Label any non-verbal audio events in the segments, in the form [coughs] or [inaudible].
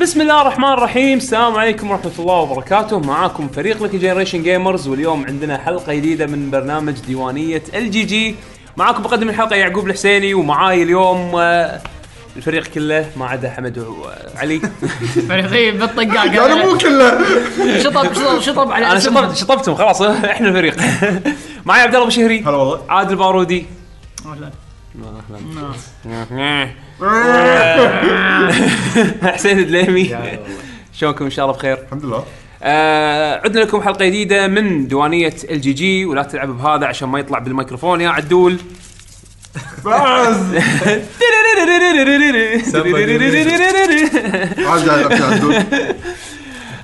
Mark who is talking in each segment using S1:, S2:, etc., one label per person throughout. S1: بسم الله الرحمن الرحيم السلام عليكم ورحمة الله وبركاته معاكم فريق لك جنريشن جيمرز واليوم عندنا حلقة جديدة من برنامج ديوانية الجي جي معاكم مقدم الحلقة يعقوب الحسيني ومعاي اليوم آه، الفريق كله ما عدا حمد وعلي
S2: فريقين يعني
S1: [laughs] يعني
S2: بالطقاق
S3: انا مو كله
S2: شطب شطب شطب على
S1: انا شطبت
S2: اسمهم
S1: شطبتهم خلاص [laughs] احنا الفريق معاي عبد الله أبو شهري
S3: هلا والله
S1: عادل بارودي
S2: أهلاً.
S1: [laughs] حسين الدليمي شلونكم ان شاء الله بخير
S3: الحمد لله
S1: آه عدنا لكم حلقه جديده من ديوانيه الجي جي ولا تلعب بهذا عشان ما يطلع بالميكروفون يا عدول
S3: فاز عاد [laughs] قاعد أبكي على الدول.
S1: [laughs]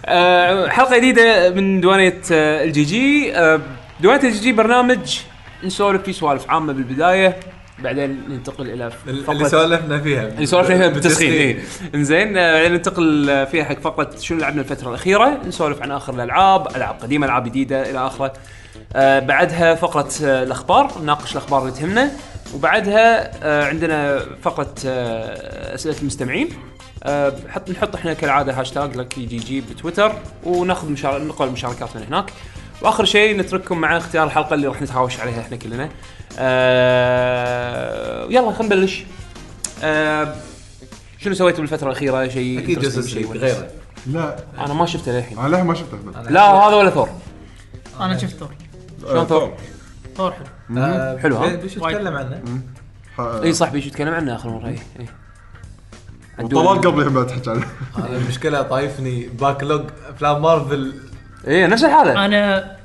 S1: آه، حلقه جديده من دوانيه آه، الجي جي آه، دوانيه الجي جي برنامج نسولف فيه سوالف عامه بالبدايه بعدين ننتقل الى
S4: اللي
S1: فقرة-
S4: سولفنا فيها
S1: اللي يعني سولفنا
S3: [laughs]
S1: فيها بالتسخين إيه. انزين آه، بعدين ننتقل آه، فيها حق فقره شنو لعبنا الفتره الاخيره نسولف عن اخر الالعاب العاب قديمه العاب جديده الى اخره آه، بعدها فقره آه، الاخبار نناقش الاخبار اللي تهمنا وبعدها آه، عندنا فقره آه، اسئله المستمعين آه، حط نحط احنا كالعاده هاشتاج لك جي جي بتويتر وناخذ مشار... نقبل مشاركات من هناك واخر شيء نترككم مع اختيار الحلقه اللي راح نتهاوش عليها احنا كلنا آه... يلا خلينا نبلش آه، شنو سويتوا بالفتره الاخيره شيء
S4: اكيد
S1: interesting
S4: جاسوس
S1: شيء ولا-
S4: غيره
S3: لا
S1: انا ما شفته للحين
S3: انا للحين ما شفته أحمد.
S1: لا هذا ولا ثور
S2: انا شفت ثور
S1: شلون ثور؟
S2: ثور حلو
S4: آه،
S1: حلو، ها؟
S4: بيش
S2: وايد.
S4: نتكلم عنه
S3: ح-
S1: اي صاحبي شو تكلم عنه اخر مره اي إي. عدول.
S3: طلال قبل الحين بعد تحكي عنه
S4: انا المشكله طايفني باكلوج افلام مارفل
S1: اي نفس الحاله
S2: انا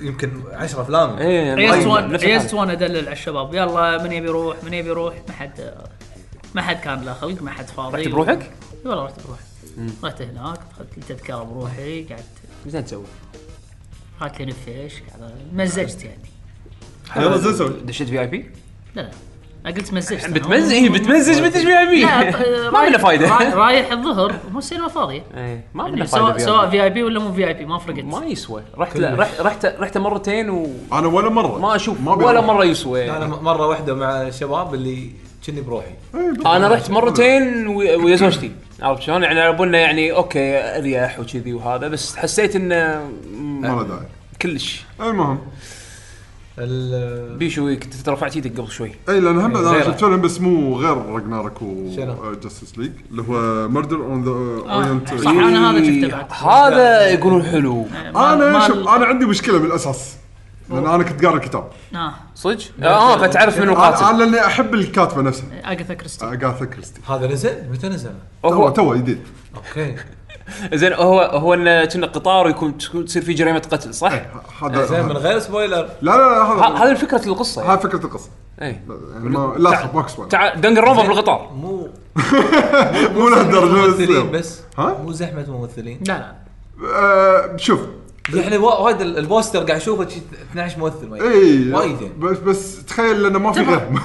S4: يمكن 10 افلام
S1: اي
S2: عيست وان
S1: نفس الحالة.
S2: عيست وان ادلل على الشباب يلا من يبي يروح من يبي يروح ما حد ما حد كان له خلق ما حد فاضي
S1: رحت بروحك؟
S2: والله رحت بروحي رحت هناك اخذت لي تذكره بروحي قعدت
S1: زين تسوي
S2: هات لي نفيش قاعد- مزجت يعني
S3: يلا زين سوي
S1: دشيت في اي بي؟
S2: لا لا انا قلت مزجت أنا.
S1: بتمزج اي بتمزج بتدش في اي بي [laughs]
S2: لا،
S1: ما
S2: آه،
S1: منه
S2: رايح- رايح-
S1: فايده [laughs]
S2: رايح الظهر مو السينما فاضيه
S1: إي، ما منه فايده
S2: يعني سواء
S1: في
S2: سواء
S1: آي
S2: في اي بي ولا مو في اي بي ما فرقت
S1: بي. ما يسوى رحت لا، رحت رحت رحت مرتين وما
S3: انا ولا مره
S1: اشوف
S3: ما أبي
S1: ولا
S3: أروح.
S1: مره يسوى
S4: انا م- مره واحده مع الشباب اللي كني بروحي
S3: إي، بالضبط.
S1: انا رحت مرتين ويا ويا زوجتي عرفت شلون يعني على بالنا يعني اوكي اريح وكذي وهذا بس حسيت انه
S3: ما
S1: م-
S3: له داعي
S1: كلش
S3: المهم
S4: ال-
S1: بيشو كنت رفعت ايدك قبل شوي
S3: اي لان إيه، هم بعد انا
S4: غيره.
S3: شفت فيلم بس مو غير راجنارك
S4: شنو؟
S3: وجاستس ليج اللي هو مردر اون ذا
S1: آه.
S3: اورينت
S2: صح، أنا هذا شفته بعد.
S1: هذا يقولون حلو
S3: انا شوف انا عندي مشكله بالاساس لان انا كنت قاري الكتاب
S2: اه
S1: صدق؟ اه فتعرف منو
S3: انا
S1: القاتل
S3: أنا لاني احب الكاتبه نفسها
S2: اجاثا كريستي
S3: اغاثا كريستي
S4: هذا نزل متى نزل؟
S3: تو
S1: هو
S3: تو جديد
S4: اوكي
S3: آه.
S1: زين هو هو انه كنا قطار ويكون تكون- تصير في جريمه قتل صح؟
S3: إيه،
S1: ه-
S3: هذا
S4: زين من
S3: لا
S4: غير سبويلر
S3: لا لا هذا
S1: هذه فكره القصه
S3: هاي
S1: يعني.
S3: فكره القصه
S1: إيه.
S3: يعني ما لا تخاف ماكو سبويلر
S1: تع... دنجر روفر بالقطار
S4: مو مو
S3: مو لهالدرجه
S4: ممثلين
S3: لا
S4: بس
S3: ها؟
S4: مو زحمه ممثلين
S2: لا لا
S3: آه، شوف
S4: يعني وا- وايد ال- البوستر قاعد اشوفه شي 12 ممثل
S3: اي
S4: وايد يعني.
S3: إيه. بس بس تخيل لانه ما في غيرهم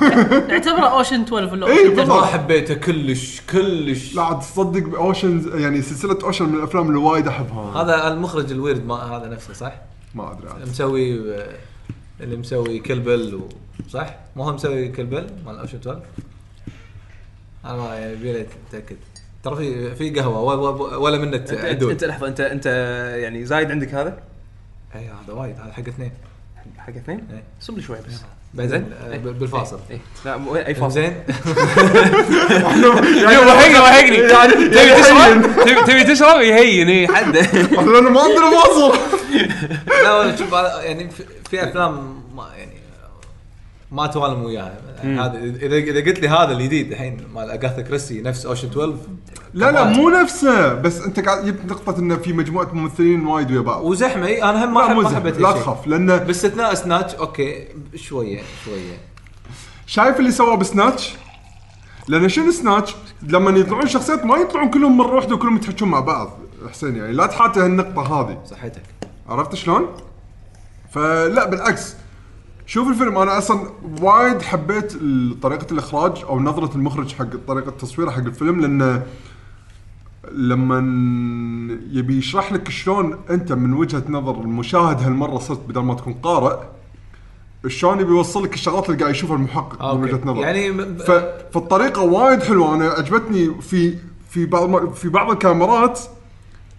S2: اعتبره اوشن 12 ولا
S3: إيه،
S2: Ocean 12.
S4: ما حبيته كلش كلش
S3: [laughs] لا عاد تصدق اوشن يعني سلسله اوشن من الافلام اللي وايد احبها
S4: هذا المخرج الويرد ما هذا نفسه صح؟
S3: ما ادري عاد [laughs]
S4: مسوي آه، اللي مسوي كلبل و... صح؟ مو هو مسوي كلبل مال اوشن 12 انا ما يعني بيلي اتاكد ترى في في قهوه و- و- ولا منه عدول
S1: لحظه انت انت يعني زايد عندك هذا
S4: اي إيه، هذا وايد هذا حق اثنين
S1: حق اثنين؟
S4: إيه.
S1: صب لي شوي بس
S4: بعدين
S1: زين.
S4: آه،
S1: إيه.
S4: ب- بالفاصل
S1: اي لا مو- اي فاصل
S4: زين
S1: يو وهقني
S4: إيه،
S1: وهقني
S4: يعني
S1: تبي تشرب تبي- تبي تشرب يهين إيه. اي
S4: [laughs]
S1: حده
S3: لانه ما ادري واصل
S4: لا ولا شوف هذا يعني في- في افلام ما يعني ما توالم وياها هذا اذا اذا قلت لي هذا الجديد الحين مال اغاثا كريستي نفس اوشن 12
S3: لا لا مو نفسه بس انت قاعد جبت نقطه انه في مجموعه ممثلين وايد ويا بعض
S4: وزحمه إي، انا هم ما
S3: لا
S4: أحب-
S3: مو
S4: ما
S3: زين.
S4: حبيت
S3: لا
S4: هالشيء.
S3: تخاف لانه
S4: باستثناء سناتش اوكي شويه شويه
S3: شايف اللي سواه بسناتش؟ لان شنو سناتش؟ لما يطلعون شخصيات ما يطلعون كلهم مره واحده وكلهم يتحكون مع بعض حسين يعني لا تحاتي هالنقطه هذه
S4: صحتك
S3: عرفت شلون؟ فلا بالعكس شوف الفيلم انا اصلا وايد حبيت ال- طريقه الاخراج او نظره المخرج حق طريقه التصوير حق الفيلم لانه لما يبي يشرح لك شلون انت من وجهه نظر المشاهد هالمره صرت بدل ما تكون قارئ شلون يبي يوصل لك الشغلات اللي قاعد يشوفها المحقق من
S4: أوكي.
S3: وجهه نظر
S4: يعني م-
S3: ف... فالطريقه وايد حلوه انا عجبتني في في بعض في بعض الكاميرات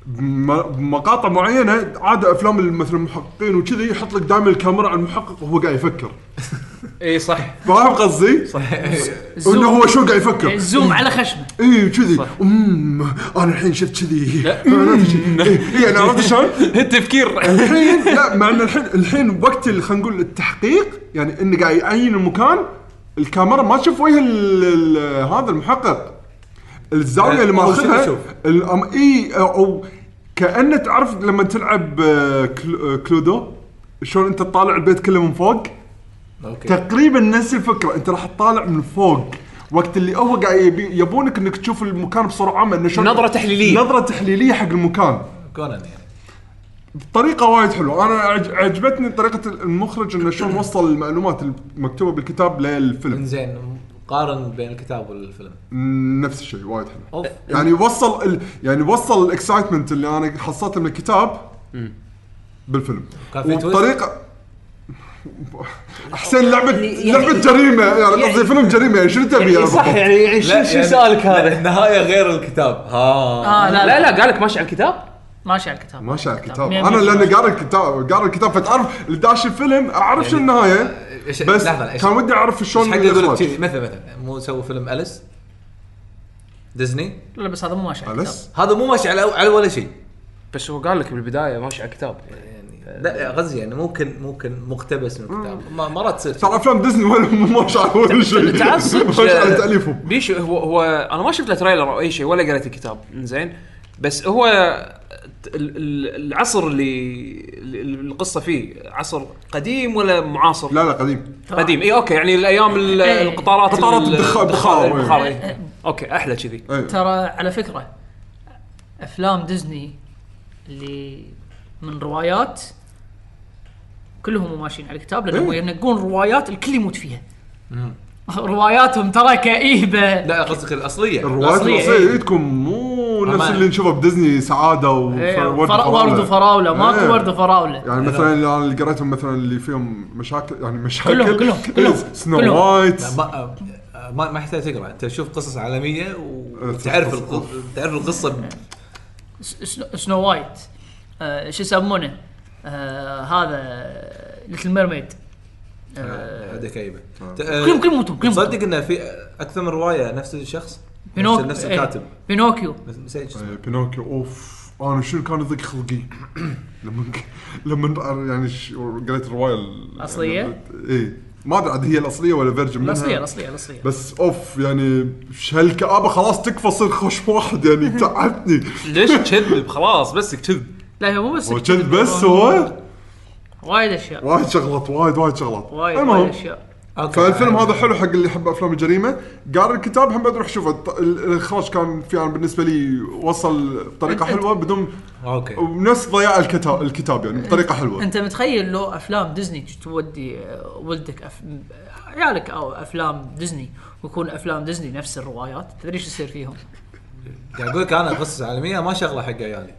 S3: بم- بمقاطع معينه عاده افلام ال- مثلا المحققين وكذي يحط لك دائما الكاميرا على المحقق وهو قاعد يفكر
S1: اي إيه، صح [laughs]
S3: فاهم قصدي؟ صح انه هو شو قاعد يفكر
S2: الزوم يعني على خشمه
S3: اي كذي امم انا الحين شفت كذي
S1: لا،
S3: اي يعني عرفت شلون؟
S4: [laughs]
S1: التفكير
S3: الحين لا مع ان الحين الحين وقت ال- خلينا نقول التحقيق يعني انه قاعد يعين المكان الكاميرا ما تشوف وجه ال- ال- هذا المحقق الزاويه
S4: أه،
S3: اللي
S4: هو شنو
S3: ماخذها
S4: يشوف؟
S3: الأم- اي او كانه تعرف لما تلعب آه، كلو- آه، كلودو شلون انت تطالع البيت كله من فوق
S1: إيه.
S4: اوكي
S3: تقريبا نفس الفكره انت راح تطالع من فوق وقت اللي هو قاعد يبي- يبونك انك تشوف المكان بسرعه مع انه شلون-
S1: نظرة تحليلية.
S3: نظره تحليليه حق المكان
S4: كونان يعني
S3: طريقة وايد حلوة، أنا عج- عجبتني طريقة المخرج إنه شلون وصل المعلومات المكتوبة بالكتاب للفيلم.
S4: انزين قارن بين الكتاب والفيلم
S3: م، نفس الشيء وايد حلو.
S4: اوف
S3: يعني وصل ال... يعني وصل الاكسايتمنت اللي أنا حصلته من الكتاب بالفيلم.
S4: كان في تويست؟ [laughs]
S3: وبطريقة أحسن لعبة
S1: يعني-
S3: لعبة جريمة يعني قصدي فيلم جريمة يعني شنو تبي يعني
S1: صح
S3: بالضبط؟
S1: يعني يعني شو شو
S4: يعني
S1: سؤالك هذا؟
S4: النهايه غير الكتاب ها
S2: اه لا
S1: لا
S2: لا
S1: لا قالك ماشي على الكتاب
S2: ماشي على الكتاب
S3: ماشي على الكتاب
S2: مية-
S3: انا
S2: مية-
S3: لاني قاري الكتاب قاري الكتاب فتعرف اللي داش الفيلم اعرف شو النهايه
S4: إيش-
S3: بس
S4: يعني آه، لحظة، إيش-
S3: كان ودي اعرف شلون
S4: ايش حق اقول لك
S3: الإخراج.
S4: كذي مثلا مثلا مو سووا فيلم اليس ديزني
S2: لا بس هذا مو ماشي على الكتاب
S3: أليس؟
S4: هذا مو ماشي على على ولا شيء
S1: بس هو قال لك بالبداية ماشي على الكتاب
S4: يعني لا غزي يعني ممكن ممكن مقتبس من الكتاب ما- مرات تصير
S3: ترى افلام ديزني ولا مو ما شاء
S2: [laughs]
S3: الله ولا شيء
S1: تعال صدق
S3: [laughs] ما شاء الله تاليفهم
S1: بيشو هو هو انا ما شفت له تريلر او اي شيء ولا قريت الكتاب زين بس هو ال- ال- العصر اللي اللي القصه فيه عصر قديم ولا معاصر؟
S3: لا لا قديم
S1: قديم اي اوكي يعني الايام ال-
S2: إيه.
S1: القطارات
S3: قطارات
S1: ال-
S3: الدخا- البخار، إيه.
S1: البخار، إيه. اوكي احلى كذي
S3: أي.
S2: ترى على فكره افلام ديزني اللي من روايات كلهم مو ماشيين على الكتاب لانهم
S3: إيه.
S2: ينقون روايات الكل يموت فيها [laughs] رواياتهم ترى كئيبه
S4: لا قصدك الاصليه
S3: الروايات
S2: الأصلية،
S3: الاصليه
S2: إيه.
S3: إيه. تكون مو نفس
S4: أمان.
S3: اللي نشوفها بديزني سعاده
S2: إيه،
S3: وورد
S2: فرا- ورد وفراوله ماكو
S3: إيه.
S2: ورد وفراوله
S3: يعني مثلا انا اللي قريتهم مثلا اللي فيهم مشاكل يعني مشاكل
S2: كلهم- كلهم- كلهم- كلهم.
S3: سنو وايت
S4: لا، ما آه، ما ما يحتاج تقرا انت تشوف قصص عالميه و- وتعرف الق- تعرف القصه ب-
S2: س- سنو- سنو وايت آه، شو يسمونه آه، هذا ليتل ميرميد
S3: آه.
S4: هذا كئيبه
S2: كلهم كلهم يموتون كلهم
S4: صدق انه في اكثر من روايه نفس الشخص نفس,
S2: بينوكيو
S4: نفس
S2: إيه،
S4: الكاتب
S2: بينوكيو
S4: نفس- نسيت شو اسمه.
S3: إيه، بينوكيو اوف انا شنو كان يضيق خلقي [clears throat] لما لما يعني ش- قريت الروايه ال-
S2: أصلية؟
S3: يعني اي ما ادري عاد هي الاصليه ولا فيرجن منها
S2: الاصليه الاصليه الاصليه
S3: بس اوف يعني ش- هالكآبه خلاص تكفى صير خوش واحد يعني تعبتني
S1: ليش تكذب خلاص بس كذب
S2: لا هي مو بس
S3: هو كذب بس هو
S2: وايد اشياء
S3: وايد شغلات وايد وايد شغلات
S2: وايد
S3: المهم
S2: وايد اشياء
S4: أوكي.
S3: إيه. فالفيلم هذا حلو حق اللي يحب افلام الجريمه قاري الكتاب هم بعد روح شوفه الط- ال- الاخراج كان في انا بالنسبه لي وصل بطريقه حلوه بدون
S4: اوكي
S3: ونفس ضياع الكتاب الكتاب يعني بطريقه حلوه
S2: انت متخيل لو افلام ديزني تودي آه، ولدك أف... عيالك او افلام ديزني ويكون افلام ديزني نفس الروايات تدري ايش يصير فيهم
S4: قاعد اقول لك انا قصص عالميه ما شغله حق عيالي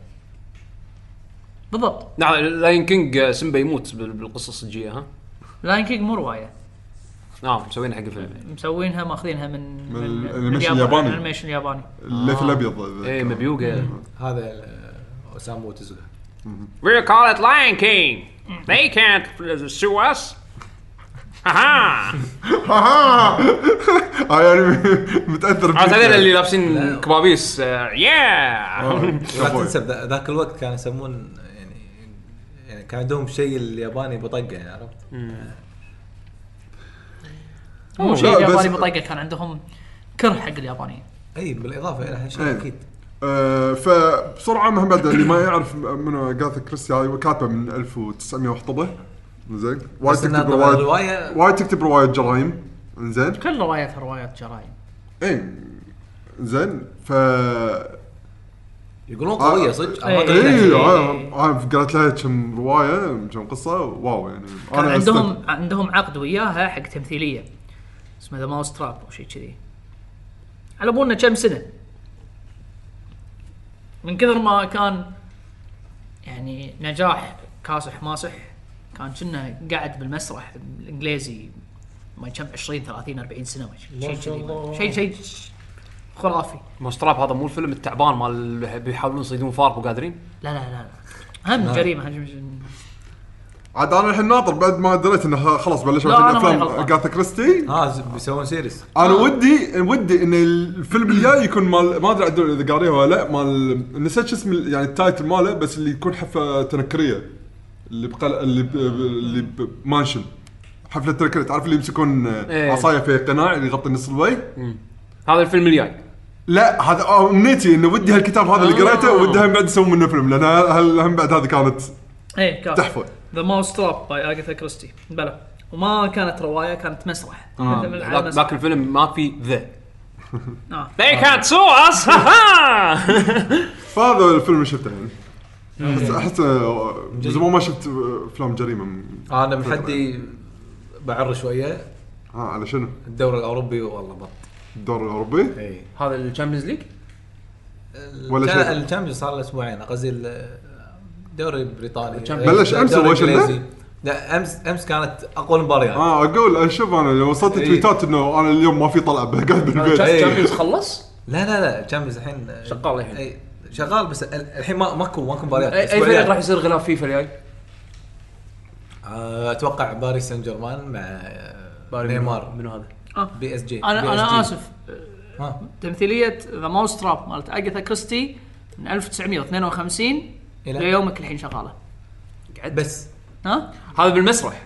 S2: بالضبط
S1: نعم لاين كينج سيمبا يموت بال- بالقصه الصجيه ها
S2: لاين كينج مو روايه
S1: نعم مسوينها حق فيلم
S2: مسوينها ماخذينها من
S3: من الأنيميشن الياباني.
S2: الانيميشن الياباني
S3: الليث الابيض
S1: اي مبيوقه
S4: هذا آه، ال- اوسامو وتزوكا
S1: We call it Lion King. They can't sue us. [laughs] ها
S3: آه، [laughs] آه، يعني [laughs] آه، متاثر
S1: عرفت
S3: فيه.
S1: هذول اللي لابسين كبابيس [laughs] يا
S3: آه،
S4: لا [laughs]
S3: كفو.
S4: تنسى بذا- ذاك الوقت كانوا يسمون يعني يعني كان عندهم شيء الياباني بطقه يعني عرفت؟
S2: مو
S3: لا،
S2: شيء الياباني
S3: بس-
S2: بطاقه كان عندهم كره حق اليابانيين
S4: اي بالاضافه الى
S3: إيه.
S4: هالشيء اكيد
S3: آه، فبسرعه مهم بعد اللي ما يعرف منو اغاثا كريستي هاي كاتبه من 1900 وحطبه زين وايد
S4: بس إنها
S3: تكتب
S4: طبعاً
S3: روايه
S4: الروايه
S3: وايد تكتب روايه جرايم زين
S2: كل رواياتها روايات جرايم
S3: اي زين ف
S4: إيه، يقولون
S3: آه.
S4: قويه صدق أنا ما
S2: إيه.
S4: توقعت
S3: اي
S4: يعني.
S3: أنا- انا قرأت لها آه، كم روايه كم قصه واو يعني
S2: كان
S3: أنا
S2: عندهم
S3: أستمتع.
S2: عندهم عقد وياها حق تمثيليه اسمه ذا ماوس تراب او شيء كذي على بالنا كم سنه من كثر ما كان يعني نجاح كاسح ماسح كان كنا قاعد بالمسرح الانجليزي ما كم 20 30 40 سنه ما شيء كذي شيء شيء خرافي
S1: مونستراب هذا مو الفيلم التعبان مال اللي بيحاولون يصيدون فار مو قادرين
S2: لا لا لا لا هم جريمه هم جريمة.
S3: عاد انا الحين ناطر بعد ما دريت انه خلاص بلشوا
S2: لا، أنا ماني
S3: افلام
S2: غلطان.
S3: جاثا كريستي
S4: ها ز- آه، بيسوون سيريس
S3: انا ودي ودي ان الفيلم الجاي يكون مال ما ادري عدل اذا قاريها ولا لا مال نسيت شو اسم ال- يعني التايتل ماله بس اللي يكون حفله تنكريه اللي بقلعه اللي ب... اللي بمانشن حفله تنكريه تعرف اللي يمسكون
S1: إيه.
S3: عصايه في قناع اللي يغطي نص الوجه
S1: هذا الفيلم الجاي
S3: لا هذا اه امنيتي انه ودي هالكتاب هذا اللي
S1: آه.
S3: قريته ودي هم بعد يسوون منه فيلم لان هل هم بعد هذه كانت
S2: ايه كان
S3: تحفه
S2: ذا ماوس تراب باي اغاثا كريستي بلى وما كانت روايه كانت مسرح مثل من العالم
S1: ذاك ذاك الفيلم ما في ذا
S2: آه.
S1: They can't sue us!
S3: فهذا الفيلم اللي شفته يعني احس احس آه، من زمان ما شفت آه، افلام جريمه م-
S4: انا من حدي بعر شويه
S3: ها على شنو؟
S4: الدوري الاوروبي والله بط
S3: الدور الاوروبي؟
S4: اي
S1: [laughs] هذا الشامبيونز ليج؟
S3: ولا
S4: ولا
S3: شيء.
S4: شيء الشامبيونز صار له اسبوعين قصدي الدوري البريطاني
S1: Champions.
S3: بلش
S4: الدوري
S3: أمس هو شنو؟
S4: الإنجليزي. لا امس امس كانت اقوى مباريات
S3: اه اقول أنا شوف انا لو وصلت
S4: إيه.
S3: تويتات انه انا اليوم ما في طلعه قاعد بالبيت
S4: شايف. إيه.
S1: الشامبيونز [laughs] خلص؟
S4: لا لا لا الشامبيونز الحين
S1: شغال الحين.
S4: اي شغال بس ال- الحين ما ماكو ماكو مباريات
S1: اي أي
S4: أسبوعين.
S1: فريق راح يصير غلاف فيفا الجاي؟
S4: آه، اتوقع باريس سان جيرمان مع آه، نيمار
S1: منو هذا؟
S2: آه.
S4: بي اس جي
S2: انا
S4: بي إس
S2: انا
S4: جي. آه.
S2: اسف
S4: ها
S2: تمثيليه ذا ماوس تراب مالت اغاثا كريستي من 1952
S4: إلى-
S2: ليومك الحين شغاله
S4: بس
S2: ها؟
S1: هذا بالمسرح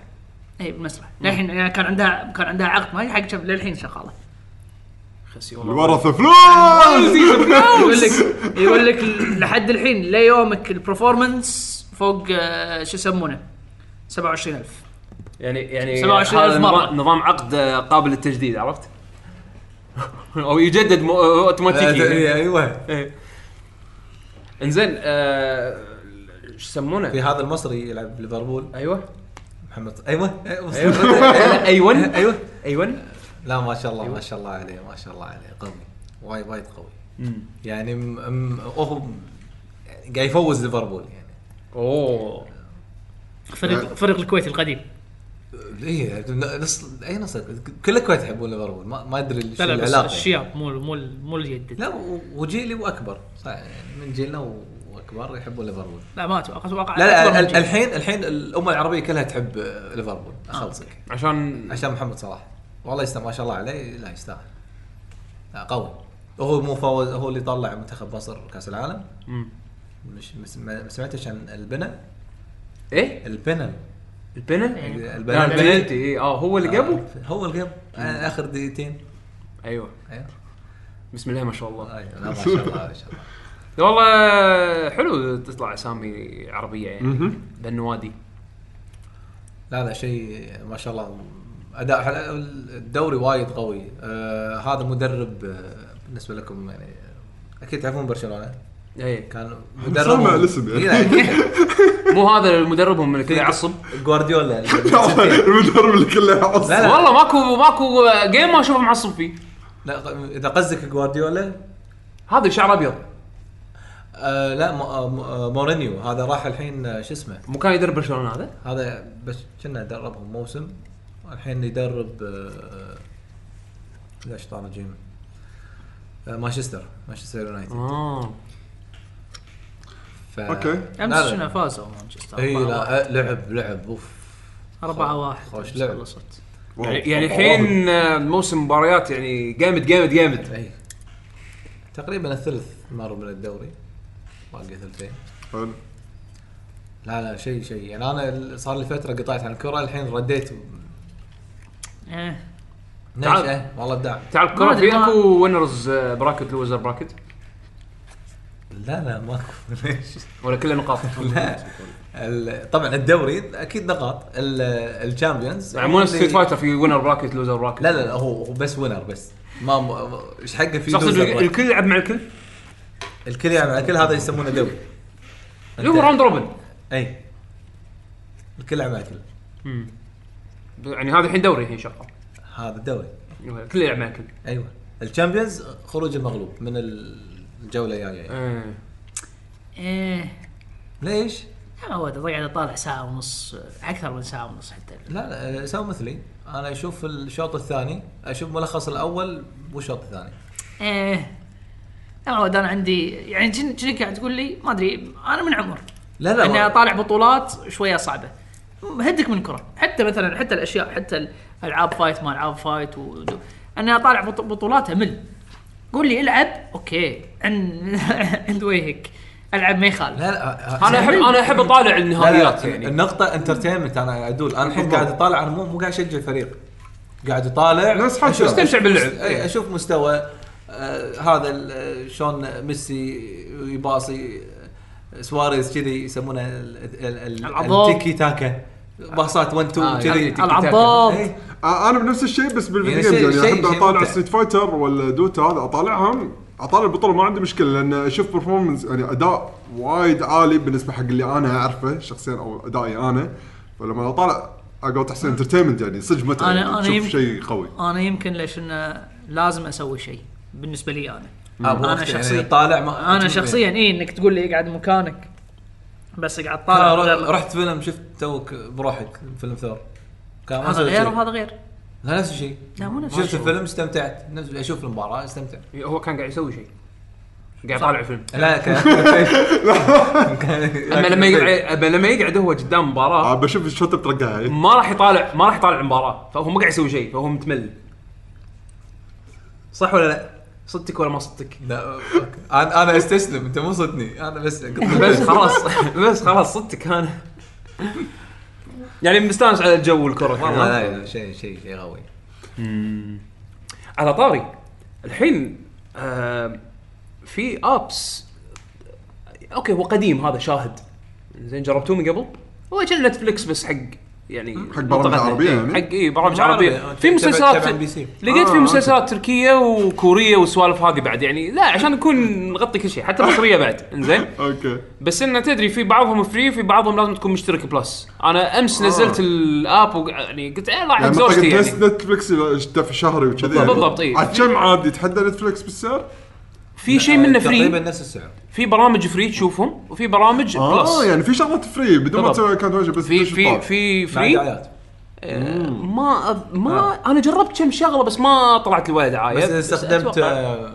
S2: اي بالمسرح للحين يعني كان عندها كان عندها عقد ما هي حق شب للحين شغاله
S1: خسي
S3: الورثه فلوس
S2: يقول لك يقول لك لحد الحين ليومك البرفورمانس فوق آه، شو يسمونه 27000
S1: يعني يعني
S2: 27
S1: هذا
S2: ألف مرة.
S1: نظام- نظام عقد آه، قابل للتجديد عرفت؟ [laughs] او يجدد مو- اوتوماتيكي
S4: [laughs] آه، ايوه
S1: إيه. انزين آه، شو
S4: في
S1: يسمونه؟
S4: هذا المصري يلعب بليفربول
S1: [laughs] ايوه
S4: محمد ايوه ايوه [laughs]
S1: ايون
S4: أيوة.
S1: ايون
S4: لا ما شاء الله ما شاء الله عليه ما شاء الله عليه قوي وايد وايد قوي يعني م... م... هو قاعد يفوز ليفربول يعني
S1: اوه
S2: فريق فريق الكويت القديم
S4: ايه نص اي نص كل الكويت يحبون ليفربول ما, ما ادري شو
S2: لا لا بس
S4: العلاقه يعني.
S2: الشياب مو مو مو الجدد
S4: لا و- وجيلي واكبر صح يعني من جيلنا و- واكبر يحبون ليفربول
S2: لا ما اتوقع اتوقع
S4: لا لا
S2: أكبر من
S4: ال-
S2: جيل.
S4: الحين الحين الامه العربيه كلها تحب آه، ليفربول اخلصك
S1: عشان
S4: عشان محمد صلاح والله يستاهل ما شاء الله عليه لا يستاهل لا قوي هو مو فوز هو اللي طلع منتخب مصر كاس العالم
S1: مم.
S4: مش مس- ما ما سمعتش عن آه، البنا
S1: ايه
S4: البنا
S1: البنالتي
S2: إيه.
S1: لا،
S4: البنا آه.
S1: البنالتي اي اه هو اللي قبل
S4: هو اللي قبل آه، اخر دقيقتين
S1: ايوه
S4: ايوه
S1: بسم الله ما شاء الله
S4: آه، لا، ما شاء الله ما شاء الله
S1: والله حلو تطلع اسامي عربيه يعني بالنوادي
S4: لا لا شيء ما شاء الله اداء حل- الدوري وايد قوي آه هذا مدرب آه بالنسبه لكم يعني آه، اكيد تعرفون برشلونه
S1: ايه
S4: كان
S3: سامع
S4: مدرب إيه،
S3: الاسم يعني. [laughs]
S1: مو هذا مدربهم اللي كذا يعصب
S4: جوارديولا لا
S3: المدرب اللي كله عصب
S4: لا.
S1: والله ماكو ماكو جيم ما اشوفه معصب فيه
S4: ق- اذا قصدك جوارديولا
S1: هذا شعر ابيض
S4: آه لا م- آه، م- آه، مورينيو هذا راح الحين آه، شو اسمه
S1: مو كان يدرب برشلونه هذا
S4: هذا بس كنا دربهم موسم الحين يدرب آه، لا شيطان رجيم آه، مانشستر مانشستر يونايتد
S1: اه
S4: ف...
S3: أوكي.
S4: لا، لا.
S2: امس شنو فازوا مانشستر
S4: اي
S2: 4-1.
S4: لا آه، لعب لعب اوف
S2: 4 1
S4: خوش لعب.
S2: خلصت
S3: واو.
S1: يعني يعني الحين آه، موسم مباريات يعني جامد جامد جامد
S4: اي تقريبا الثلث مر من الدوري باقي ثلثين
S3: حلو.
S4: لا لا شيء شيء يعني انا ال- صار لي فتره قطعت عن الكره الحين رديت
S2: ايه
S1: تعال.
S4: نشأة والله ابداع
S1: تعال
S2: ما
S1: الكره
S2: أدري
S1: في
S2: ما-
S1: اكو وينرز آه، براكت لوزر براكت
S4: لا لا ماكو [laughs] ليش
S1: ولا كله نقاط
S4: [laughs] لا ال- طبعا الدوري اكيد نقاط ال- الشامبيونز
S1: يعني مو نفس ستريت
S4: لا
S1: فايتر في وينر براكت لوزر براكت
S4: لا لا هو هو بس وينر بس ما ما- ايش حقه في
S1: تقصد
S4: loser bracket.
S1: الكل يلعب مع الكل؟
S4: الكل يعني على كل هذا يسمونه دوري
S1: اللي هو راوند روبن
S4: اي الكل على الكل
S1: يعني هذا الحين دوري الحين شغال
S4: هذا الدوري
S1: الكل يلعب مع الكل
S4: ايوه الشامبيونز خروج المغلوب من ال- الجوله الجايه يعني.
S1: آه.
S2: ايه
S4: ليش؟
S2: يا هو ده قاعد اطالع ساعه ونص اكثر من ساعه ونص حتى
S4: لا لا سووا مثلي انا اشوف الشوط الثاني اشوف ملخص الاول والشوط الثاني
S2: ايه لا والله انا عندي يعني جن- جنك قاعد تقول لي ما ادري انا من عمر
S4: لا لا
S2: اني
S4: ما-
S2: اطالع بطولات شويه صعبه هدك من كره حتى مثلا حتى الاشياء حتى العاب فايت ما العاب فايت و... اني اطالع بط- بطولات امل قول لي العب اوكي عند [laughs] عند وجهك العب ما يخالف
S4: لا لا
S1: انا احب انا احب اطالع النهائيات
S4: لا
S1: يعني
S4: لا النقطة انترتينمنت انا عدول انا الحين قاعد اطالع انا مو مو قاعد اشجع فريق قاعد اطالع
S3: نفس حالك.
S4: أشوف-
S1: استمتع باللعب.
S4: اي اشوف مستوى آه هذا ال- آه، شلون ميسي يباصي آه، سواريز كذي يسمونه ال- ال- ال-
S2: العضاب.
S4: التيكي تاكا باصات 1
S1: آه،
S4: 2 كذي إيه.
S1: يعني
S2: العضاب.
S4: إي.
S3: آه، انا بنفس الشيء بس
S4: يعني
S3: بالفيديو جيمز
S4: شيء-
S3: يعني
S4: شيء-
S3: احب
S4: شيء
S3: اطالع
S4: ممتع.
S3: ستريت فايتر ولا دوتا هذا اطالعهم اطالع البطوله ما عندي مشكله لان اشوف برفورمنس يعني اداء وايد عالي بالنسبه حق اللي انا اعرفه شخصيا او ادائي انا فلما اطالع اقعد احسن انترتينمنت يعني صدق متعه
S2: أنا-
S3: يعني
S2: أنا
S3: تشوف
S2: يمكن-
S3: شيء قوي
S2: انا يمكن ليش انه لازم اسوي شيء بالنسبه لي انا
S4: آه، بوقت
S2: أنا
S4: يعني
S2: شخصياً-
S4: طالع ما-
S2: انا شخصيا اي انك تقول لي اقعد مكانك بس اقعد طالع
S4: ترى رحت-
S2: غير-
S4: رحت فيلم شفت توك بروحك فيلم ثور كان ما
S2: هذا
S4: سويت
S2: غير
S4: شيء.
S2: وهذا غير
S4: لا نفس الشيء
S2: لا، مو نفس
S4: شفت
S2: الشيء.
S4: الفيلم استمتعت نفس اشوف المباراه استمتع
S1: هو كان قاعد يسوي شيء قاعد يطالع فيلم
S4: لا كان
S1: اما
S4: [laughs]
S1: لما يقعد أما لما يقعد هو قدام
S3: آه،
S1: مباراه
S3: بشوف الشوت [laughs] بترقعها
S1: ما راح يطالع ما راح يطالع المباراه فهو ما قاعد يسوي شيء فهو متمل صح ولا لا؟ صدتك ولا ما صدتك؟
S4: لا أوكي. انا انا استسلم انت مو صدني انا بس
S1: بس خلاص [laughs] بس خلاص صدتك انا يعني مستانس على الجو والكره
S4: والله لا لا، شيء شيء شيء قوي
S1: على طاري الحين آه في ابس اوكي هو قديم هذا شاهد زين جربتوه من قبل؟ هو كان نتفلكس بس حق يعني
S3: حق برامج
S1: منطقتنا.
S3: عربية
S1: إيه،
S3: يعني؟
S1: حق اي برامج
S4: ما أعرف،
S1: عربيه
S4: أنت
S1: في
S4: تبع-
S1: مسلسلات
S4: تبع NBC.
S1: لقيت
S3: آه،
S1: في مسلسلات تركيه وكوريه والسوالف هذه بعد يعني لا عشان نكون نغطي كل شيء حتى مصريه بعد انزين
S3: اوكي
S1: بس انه تدري في بعضهم فري في بعضهم لازم تكون مشترك بلس انا امس
S3: آه.
S1: نزلت الاب وق- يعني قلت ايه راح
S3: يعني منطقه
S1: زوجتي
S3: نس-
S1: يعني
S3: نتفلكس إذا في شهري وكذي يعني.
S1: بالضبط، إيه.
S3: عاد كم عاد يتحدى نتفلكس بالسعر؟
S1: في شيء منه
S4: تقريبا
S1: فري
S4: نفس السعر
S1: في برامج فري تشوفهم وفي برامج
S3: اه
S1: بلس
S3: يعني في شغلات فري بدون ما
S1: بالضبط.
S3: تسوي اكونت واجب بس
S1: في
S3: تدش
S1: في
S3: تطالع.
S1: في
S4: مع
S1: فري
S4: دعايات
S1: آه، ما أظ- ما انا جربت كم شغله بس ما طلعت لي ولا دعايه
S4: آه. بس استخدمت
S1: أتوقع.
S4: آه،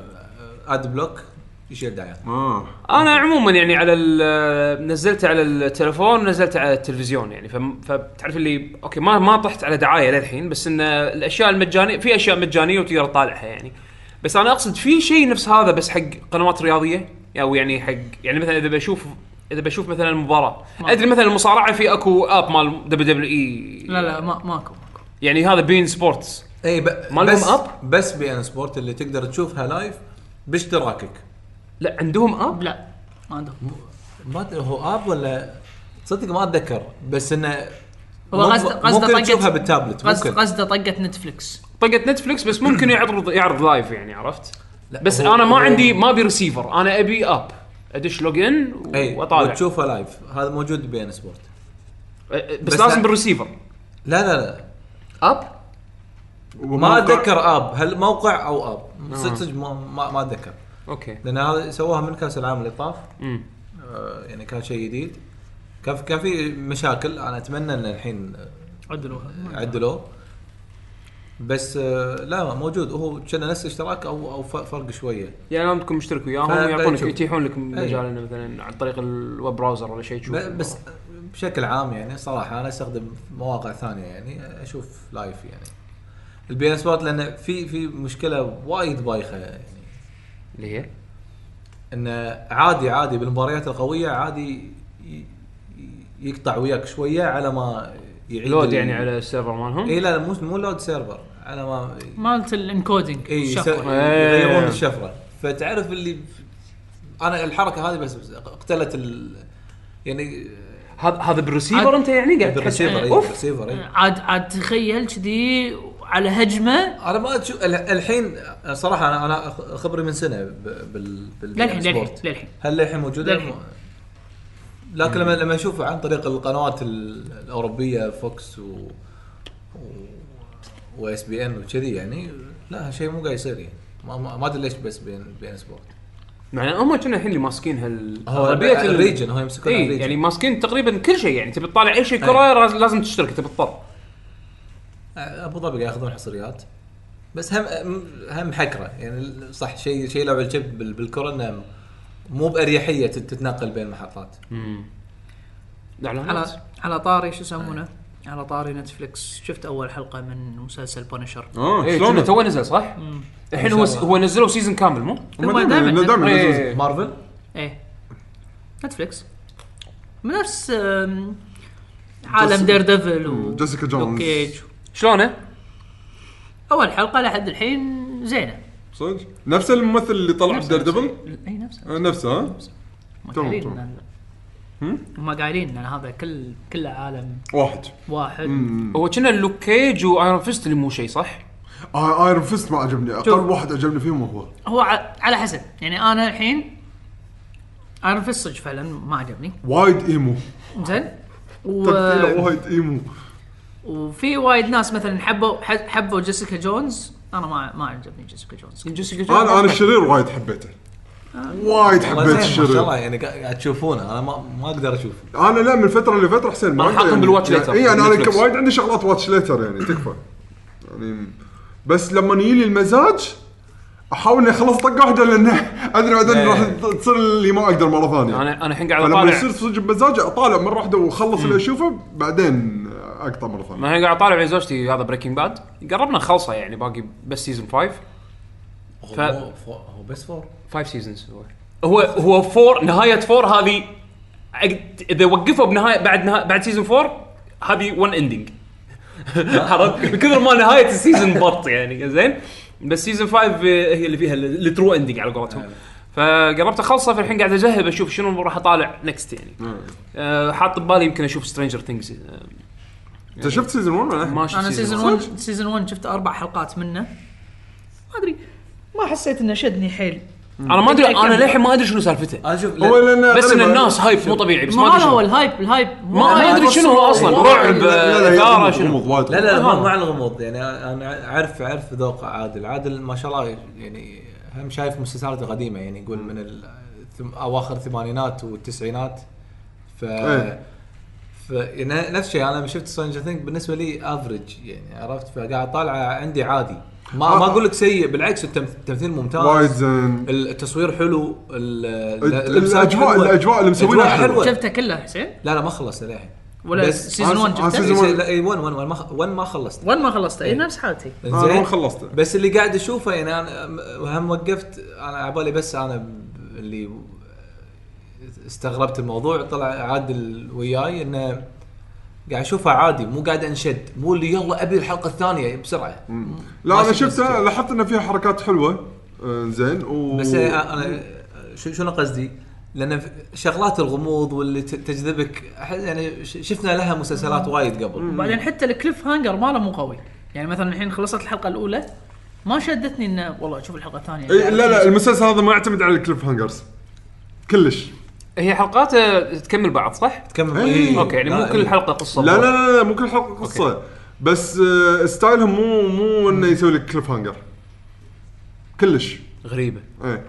S4: اد بلوك يشيل دعايات
S3: اه
S1: انا عموما يعني على ال- نزلته على التلفون ونزلته على التلفزيون يعني فم- فتعرف اللي اوكي ما ما طحت على دعايه للحين بس ان الاشياء المجانيه في اشياء مجانيه وتقدر تطالعها يعني بس انا اقصد في شيء نفس هذا بس حق قنوات رياضيه او يعني حق يعني مثلا اذا بشوف اذا بشوف مثلا مباراه ادري مثلا المصارعه في اكو اب مال دبليو دبليو اي
S2: لا لا ما ماكو ماكو
S1: يعني هذا بين سبورتس
S4: اي إيه، ب...
S1: ما لهم
S4: بس
S1: أب؟
S4: بس بي ان سبورت اللي تقدر تشوفها لايف باشتراكك
S1: لا عندهم اب
S2: لا ما عندهم
S4: ما أدري هو اب ولا تصدق ما اتذكر بس انه
S2: هو
S4: ممكن-
S2: قصد- قصده
S4: ممكن
S2: طقت-
S4: تشوفها بالتابلت
S2: قصد-
S4: ممكن
S2: قصده طقه نتفلكس
S1: طقت نتفلكس بس ممكن يعرض يعرض لايف يعني عرفت
S4: لا،
S1: بس
S4: هو-
S1: انا ما
S4: هو-
S1: عندي ما ابي ريسيفر انا ابي اب ادش لوج ان
S4: اي
S1: واطالع أ-
S4: وتشوفها لايف إيه، هذا موجود بي ان سبورت
S1: أ- أه، بس,
S4: بس
S1: لازم
S4: لا.
S1: بالريسيفر
S4: لا لا لا
S1: اب
S4: ما
S3: وموقع-
S4: اتذكر اب هل موقع او اب صدق صدق ما ما ما اتذكر
S1: اوكي
S4: لان هذا سووها من كاس العالم اللي طاف
S1: امم
S4: آه، يعني كان شيء جديد كان في- كان في مشاكل انا اتمنى ان الحين
S2: عدلوها
S4: عدلوه بس آه، لا موجود هو كان نفس اشتراك او او ف- فرق شويه
S1: يعني لازم تكون مشترك وياهم
S4: فلا
S1: يعطونك
S4: تشوف.
S1: يتيحون لك مجال انه مثلا عن طريق الويب براوزر ولا شيء تشوف
S4: ب- بس بشكل عام يعني صراحه انا استخدم مواقع ثانيه يعني اشوف لايف يعني البي ان سبورت لان في في مشكله وايد بايخه يعني
S1: اللي هي
S4: انه عادي عادي بالمباريات القويه عادي ي- ي- يقطع وياك شويه على ما يعيد
S1: لود
S4: ال-
S1: يعني على السيرفر مالهم
S4: اي لا لا، مو مو لود سيرفر على ما
S2: مالت الانكودينج
S4: اي يس-
S2: الشفرة.
S4: يغيرون
S1: إيه.
S4: الشفره فتعرف اللي انا الحركه هذه بس بس اقتلت ال يعني
S1: هذا هذا بالريسيفر
S2: عاد-
S1: انت يعني قاعد تحس-
S4: بالريسيفر اي
S1: اوف
S4: بالريسيفر اي
S2: عاد عاد تخيل كذي على هجمه
S4: انا ما اشوف ال- الحين صراحه انا انا أخ- خبري من سنه ب- بال بال
S2: للحين للحين
S4: بالسبورت.
S2: للحين
S4: هل للحين موجوده؟
S2: للحين.
S4: لكن لما لما اشوف عن طريق القنوات ال- الاوروبيه فوكس و واس بي ان وكذي يعني لا شيء مو قاعد يصير يعني ما- ما ما ادري ليش بس بي ان بي ان سبورت
S1: يعني هم كنا الحين اللي ماسكين هال
S4: هو
S1: أغلبية ال-
S4: الريجن هو يمسكون
S1: اي
S2: إيه،
S4: الريجن.
S1: يعني ماسكين تقريبا كل شيء يعني تبي تطالع اي شيء كره لازم تشترك انت مضطر
S4: ابو ظبي قاعد ياخذون حصريات بس هم هم حكره يعني صح شيء شيء لعب الشيب بال- بالكره انه مو باريحيه تت- تتنقل بين المحطات
S1: اعلانات
S2: على على طاري شو يسمونه على طاري نتفلكس شفت اول حلقه من مسلسل بونشر
S1: إيه،
S3: اه
S1: تو-
S3: شلون
S1: تو نزل صح؟ الحين هو هو نزلوا سيزون كامل مو؟
S2: هو دائما
S3: دائما
S1: إيه.
S4: مارفل
S2: ايه نتفلكس من نفس آم، عالم دير ديفل و
S3: جيسيكا جونز.
S2: لوك كيج.
S1: شلونه؟
S2: اول حلقه لحد الحين زينه
S3: صدق نفس الممثل اللي طلع
S2: نفسها-
S3: بدير دبل آه،
S2: اي نفسها
S3: نفسه ها
S2: ما
S3: تمام،
S2: قايلين
S3: تمام.
S2: إن- ما قايلين ان هذا كل كله عالم
S3: واحد
S2: واحد
S1: هو كنا لوك كيج وايرون فيست اللي مو شيء صح؟
S3: آه ايرون فيست ما عجبني اقل
S2: شوف.
S3: واحد عجبني فيهم هو
S2: هو ع- على حسب يعني انا الحين انا في الصج فعلا ما عجبني
S3: وايد ايمو
S2: زين و...
S3: تمثيله وايد ايمو
S2: وفي وايد ناس مثلا حبوا ح- حبوا جيسيكا جونز انا ما ما عجبني جيسيكا جونز
S1: جيسيكا جونز
S3: انا انا الشرير وايد حبيته وايد
S4: والله زين،
S3: حبيت
S4: ما شاء الله
S3: الشرير
S4: يعني قا- قاعد تشوفونه انا ما, ما اقدر اشوفه
S3: انا لا من فتره لفتره حسين ما يعني إيه،
S1: أنا حاكم بالواتش ليتر.
S3: اي انا انا
S1: نتفلكس.
S3: ك- وايد عندي شغلات واتش ليتر يعني تكفى يعني بس لما يجي لي المزاج احاول اني اخلص طقه واحده لان ادري بعدين
S4: إيه.
S3: راح تصير اللي ما اقدر مره ثانيه
S1: انا انا الحين قاعد
S3: فلما
S1: اطالع
S3: يصير صدق بمزاجي اطالع مره واحده واخلص اللي اشوفه بعدين اقطع مره ثانيه
S1: ما انا قاعد اطالع مع زوجتي هذا بريكنج باد قربنا نخلصه يعني باقي بس سيزون 5 ف-
S4: هو, هو, هو بس فور
S1: 5 سيزونز هو هو هو 4 نهايه 4 هذه أقد- اذا وقفوا بنهايه بعد نها... بعد سيزون 4 هذه ون [laughs] اندنج عرفت [laughs] من كثر ما نهايه السيزون بط يعني زين بس سيزون 5 هي اللي فيها الترو اندنج على قولتهم فقربت اخلصه فالحين قاعد اجهب اشوف شنو راح اطالع نكست يعني أه، حاط ببالي يمكن اشوف سترينجر ثينجز
S3: انت شفت سيزون 1 ولا لا؟
S1: آه، ما شفت
S2: انا سيزون
S1: one.
S2: 1 سيزون 1 شفت اربع حلقات منه ما ادري ما حسيت انه شدني حيل
S1: انا ما ادري انا للحين ما ادري شنو سالفته
S4: انا شوف
S3: هو
S4: لا-
S3: لأن
S1: بس ان
S3: أنا-
S1: الناس هايب مو طبيعي بس
S2: ما
S1: ما ادري
S2: هذا هو
S1: شنو
S2: الهايب الهايب
S1: ما ما ادري شنو هو اصلا رعب
S3: لا، لا، لا،
S1: اثاره
S3: يغمض-
S1: شنو
S3: يغمض وايد
S4: لا لا لا ما ما على الغموض يعني انا اعرف اعرف ذوق عادل عادل ما شاء الله يعني هم شايف مسلسلاته قديمه يعني يقول من ال- الثم- اواخر الثمانينات والتسعينات ف
S3: إيه.
S4: ف يعني نفس الشيء انا لما شفت سترينجر ثينج بالنسبه لي افريج يعني عرفت فقاعد طالع عندي عادي ما
S3: آه.
S4: ما اقول لك سيء بالعكس التم- التمثيل ممتاز
S3: وايد زين
S4: التصوير حلو ال- ال-
S3: ال-
S4: اللمسات
S3: الأجواء-
S4: حلوة.
S3: الأجواء اللي مسوينها
S4: الأجواء
S3: حلوة.
S2: شفته كله حسين
S4: لا لا ما خلصت للحين
S2: ولا
S4: بس-
S2: سيزون
S3: آه،
S2: 1
S3: آه،
S2: شفته
S3: سيزون-
S4: لا إيه، اي 1 1 ما خ- 1 ما خلصت
S2: 1 ما خلصته اي
S4: إيه.
S2: نفس حالتي
S3: انا
S4: زين.
S3: آه، ما خلصته
S4: بس اللي قاعد اشوفه يعني انا م- هم وقفت انا على بالي بس انا ب- اللي استغربت الموضوع طلع عادل وياي انه قاعد اشوفها عادي مو قاعد انشد مو اللي يلا ابي الحلقه الثانيه بسرعه
S3: لا
S4: ما
S3: انا
S4: شفت
S3: شفته
S4: شيء.
S3: لاحظت انه فيها حركات حلوه آه، زين و
S4: بس إيه، انا شو شنو قصدي؟ لان في- شغلات الغموض واللي ت- تجذبك أح- يعني ش- شفنا لها مسلسلات وايد قبل
S2: وبعدين حتى الكليف هانجر ماله مو قوي يعني مثلا الحين خلصت الحلقه الاولى ما شدتني انه والله اشوف الحلقه الثانيه
S3: إي، إيه، لا لا المسلسل هذا ما يعتمد على الكليف هانجرز كلش
S1: هي حلقات آه، تكمل بعض صح؟
S4: تكمل
S3: إيه.
S4: إيه.
S1: اوكي يعني مو
S4: لا،
S1: كل
S4: إيه.
S1: حلقه قصه
S3: لا لا لا, لا مو كل حلقه قصه بس آه، ستايلهم مو مو انه يسوي لك كليف هانجر كلش
S1: غريبه
S3: ايه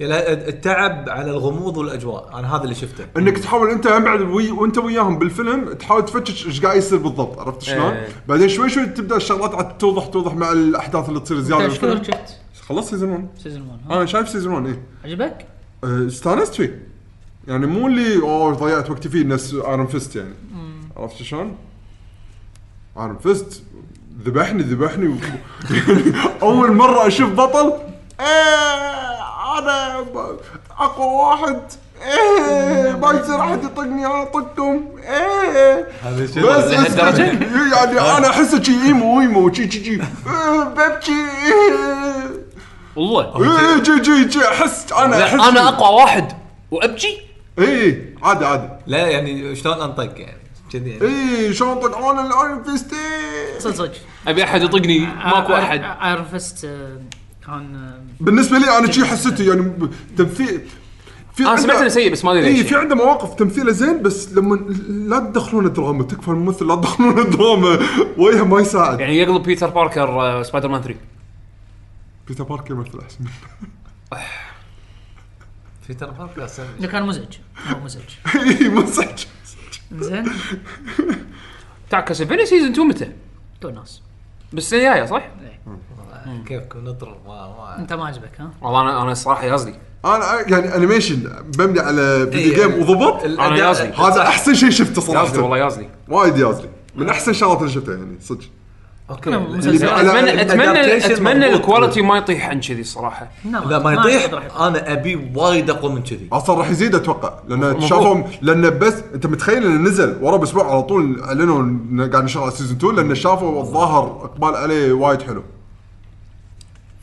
S4: يعني التعب على الغموض والاجواء انا هذا اللي شفته
S3: انك تحاول انت من بعد وي وانت وياهم بالفيلم تحاول تفتش ايش قاعد يصير بالضبط عرفت شلون؟
S1: إيه.
S3: بعدين شوي شوي تبدا الشغلات عاد توضح توضح مع الاحداث اللي تصير زياده
S2: انت ايش كثر
S3: بالفيلم
S2: شفت
S3: خلص سيزون 1
S2: سيزون 1 ها
S3: انا شايف سيزون 1 ايه
S2: عجبك؟
S3: أه، استانست فيه يعني مو اللي اوه ضيعت وقتي فيه نفس ايرون فيست يعني عرفت شلون؟ ايرون فيست ذبحني ذبحني و... [laughs] اول مره اشوف بطل ايه انا ب- اقوى واحد ايه ما يصير احد يطقني انا اطقكم ايه
S4: هذا
S3: بس
S4: شيء
S3: بس
S1: لهالدرجة؟
S3: يعني انا احسه شي ايمو ايمو شي شي شي إيه، ببكي إيه.
S1: والله
S3: ايه جي جي جي احس انا احس
S1: انا اقوى واحد وابجي
S3: اي إيه، عادي عادي
S4: لا يعني شلون انطق يعني كذي يعني
S3: اي شلون طلعون الايرون فيست إيه.
S2: صدق صدق
S1: ابي احد يطقني
S2: آه،
S1: ماكو احد
S2: ايرون فيست آه، كان آه،
S3: بالنسبه لي انا شي حسيت يعني ب- تمثيل في
S1: انا سمعت انه سيء بس ما ادري
S3: اي
S1: ليش
S3: في عنده مواقف تمثيله زين بس لما لا تدخلون الدراما تكفى الممثل لا تدخلون الدراما وجهه ما يساعد
S1: يعني يقلب بيتر باركر آه، سبايدر مان 3
S3: بيتر باركر يمثل احسن منه. [laughs]
S4: في ترى فرق لا سمي.
S2: إنه كان مزعج هو مزعج
S3: اي مزعج
S2: زين
S1: بتاع كاسلفينيا سيزون 2 متى؟
S2: تو ناس
S1: بالسنه الجايه صح؟
S4: ما كيفكم نطر ما ما
S2: انت ما عجبك ها؟
S3: إيه.
S1: والله انا انا الصراحه يازلي
S3: انا يعني انيميشن مبني على
S1: إيه،
S3: فيديو جيم وضبط
S4: ال-
S1: أنا
S4: الأداء-
S1: يازلي.
S4: صح.
S3: هذا احسن شيء شفته
S1: يازلي
S3: صراحه
S1: والله يازلي
S3: وايد يازلي من احسن الشغلات اللي شفتها يعني صدق
S4: اوكي
S2: أنا
S4: لا-
S2: نعم، مسلسل.
S3: لا،
S1: اتمنى
S3: لا،
S1: اتمنى
S4: الadaptation
S1: اتمنى
S4: مضبوط.
S1: الكواليتي ما يطيح عن كذي الصراحه
S2: نعم،
S4: لا ما يطيح انا ابي وايد اقوى من كذي
S3: اصلا راح يزيد اتوقع لان
S1: مفروض.
S3: شافهم لان بس انت متخيل انه نزل ورا باسبوع على طول اعلنوا إنه قاعد نشتغل على سيزون 2 لان شافوا الظاهر اقبال عليه وايد حلو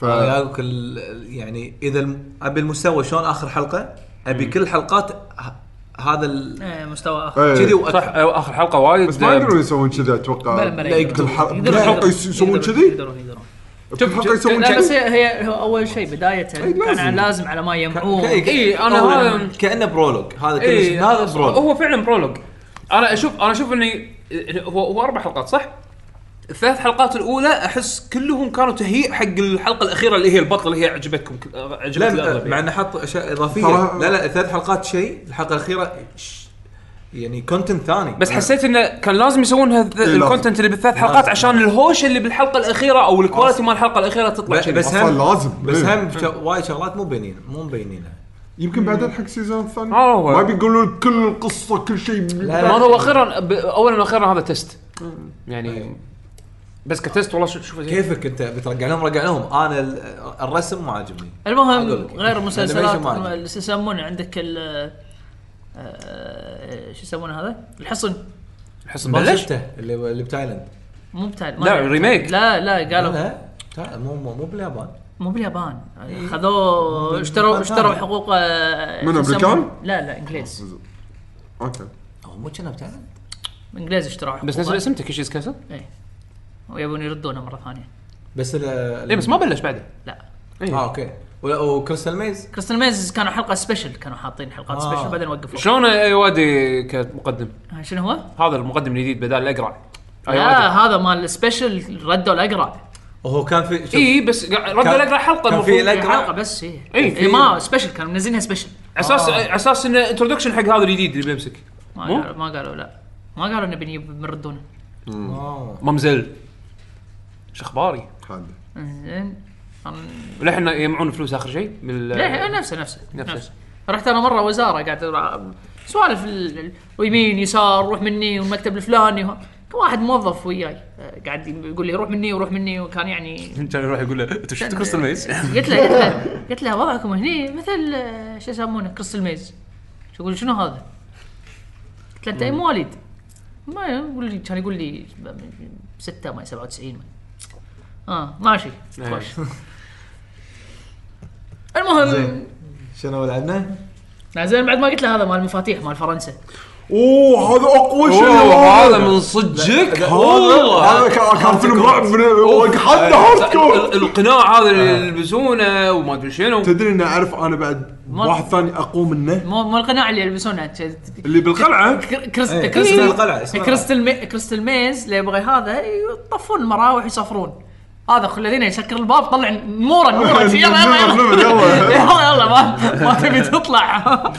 S3: ف
S4: انا اقولك ال- يعني اذا الم- ابي المستوى شلون اخر حلقه ابي كل حلقات ه- هذا ال-
S2: إيه، مستوى اخر
S3: إيه.
S4: كذي
S1: صح
S4: واكثر
S1: آه، اخر حلقه وايد
S3: بس ما يقدرون يسوون كذا اتوقع
S2: بلا- بلا
S3: آه، لا،
S2: يقدرون.
S3: كل حلقة-
S2: يقدرون-
S3: كل حلقه
S2: يقدرون-
S3: يسوون
S2: يقدرون-
S3: كذي
S2: يقدرون يقدرون
S3: كل حلقه يسوون
S1: لا،
S2: لا بس
S3: كذي
S2: هي هي هو اول شيء بدايه كان
S3: إيه، لازم. إيه،
S2: لازم على ما يجمعون
S1: إي، إيه، أنا
S4: أو
S1: هذا- إيه.
S4: لما- كانه برولوج هذا كل
S1: اي
S4: شيء هذا برولوج
S1: هو فعلا برولوج انا اشوف انا اشوف اني هو هو اربع حلقات صح؟ الثلاث حلقات الاولى احس كلهم كانوا تهيئ حق الحلقه الاخيره اللي هي البطل اللي هي عجبتكم كل- عجبت
S4: لا
S1: الاغلب
S4: مع
S1: يعني.
S4: انه حط اشياء اضافيه
S3: ترى-
S4: لا لا ثلاث حلقات شيء الحلقه الاخيره ش- يعني كونتنت ثاني
S1: بس حسيت انه كان لازم يسوون هذ-
S3: لازم.
S1: الكونتنت اللي بالثلاث حلقات
S4: لازم.
S1: عشان الهوشه اللي بالحلقه الاخيره او الكواليتي مال الحلقه الاخيره تطلع
S4: بس,
S1: كذي.
S4: بس
S3: أصلاً
S4: هم
S3: لازم.
S4: بس
S3: إيه.
S4: هم شا- وايد شغلات مو مبينين مو مبينينها
S3: يمكن بعدين حق سيزون الثاني
S1: آه، هو.
S3: ما بيقولون كل القصه كل شيء
S4: لا.
S1: ما هو اخيرا ب- اولا واخيرا هذا تيست يعني بس كتست والله شوف شوف
S4: كيفك انت بترجع لهم رجع لهم انا ال- الرسم ما عاجبني أقول
S2: المهم
S4: لك.
S2: غير المسلسلات
S4: الأنيميشن ما عجبني.
S2: شو يسمونه عندك ال آه، شو يسمونه هذا؟ الحصن
S1: الحصن
S4: ما
S1: بلش
S4: شفته اللي اللي بتايلاند
S2: مو بتاع ما
S1: لا،
S2: أدري.
S1: ريميك.
S2: لا لا قالوا
S4: لا تا- مو مو مو باليابان
S2: مو باليابان
S4: إيه.
S2: خذوه
S4: من-
S2: اشتروا
S4: من-
S2: اشتروا
S4: من-
S2: حقوق آه،
S3: من
S2: شو يسمونه؟
S3: أمريكان؟ آه،
S2: لا لا انجليز
S3: اوكي
S4: هو مو كنا بتايلاند
S2: انجليز اشتروا حقوق إيه.
S1: بس نزل اسم تكيشيز كاسل
S2: ويبون يردونه مره ثانيه
S4: بس ال
S1: اي إيه، بس ما بلش بعده
S2: لا
S4: اه اوكي ولا- وكريستال ميز
S2: كريستال ميز كانوا حلقه سبيشل كانوا حاطين حلقات
S4: آه.
S2: سبيشل بعدين وقفوا
S1: شلون اي وادي كمقدم؟
S2: ها، شنو هو؟
S1: هذا المقدم الجديد بدال أيوة، الاقرع
S3: آه.
S2: لا هذا مال السبيشل ردوا الاقرع
S4: وهو كان في شوف،
S1: اي بس قا- رد
S4: كان-
S1: الاقرع حلقه
S4: كان في
S1: المفروض
S4: الأقرع؟
S2: حلقه بس هي
S1: إيه، في-
S2: إيه ما سبيشل كانوا منزلينها سبيشل
S1: على اساس
S3: آه.
S1: على اساس انه انترودكشن حق هذا الجديد اللي بيمسك
S2: ما
S1: مو؟
S2: قالوا ما قالوا لا ما قالوا انه بنجيب بنردونه
S4: آه.
S1: ممزل شو اخباري؟
S3: حاده
S2: انزين أم-
S1: وللحين يجمعون فلوس اخر شيء بال
S2: لا نفسه نفسه
S1: نفسه.
S2: نفسه رحت انا مره وزاره قاعد أدرع- سوالف ال- ال- ويمين يسار روح مني والمكتب الفلاني وه- كان واحد موظف وياي آه، قاعد يقول لي روح مني وروح مني وكان يعني
S1: كان يروح يقول له انت شفت
S2: كان-
S1: كريستال ميز؟
S2: قلت له قلت له قلت له وضعكم هني مثل آه، شو يسمونه كريستال ميز شو يقول شنو هذا؟ قلت له انت اي مواليد؟ ما يقول لي كان يقول لي ستة ما 97 ما اه ماشي
S1: إيه.
S2: خوش المهم
S4: زين شنو لعبنا؟
S2: لا، زين بعد ما قلت له هذا مال المفاتيح مال فرنسا
S3: اوه هذا اقوى شيء
S1: اوه هذا
S3: هذا
S1: من صدقك
S4: لا،
S1: والله
S3: هذا كان- كان فيلم رعب من
S1: أوف.
S3: حتى هارد كور
S1: [laughs] ال- القناع هذا
S3: آه.
S1: اللي يلبسونه وما ادري شنو
S3: تدري اني اعرف انا بعد
S2: ما-
S3: واحد ثاني اقوى منه
S2: مو مو القناع اللي يلبسونه كذا.
S3: اللي بالقلعه
S2: كر- كريس-
S4: إيه،
S2: كريس-
S4: اسمها القلعة، اسمها
S2: كريستال مي- كريستال ميز اللي يبغى هذا إيه، يطفون المراوح يصفرون هذا خل الذين يسكر الباب طلع نورا
S3: [laughs]
S2: نورا [laughs] يلا يلا آه.
S3: نور، نور،
S2: يلا [laughs]
S3: يلا.
S2: يلا يلا ما ما تبي تطلع
S1: آه.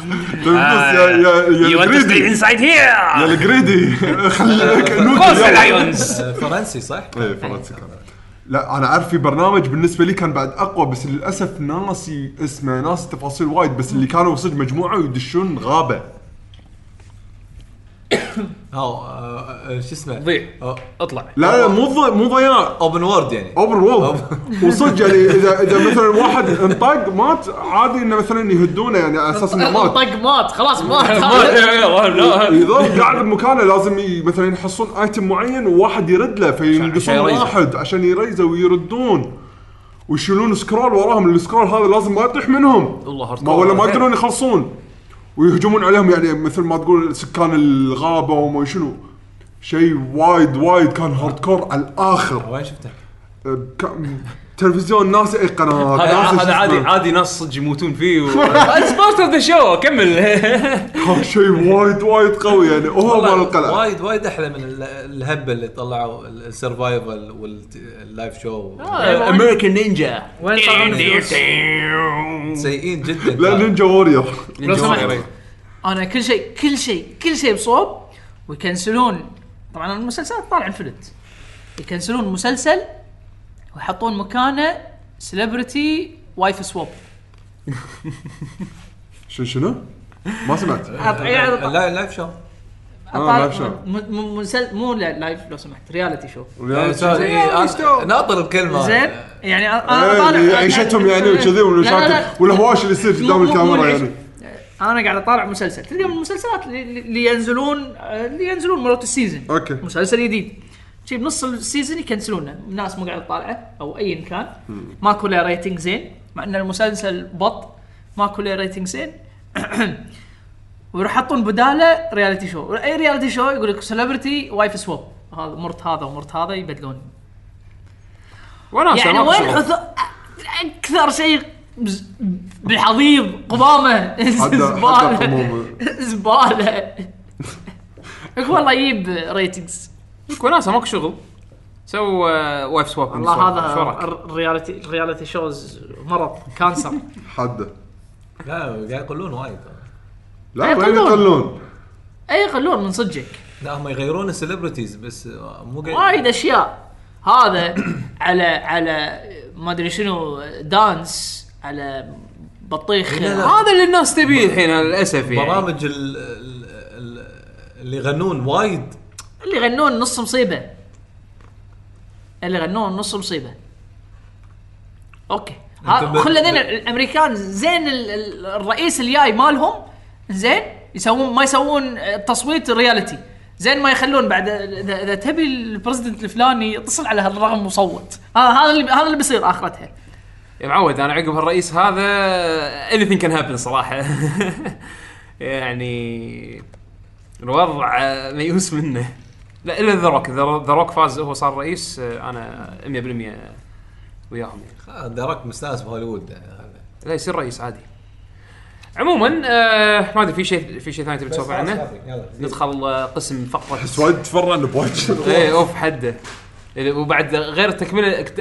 S3: يا يا يا الجريدي
S1: انسايد
S3: يا
S1: هير
S2: [laughs]
S3: الجريدي خليك
S1: كلوز
S3: نوتي يلا.
S1: الايونز
S4: آه، فرنسي صح؟
S3: إيه، فرنسي كان. لا انا اعرف في برنامج بالنسبه لي كان بعد اقوى بس للاسف ناسي اسمه ناسي تفاصيل وايد بس اللي كانوا صدق مجموعه ويدشون غابه
S4: هاو آه، آه، شو اسمه؟
S1: ضيع.
S4: آه،
S1: اطلع
S3: لا لا مو ضي- مو ضياع
S4: اوبن وورد يعني
S3: اوبن وولد وصدق يعني اذا اذا مثلا واحد انطق مات عادي انه مثلا يهدونه يعني على
S2: [laughs]
S3: اساس انه مات
S2: طق مات خلاص مات
S3: يظل قاعد بمكانه لازم ي- مثلا يحصلون ايتم معين وواحد يرد له
S1: عشان
S3: فينقصون
S1: يريزه.
S3: واحد عشان يريزه ويردون ويشيلون سكرول وراهم السكرول هذا لازم ما يطيح منهم
S1: والله hardcore.
S3: ما ولا ما يقدرون يخلصون ويهجمون عليهم يعني مثل ما تقول سكان الغابه وما شنو شيء وايد وايد كان هاردكور على الاخر
S4: وين شفته؟
S3: كم- تلفزيون ناس اي قنوات
S1: هذا
S3: ناس
S1: هذا
S3: شو
S1: عادي
S3: اسمه.
S1: عادي ناس صدق يموتون فيه [laughs] اتس بارت اوف ذا شو [laughs] كمل
S3: كان شيء وايد وايد قوي يعني وهو مال
S4: والله
S3: القلعه
S4: وايد وايد احلى من ال- الهبه اللي طلعوا ال- السرفايفل واللايف شو
S1: امريكان نينجا
S2: وين يطلعون الفلوس؟
S4: سيئين جدا
S3: لا نينجا وورير
S2: لو سمحت انا كل شيء كل شيء كل شيء بصوب ويكنسلون طبعا المسلسلات طالع الفلت يكنسلون مسلسل ويحطون مكانه سليبرتي وايف سواب
S3: شنو شنو؟ ما سمعت [laughs]
S4: لا لايف شو
S3: لايف شو.
S2: م- م- مسل- مو لا- لايف لو سمحت رياليتي شو
S3: ريال-
S4: إيه، ناطر الكلمه
S2: زين يعني أ- انا
S3: إيه،
S2: طالع
S3: اللي عيشتهم يعني وكذي والمشاكل والهواش اللي يصير قدام الكاميرا يعني
S2: انا قاعد اطالع مسلسل تدري من المسلسلات اللي- اللي ينزلون اللي ينزلون مرات السيزون
S3: أوكي.
S2: مسلسل جديد شي بنص السيزون يكنسلونه الناس مو قاعده تطالعه او ايا كان ماكو له ريتنج زين مع ان المسلسل بط ماكو له ريتنج زين [clears throat] ويروح يحطون بداله رياليتي شو اي رياليتي شو يقول لك سيلبرتي وايف سواب هذا مرت هذا ومرت هذا يبدلون
S1: وناسه
S2: يعني
S1: ما في
S2: وين
S1: شغل.
S2: حثو... اكثر شيء بز- بالحضيض قمامه زباله [laughs]
S3: قمامة.
S2: زباله والله يجيب ريتنجز
S1: وناسه ماكو شغل سو آه، وايف سواب
S2: والله هذا
S1: شو رايك؟
S2: الر- الرياليتي الرياليتي شوز مرض كانسر
S3: حده
S4: لا قاعد يقولون وايد
S3: لا
S2: إيه،
S3: وين
S2: قلون.
S3: يقلون
S2: اي قلون من صدقك
S4: لا هم يغيرون السليبرتيز بس مو قاعد-
S2: وايد اشياء هذا على على ما ادري شنو دانس على بطيخ
S4: لا، لا.
S1: هذا اللي الناس تبيه الحين للاسف يعني
S4: برامج ال- ال- ال- اللي يغنون وايد
S2: اللي يغنون نص مصيبه اللي يغنون نص مصيبه اوكي
S4: أنت ب-
S2: خلينا
S4: ب-
S2: الامريكان زين ال- ال- الرئيس الجاي مالهم زين يسوون ما يسوون تصويت رياليتي زين ما يخلون بعد اذا اذا تبي البرزدنت الفلاني اتصل على هالرقم وصوت هذا هذا اللي هذا اللي بيصير اخرتها
S1: يا معود انا عقب هالرئيس هذا آه، anything كان هابن صراحه [laughs] يعني الوضع آه، ميؤوس منه لا الا ذا روك ذا روك فاز هو صار رئيس آه، انا 100% وياهم يعني
S4: دايركت مستانس بهوليوود يعني هذا.
S1: لا يصير رئيس عادي عموما آه ما ادري في شيء في شيء ثاني تبي تسولف عنه
S4: يلا زين.
S1: ندخل آه، قسم فقره
S3: بس وايد تفرعنا [laughs] بوايد
S1: ايه
S3: شغلات.
S1: اوف حده وبعد غير التكمله كت-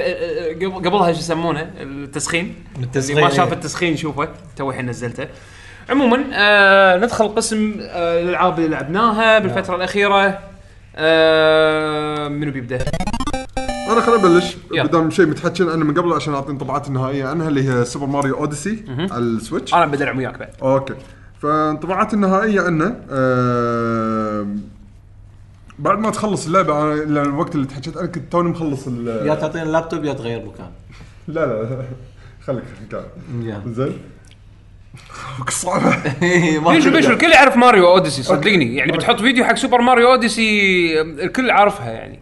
S1: قبل- قبلها شو يسمونه التسخين
S4: التسخين،
S1: اللي ما شاف
S4: إيه.
S1: التسخين شوفه تو الحين نزلته عموما آه ندخل قسم آه الالعاب اللي لعبناها
S4: نعم.
S1: بالفتره الاخيره آه منو بيبدا؟
S3: انا خليني ابلش
S1: يلا.
S3: بدام شيء متحكين عنه من قبل عشان اعطي انطباعات النهائيه عنها اللي هي سوبر ماريو اوديسي على السويتش
S1: انا بدي العب وياك بعد
S3: اوكي فانطباعات النهائيه عنه آم، آه، بعد ما تخلص اللعبه انا لأن الوقت اللي تحكيت انا كنت توني مخلص ال-
S4: يا تعطينا اللابتوب يا تغير مكان
S3: لا لا [laughs] لا. خليك خليك قاعد.
S4: [laughs]
S3: زين [laughs] صعبه
S1: بيشو بيشو الكل يعرف ماريو اوديسي صدقني يعني بتحط فيديو حق سوبر ماريو اوديسي آه، الكل عارفها يعني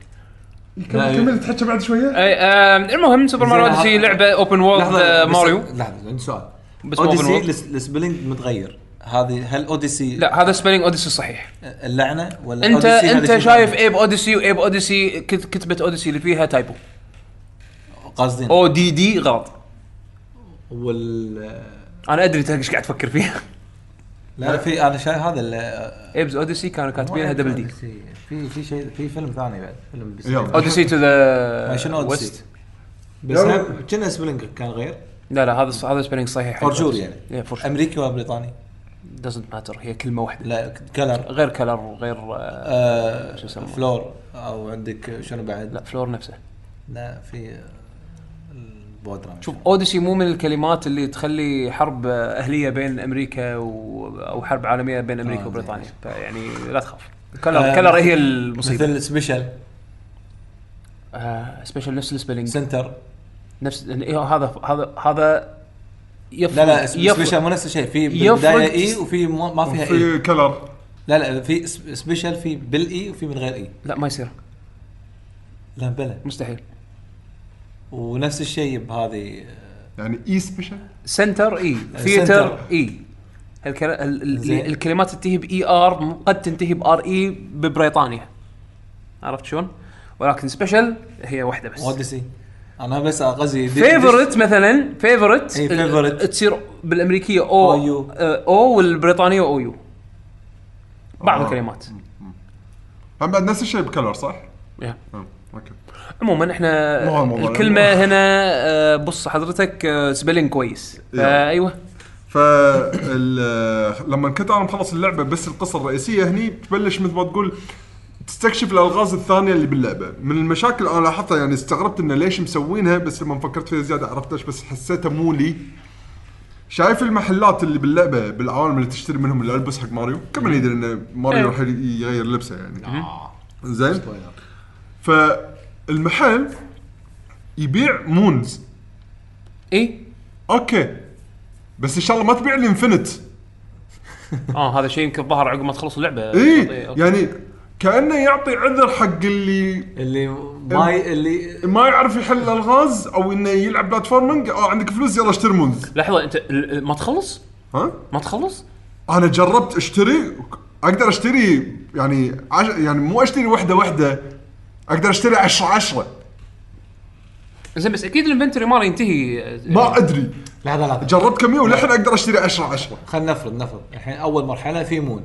S4: لا،
S3: كمل كمل تحكي بعد شويه
S1: أي آه المهم سوبر ماريو
S4: زين،
S1: اوديسي
S4: ها-
S1: لعبه اوبن وورلد آه ماريو
S4: لحظه عندي سؤال
S1: بس مو open
S5: اوديسي
S1: world.
S5: الس- السبلنج متغير هذه هل اوديسي
S1: لا هذا سبيلينج اوديسي صحيح
S5: اللعنه ولا
S1: انت
S5: أوديسي هذا
S1: انت
S5: شيء
S1: شايف
S5: ثاني؟
S1: ايب اوديسي وايب اوديسي كت- كتبه اوديسي اللي فيها تايبو
S5: قصدي
S1: او دي دي غلط
S4: وال
S1: انا ادري انت ايش قاعد تفكر [laughs] فيها
S5: لا في انا شايف هذا ال-
S1: ايبز اوديسي كانوا كاتبينها دبل دي
S5: أوديسي. في في شيء في فيلم ثاني بعد فيلم بس
S3: يلا
S1: اوديسي تو ذا
S5: شنو اوديسي؟
S4: بس
S3: يلا.
S4: هم-
S5: كنا سبلنج كان غير
S1: لا لا هذا هذا سبيلينج صحيح
S5: For sure يعني.
S1: فور شور
S5: امريكي ولا بريطاني؟
S1: دزنت ماتر هي كلمه واحده
S5: لا كلر
S1: غير كلر وغير آه،
S5: آه
S1: شو يسمونه؟
S5: فلور او عندك شنو بعد؟
S1: لا فلور نفسه
S5: لا في آه، البودرة
S1: شوف اوديسي مو من الكلمات اللي تخلي حرب آه، اهليه بين امريكا و... او حرب عالميه بين امريكا
S5: آه،
S1: وبريطانيا فيعني لا تخاف كلر
S5: آه،
S1: كلر هي
S5: مثل
S1: المصيبه
S5: سبيشال
S1: آه، سبيشال نفس السبيلينج
S5: سنتر
S1: نفس إن- إيه، هذا هذا هذا يفرق
S5: لا لا
S1: يفرق-
S5: سبيشال مو نفس الشيء في
S1: يفرق-
S5: بالبدايه
S4: E
S5: اي وفي مو- ما فيها اي
S3: في كلر
S5: لا لا في س- سبيشال في
S4: E
S5: بالاي وفي من غير اي
S1: لا ما يصير
S5: لا بلا
S1: مستحيل
S5: ونفس الشيء بهذه
S4: آه،
S3: يعني اي سبيشال
S1: سنتر اي
S5: سنتر.
S1: ثيتر اي هالكل... ال... ال...
S5: آه، زين.
S1: الكلمات تنتهي باي ار م- قد تنتهي بار اي ببريطانيا عرفت شلون؟ ولكن سبيشال هي واحده بس
S5: اوديسي انا بس قصدي دي- دي-
S1: فيفورت مثلا فيفورت
S5: إي، إيه، favorite.
S1: تصير بالامريكيه او
S5: أو يو.
S1: آه، او والبريطانيه او يو بعض
S3: آه.
S1: الكلمات
S3: هم بعد نفس الشيء بكلر صح؟ آه،
S1: يا.
S3: أم، اوكي
S1: عموما احنا
S3: مو هالموضوع.
S1: الكلمه هنا آه، بص حضرتك آه، سبيلينج كويس
S3: يلا.
S1: ايوه
S3: آه، فال لما كنت انا مخلص اللعبه بس القصه الرئيسيه هني تبلش مثل ما تقول تستكشف الالغاز الثانيه اللي باللعبه من المشاكل انا لاحظتها يعني استغربت انه ليش مسوينها بس لما فكرت فيها زياده عرفت ليش بس حسيتها مو لي شايف المحلات اللي باللعبه بالعوالم اللي تشتري منهم الالبس حق ماريو كم من يدري انه ماريو راح يغير لبسه يعني زين
S4: سبويلر.
S3: فالمحل يبيع مونز
S1: اي
S3: اوكي بس ان شاء الله ما تبيع لي انفنت
S1: اه هذا شيء يمكن ظهر عقب ما تخلص اللعبه
S3: اي
S5: إيه.
S1: أوكي.
S3: يعني كانه يعطي عذر حق اللي
S4: اللي ما ي- اللي
S3: ما يعرف يحل الالغاز او انه يلعب بلاتفورمينج او عندك فلوس يلا اشتري مونز
S1: لحظه انت ال- ال- ما تخلص
S3: ها
S1: ما تخلص
S3: انا جربت اشتري اقدر اشتري يعني عش... يعني مو اشتري وحده وحده اقدر اشتري 10 10
S1: زين بس اكيد الانفنتوري ماله ينتهي
S4: إيه.
S3: ما ادري
S4: لحظه لحظه
S3: جربت كميه ولحن اقدر اشتري 10 10
S4: خلينا نفرض نفرض الحين اول مرحله في مون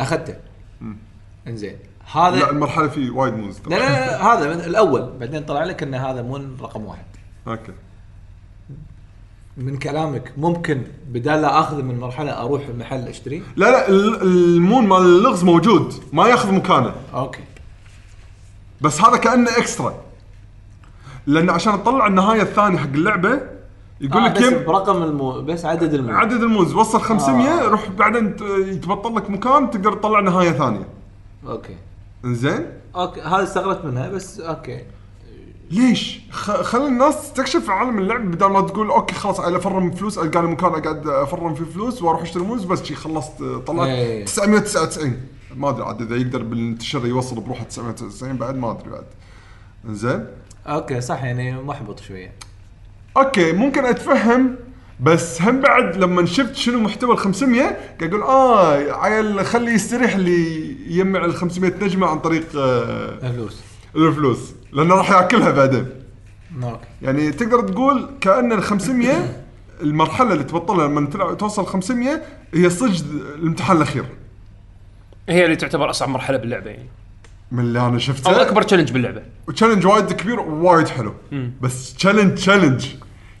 S4: اخذته انزين هذا
S3: لا المرحله في وايد مونز
S4: لا لا, لا هذا من الاول بعدين طلع لك ان هذا مون رقم واحد
S3: اوكي
S4: من كلامك ممكن بدال لا اخذ من مرحله اروح المحل اشتري
S3: لا لا ال- المون مال اللغز موجود ما ياخذ مكانه
S4: اوكي
S3: بس هذا كانه اكسترا لان عشان تطلع النهايه الثانيه حق اللعبه يقول
S4: آه
S3: لك
S4: بس
S3: كم
S4: برقم المو بس عدد المو
S3: عدد المونز وصل 500
S4: آه.
S3: روح بعدين ت- يتبطل لك مكان تقدر تطلع نهايه ثانيه
S4: اوكي
S3: انزين
S4: اوكي هذا استغربت منها بس اوكي
S3: ليش؟ خ... خلي الناس تستكشف عالم اللعب بدل ما تقول اوكي خلاص انا افرم فلوس القى لي مكان اقعد افرم فيه فلوس واروح اشتري مونز بس شي خلصت آه، طلعت
S4: إيه.
S3: 999 ما ادري عاد اذا يقدر بالانتشار يوصل بروحه 999 بعد ما ادري بعد انزين
S4: اوكي صح يعني محبط شويه
S3: اوكي ممكن اتفهم بس هم بعد لما شفت شنو محتوى ال 500 قاعد اقول اه عيل خلي يستريح اللي يجمع ال 500 نجمه عن طريق آه،
S4: فلوس
S3: الفلوس لانه راح ياكلها بعدين
S4: اوكي
S3: يعني تقدر تقول كان ال 500 المرحله اللي تبطلها لما تلعب توصل 500 هي صج الامتحان الاخير
S1: هي اللي تعتبر اصعب مرحله باللعبه يعني
S3: من اللي انا
S1: او
S3: شفته
S1: اكبر تشالنج باللعبه
S3: تشالنج وايد كبير وايد حلو بس تشالنج تشالنج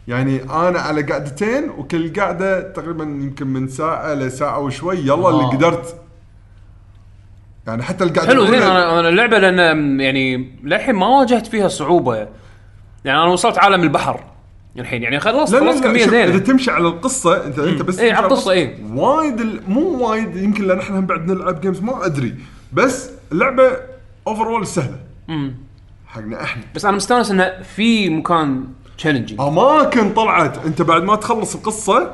S3: يعني انا على قعدتين وكل قعده تقريبا يمكن من ساعه لساعه وشوي يلا اللي
S4: آه.
S3: قدرت يعني حتى القعده
S1: حلو زين
S3: الأولى-
S1: انا أنا اللعبه لان م، يعني للحين ما واجهت فيها صعوبه يعني انا وصلت عالم البحر الحين يعني خلاص
S3: لا لا
S1: خلاص
S3: لا
S1: كميه
S3: شوف، اذا
S1: زينه
S3: تمشي على القصه انت انت بس
S1: إيه،
S3: تمشي
S1: على القصة، إيه.
S3: وايد ال- مو وايد يمكن لان احنا هم بعد نلعب جيمز ما ادري بس اللعبه اوفر سهله حقنا احنا
S1: بس انا مستانس انه في مكان تشالنجينج
S3: آه، اماكن طلعت انت بعد ما تخلص القصه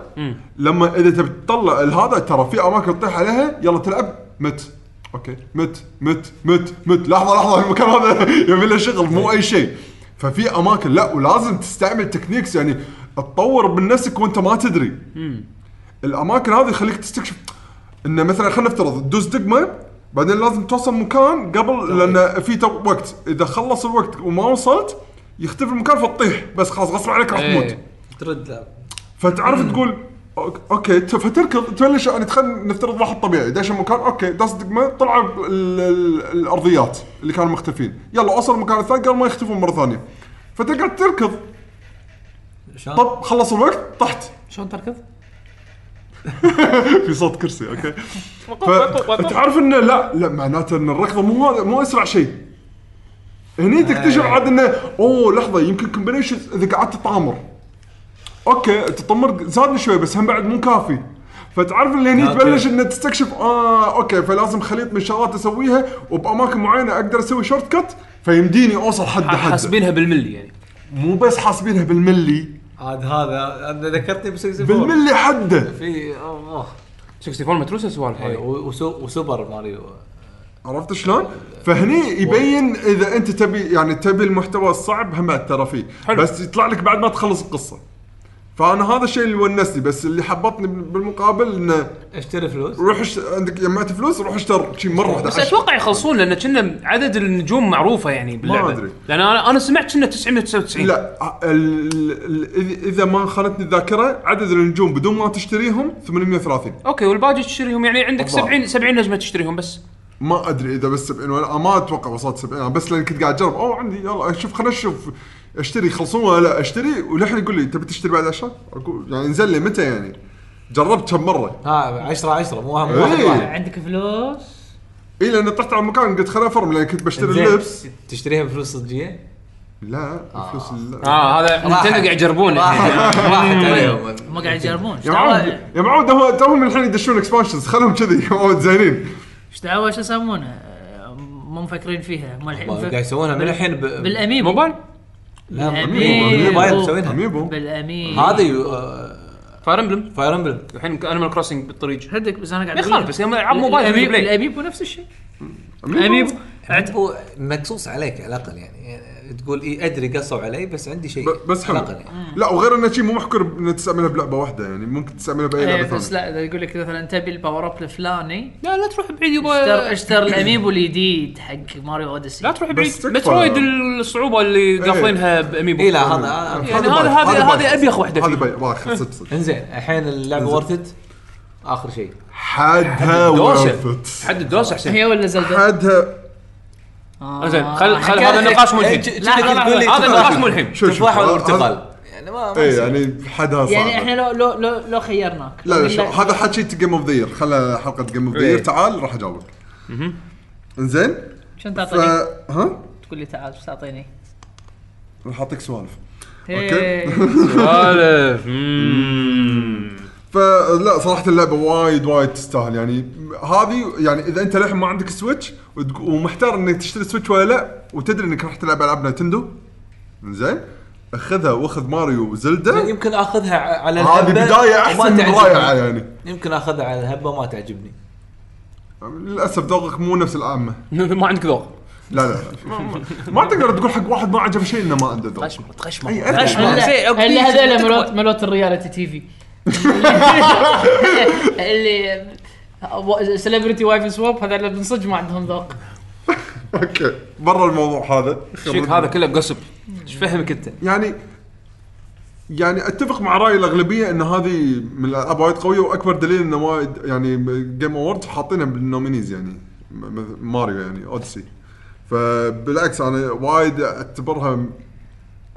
S3: لما اذا تبي تطلع الهذا ترى في اماكن تطيح عليها يلا تلعب مت اوكي مت مت مت مت لحظه لحظه المكان هذا [laughs] يبي له شغل مو اي شيء ففي اماكن لا ولازم تستعمل تكنيكس يعني تطور من نفسك وانت ما تدري الاماكن هذه يخليك تستكشف انه مثلا خلينا نفترض تدوس دقمه بعدين لازم توصل مكان قبل لان في تو- وقت اذا خلص الوقت وما وصلت يختفي المكان فتطيح بس خلاص غصب عليك راح تموت
S1: إيه.
S4: ترد لا
S3: فتعرف تقول أوك- اوكي ت- فتركض تبلش يعني خلينا نفترض واحد طبيعي دش المكان اوكي داس دقمه طلع ال- ال- الارضيات اللي كانوا مختفين يلا اوصل المكان الثاني قبل ما يختفون مره ثانيه فتقعد تركض
S4: شلون؟
S3: طب خلص الوقت طحت
S2: شلون تركض؟
S3: [laughs] في صوت كرسي
S2: [laughs]
S3: اوكي فتعرف انه لا لا معناته ان الركضه مو هذا مو اسرع شيء هني تكتشف عاد انه اوه لحظه يمكن كومبينيشن اذا قعدت تطامر اوكي تطمر زادني شوي بس هم بعد مو كافي فتعرف اللي هني
S4: أوكي.
S3: تبلش انه تستكشف اه اوكي فلازم خليط من شغلات اسويها وباماكن معينه اقدر اسوي شورت كت فيمديني اوصل حد حد
S1: حاسبينها بالملي يعني
S3: مو بس حاسبينها بالملي
S4: عاد هذا أنا ذكرتني ب 64
S3: بالملي حده
S4: في أوه، أوه.
S1: 64 متروسه سوالف
S4: إيه،
S3: أيوه.
S1: هاي
S4: و- وسو- وسوبر ماريو
S3: عرفت شلون؟ فهني يبين اذا انت تبي يعني تبي المحتوى الصعب هم بعد ترى فيه
S1: حلو.
S3: بس يطلع لك بعد ما تخلص القصه. فانا هذا الشيء اللي ونسني بس اللي حبطني بالمقابل انه
S4: اشتري فلوس
S3: روح اشت... عندك جمعت فلوس روح اشتر شي مره واحده
S1: بس
S3: عشرة.
S1: اتوقع يخلصون لان كنا عدد النجوم معروفه يعني باللعبه
S3: أدري.
S1: لان انا انا سمعت كنا 999
S3: لا ع- ال... ال... إذ- اذا ما خانتني الذاكره عدد النجوم بدون ما تشتريهم 830
S1: اوكي والباقي تشتريهم يعني عندك
S3: بالضبط.
S1: 70 70 نجمه تشتريهم بس
S3: ما ادري اذا بس 70 ولا ما اتوقع وصلت 70 أنا بس لان كنت قاعد اجرب او عندي يلا شوف خلينا نشوف اشتري يخلصون ولا لا اشتري ولحن يقول لي تبي تشتري بعد 10 اقول يعني انزل لي متى يعني جربت كم مره
S4: ها 10 10 مو مو واحد
S3: إيه.
S4: واحد
S2: عندك فلوس
S3: اي لان طحت على مكان قلت خل افرم لان كنت بشتري
S4: إنزين،
S3: اللبس
S4: تشتريها بفلوس صجيه؟
S3: لا فلوس
S2: آه.
S3: ال-
S1: اه هذا نتندو قاعد يجربون
S4: آه،
S1: [laughs]
S4: راحت راحت عليهم
S2: هم قاعد يجربون ايش
S3: يا معود
S2: دعوه
S3: يا معود هو توهم الحين يدشون اكسبانشنز خلهم كذي هم زينين
S2: ايش دعوه شو يسمونه آه، مو مفكرين فيها هم الحين
S4: قاعد يسوونها من الحين ب...
S2: بالاميبو
S1: إيه، موبايل
S4: لا
S2: بالأميبو.
S4: موبايل مسوينها
S3: اميبو
S2: بالاميبو
S4: هذه
S1: فاير امبلم
S4: فاير امبلم
S1: الحين انيمال كروسنج بالطريق
S2: هدك بس انا قاعد
S1: ما يخالف، بس هم ألعاب موبايل
S2: الأميبو-
S1: فري بلاي.
S2: الاميبو نفس الشيء
S3: يعني
S2: الاميبو عد-
S4: هو مقصوص عليك على الاقل يعني. يعني تقول اي ادري قصوا علي بس عندي شيء
S3: ب- بس
S4: على
S3: حلو
S4: الأقل يعني.
S3: لا وغير انه شيء مو محكور انك تستعملها بلعبه واحده يعني ممكن تستعملها باي
S2: إيه،
S3: لعبه
S2: بس
S3: ثانيه
S2: لا إذا يقول لك مثلا تبي الباور اب الفلاني
S1: لا لا تروح بعيد
S2: اشتر
S1: يبا
S2: اشتر الاميبو الجديد حق ماريو اوديسي
S1: أه. لا تروح بعيد
S3: تكفى. إيه.
S1: مترويد الصعوبه اللي قافلينها باميبو
S4: اي لا هذا
S1: يعني
S3: آه، هذا
S1: هذا
S3: بايخ.
S1: هذا
S3: هذا بايخ.
S1: هذه ابيخ وحده
S3: هذا
S1: فيه
S3: باي واضح صدق
S1: [laughs]
S3: صدق
S4: انزين الحين اللعبه ورثت اخر شيء
S3: حدها
S1: دوشة.
S3: ورثت
S1: حد الدوس احسن
S2: هي ولا
S3: [laughs]
S2: زلدا؟
S3: حدها
S2: آه،
S1: زين خل خل
S2: حكاية-
S1: هذا النقاش مو الحين
S4: إيه، ج-
S2: لا،
S4: جنك
S2: لا، لا،
S4: تقول لي
S2: لا،
S1: هذا النقاش مو الحين
S3: شوف شوف
S4: تفاح ولا
S3: هذا-
S4: برتقال يعني ما ما
S3: اي
S4: يصير.
S3: يعني حدها صعبه
S2: يعني احنا لو لو لو لو خيرناك
S3: لا لا شوف هذا حكي جيم اوف ذا يير خله حلقه جيم اوف ذا يير
S4: إيه.
S3: تعال راح اجاوبك انزين
S2: شنو
S3: ف
S2: تعطيني؟
S3: ها
S2: تقول لي تعال شو تعطيني؟
S3: راح اعطيك سوالف
S2: إيه.
S1: سوالف
S3: فلا صراحه اللعبه وايد وايد تستاهل يعني هذه يعني اذا انت للحين ما عندك سويتش وتق- ومحتار انك تشتري سويتش ولا لا وتدري انك راح تلعب العاب نتندو زين خذها واخذ ماريو وزلدا
S4: يمكن اخذها ع- على الهبه
S3: هذه بدايه
S4: وما
S3: احسن من
S4: تعجبني.
S3: رائعه يعني
S4: يمكن اخذها على الهبه ما تعجبني
S3: للاسف ذوقك مو نفس العامه
S1: [laughs] ما عندك ذوق
S3: لا لا, لا. ما- ما- ما تقدر تقول حق واحد ما عجبه شيء انه ما عنده ذوق
S1: تغشمر تغشمر
S3: أي أدري. [laughs]
S2: هلا-
S1: زين، أوكي.
S2: هلا هذول ملوت ملوت الرياليتي تي في اللي [laughs] uh, سليبرتي وايف سواب هذا اللي من صدق ما عندهم ذوق
S3: اوكي برا الموضوع هذا
S1: شيك هذا كله قصب ايش فهمك انت؟
S3: يعني يعني اتفق مع راي الاغلبيه ان هذه من الالعاب وايد قويه واكبر دليل انه وايد يعني جيم اوورد حاطينها بالنومينيز يعني م- مثل ماريو يعني اوديسي فبالعكس انا وايد اعتبرها م-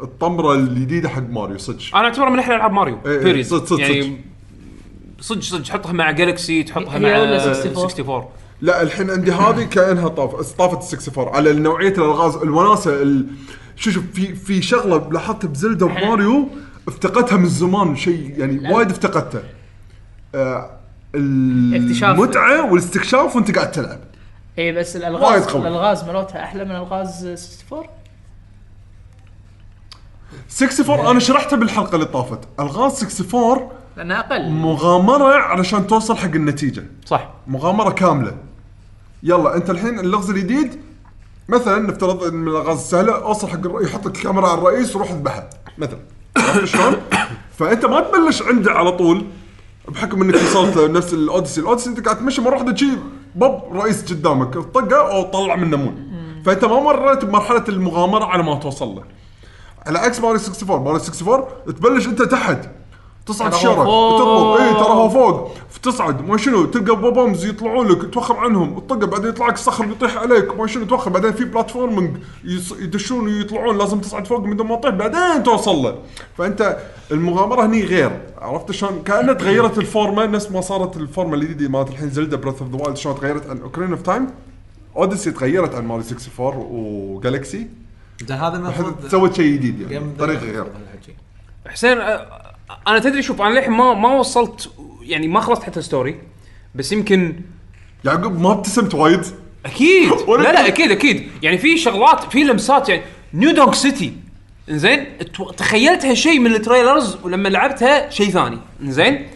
S3: الطمره الجديده حق ماريو صدق
S1: انا اعتبرها من احلى العاب ماريو
S3: إيه، إيه،
S1: بيريد
S3: صدق، صدق، صدق.
S1: يعني صدق صدق حطها مع جالكسي تحطها
S2: هي
S1: مع
S2: ولا 64.
S1: 64
S3: لا الحين عندي هذه كانها طاف طافت 64 على نوعيه الالغاز الوناسه ال... شو شوف في في شغله لاحظتها بزلدا وماريو افتقدتها من زمان شيء يعني وايد افتقدته آه ال-
S2: اكتشاف.
S3: المتعه والاستكشاف وانت قاعد تلعب
S2: اي إيه، بس
S3: وايد
S2: الالغاز
S3: قوي.
S2: الالغاز ملوتها احلى من الغاز 64
S3: 64 انا شرحتها بالحلقه اللي طافت الغاز 64
S2: لانها اقل
S3: مغامره علشان توصل حق النتيجه
S1: صح
S3: مغامره كامله يلا انت الحين اللغز الجديد مثلا نفترض ان من الالغاز السهله اوصل حق الرئيس يحط الكاميرا على الرئيس وروح اذبحه مثلا عرفت شلون؟ [coughs] فانت ما تبلش عنده على طول بحكم انك وصلت لنفس الاوديسي، الاوديسي انت قاعد تمشي مره واحده شي بوب رئيس قدامك طقه او طلع منه مون فانت ما مريت بمرحله المغامره على ما توصل له على عكس ماري 64 ماري 64 تبلش انت تحت تصعد
S2: ترى هو
S3: الشارع
S2: فوق.
S3: وتطلب اي ترى هو فوق تصعد ما شنو تلقى بوبومز يطلعون لك توخم عنهم تطق بعدين يطلع لك صخر يطيح عليك ما شنو توخم بعدين في بلاتفورمينج يص- يدشون ويطلعون لازم تصعد فوق من دون ما تطيح بعدين توصل له فانت المغامره هني غير عرفت شلون كانها تغيرت الفورمه نفس ما صارت الفورمه الجديده مالت الحين زلدا بريث اوف ذا وايلد شلون تغيرت عن اوكرين اوف تايم اوديسي تغيرت عن ماري 64 وجالكسي
S4: زين هذا المفروض
S3: سوت شيء جديد يعني
S4: Game
S3: طريقه
S4: Dev
S3: غير
S4: هالحكي.
S1: حسين آه، انا تدري شوف انا للحين ما ما وصلت يعني ما خلصت حتى ستوري بس يمكن
S3: يعقوب ما ابتسمت وايد
S1: اكيد
S3: [laughs] ولا
S1: لا لا
S3: أنت-
S1: اكيد اكيد يعني في شغلات في لمسات يعني نيو دونك سيتي انزين تو- تخيلتها شيء من التريلرز ولما لعبتها شيء ثاني انزين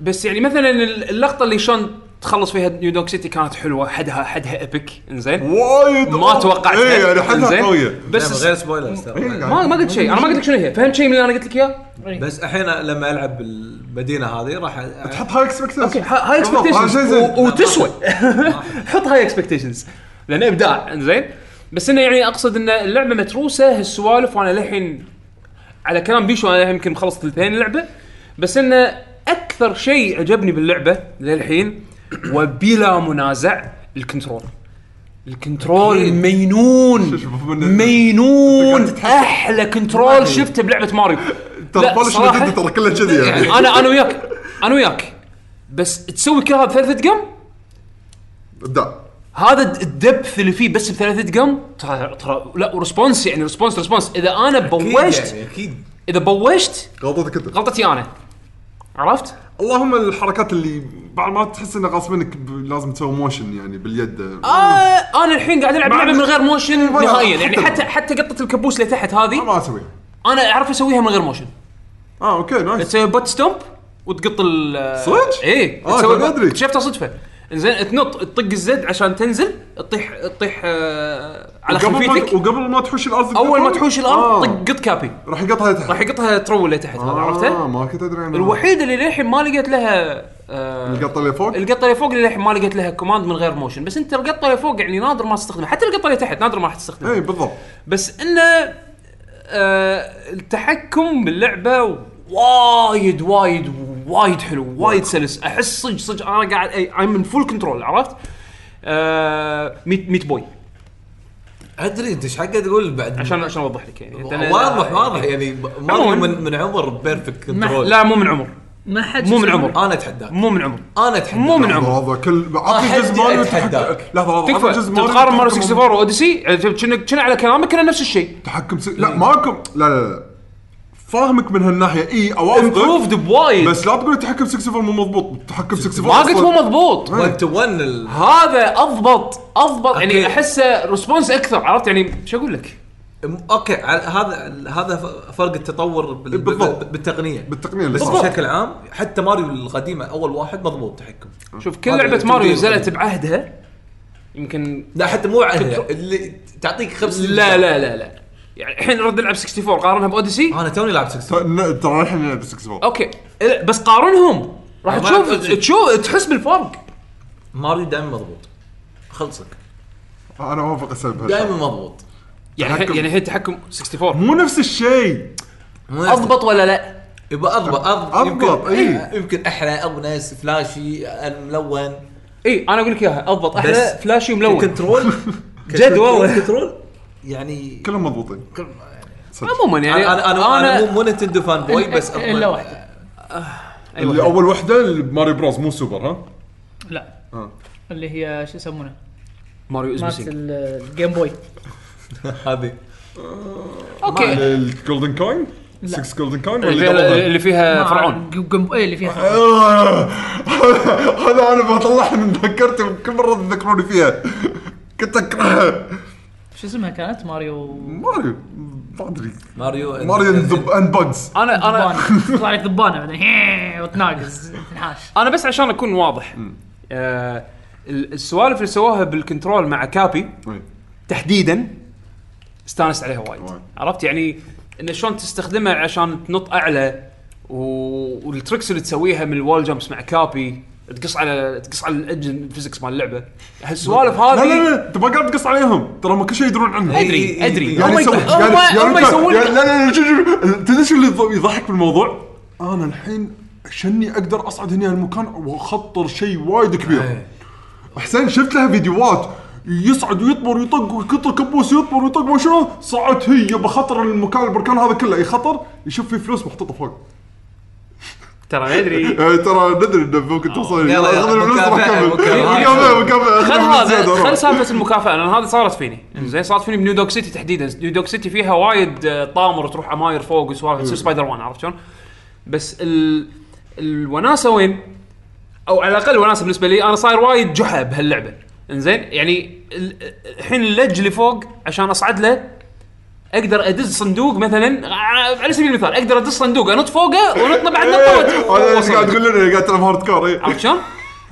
S1: بس يعني مثلا ال- اللقطه اللي شلون تخلص فيها نيو دونك سيتي كانت حلوه حدها حدها ابيك انزين
S3: وايد
S1: ما توقعت
S3: اي يعني حدها
S1: إنزين؟
S3: قويه
S4: لا، من
S1: بس
S4: غير سبويلرز
S3: إيه،
S4: ترى
S3: قاعد.
S1: ما ما قلت شيء انا ما قلت لك شنو هي فهمت شيء من اللي انا قلت لك اياه
S4: بس الحين لما العب بالمدينه هاي راح أ-
S3: تحط هاي اكسبكتيشن
S1: اوكي ها- هاي اكسبكتيشنز
S3: [laughs]
S1: وتسوى حط هاي اكسبكتيشنز لان ابداع زين بس انه يعني اقصد ان اللعبه متروسه هالسوالف وانا للحين على كلام بيشو انا يمكن خلصت ثلثين اللعبه بس انه اكثر شيء عجبني باللعبه للحين وبلا منازع الكنترول الكنترول
S4: أكيد.
S1: مينون
S3: شوف، شوف، من-
S1: مينون
S3: أنت قاعد تتحسن.
S1: احلى كنترول شفته بلعبه ماريو
S3: ترى
S1: لا،
S3: بولش
S1: صراحة-
S3: مدد ترى كله كذي يعني
S1: انا انا وياك انا وياك بس تسوي كل هذا ثلاثة قم
S3: ابداع
S1: هذا الد- الدبث اللي فيه بس بثلاث دقم ترى ترى لا وريسبونس يعني ريسبونس ريسبونس اذا انا
S3: يعني.
S1: بوشت
S4: اكيد
S1: اذا بوشت
S3: غلطتك انت
S1: غلطتي انا عرفت؟
S3: اللهم الحركات اللي بعد ما تحس انه غصب منك ب- لازم تسوي موشن يعني باليد
S1: آه انا الحين قاعد العب
S3: مع-
S1: لعبه من غير موشن
S3: ولا
S1: نهائيا
S3: حتى
S1: يعني
S3: لو-
S1: حتى حتى قطه الكبوس اللي تحت هذه
S3: ما اسويها
S1: انا اعرف اسويها من غير موشن
S3: اه اوكي نايس
S1: تسوي بوت ستومب وتقط ال
S3: صدق؟
S1: اي
S3: آه،
S1: تسوي
S3: كان ما أدري.
S1: شفتها صدفه زين تنط تطق الزد عشان تنزل تطيح تطيح آه على
S3: وقبل ما
S1: خلفيتك
S3: وقبل ما تحوش الارض
S1: اول ما تحوش الارض
S3: آه.
S1: طق قط كابي
S3: راح يقطها تحت
S1: راح يقطها ترول لتحت هذا
S3: اه
S1: عرفته؟
S3: ما كنت ادري عنها
S1: الوحيده اللي للحين ما لقيت لها آه،
S3: القطه اللي فوق
S1: القطه اللي فوق اللي للحين ما لقيت لها كوماند من غير موشن بس انت القطه اللي فوق يعني نادر ما تستخدمها حتى القطه اللي تحت نادر ما راح تستخدمها
S3: اي إيه، بالضبط
S1: بس انه آه التحكم باللعبه وايد وايد وايد حلو وايد سلس احس صج صج انا قاعد اي من فول كنترول عرفت؟ آه ميت ميت بوي
S4: ادري انت ايش حقك تقول بعد
S1: عشان عشان اوضح لك يعني أنا-
S4: واضح واضح يعني ما
S1: عموماً.
S4: من, من عمر بيرفكت كنترول
S1: لا مو من عمر
S2: ما حد
S1: مو من عمر
S4: انا اتحداك
S1: مو من عمر
S4: انا اتحداك
S1: مو من عمر
S3: لحظه كل
S4: أحد
S3: عطني جزء ماريو
S4: يتحداك.
S3: تحداك لحظه لحظه
S1: آه، تكفى
S3: عطني جزء ماريو
S1: تقارن ماريو
S3: تحكم-
S1: 64 واوديسي كنا كنا على كلامك كنا نفس الشيء
S3: تحكم س... لا ماكم لا لا لا فاهمك من هالناحيه اي اوافقك
S1: امبروفد بوايد
S3: بس لا تقول التحكم 64 مو مضبوط التحكم 64
S1: ما قلت
S3: أصلاً-
S1: مو مضبوط
S4: 1 تو 1
S1: هذا اضبط اضبط يعني
S4: أوكي.
S1: احسه ريسبونس اكثر عرفت يعني شو اقول لك؟
S4: اوكي على- هذا هذا ف- فرق التطور بال-
S3: بالضبط.
S4: بال- بالتقنيه
S3: بالتقنيه
S4: بس
S3: اللي
S4: بشكل عام حتى ماريو القديمه اول واحد مضبوط تحكم
S1: شوف كل
S4: هذا
S1: لعبه ماريو
S4: التمديد
S1: نزلت
S4: القديم.
S1: بعهدها يمكن
S4: لا حتى مو عهدها اللي تعطيك خمس
S1: لا لا لا لا يعني الحين رد العب 64 قارنها باوديسي
S4: انا توني لعب 6
S3: ت- ترى الحين نلعب 64
S1: اوكي إيه، بس قارنهم راح
S4: ما
S1: تشوف
S4: أدري.
S1: تشوف تحس بالفرق
S4: ماريو دائما مضبوط خلصك
S3: انا اوافق اسلم
S4: دائما
S3: بهالشيء.
S4: مضبوط
S1: يعني
S3: تحكم.
S1: يعني هي تحكم 64
S3: مو نفس الشيء
S1: اضبط ولا لا؟
S4: يبقى اضبط اضبط
S3: أضبط،
S4: يمكن
S3: إي.
S4: يمكن احلى ابنس فلاشي ملون
S1: اي انا اقول إيه، لك اياها اضبط احلى
S4: بس
S1: فلاشي ملون
S4: كنترول
S1: جد والله.
S4: كنترول يعني
S3: كلهم مضبوطين
S1: عموما يعني
S4: انا انا انا مو- مو نتندو فان بوي بس أضمن.
S2: الا واحده
S1: أيوة.
S3: اللي اول وحده اللي بماريو بروز مو سوبر ها
S2: لا
S3: آه.
S2: اللي هي شو يسمونه؟
S1: ماريو از
S2: مالت
S1: ميسينج
S2: ال- الجيم بوي
S4: هذه
S1: اوكي
S3: الجولدن كوين 6 جولدن كوين
S1: اللي فيها, اللي فيها آه، فرعون
S2: الج- جيم بوي اللي فيها
S3: آه، [laughs] هذا انا بطلعها من ذاكرتي وكل مره تذكروني فيها كنت اكرهها
S2: شو اسمها كانت ماريو
S3: ماريو ما ادري
S4: ماريو
S3: ماريو اند بجز
S1: انا انا
S2: ذبانة. تطلع لك ذبانه بعدين [laughs] هي- وتناقز تنحاش
S1: انا بس عشان اكون واضح آه ال- السوالف اللي سواها بالكنترول مع كابي تحديدا استانست عليها وايد
S3: وايد.
S1: عرفت يعني انه شلون تستخدمها عشان تنط اعلى و... والتركس اللي تسويها من الوال جامبس مع كابي تقص على تقص على الانجن فيزكس مال اللعبه هالسوالف
S3: لا لا
S1: هذه
S3: لا انت ما قاعد تقص عليهم ترى ما كل شيء يدرون عنه
S1: ادري ادري
S3: يعني
S1: هم
S3: يسوي
S1: يت- هم-
S3: يعني
S1: هم
S3: يعني
S1: يسوون
S3: يعني- لا لا لا شو- شو- تدري شو اللي يض- يضحك بالموضوع؟ انا الحين عشاني اقدر اصعد هنا المكان واخطر شيء وايد كبير حسين شفت لها فيديوهات يصعد ويطمر ويطق ويكطر كبوس يطمر ويطق ما شنو صعدت هي بخطر المكان البركان هذا كله يخطر يشوف فيه فلوس محطوطه فوق
S1: ترى ما
S3: [laughs]
S1: ادري
S3: آه، ترى ندري انه ممكن توصل
S4: يلا، يلا،
S3: أخذ الفلوس
S4: مكافأة،
S3: راح أكمل. مكافاه
S4: مكافأة.
S3: مكافاه
S1: خل
S3: أخذ الفلوس
S1: هذا
S3: زيادة، أروح.
S1: خل سالفه المكافاه لان هذه صارت فيني زين صارت فيني بنيو دوك سيتي تحديدا نيو دوك سيتي فيها وايد آه، طامر تروح عماير فوق وسوالف تصير سبايدر وان عرفت شلون؟ بس ال... الوناسه وين؟ او على الاقل الوناسه بالنسبه لي انا صاير وايد جحا بهاللعبه انزين يعني ال- الحين اللج اللي فوق عشان اصعد له اقدر ادز صندوق مثلا ع- على سبيل المثال اقدر ادز صندوق انط فوقه ونط بعد
S3: [laughs]
S1: نطه
S3: انا إيه، إيش
S1: وأوصل.
S3: قاعد تقول لنا قاعد تلعب هارد كور إيه. [laughs]
S1: عرفت شلون؟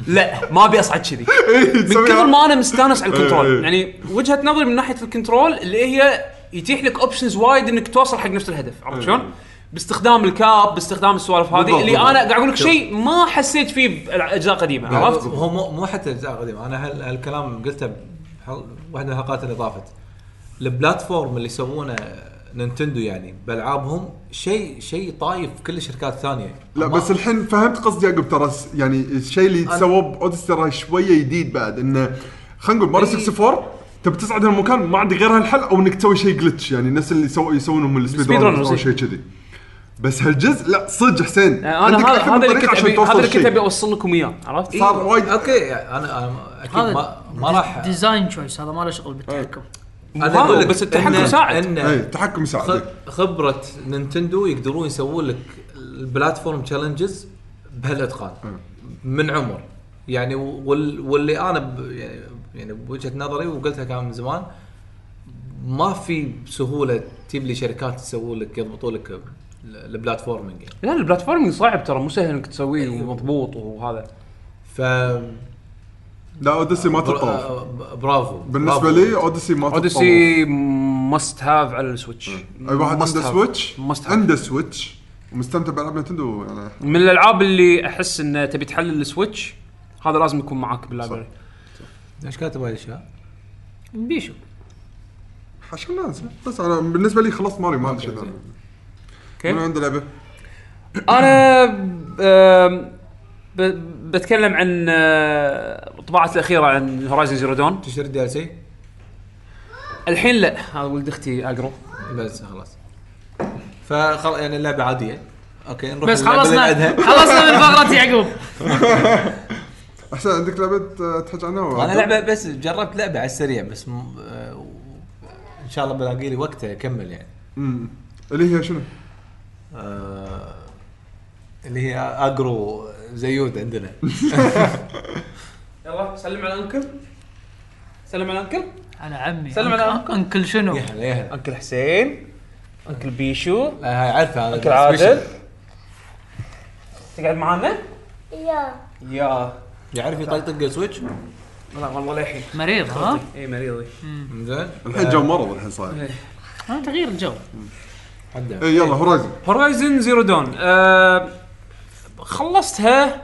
S1: لا ما ابي اصعد كذي
S3: إيه،
S1: من
S3: تسويها.
S1: كثر ما انا مستانس على
S3: إيه،
S1: الكنترول
S3: إيه.
S1: يعني وجهه نظري من ناحيه الكنترول اللي هي يتيح لك اوبشنز وايد انك توصل حق نفس الهدف عرفت شلون؟ باستخدام الكاب باستخدام السوالف هذه
S3: إيه. بالضبط،
S1: اللي
S3: بالضبط.
S1: انا قاعد اقول لك شيء ما حسيت فيه باجزاء قديمه عرفت؟
S4: هو مو مو حتى اجزاء قديمه انا هال- هالكلام قلته بواحده من الحلقات اللي طافت البلاتفورم اللي يسوونه نينتندو يعني بالعابهم شيء شيء طايف كل الشركات الثانيه
S3: لا
S4: ما-
S3: بس الحين فهمت قصدي يعقوب ترى س- يعني الشيء اللي سووه باوديسي ترى شويه جديد بعد انه خلينا نقول
S1: إيه.
S3: ماري
S4: إي.
S3: 64 تبي تصعد هالمكان ما عندك غير هالحل او انك تسوي شيء جلتش يعني الناس اللي سو يسوونهم السبيد
S1: السبيد
S3: رانرز
S1: رانرز،
S3: او
S1: إي.
S3: شيء كذي بس هالجزء لا صدق حسين
S1: انا
S3: عندك
S1: هذا
S3: أكثر من
S1: هذا اللي
S3: طريقة
S1: كنت
S3: عشان
S1: ابي
S3: توصل
S1: هذا اللي كنت
S3: للشيء.
S1: ابي اوصل لكم اياه عرفت؟
S3: صار وايد
S4: اوكي يعني انا انا اكيد ما ما راح
S2: ديزاين تشويس هذا ما له شغل بالتحكم
S4: انا اقول لك
S1: بس التحكم
S4: إن-
S1: ساعد.
S3: اي
S4: ان
S3: إيه، تحكم
S4: خ-
S3: يساعدك
S4: خبره نينتندو يقدرون يسوون لك البلاتفورم تشالنجز بهالاتقان من عمر يعني وال- واللي انا ب- يعني- يعني بوجهه نظري وقلتها كان من زمان ما في بسهوله تجيب لي شركات تسوي لك يضبطوا لك ال- البلاتفورمينج يعني.
S1: لا البلاتفورمينج صعب ترى مو سهل انك
S3: إيه.
S1: تسويه ومضبوط وهذا
S4: ف
S3: لا اوديسي ما
S1: أه،
S3: تطاف
S4: برافو برافو.
S3: بالنسبه لي اوديسي ما تطاف
S1: اوديسي ماست هاف على السويتش
S3: اي إيه. واحد
S1: Must
S3: عنده
S1: have.
S3: سويتش
S1: Must have.
S3: عنده سويتش ومستمتع بالعاب نتندو يعني
S1: من الالعاب اللي احس انه تبي تحلل السويتش هذا لازم يكون معاك باللايبرري
S4: ايش كاتب هاي الاشياء؟
S2: بيشو
S3: عشان ناس بس انا بالنسبه لي خلاص ماري ما عندي شيء ثاني من عنده لعبه؟
S1: انا آم، ب- بتكلم عن آه، طباعتي الاخيره عن هورايزن زيرو دون
S4: تشتري الدي ال سي؟
S1: الحين لا هذا ولد اختي اقرو
S4: بس خلاص فخلاص يعني اللعبه عاديه اوكي نروح
S2: بس
S4: للعبة اللي
S2: خلصنا
S4: بعدها.
S2: خلصنا من فقره يعقوب
S3: احسن عندك لعبه آه، تحكي عنها ولا؟
S5: انا لعبه بس جربت لعبه على السريع بس م... آه، و- ان شاء الله بلاقي لي وقت اكمل يعني
S3: مم. اللي هي شنو؟
S5: آه، اللي هي اجرو زيود [laughs] عندنا
S1: يلا سلم على انكل سلم على انكل
S2: على عمي
S1: سلم على
S2: أنك- انكل شنو
S5: يا هلا يا
S4: آه،
S5: هلا
S1: انكل حسين انكل بيشو
S5: لا، هاي عارفها انا
S1: انكل عادل تقعد معانا؟ يا
S5: يعرف يطقطق السويتش
S1: لا والله للحين إيه،
S2: مريض ها
S1: اي مريضي
S5: زين
S3: الحين جو مرض الحين صاير
S2: ها تغيير الجو
S1: إيه.
S5: حدا
S3: اي إيه، يلا هورايزن
S1: هورايزن زيرو دون آه خلصتها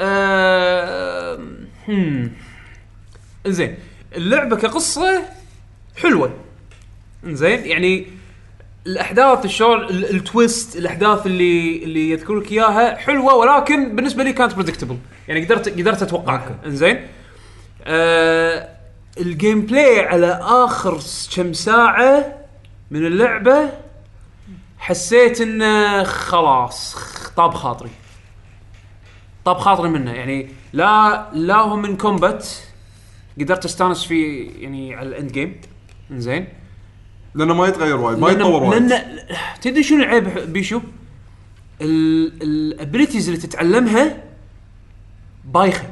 S1: آه هم. زين اللعبه كقصه حلوه زين يعني الاحداث الشغل ال- التويست الاحداث اللي اللي يذكرك اياها حلوه ولكن بالنسبه لي كانت بريدكتبل يعني قدرت قدرت اتوقعها زين آه الجيم بلاي على اخر كم ساعه من اللعبه حسيت انه خلاص طاب خاطري طاب خاطري منه يعني لا لا هو من كومبات قدرت استانس فيه يعني على الاند جيم زين
S3: لانه ما يتغير وايد ما
S1: لأن-
S3: يتطور وايد
S1: لان تدري شنو العيب ح- بيشو؟ الابيلتيز اللي تتعلمها بايخه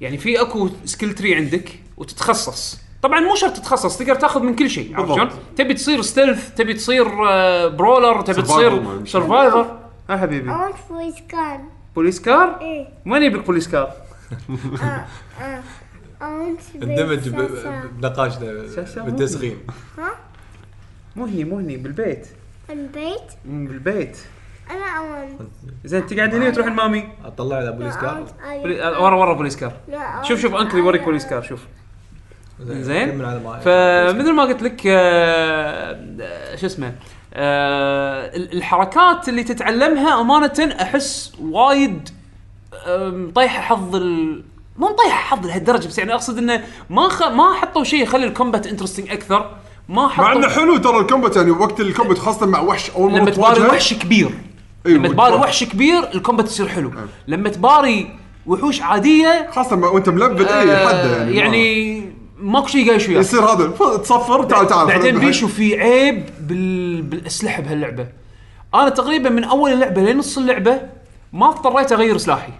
S1: يعني في اكو سكيل تري عندك وتتخصص طبعا مو شرط تتخصص تقدر تاخذ من كل شيء عرفت شلون؟
S3: بالضبط.
S1: تبي تصير ستيلث تبي تصير آه، برولر تبي
S3: Survivor ما
S1: تصير
S3: يمشي.
S1: سرفايفر ها حبيبي
S6: I want voice gun.
S1: بوليس كار
S6: Eh,
S1: وين يبيك بوليس كار؟
S6: uh, uh, I want
S4: اندمج
S6: voice
S4: ب-
S6: gun.
S4: بنقاشنا
S1: شاشة مو
S4: بالتسخين
S1: مو هني مو هني بالبيت
S6: And bait.
S1: مم، بالبيت
S6: And I want.
S1: زين تقعد هني وتروح لمامي
S4: اطلع على بوليس
S6: I want.
S4: كار
S1: بولي- آه، ورا ورا بوليس كار
S6: I
S1: شوف شوف
S6: want-
S1: انكل يوريك بوليس كار شوف زين.
S4: كمل على ما
S1: فمثل ما قلت لك آه، آه، شو اسمه آه، ال- الحركات اللي تتعلمها امانه احس وايد آم، طايحه حظ ال مو طايحه حظ لهالدرجه بس يعني اقصد انه ما خ... ما حطوا شيء يخلي الكومبات انترستنج اكثر ما حطوا
S3: مع انه حلو ترى الكومبات يعني وقت الكومبات خاصه مع وحش اول مره
S1: لما تباري
S3: تواجهه.
S1: وحش كبير
S3: أيوة،
S1: لما تباري
S3: وتواجه-
S1: وحش كبير الكومبات يصير حلو
S3: نعم.
S1: لما تباري وحوش عاديه
S3: خاصه مع- وانت ملبد اي حده
S1: آه
S3: يعني
S1: يعني ماكو شيء قايش وياك
S3: يصير هذا ف- تصفر تعال تعال
S1: بعدين
S3: خلينا نبحث.
S1: بيشو في عيب بال... بالاسلحه بهاللعبه انا تقريبا من اول اللعبه لنص اللعبه ما اضطريت اغير سلاحي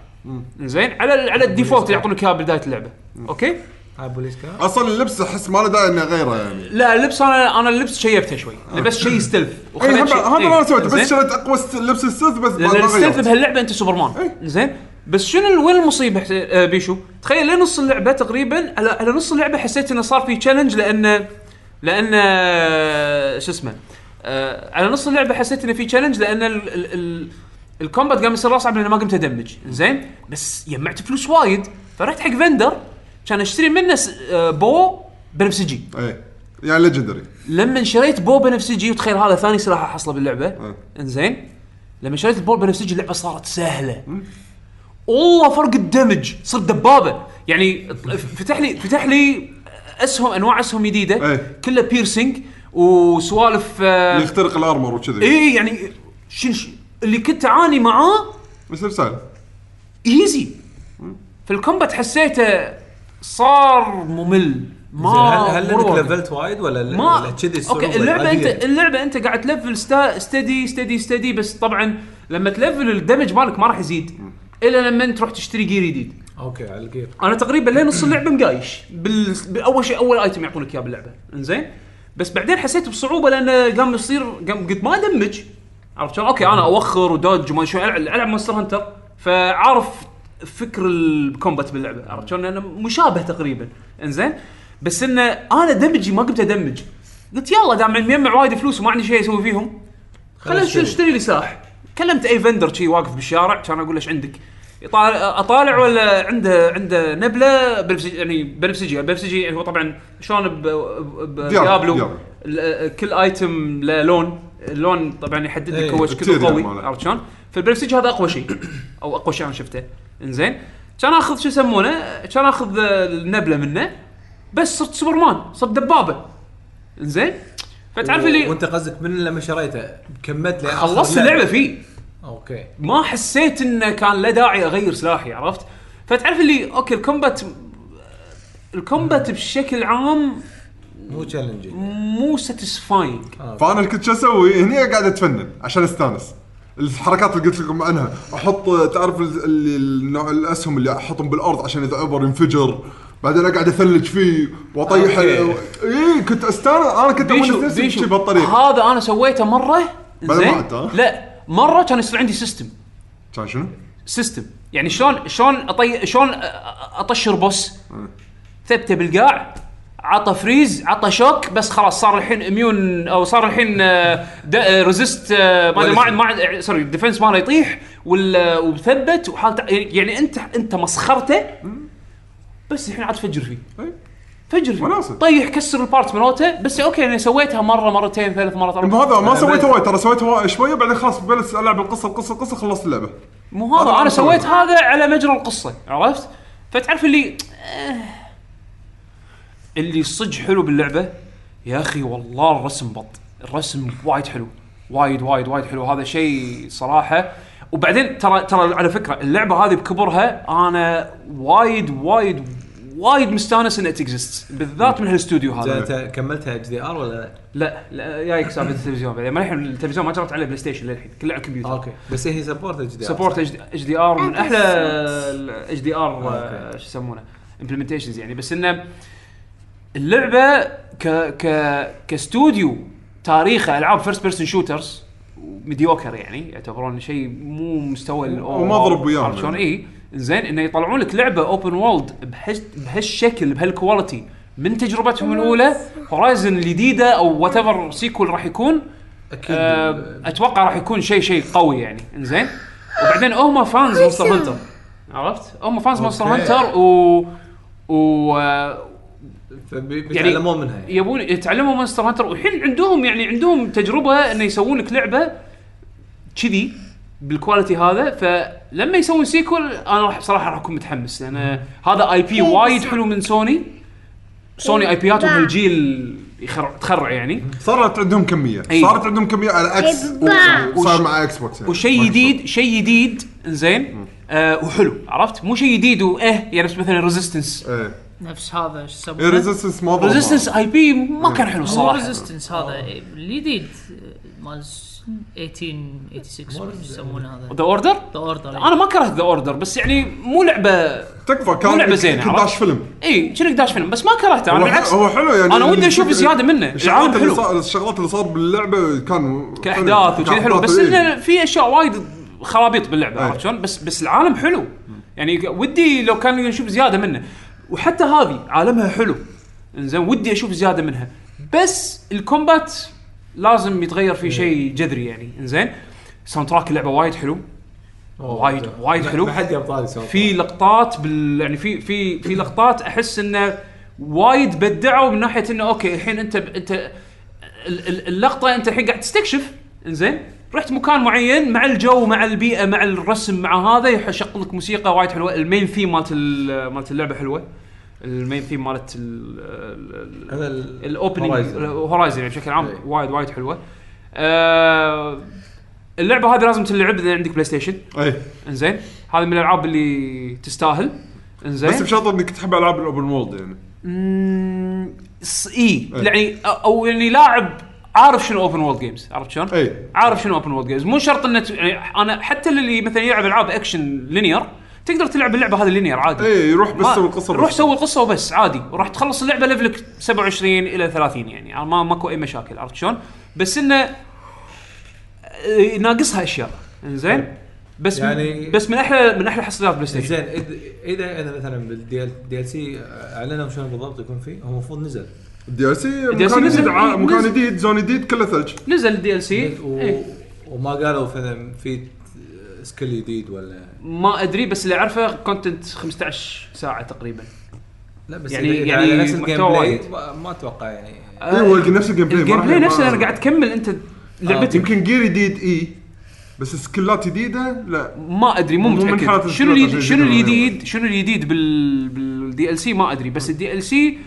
S1: زين على ال- على الديفولت اللي يعطونك اياه بدايه اللعبه اوكي
S4: على بوليس كار
S3: اصلا اللبس احس ما له داعي انه غيره يعني
S1: لا اللبس انا انا اللبس شيبته شوي لبس شيء ستلف
S3: إيه،
S1: وخليت
S3: هذا
S1: شيء-
S3: هذا
S1: إيه،
S3: ما سويته
S1: زين؟
S3: بس شريت اقوى ست- لبس السيلف بس ما
S1: لان
S3: ما
S1: الستلف
S3: غيرت
S1: بهاللعبه انت سوبرمان زين بس شنو ال- وين المصيبه حس- آه، بيشو؟ تخيل لنص اللعبه تقريبا على, على نص اللعبه حسيت انه صار في تشالنج لان لان آه، شو اسمه آه، على نص اللعبه حسيت انه في تشالنج لان ال ال ال الكومبات قام يصير اصعب لان ما قمت ادمج زين بس جمعت فلوس وايد فرحت حق فندر كان اشتري منه س- آه، بو بنفسجي
S3: إيه. يعني ليجندري
S1: لما شريت بو بنفسجي وتخيل هذا ثاني سلاح احصله باللعبه انزين لما شريت البول بنفسجي اللعبه صارت سهله والله فرق الدمج صرت دبابه يعني فتح لي فتح لي اسهم انواع اسهم جديده
S3: إيه.
S1: كلها بيرسينج وسوالف آه،
S3: اللي يخترق الارمر وكذي
S1: اي يعني شن ش- اللي كنت اعاني معاه
S3: بس سهل
S1: ايزي في الكومبات حسيته صار ممل
S5: آه،
S1: ما
S4: زين، هل هل انك
S1: مو رواق.
S4: لفلت وايد ولا لا-
S1: ما
S4: ولا كذي الصعوبة
S1: اوكي اللعبه
S4: العادية؟
S1: انت اللعبه انت قاعد تلفل ستا ستدي ستدي ستدي بس طبعا لما تلفل الدمج مالك ما راح يزيد الا لما انت تروح تشتري جير جديد
S4: اوكي على الجير
S1: انا تقريبا لين نص اللعبه مقايش بال... باول شيء اول ايتم يعطونك اياه باللعبه انزين بس بعدين حسيت بصعوبه لان قام يصير قام قد ما ادمج عرفت شلون؟ اوكي انا اوخر ودوج وما شو العب العب مونستر هانتر فعارف فكر الكومبات باللعبه عرفت شلون؟ لانه مشابه تقريبا انزين بس انه انا دمجي ما قمت ادمج قلت يلا دام مجمع وايد فلوس وما عندي شيء اسوي فيهم خلنا
S4: اشتري.
S1: اشتري لي سلاح كلمت اي فندر شي واقف بالشارع كان اقول له ايش عندك؟ يطالع اطالع ولا عنده عنده نبله بنفسجي يعني بنفسجي البنفسجي هو طبعا شلون ب- ب- ب-
S3: ديابلو.
S1: بديابلو
S3: ديابلو.
S1: ال- كل ايتم له لون اللون طبعا يحدد
S4: إيه،
S1: لك هو إيش
S3: كتير
S1: كثر قوي
S3: يعني مالك.
S1: عرفت شلون؟ فالبنفسجي هذا اقوى شيء [coughs] او اقوى شيء انا شفته انزين كان اخذ شو يسمونه؟ كان اخذ النبله منه بس صرت سوبرمان صرت دبابه انزين فتعرف اللي
S4: وانت قصدك من لما شريته كملت لي آخر
S1: خلصت اللعبه فيه
S4: اوكي
S1: ما حسيت انه كان له داعي اغير سلاحي عرفت؟ فتعرف اللي اوكي الكومبات الكومبات بشكل عام
S4: مو تشالنجينج
S1: مو ساتيسفاينج
S3: فانا اللي كنت شو اسوي هني قاعد اتفنن عشان استانس الحركات اللي قلت لكم عنها احط تعرف ال- اللي النوع الاسهم اللي احطهم بالارض عشان اذا عبر ينفجر بعدين اقعد اثلج فيه واطيح
S4: أوكي.
S3: اي كنت استانس انا كنت
S1: بيشو
S3: اونس نفسي
S1: بيشو
S3: شي بالطريق
S1: هذا انا سويته مره
S3: بعد
S1: زين؟
S3: ما عدت، ها؟
S1: لا مره كان يصير عندي سيستم
S3: كان شنو؟
S1: سيستم يعني شلون شلون أطي... شلون أ- أ- اطشر بوس ثبته بالقاع عطى فريز عطى شوك بس خلاص صار الحين اميون او صار الحين آه، د- آه، ريزست آه، ما أدري، ما عاد- ما عاد- آه، سوري الديفنس ماله يطيح وال- آه، ومثبت وحالته يعني انت انت مسخرته بس الحين عاد فجر فيه
S3: إي.
S1: فجر فيه
S3: وناسة.
S1: طيح كسر البارت مالته بس اوكي انا سويتها مره مرتين ثلاث مرات
S3: المهم
S1: اربع
S3: هذا ما سويته وايد ترى سويته وايد شويه بعدين خلاص بلش العب القصه القصه القصه خلصت اللعبه
S1: مو هذا
S3: هذا
S1: انا
S3: أنا
S1: سويت
S3: سويته.
S1: هذا على مجرى القصه عرفت؟ فتعرف اللي آه. اللي صج حلو باللعبه يا اخي والله الرسم بط الرسم وايد حلو وايد وايد وايد حلو هذا شيء صراحه وبعدين ترى ترى على فكره اللعبه هذه بكبرها انا وايد وايد وايد مستانس انها تكزست بالذات من هالاستوديو
S4: زين
S1: هذا
S4: انت كملتها اتش دي ار ولا لا؟
S1: لا لا جايك سالفه التلفزيون بعدين ما الحين التلفزيون ما جرت عليه بلاي ستيشن للحين كله على الكمبيوتر
S4: اوكي بس هي سبورت اتش دي ار
S1: سبورت اتش دي ار من احلى اتش دي ار
S4: أوكي.
S1: آه، شو يسمونه امبلمنتيشنز يعني بس انه اللعبه ك ك كاستوديو تاريخه العاب فيرست بيرسون شوترز ميديوكر يعني يعتبرون شيء مو مستوى ال- آه،
S3: ومضرب وياهم
S1: عرفت شلون
S3: يعني.
S1: اي زين انه يطلعون لك لعبه اوبن وولد بهش بهالشكل بهالكواليتي من تجربتهم الاولى هورايزن الجديده او وات ايفر سيكول راح يكون
S4: اكيد
S1: آه، اتوقع راح يكون شيء شيء قوي يعني انزين وبعدين هم فانز مونستر هانتر عرفت هم فانز مونستر
S4: أوكي.
S1: هانتر و و آه،
S4: بيتعلمون منها يعني
S1: يبون يتعلموا مونستر هانتر والحين عندهم يعني عندهم تجربه انه يسوون لك لعبه كذي بالكواليتي هذا فلما يسوون سيكول انا راح بصراحه راح اكون متحمس لان هذا اي بي وايد حلو من سوني سوني اي بياتهم هالجيل يخرع تخرع يعني
S3: صارت عندهم كميه
S1: أي.
S3: صارت عندهم كميه على اكس
S6: يبا.
S3: وصار مع اكس بوكس يعني.
S1: وشيء جديد شيء جديد زين آه وحلو عرفت مو شيء جديد واه يعني نفس مثلا ريزيستنس
S3: ايه
S2: نفس هذا شو يسمونه
S3: ريزيستنس ما ضرب.
S1: ريزيستنس اي بي ما كان حلو
S2: هو
S1: صراحه
S2: ريزيستنس هذا إيه، الجديد آه، مال س- 1886 وش يسمونه هذا
S1: ذا اوردر
S2: ذا اوردر
S1: انا ما كرهت ذا اوردر بس يعني مو لعبه
S3: تكفى
S1: مو
S3: كان
S1: لعبة زينة،
S3: كنت
S1: عرفت؟
S3: داش فيلم
S1: اي شنو داش فيلم بس ما كرهته انا
S3: هو
S1: بالعكس
S3: حلو- هو حلو يعني
S1: أنا ودي أشوف
S3: الشغل-
S1: زيادة منه. العالم
S3: الشغلات اللي
S1: حلو.
S3: صار الشغلات اللي صار يعني باللعبه كان
S1: كاحداث وشيء حلو بس
S3: انه
S1: انه في اشياء وايد خرابيط باللعبه
S3: أي.
S1: عرفت شلون بس بس العالم حلو يعني ودي لو كان نشوف زياده منه وحتى هذه عالمها حلو زين ودي اشوف زياده منها بس الكومبات لازم يتغير فيه شيء جذري يعني زين ساوند تراك اللعبه وايد حلو وايد وايد حلو
S4: ما حد يبطل طاري سوالف.
S1: في لقطات بال يعني في في في لقطات احس انه وايد بدعوا من ناحيه انه اوكي الحين انت ب... انت ال- ال- اللقطه انت الحين قاعد تستكشف انزين رحت مكان معين مع الجو مع البيئه مع الرسم مع هذا يشغل لك موسيقى وايد حلوه المين ثيم مالت ال- مالت اللعبه حلوه المين ثيم مالت ال- ال- ال-
S4: هذا ال-
S1: الاوبننج
S4: Horizon.
S1: هورايزن يعني بشكل عام
S4: إيه.
S1: وايد وايد حلوه آه، اللعبه هذه لازم تلعب اذا عندك بلاي ستيشن
S3: اي
S1: انزين هذه من الالعاب اللي تستاهل انزين
S3: بس بشرط انك تحب العاب الاوبن وولد يعني
S1: مم، س- اي
S3: أي.
S1: يعني أ- او يعني لاعب عارف شنو اوبن وولد جيمز عرفت شلون؟
S3: أي.
S1: عارف شنو اوبن وولد جيمز مو شرط انه ت- يعني انا حتى اللي مثلا يلعب العاب اكشن لينير تقدر تلعب اللعبه هذه لينير عادي
S3: اي إيه، يروح بس
S1: ما-
S3: سوي القصه
S1: روح
S3: بس.
S1: سوي القصه وبس عادي وراح تخلص اللعبه ليفلك 27 الى 30 يعني ما ماكو اي مشاكل عرفت شلون؟ بس انه آه، ناقصها اشياء زين بس يعني
S4: يعني-
S1: بس من احلى من احلى حصريات بلاي ستيشن
S4: زين إذ- اذا انا مثلا بالدي ال دي ال سي اعلنوا شنو بالضبط يكون فيه هو المفروض نزل
S3: الدي ال سي
S1: DLC
S3: مكان
S1: نزل-
S3: جديد ع- مكان
S1: نزل.
S3: جديد زون جديد كله ثلج
S1: نزل الدي ال سي إيه.
S4: و... وما قالوا مثلا في سكيل جديد ولا
S1: ما ادري بس اللي اعرفه كونتنت 15 ساعه تقريبا
S4: لا بس
S1: يعني-
S4: يعني إذا
S1: يعني
S4: يعني على نفس
S1: محتوى
S4: الجيم
S1: وايد.
S4: بلاي ما, ما اتوقع يعني
S3: اي إيه، هو نفس الجيم بلاي
S1: الجيم
S3: ما راح-
S1: بلاي
S3: ما-
S1: آه، نفسه انا قاعد تكمل انت لعبتك
S3: يمكن جير جديد اي بس سكلات جديده لا
S1: ما ادري مو
S3: مو من
S1: متاكد
S3: حالة
S1: شنو الجديد
S3: الجديد عشان
S1: شنو
S3: يجيبون
S1: الجديد شنو الجديد بال بالدي ال سي ما ادري بس الدي ال سي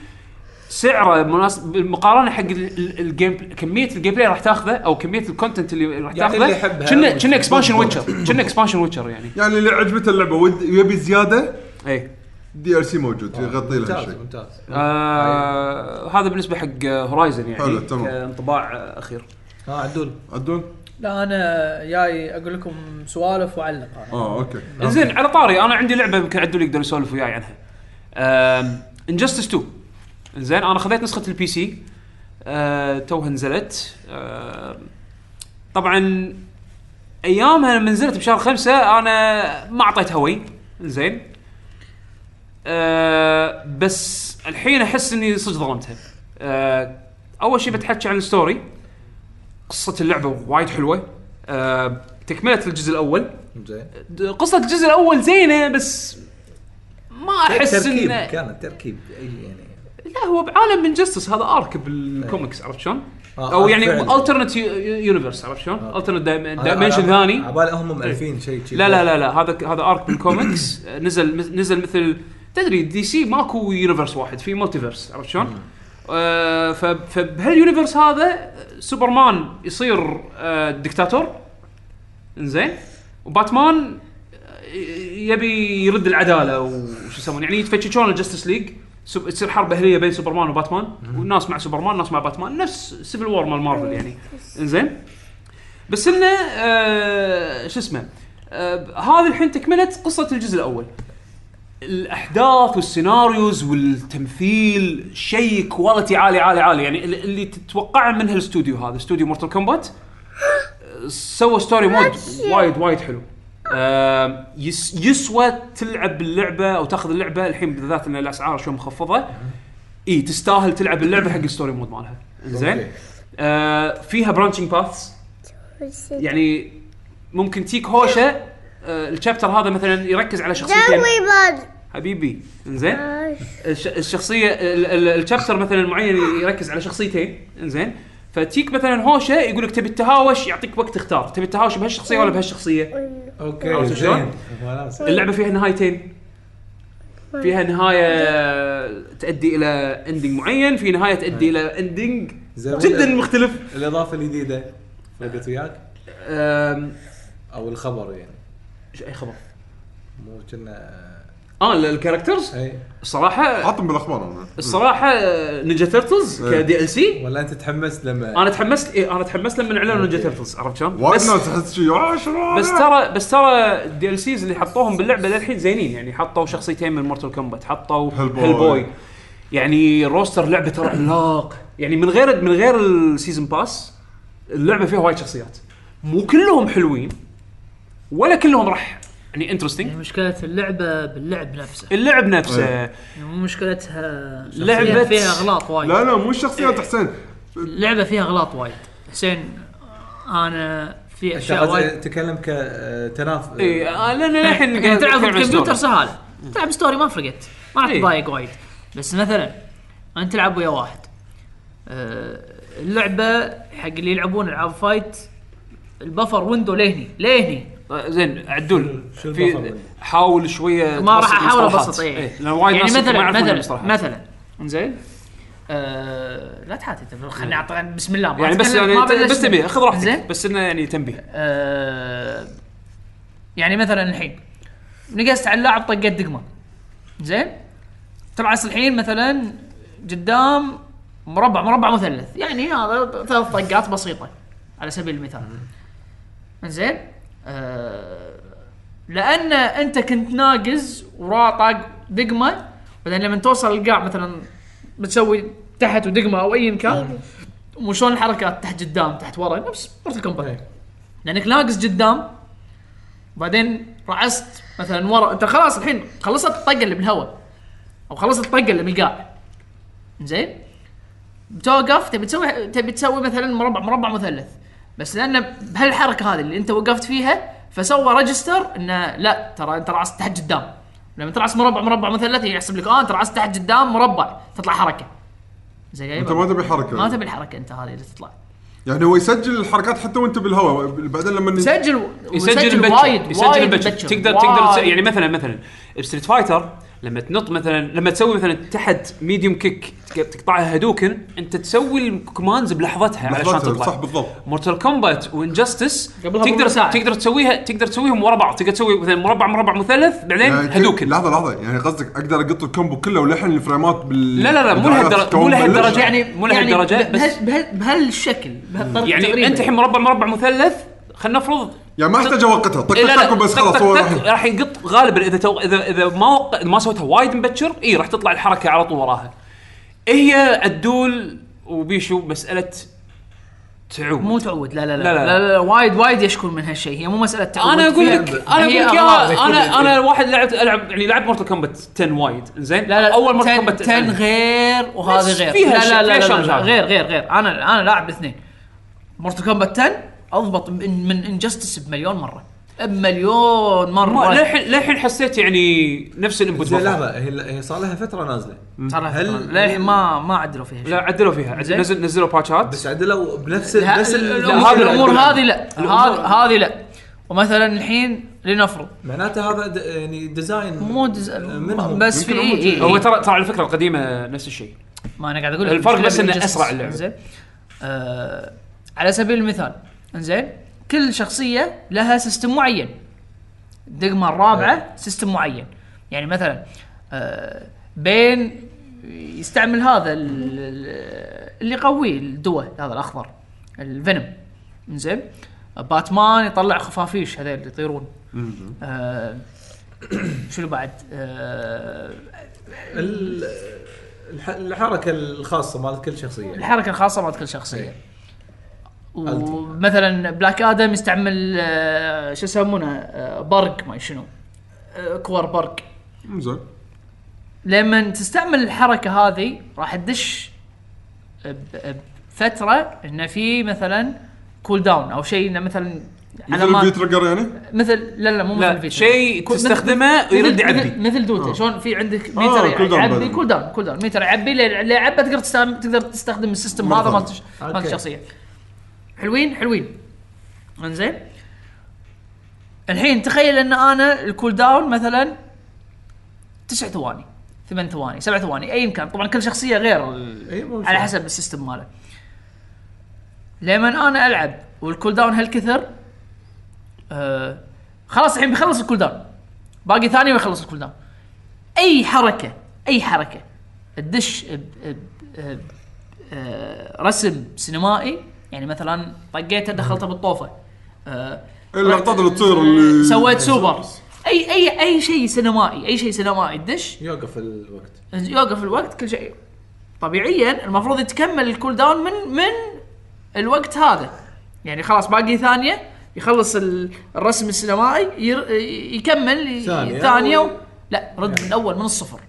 S1: سعره مناسب بالمقارنه حق ال- ال- الجيم كميه الجيم بلاي راح تاخذه او كميه الكونتنت اللي راح
S4: يعني
S1: تاخذه
S4: اللي يحبها
S1: كنا
S4: ويحب-
S1: كنا اكسبانشن ويتشر كنا اكسبانشن ويتشر يعني
S3: يعني اللي عجبته اللعبه ود يبي زياده
S1: اي
S3: إيه. دي ال سي موجود يغطي له
S4: ممتاز
S3: هالشيء
S4: ممتاز
S1: آه هذا بالنسبه حق هورايزن يعني
S3: حلو، تمام.
S1: كانطباع آه، اخير
S4: ها عدول
S3: عدول
S2: لا انا جاي اقول لكم سوالف واعلق انا
S3: اه اوكي
S1: زين على طاري انا عندي لعبه يمكن عدول يقدر يسولف وياي عنها انجستس 2 زين انا خذيت نسخه البي سي آه، توها نزلت آه، طبعا ايامها لما نزلت بشهر خمسة انا ما اعطيت هوي زين آه بس الحين احس اني صدق ظلمتها آه اول شيء بتحكي عن الستوري قصه اللعبه وايد حلوه آه تكمله الجزء الاول
S4: زين
S1: قصة الجزء الأول زينة بس ما أحس
S4: تركيب
S1: إنه
S4: كانت تركيب اي يعني
S1: لا هو بعالم من جستس هذا آرك بالكوميكس عرفت شلون؟
S4: آه،
S1: أو
S4: آه،
S1: يعني
S4: فعلاً.
S1: الترنت يونيفرس عرفت شلون؟ الترنت
S4: على-
S1: دايمنشن
S4: على-
S1: ثاني إيه.
S4: على بالي هم مؤلفين شيء شيء
S1: لا لا لا لا هذا هذا ارك بالكوميكس آه، نزل نزل مثل تدري دي سي ماكو يونيفرس واحد في مالتيفيرس عرفت شلون؟ آه ف- فبهاليونيفرس هذا آه، سوبرمان يصير آه دكتاتور انزين وباتمان آه، يبي يرد العداله وش يسمون يعني يتفششون الجستس ليج سب- تصير حرب اهليه بين سوبرمان وباتمان والناس مع سوبرمان ناس مع باتمان نفس سيفل وور مال مارفل يعني انزين بس انه آه شو اسمه آه هذا الحين تكمله قصه الجزء الاول الاحداث والسيناريوز والتمثيل شيء كواليتي عالي عالي عالي يعني ال- اللي تتوقعه من هالاستوديو هذا استوديو مورتال كومبات سوى ستوري مود وايد وايد حلو آم، يس يسوى تلعب اللعبه او تاخذ اللعبه الحين بالذات ان الاسعار شوي مخفضه اي تستاهل تلعب اللعبه حق الستوري مود مالها زين
S4: أوكي.
S1: آه فيها برانشنج باثس يعني ممكن تيك هوشه آه الشابتر هذا مثلا يركز على شخصيتين
S6: Don't we bud?
S1: حبيبي انزين الش- الشخصيه ال- ال- الشابتر مثلا معين يركز على شخصيتين انزين فتيك مثلا هوشه يقول لك تبي التهاوش يعطيك وقت تختار تبي التهاوش بهالشخصيه ولا بهالشخصيه
S4: اوكي
S1: عرفت شلون؟
S4: زين خلاص.
S1: اللعبه فيها نهايتين فيها نهايه تؤدي الى اندنج معين في نهايه تؤدي الى اندنج
S4: زين.
S1: جدا مختلف
S4: الاضافه الجديده فرقت وياك
S1: أم،
S4: او الخبر يعني
S1: إيش- اي خبر
S4: مو كنا آه، إيه.
S1: اه ال- الكاركترز
S4: اي
S1: الصراحه
S3: عطهم بالاخبار انا
S1: الصراحه نينجا تيرتلز
S3: إيه.
S1: كدي ال سي
S4: ولا انت تحمست لما
S1: انا تحمست إيه، انا تحمست لما اعلنوا نينجا تيرتلز عرفت شلون؟
S3: إيه. وايد
S1: بس
S3: ناس تحس شيء آه، شلون؟
S1: بس ترى بس ترى الدي ال سيز اللي حطوهم باللعبه للحين زينين يعني حطوا شخصيتين من مورتال كومبات حطوا
S3: Hellboy.
S1: هيل بوي يعني روستر لعبه ترى عملاق يعني من غير من غير السيزون باس اللعبه فيها وايد شخصيات مو كلهم حلوين ولا كلهم راح يعني انترستنج
S2: يعني مشكلة اللعبة باللعب نفسه
S1: اللعب نفسه
S3: إيه.
S2: يعني مو مشكلتها شخصية
S1: لعبة-
S2: فيها اغلاط وايد
S3: لا لا مو الشخصيات حسين
S2: اللعبة فيها اغلاط وايد حسين انا في اشياء وايد
S4: تكلم كتناف
S1: اي آه، لان الحين
S2: [laughs] يعني تلعب
S1: نتكلم عن
S2: بالكمبيوتر
S1: ستوري.
S2: سهالة تلعب ستوري ما فرقت ما راح
S1: إيه.
S2: تضايق وايد بس مثلا انت تلعب ويا واحد آه، اللعبة حق اللي يلعبون العاب فايت البفر ويندو لهني لهني
S1: آه، زين عدول
S4: شو البصل
S1: في
S4: منه؟
S1: حاول شويه
S2: ما راح
S1: تبسط
S2: احاول
S1: المصطلحات.
S2: ابسط ايه
S1: لان إيه، وايد
S2: يعني
S1: ناس ما
S2: مثلا
S1: يعرفون
S2: مثلا
S1: المصطلحات.
S2: مثلا
S1: زين
S2: آه، لا تحاتي انت خليني اعطي بسم الله ما
S1: إيه. يعني بس
S2: أتكلم-
S1: يعني
S2: ما
S1: ت- بس
S2: بلشنا.
S1: تنبيه خذ
S2: زين
S1: راحتك بس انه يعني تنبيه
S2: آه، يعني مثلا الحين نقزت على اللاعب طقيت دقمه زين تبعس الحين مثلا قدام مربع مربع مثلث يعني هذا ثلاث طقات بسيطه على سبيل المثال زين آه لان انت كنت ناقز وراه طاق دقمه بعدين لما توصل القاع مثلا بتسوي تحت ودقمه او ايا كان مو شلون الحركات تحت قدام تحت ورا نفس مورتال كومبات لانك ناقص قدام بعدين رعست مثلا ورا انت خلاص الحين خلصت الطقه اللي بالهواء او خلصت الطقه اللي بالقاع زين بتوقف تبي تسوي تبي تسوي مثلا مربع مربع مثلث بس لان بهالحركه هذه اللي انت وقفت فيها فسوى ريجستر انه لا ترى انت رعست تحت قدام لما ترعس مربع مربع مثلث يحسب لك اه انت رعست تحت قدام مربع تطلع حركه زين
S3: انت ما تبي حركه
S2: ما تبي الحركه انت هذه اللي تطلع
S3: يعني هو يسجل الحركات حتى وانت بالهواء بعدين لما
S2: يسجل
S1: يسجل
S2: ويسجل
S1: مبكر
S2: وايد
S1: يسجل
S2: وايد
S1: مبكر
S2: مبكر.
S1: تقدر تقدر تس-
S2: وايد.
S1: يعني مثلا مثلا بستريت فايتر لما تنط مثلا لما تسوي مثلا تحت ميديوم كيك تك- تقطعها هدوكن انت تسوي الكوماندز بلحظتها علشان
S3: لحظات
S1: تطلع
S3: صح بالضبط
S1: مورتال كومبات وانجستس
S2: قبلها
S1: تقدر
S2: بربع ساعة.
S1: تقدر تسويها تقدر تسويهم ورا بعض تقدر تسوي مثلا مربع مربع مثلث بعدين
S3: يعني كل-
S1: هدوكن
S3: لحظه لحظه يعني قصدك اقدر اقط الكومبو كله ولحن الفريمات بال
S1: لا، لا، لا، مو لهالدرجة-
S3: بالدعايات تكون
S1: مو لهالدرجة.
S3: بلش.
S2: يعني
S1: مو لهالدرجة،
S2: يعني
S1: بس-
S2: بهال- بهال- بهالشكل بهالطريقه
S1: يعني
S2: تقريباً.
S1: انت الحين مربع مربع مثلث خلينا نفرض
S3: يعني ما احتاج اوقتها طق
S1: إيه، لا، لا،
S3: طق بس
S1: تك-
S3: خلاص
S1: تك-
S3: هو
S1: تك،
S3: راح
S1: راح يقط غالبا اذا تو... اذا اذا ما وق... ما سويتها وايد مبكر اي راح تطلع الحركه على طول وراها هي عدول وبيشو مساله تعوب
S2: مو تعود لا لا
S1: لا،
S2: لا لا,
S1: لا.
S2: لا, لا وايد وايد يشكون من هالشيء هي مو مساله تعود
S1: انا اقول
S2: فيها-
S1: لك انا اقول
S2: هي
S1: لك
S2: أغراض.
S1: يا انا انا واحد لعبت العب يعني لعبت مورتال كومبات 10 وايد زين
S2: لا
S1: اول
S2: لا اول
S1: مورتال
S2: مره
S1: كومبات
S2: 10 غير وهذه
S1: بس
S2: غير
S1: فيها
S2: لا
S1: شيء-
S2: لا
S1: فيها
S2: لا, لا,
S1: شغل
S2: لا
S1: هذا.
S2: غير غير غير انا انا لاعب الاثنين مورتال كومبات 10 اضبط من من انجستس بمليون مره بمليون مره
S1: للحين للحين حسيت يعني نفس الانبوت
S4: زين
S1: لا
S4: لحظه هي هي صار لها فتره نازله
S2: ترى
S4: هل-
S2: للحين ما ما عدلوا فيها شيء
S1: عدلوا فيها عدل-
S2: زين.
S1: نزل نزلوا باتشات
S4: بس عدلوا بنفس
S2: لا،
S4: بنفس ال-
S2: الأمور-
S4: لا، هذا
S2: الامور
S4: العدل.
S2: هذه لا هذه هذه لا ومثلا الحين لنفرض
S4: معناته هذا د- يعني ديزاين
S2: مو جزء
S4: منهم
S2: بس في إيه إيه
S1: هو
S2: إيه.
S1: ترى ترى على فكره القديمه نفس الشيء
S2: ما انا قاعد اقول لك
S1: الفرق
S2: المشكلة
S1: بس إنه
S2: بالجسد.
S1: أسرع اللعبة.
S2: زين آه على سبيل المثال زين كل شخصيه لها سيستم معين الدقمه
S1: إيه.
S2: الرابعه سيستم معين يعني مثلا آه بين يستعمل هذا ال- ال- اللي قوي الدواء هذا الاخضر الفينوم زين باتمان يطلع خفافيش هذول اللي يطيرون آه [clears throat] شنو بعد آه
S4: ال- الح- الحركه الخاصه مالت كل شخصيه
S2: الحركه الخاصه مالت كل
S1: إيه.
S2: شخصيه ومثلا بلاك ادم يستعمل آه، شو يسمونه آه، برق ما شنو آه، كور برق
S3: زين
S2: لما تستعمل الحركه هذه راح تدش ب- بفتره انه في مثلا كول داون او شيء انه مثلا
S3: مثل البي تريجر يعني
S2: مثل لا لا مو مثل
S1: لا
S2: الفيتر
S1: شيء
S2: مثل-
S1: تستخدمه
S2: مثل-
S1: ويرد يعبي
S2: مثل- مثل دوتا شلون في عندك ميتر
S3: كول داون
S2: يعبي
S3: بعد.
S2: كول داون كول داون ميتر يعبي اللي يعبى تقدر تستخدم تقدر تستخدم السيستم هذا
S3: مرة
S2: مال مال
S4: أوكي.
S2: الشخصيه حلوين حلوين انزين الحين تخيل ان انا الكول داون مثلا تسع ثواني ثمان ثواني سبع ثواني اي كان طبعا كل شخصيه غير ال-
S4: إي، إيه، مو
S2: على
S4: شيء.
S2: حسب السيستم ماله لما انا العب والكول داون هالكثر آه خلاص الحين بيخلص الكول داون باقي ثانيه ويخلص الكول داون اي حركه اي حركه تدش ب- ب- ب- آه، رسم سينمائي يعني مثلا طقيته دخلته بالطوفه آه،
S3: اللقطات اللي تصير اللي-
S2: سويت سوبر اي اي اي شيء سينمائي اي شيء سينمائي تدش
S4: يوقف الوقت
S2: يوقف الوقت كل شيء طبيعيا المفروض يتكمل الكول داون من من الوقت هذا يعني خلاص باقي ثانيه يخلص ال- الرسم السينمائي ير... يكمل ي-
S4: ثانية
S2: ثانيه
S4: أو- يعني
S2: و... لا رد من الاول من الصفر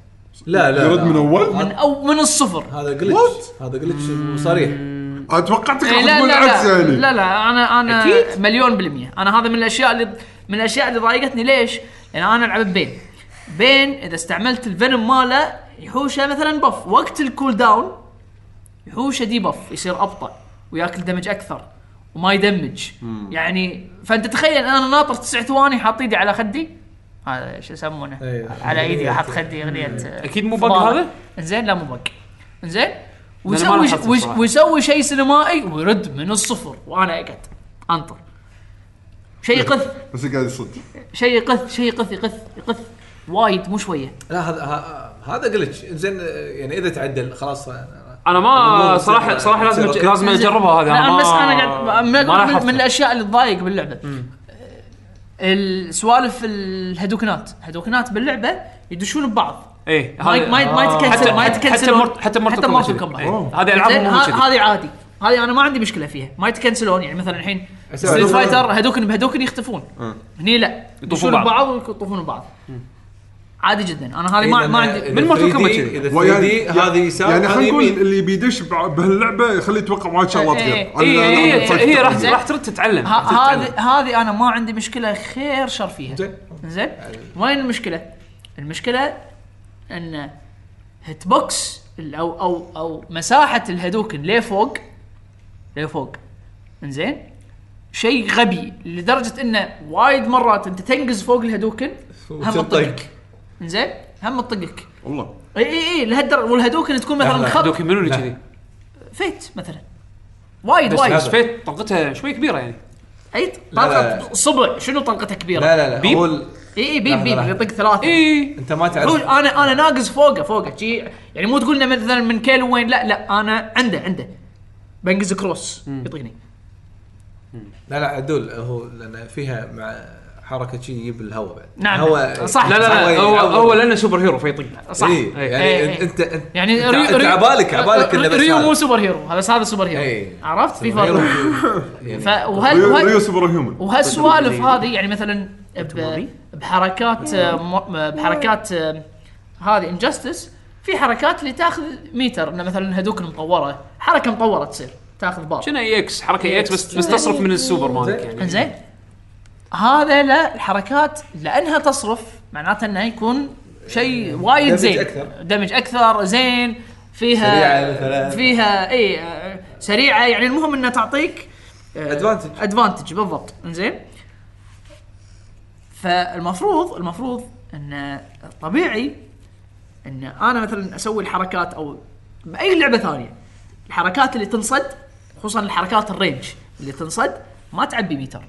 S4: لا لا
S3: يرد
S4: لا.
S3: من اول
S2: من او من الصفر
S4: هذا جلتش هذا جلتش صريح
S3: اتوقعتك راح
S2: إيه، لا
S3: تقول
S2: لا
S3: العكس
S2: لا,
S3: يعني
S2: لا لا انا انا
S1: أكيد.
S2: مليون بالمية انا هذا من الاشياء اللي من الاشياء اللي ضايقتني ليش؟ لان انا العب بين بين اذا استعملت الفينوم ماله يحوشه مثلا بف وقت الكول داون يحوشه دي بف يصير ابطا وياكل دمج اكثر وما يدمج يعني فانت تخيل انا ناطر تسع ثواني حاط ايدي على خدي هذا شو يسمونه
S4: أيوه.
S2: على
S1: [laughs]
S2: ايدي احط خدي اغنيه
S1: إيه. أكيد مو بق
S2: فضالة.
S1: هذا؟
S2: انزين لا مو بق انزين
S1: ما
S2: ويسوي
S1: لاحظت
S2: ويس-
S1: بصراحة.
S2: ويسوي شيء سينمائي ويرد من الصفر وانا اقعد انطر شيء يقث
S3: بس قاعد يصد
S2: شيء يقث شيء يقث يقث يقث وايد مو شويه
S4: لا هذا ه- هذا جلتش زين يعني اذا تعدل خلاص آه،
S1: انا ما صراحه صراحه لازم أج- لازم اجربها هذا
S2: لا
S1: ما
S2: بس انا قاعد من,
S1: لاحظت.
S2: من, من الاشياء اللي تضايق باللعبه السوالف الهدوكنات هدوكنات باللعبه يدشون ببعض
S1: ايه
S2: ما
S1: هذا-
S2: ي- ما ي- ما يتكسر ما
S1: حتى-
S2: يتكنسل
S1: حتى مرت- حتى مرت
S2: آه. حتى
S1: كومبات
S2: مرت
S1: كذي.
S2: كومبات.
S1: إيه. هذه ألعاب
S2: زين،
S1: مو
S2: ه-
S1: كذي.
S2: هذه عادي هذه انا ما عندي مشكله فيها ما يتكنسلون يعني مثلا الحين ستريت فايتر هدوكن بهدوكن يختفون هني لا يدشون
S1: بعض.
S2: ببعض ويطوفون ببعض عادي جدا انا هذه ما ما
S4: إذا-
S2: عندي
S4: إذا
S1: من Mortal
S4: 3D
S1: Kombat كذي.
S4: اذا 3
S3: ويعني-
S4: دي هذه يسار
S3: يعني
S4: هذه
S3: خلينا نقول
S4: يمين
S3: اللي بيدش بع- بهاللعبه يخليه يتوقع وايد شغلات
S2: إيه،
S3: غير
S2: إيه،
S3: أنا-
S1: هي
S3: أنا
S1: هي
S3: متصدق.
S1: هي راح إيه، راح ترد تتعلم
S2: ه- هذه هذه انا ما عندي مشكله خير شر فيها
S4: زين.
S2: زين وين المشكله؟ المشكله ان هيت بوكس ال- او او او مساحه الهدوكن لفوق لفوق انزين شيء غبي لدرجه انه وايد مرات انت تنقز فوق الهدوكن هم
S4: وتنطق.
S2: تطقك انزين هم تطقك
S3: والله
S2: اي اي اي لهالدرجه والهدوكن تكون مثلا
S4: لا،
S2: خط
S1: دوكي منو اللي
S4: لا.
S1: كذي؟
S2: فيت مثلا وايد
S4: بس
S2: وايد
S4: هذا-
S1: فيت طلقتها شوي كبيره يعني
S2: اي
S4: لا،
S2: طلقه صبع شنو طلقته كبيره؟
S4: لا لا لا
S1: بيب.
S4: هو ال-
S2: اي اي بيب
S4: لحظة،
S2: بيب
S4: لحظة.
S2: يطق ثلاثة
S1: اي
S4: انت ما
S2: هو
S4: تعرف
S2: انا انا ناقص فوقه فوقه شي يعني مو تقول إنه مثلا من كيلو وين لا لا انا عنده عنده بنقز كروس يطقني
S4: لا لا عدول هو لان فيها مع حركه شي يجيب الهواء بعد
S2: نعم.
S4: هو
S2: صح.
S1: لا لا لا هو
S4: يعوض.
S1: هو لانه سوبر هيرو فيطق
S2: صح
S4: إيه،
S1: إيه.
S2: إيه،
S4: يعني
S2: إيه.
S4: انت انت
S2: يعني
S4: انت أنت عبالك عبالك انه
S2: ريو,
S4: بس
S2: ريو
S4: هذا.
S2: مو سوبر هيرو هذا بس هذا سوبر هيرو
S4: إيه.
S2: عرفت في [laughs]
S4: غيره
S2: فرق
S4: يعني
S2: ف- وهل
S3: ريو
S2: وهل-
S3: ريو سوبر هيومن
S2: وهالسوالف هذه يعني مثلا ب- بحركات
S4: إيه.
S2: آه، م- بحركات آه، هذه انجستس في حركات اللي تاخذ ميتر انه مثلا هدوك مطوره حركه مطوره تصير تاخذ بار
S1: شنو اي اكس حركه اي اكس بس بس تصرف من السوبر مالك يعني
S2: انزين هذا لا الحركات لانها تصرف معناته انه يكون شيء وايد
S4: دمج
S2: زين
S4: يعني أكثر.
S2: دمج اكثر زين فيها
S4: سريعة مثلاً.
S2: فيها اي آه، سريعه يعني المهم انها تعطيك آه،
S4: Advantage.
S2: ادفانتج بالضبط انزين فالمفروض المفروض ان طبيعي ان انا مثلا اسوي الحركات او باي لعبه ثانيه الحركات اللي تنصد خصوصا الحركات الرينج اللي تنصد ما تعبي ميتر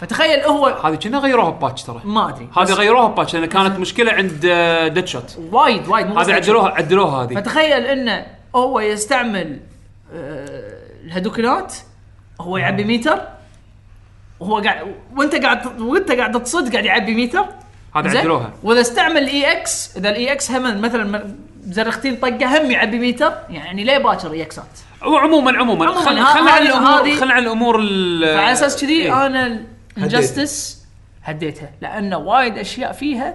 S2: فتخيل هو
S1: هذه كنا غيروها بباتش ترى
S2: ما ادري
S1: هذه غيروها بباتش لان كانت مشكله عند ديد شوت
S2: وايد وايد مو بس
S1: هذه عدلوها عدلوها هذه
S2: فتخيل انه هو يستعمل آه، الهدوكنات هو يعبي ميتر وهو قاعد وانت قاعد وانت قاعد تصد قاعد يعبي ميتر
S1: هذه
S2: زين؟
S1: عدلوها
S2: واذا استعمل E اي اكس اذا الاي اكس هم مثلا م- زرختين طقه هم يعبي ميتر يعني ليه باكر اي اكسات
S1: وعموما عموما
S2: عموماً،
S1: خل-
S2: ه-
S1: خلنا عن
S2: هذه-
S1: الامور
S2: هذه-
S1: خلنا عن الامور ال-
S2: فعلى اساس كذي
S1: إيه.
S2: انا الانجستس هديتها لانه وايد اشياء فيها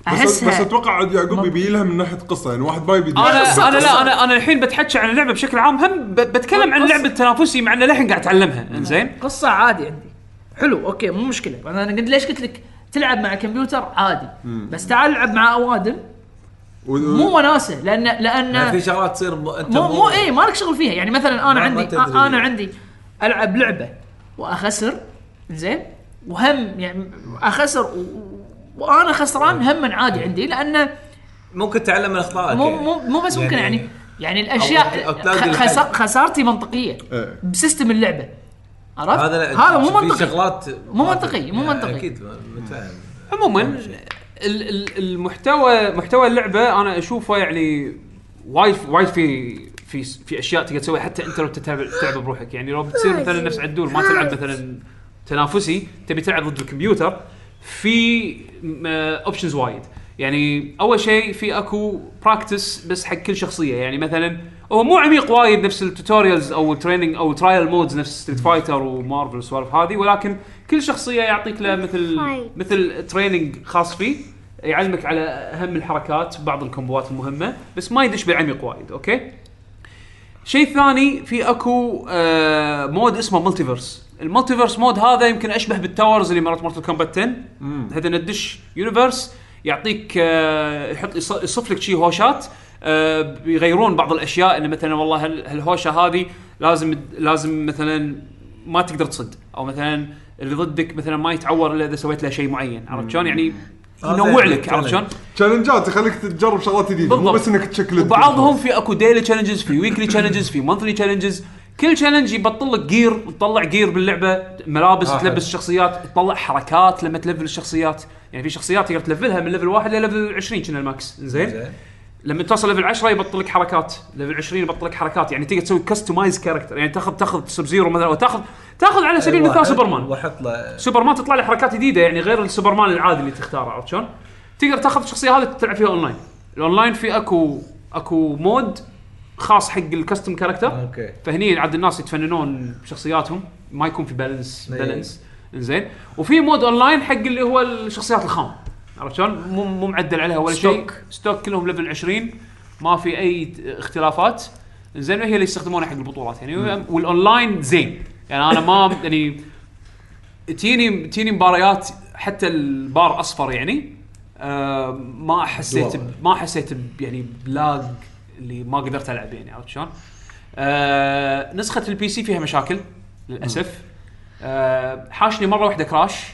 S3: بس
S2: احسها
S3: بس اتوقع عاد يعقوب يبي لها من ناحيه قصه يعني واحد ما يبي
S1: انا انا لا انا انا الحين بتحكي عن اللعبه بشكل عام هم ب- بتكلم عن
S2: قصة.
S1: اللعب التنافسي مع انه للحين قاعد اتعلمها انزين
S2: قصه عادي عندي حلو اوكي مو مشكله انا أنا قلت ليش قلت لك تلعب مع كمبيوتر عادي بس تعال العب مع اوادم مو وناسه لان
S4: يعني في
S2: لان
S4: شغلات تصير ب- انت
S2: نعم. مو مو اي ما لك شغل فيها يعني مثلا انا
S4: ما- ما
S2: عندي
S4: تدري.
S2: انا عندي العب لعبه واخسر زين وهم يعني اخسر و- و- وانا خسران هم عادي عندي لانه
S4: ممكن تتعلم من اخطائك
S2: مو
S4: يعني.
S2: مو مو بس ممكن
S4: يعني-
S2: يعني يعني الاشياء
S4: أو تلاقي
S2: خ-
S4: الحل.
S2: خسا- خسارتي منطقيه
S3: إيه.
S2: بسيستم اللعبه عرفت؟
S4: هذا لا
S2: هذا مو
S4: في
S2: منطقي
S4: شغلات
S2: مو منطقي، مو
S4: يعني
S2: منطقي.
S4: اكيد متفاهم
S1: عموما ال- ال- المحتوى محتوى اللعبه انا اشوفه يعني وايد وايد في في في اشياء تقدر تسويها حتى انت لو تتعب تلعب بروحك يعني لو بتصير مثلا نفس عدول ما تلعب مثلا تنافسي تبي تلعب ضد الكمبيوتر في اوبشنز وايد يعني اول شيء في اكو براكتس بس حق كل شخصيه يعني مثلا هو مو عميق وايد نفس التوتوريالز او التريننج او ترايل مودز نفس ستريت فايتر ومارفل والسوالف هذه ولكن كل شخصيه يعطيك له مثل
S6: Fight.
S1: مثل تريننج خاص فيه يعلمك على اهم الحركات بعض الكومبوات المهمه بس ما يدش بالعميق وايد اوكي شيء ثاني في اكو آه مود اسمه مالتيفيرس المالتيفيرس مود هذا يمكن اشبه بالتاورز اللي مرات مارتل كومبات 10 هذا ندش يونيفرس يعطيك آه يحط يص- يصف لك شي هوشات آه، بيغيرون بعض الاشياء انه مثلا والله هال- هالهوشه هذه لازم لازم مثلا ما تقدر تصد او مثلا اللي ضدك مثلا ما يتعور الا اذا سويت له شيء معين عرفت شلون يعني ينوع لك عرفت شلون؟
S3: تشالنجات يخليك تجرب شغلات جديده مو
S1: بالضبط.
S3: بس انك تشكل
S1: وبعضهم في اكو ديلي تشالنجز في ويكلي تشالنجز في مونثلي تشالنجز كل تشالنج يبطل لك جير تطلع جير باللعبه ملابس
S4: آه،
S1: تلبس الشخصيات تطلع حركات لما تلفل الشخصيات يعني في شخصيات تقدر تلفلها من ليفل واحد لليفل 20 كنا الماكس زين
S2: إيه.
S4: زين.
S1: لما توصل ليفل 10 يبطل لك حركات ليفل 20 يبطل لك حركات يعني تقدر تسوي كستمايز كاركتر يعني تاخذ تاخذ سب زيرو مثلا وتاخذ تاخذ على سبيل
S3: أيوة،
S1: المثال
S4: واحد-
S1: سوبرمان
S4: واحط له
S1: سوبرمان تطلع له حركات جديده يعني غير السوبرمان العادي اللي تختاره عرفت شلون؟ تقدر تاخذ الشخصيه هذه تلعب فيها اونلاين، الاونلاين في اكو اكو مود خاص حق الكاستم كاركتر
S4: اوكي
S1: فهني عاد الناس يتفننون بشخصياتهم ما يكون في بالانس
S4: إيه.
S1: بالانس زين وفي مود اونلاين حق اللي هو الشخصيات الخام عرفت شلون؟ مو مو معدل عليها ولا شيء
S2: ستوك.
S1: ستوك كلهم ليفل 20 ما في اي اختلافات زين وهي اللي يستخدمونها حق البطولات يعني والاونلاين زين يعني انا ما يعني تجيني تجيني مباريات حتى البار اصفر يعني آه ما حسيت ب- ما حسيت ب- يعني بلاج اللي ما قدرت العب يعني عرفت شلون؟ آه نسخه البي سي فيها مشاكل للاسف آه حاشني مره واحده كراش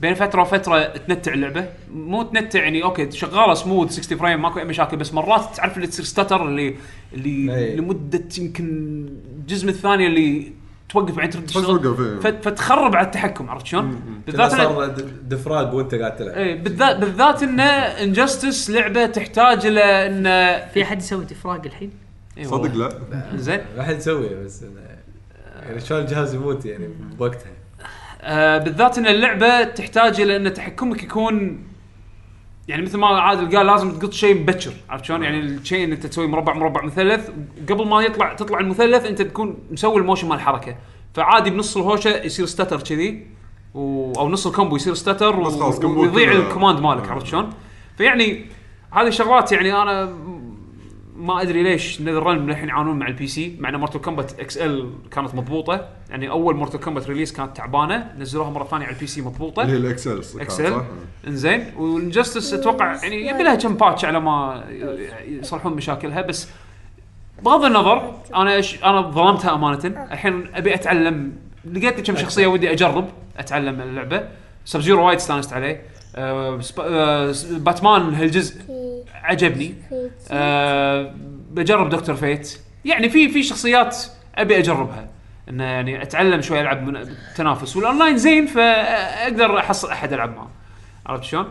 S1: بين فتره وفتره تنتع اللعبه مو تنتع يعني اوكي شغاله سموث 60 فريم ماكو اي مشاكل بس مرات تعرف اللي تصير ستتر اللي اللي
S3: إيه.
S4: أي.
S1: لمده يمكن جزء من الثانيه اللي توقف بعدين ترد
S3: بس
S1: تشتغل.
S3: وقف، إيه.
S1: فت- فتخرب على التحكم عرفت شلون؟ بالذات
S4: كنا
S1: إن-
S4: صار د- دفراق وانت قاعد تلعب
S1: إيه، بالذات بالذات ان انجستس لعبه تحتاج الى ان
S2: في احد يسوي دفراق الحين؟
S1: إيه
S3: صدق
S1: والله.
S3: لا
S1: زين
S4: ما حد يسويه بس إنه- يعني شلون الجهاز يموت يعني بوقتها
S1: آه بالذات ان اللعبه تحتاج الى ان تحكمك يكون يعني مثل ما عادل قال لازم تقط شيء مبكر عرفت شلون؟ يعني الشيء ان انت تسوي مربع مربع مثلث قبل ما يطلع تطلع المثلث انت تكون مسوي الموشن مال الحركه فعادي بنص الهوشه يصير ستاتر كذي و... او نص الكومبو يصير ستاتر
S3: بس خلاص،
S1: و...
S3: كومبو
S1: ويضيع
S3: كله.
S1: الكوماند مالك عرفت شلون؟ فيعني هذه شغلات يعني انا ما ادري ليش نذر رن الحين يعانون مع البي سي مع ان مورتال كومبات اكس ال كانت مضبوطه يعني اول مورتال كومبات ريليس كانت تعبانه نزلوها مره ثانيه على البي سي
S3: اللي هي
S1: مضبوطه
S3: الاكسل صح؟
S1: اكسل انزين والانجستس اتوقع يعني يبي لها كم باتش على ما يصلحون مشاكلها بس بغض النظر انا ش... انا ظلمتها امانه الحين ابي اتعلم لقيت لي كم شخصيه ودي اجرب اتعلم اللعبه سب زيرو وايد استانست عليه أه سب... أه س- باتمان هالجزء
S6: في
S1: عجبني
S6: في
S1: Uh, أه بجرب دكتور فيت يعني في في شخصيات ابي اجربها انه يعني اتعلم شوي العب من تنافس والاونلاين زين فاقدر احصل احد العب معه عرفت شلون؟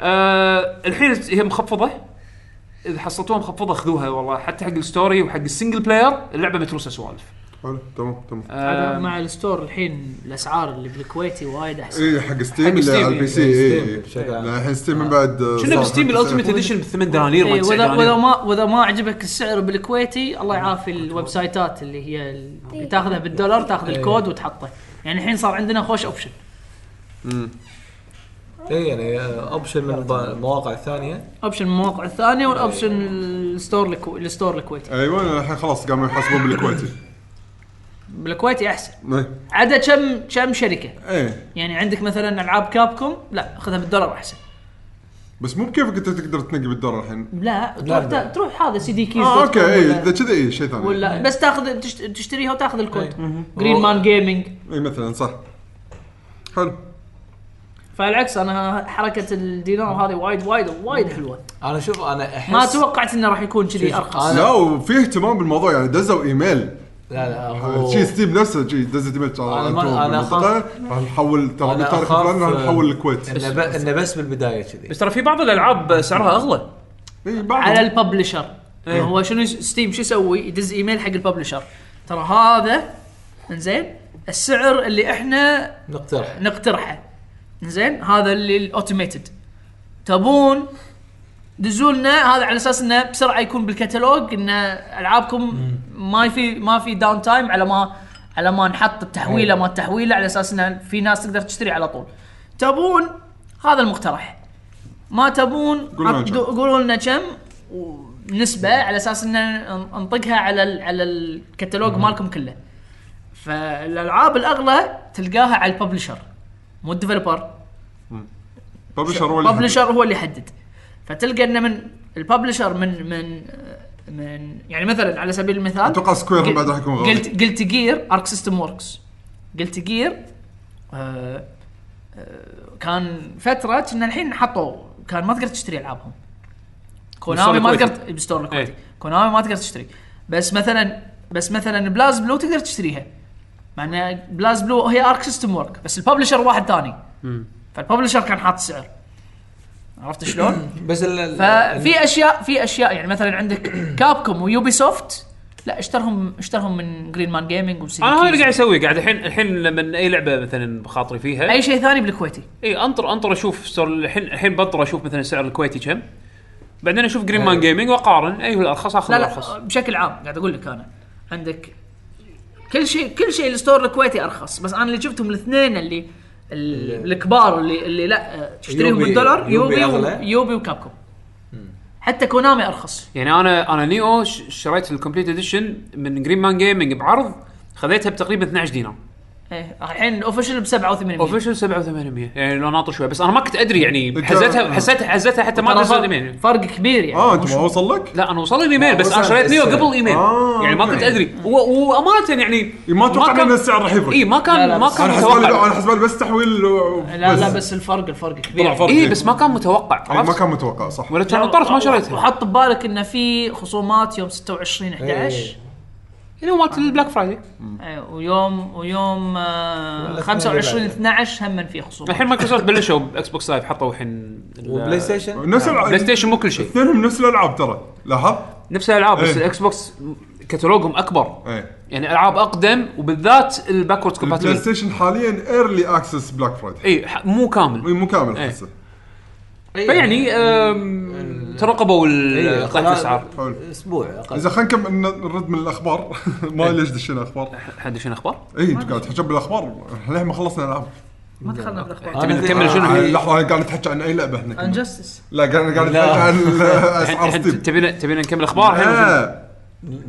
S1: أه الحين هي مخفضه اذا حصلتوها مخفضه خذوها والله حتى حق الستوري وحق السنجل بلاير اللعبه متروسه سوالف.
S3: حلو تمام تمام
S2: عاد
S1: أه
S2: مع الستور الحين الاسعار اللي بالكويتي وايد احسن
S3: اي إيه، حق ستيم
S1: حق
S3: اللي
S1: ستيم،
S3: على البي سي
S4: إيه،
S3: إيه،
S4: ستيم
S3: إيه.
S4: بشكل عام.
S3: لا الحين ستيم من بعد آه،
S1: شنو
S3: صار
S1: بستيم
S3: 50
S1: الالتيميت اديشن ب 8 دنانير ولا
S2: إيه،
S1: 9
S2: واذا واذا
S1: دنانير
S2: ما واذا ما عجبك السعر بالكويتي الله يعافي الويب سايتات اللي هي ال- اللي تاخذها بالدولار تاخذ الكود وتحطه يعني الحين صار عندنا خوش اوبشن
S4: اي يعني اوبشن من الب- المواقع الثانيه
S2: اوبشن من المواقع الثانيه والاوبشن الستور الكو... الستور الكويتي
S3: ايوه الحين خلاص قاموا يحاسبون بالكويتي
S2: بالكويتي احسن
S3: [laughs] إيه.
S2: عدا كم كم شركه
S3: ايه
S2: يعني عندك مثلا العاب كابكوم لا خذها بالدولار احسن
S3: بس مو بكيفك انت تقدر تنقي بالدولار الحين
S2: لا آه، إيه، تروح
S4: لا.
S2: تروح هذا سي دي كيز
S3: اه اوكي اي اذا كذا اي شيء ثاني
S2: ولا بس تاخذ تشت- تشتريها وتاخذ الكود جرين مان جيمنج
S3: اي مثلا إيه، صح حلو
S2: فالعكس انا حركه الدينار هذه وايد وايد وايد حلوه
S4: انا شوف انا احس
S2: ما توقعت انه راح يكون كذي ارخص
S3: لا وفي اهتمام بالموضوع يعني دزوا ايميل
S4: لا لا هو
S3: شي ستيم نفسه شي دزت ايميل
S4: أنا ما-
S3: انتم
S4: أنا
S3: بالمنطقه راح نحول ترى
S4: أنا
S3: بالتاريخ
S4: أخاف-
S3: الفلاني راح نحول الكويت
S4: انه ب- إنه بس بالبدايه كذي
S1: بس ترى في بعض الالعاب سعرها اغلى
S3: اي بعض
S2: على الببلشر هو شنو يس- ستيم شو يسوي يدز ايميل حق الببلشر ترى هذا انزين السعر اللي احنا
S4: نقترح
S2: نقترحه زين هذا اللي الاوتوميتد تبون دزوا لنا هذا على اساس انه بسرعه يكون بالكتالوج ان العابكم ما في ما في داون تايم على ما على ما نحط التحويله ما التحويله على اساس انه في ناس تقدر تشتري على طول تبون هذا المقترح ما تبون
S3: قولوا لنا
S2: عط-
S3: كم.
S2: قولوا لنا كم ونسبه على اساس ان ن- نطقها على ال- على الكتالوج مالكم كله فالالعاب الاغلى تلقاها على الببلشر مو الديفلوبر
S3: ببلشر ولا
S2: ببلشر هو اللي يحدد فتلقى انه من الببلشر من من من يعني مثلا على سبيل المثال
S3: اتوقع سكوير هم بعد راح يكون غلط.
S2: قلت قلت جير ارك سيستم وركس قلت جير آه آه، كان فتره كنا الحين حطوا كان ما تقدر تشتري العابهم كونامي ما
S1: الكويتي.
S2: تقدر بستور الكويتي
S1: إيه.
S2: كونامي ما تقدر تشتري بس مثلا بس مثلا بلاز بلو تقدر تشتريها مع ان بلاز بلو هي ارك سيستم ورك بس الببلشر واحد ثاني فالببلشر كان حاط سعر عرفت شلون؟
S5: بس ال- ال-
S2: ففي اشياء في اشياء يعني مثلا عندك كابكوم ويوبي سوفت لا اشترهم اشترهم من جرين مان جيمنج
S1: انا آه، هذا اللي قاعد اسويه قاعد الحين الحين لما اي لعبه مثلا بخاطري فيها
S2: اي شيء ثاني بالكويتي
S1: اي انطر انطر اشوف صار الحين الحين بنطر اشوف مثلا سعر الكويتي كم بعدين اشوف جرين
S3: أيوه.
S1: مان جيمنج واقارن اي هو الارخص اخذ
S2: لا
S1: الارخص
S2: لا بشكل عام قاعد اقول لك انا عندك كل شيء كل شيء الستور الكويتي ارخص بس انا اللي شفتهم الاثنين اللي ال- الكبار اللي اللي لا آه، تشتريهم
S4: يوبي-
S2: بالدولار
S4: يوبي
S2: يوبي و-
S4: أغلى.
S2: يوبي وكابكوم حتى كونامي ارخص
S1: يعني انا انا نيو ش- شريت الكومبليت اديشن من جرين مان جيمنج بعرض خذيتها بتقريبا 12 دينار
S2: ايه الحين اوفشل ب 87
S1: اوفيشل 7800 يعني لو ناطر شوي بس انا ما كنت ادري يعني حزتها حزتها حزتها حتى ما
S2: ترى
S1: ادري
S2: فرق-
S1: صار ايميل
S2: فرق كبير يعني
S4: آه،
S3: اه انت ما وصل لك؟
S1: لا انا وصل لي ايميل بس انا
S4: وصل
S1: شريت نيو
S4: السعر.
S1: قبل ايميل
S3: آه،
S1: يعني ما
S3: أوكي.
S1: كنت ادري و- وامانه يعني
S3: ما توقعنا
S1: كان-
S3: ان السعر راح يفرق
S1: اي ما
S2: لا لا
S1: كان ما
S2: بس
S1: كان
S3: انا حسبالي
S1: متوقع
S3: انا حسبالي بس تحويل و-
S2: لا لا بس الفرق الفرق
S3: طلع
S2: كبير
S3: فرق
S1: اي بس ما كان متوقع
S3: أي، ما
S1: عرفت؟
S3: كان متوقع صح
S1: ولا كان اضطرت ما شريتها
S2: وحط ببالك انه في خصومات يوم 26 11
S1: يعني هو مالت البلاك فرايدي
S2: أي، إيه، ويوم ويوم آه، 25 12 هم في خصومات
S1: الحين مايكروسوفت بلشوا باكس بوكس لايف حطوا الحين ال-
S5: وبلاي ستيشن
S3: نفس الع-
S1: بلاي ستيشن مو كل شيء
S3: اثنينهم نفس الالعاب ترى لاحظت؟
S1: نفس الالعاب بس
S3: إيه.
S1: الاكس بوكس كتالوجهم اكبر
S3: ايه
S1: يعني العاب اقدم وبالذات الباكورد
S3: البلاي
S1: كومباتبل
S3: ستيشن حاليا ايرلي اكسس بلاك فرايداي
S1: اي ح- مو كامل
S3: مو كامل
S1: إيه.
S3: احسه
S1: فيعني
S3: إيه.
S1: أم، ترقبوا ال- طيب طاحت الاسعار
S3: حلو.
S5: اسبوع اقل
S3: اذا خلينا نكمل ن- نرد من الاخبار [laughs] ما ليش دشينا اخبار
S1: حد شنو اخبار؟
S3: اي انت قاعد تحكي بالاخبار إحنا للحين ما خلصنا العاب
S2: ما دخلنا بالاخبار
S1: تبي
S5: أنا في-
S1: نكمل شنو؟
S5: آه،
S3: آه، لحظه انا قاعد تحكي عن اي لعبه هنا
S1: آه.
S3: كمان.
S2: انجستس
S3: لا قاعد قاعد
S5: لا.
S3: تحكي عن اسعار
S1: الحين- الحين
S3: ستيم
S1: تبينا تبينا نكمل اخبار الحين ولا شنو؟
S3: آه.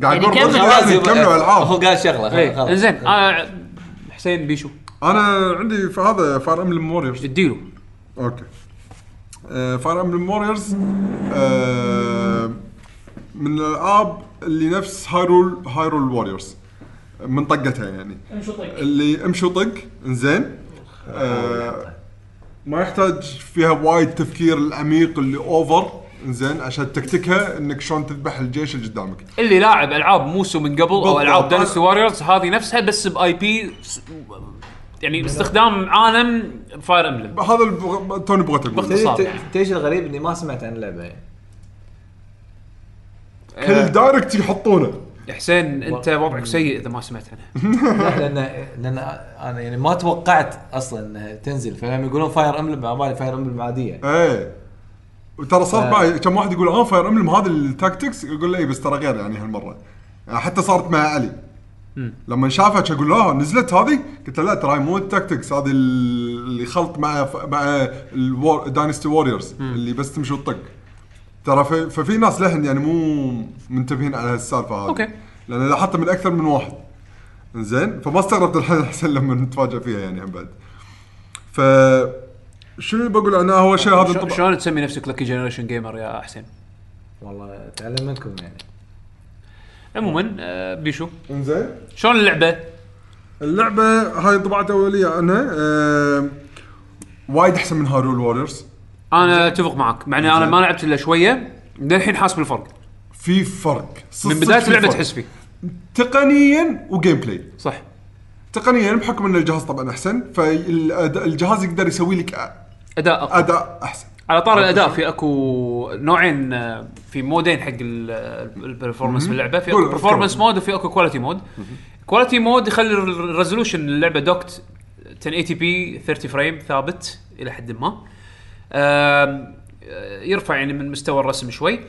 S3: قاعد اقول
S2: يعني كمل.
S3: خلاص نكملوا العاب
S5: آه، هو قال شغله
S1: إيه،
S5: خلاص.
S1: انزين آه، حسين بيشو
S3: انا عندي في هذا فاير امبلم موريورز
S1: اديله
S3: اوكي فاير امبلم ووريرز آه، من الالعاب اللي نفس هايرول هايرول ووريرز من طقتها يعني اللي امشي وطق انزين آه، ما يحتاج فيها وايد تفكير العميق اللي اوفر انزين عشان تكتكها انك شلون تذبح الجيش اللي قدامك
S1: اللي لاعب العاب موسو من قبل او
S3: بالضبط.
S1: العاب دانستي واريورز هذه نفسها بس باي بي يعني باستخدام عالم فاير امبلم
S3: هذا اللي بغ- توني بغيت اقول
S1: باختصار.
S5: تدري- ت- تدري شو الغريب اني ما سمعت عن اللعبه يعني
S3: كل دايركت يحطونه
S1: حسين انت وضعك سيء اذا ما سمعت عنها
S3: [laughs]
S5: لا، لان لان انا يعني ما توقعت اصلا انها تنزل فلما يقولون فاير امبلم على بالي فاير امبلم عاديه
S3: ايه وترى صار
S5: آه.
S3: بعد كم واحد يقول اه فاير امبلم هذا التاكتكس يقول لي بس ترى غير يعني هالمره يعني حتى صارت مع علي لما شافها شو اقول له "آه، نزلت هذه قلت له لا ترى هاي مو التاكتكس هذه ال- اللي خلط مع ف... مع داينستي ووريرز اللي بس تمشي وتطق ترى ف... ففي ناس لهن يعني مو منتبهين على هالسالفه هذه
S1: أوكي.
S3: لان لاحظتها من اكثر من واحد زين فما استغربت الحين احسن [laughs] لما نتفاجئ فيها يعني هم بعد ف شنو اللي بقول انا اول شيء هذا
S1: شو-
S3: طبعاً-
S1: شلون تسمي نفسك لكي جنريشن جيمر يا حسين
S5: والله تعلم منكم يعني
S1: عموما آه، بيشو
S3: انزين
S1: شلون اللعبه
S3: اللعبه هاي انطباعات اوليه عنها آه وايد احسن من هارول ووريرز
S1: انا اتفق معك مع اني انا ما لعبت الا شويه للحين حاسس بالفرق
S3: في فرق صدق-
S1: من
S3: صدق
S1: بدايه
S3: في
S1: اللعبه
S3: فرق.
S1: تحس فيه
S3: تقنيا وجيم بلاي
S1: صح
S3: تقنيا بحكم ان الجهاز طبعا احسن فالجهاز يقدر يسوي لك
S1: اداء أقوى.
S3: اداء احسن
S1: على طار الاداء في اكو نوعين آه، في مودين حق ال- ال- البرفورمانس باللعبه في اكو
S3: قول-
S1: برفورمانس
S3: تكلم.
S1: مود وفي اكو كواليتي مود كواليتي مود يخلي ال- الريزولوشن اللعبه دوكت 1080 بي 30 فريم ثابت الى حد ما آم، آه، يرفع يعني من مستوى الرسم شوي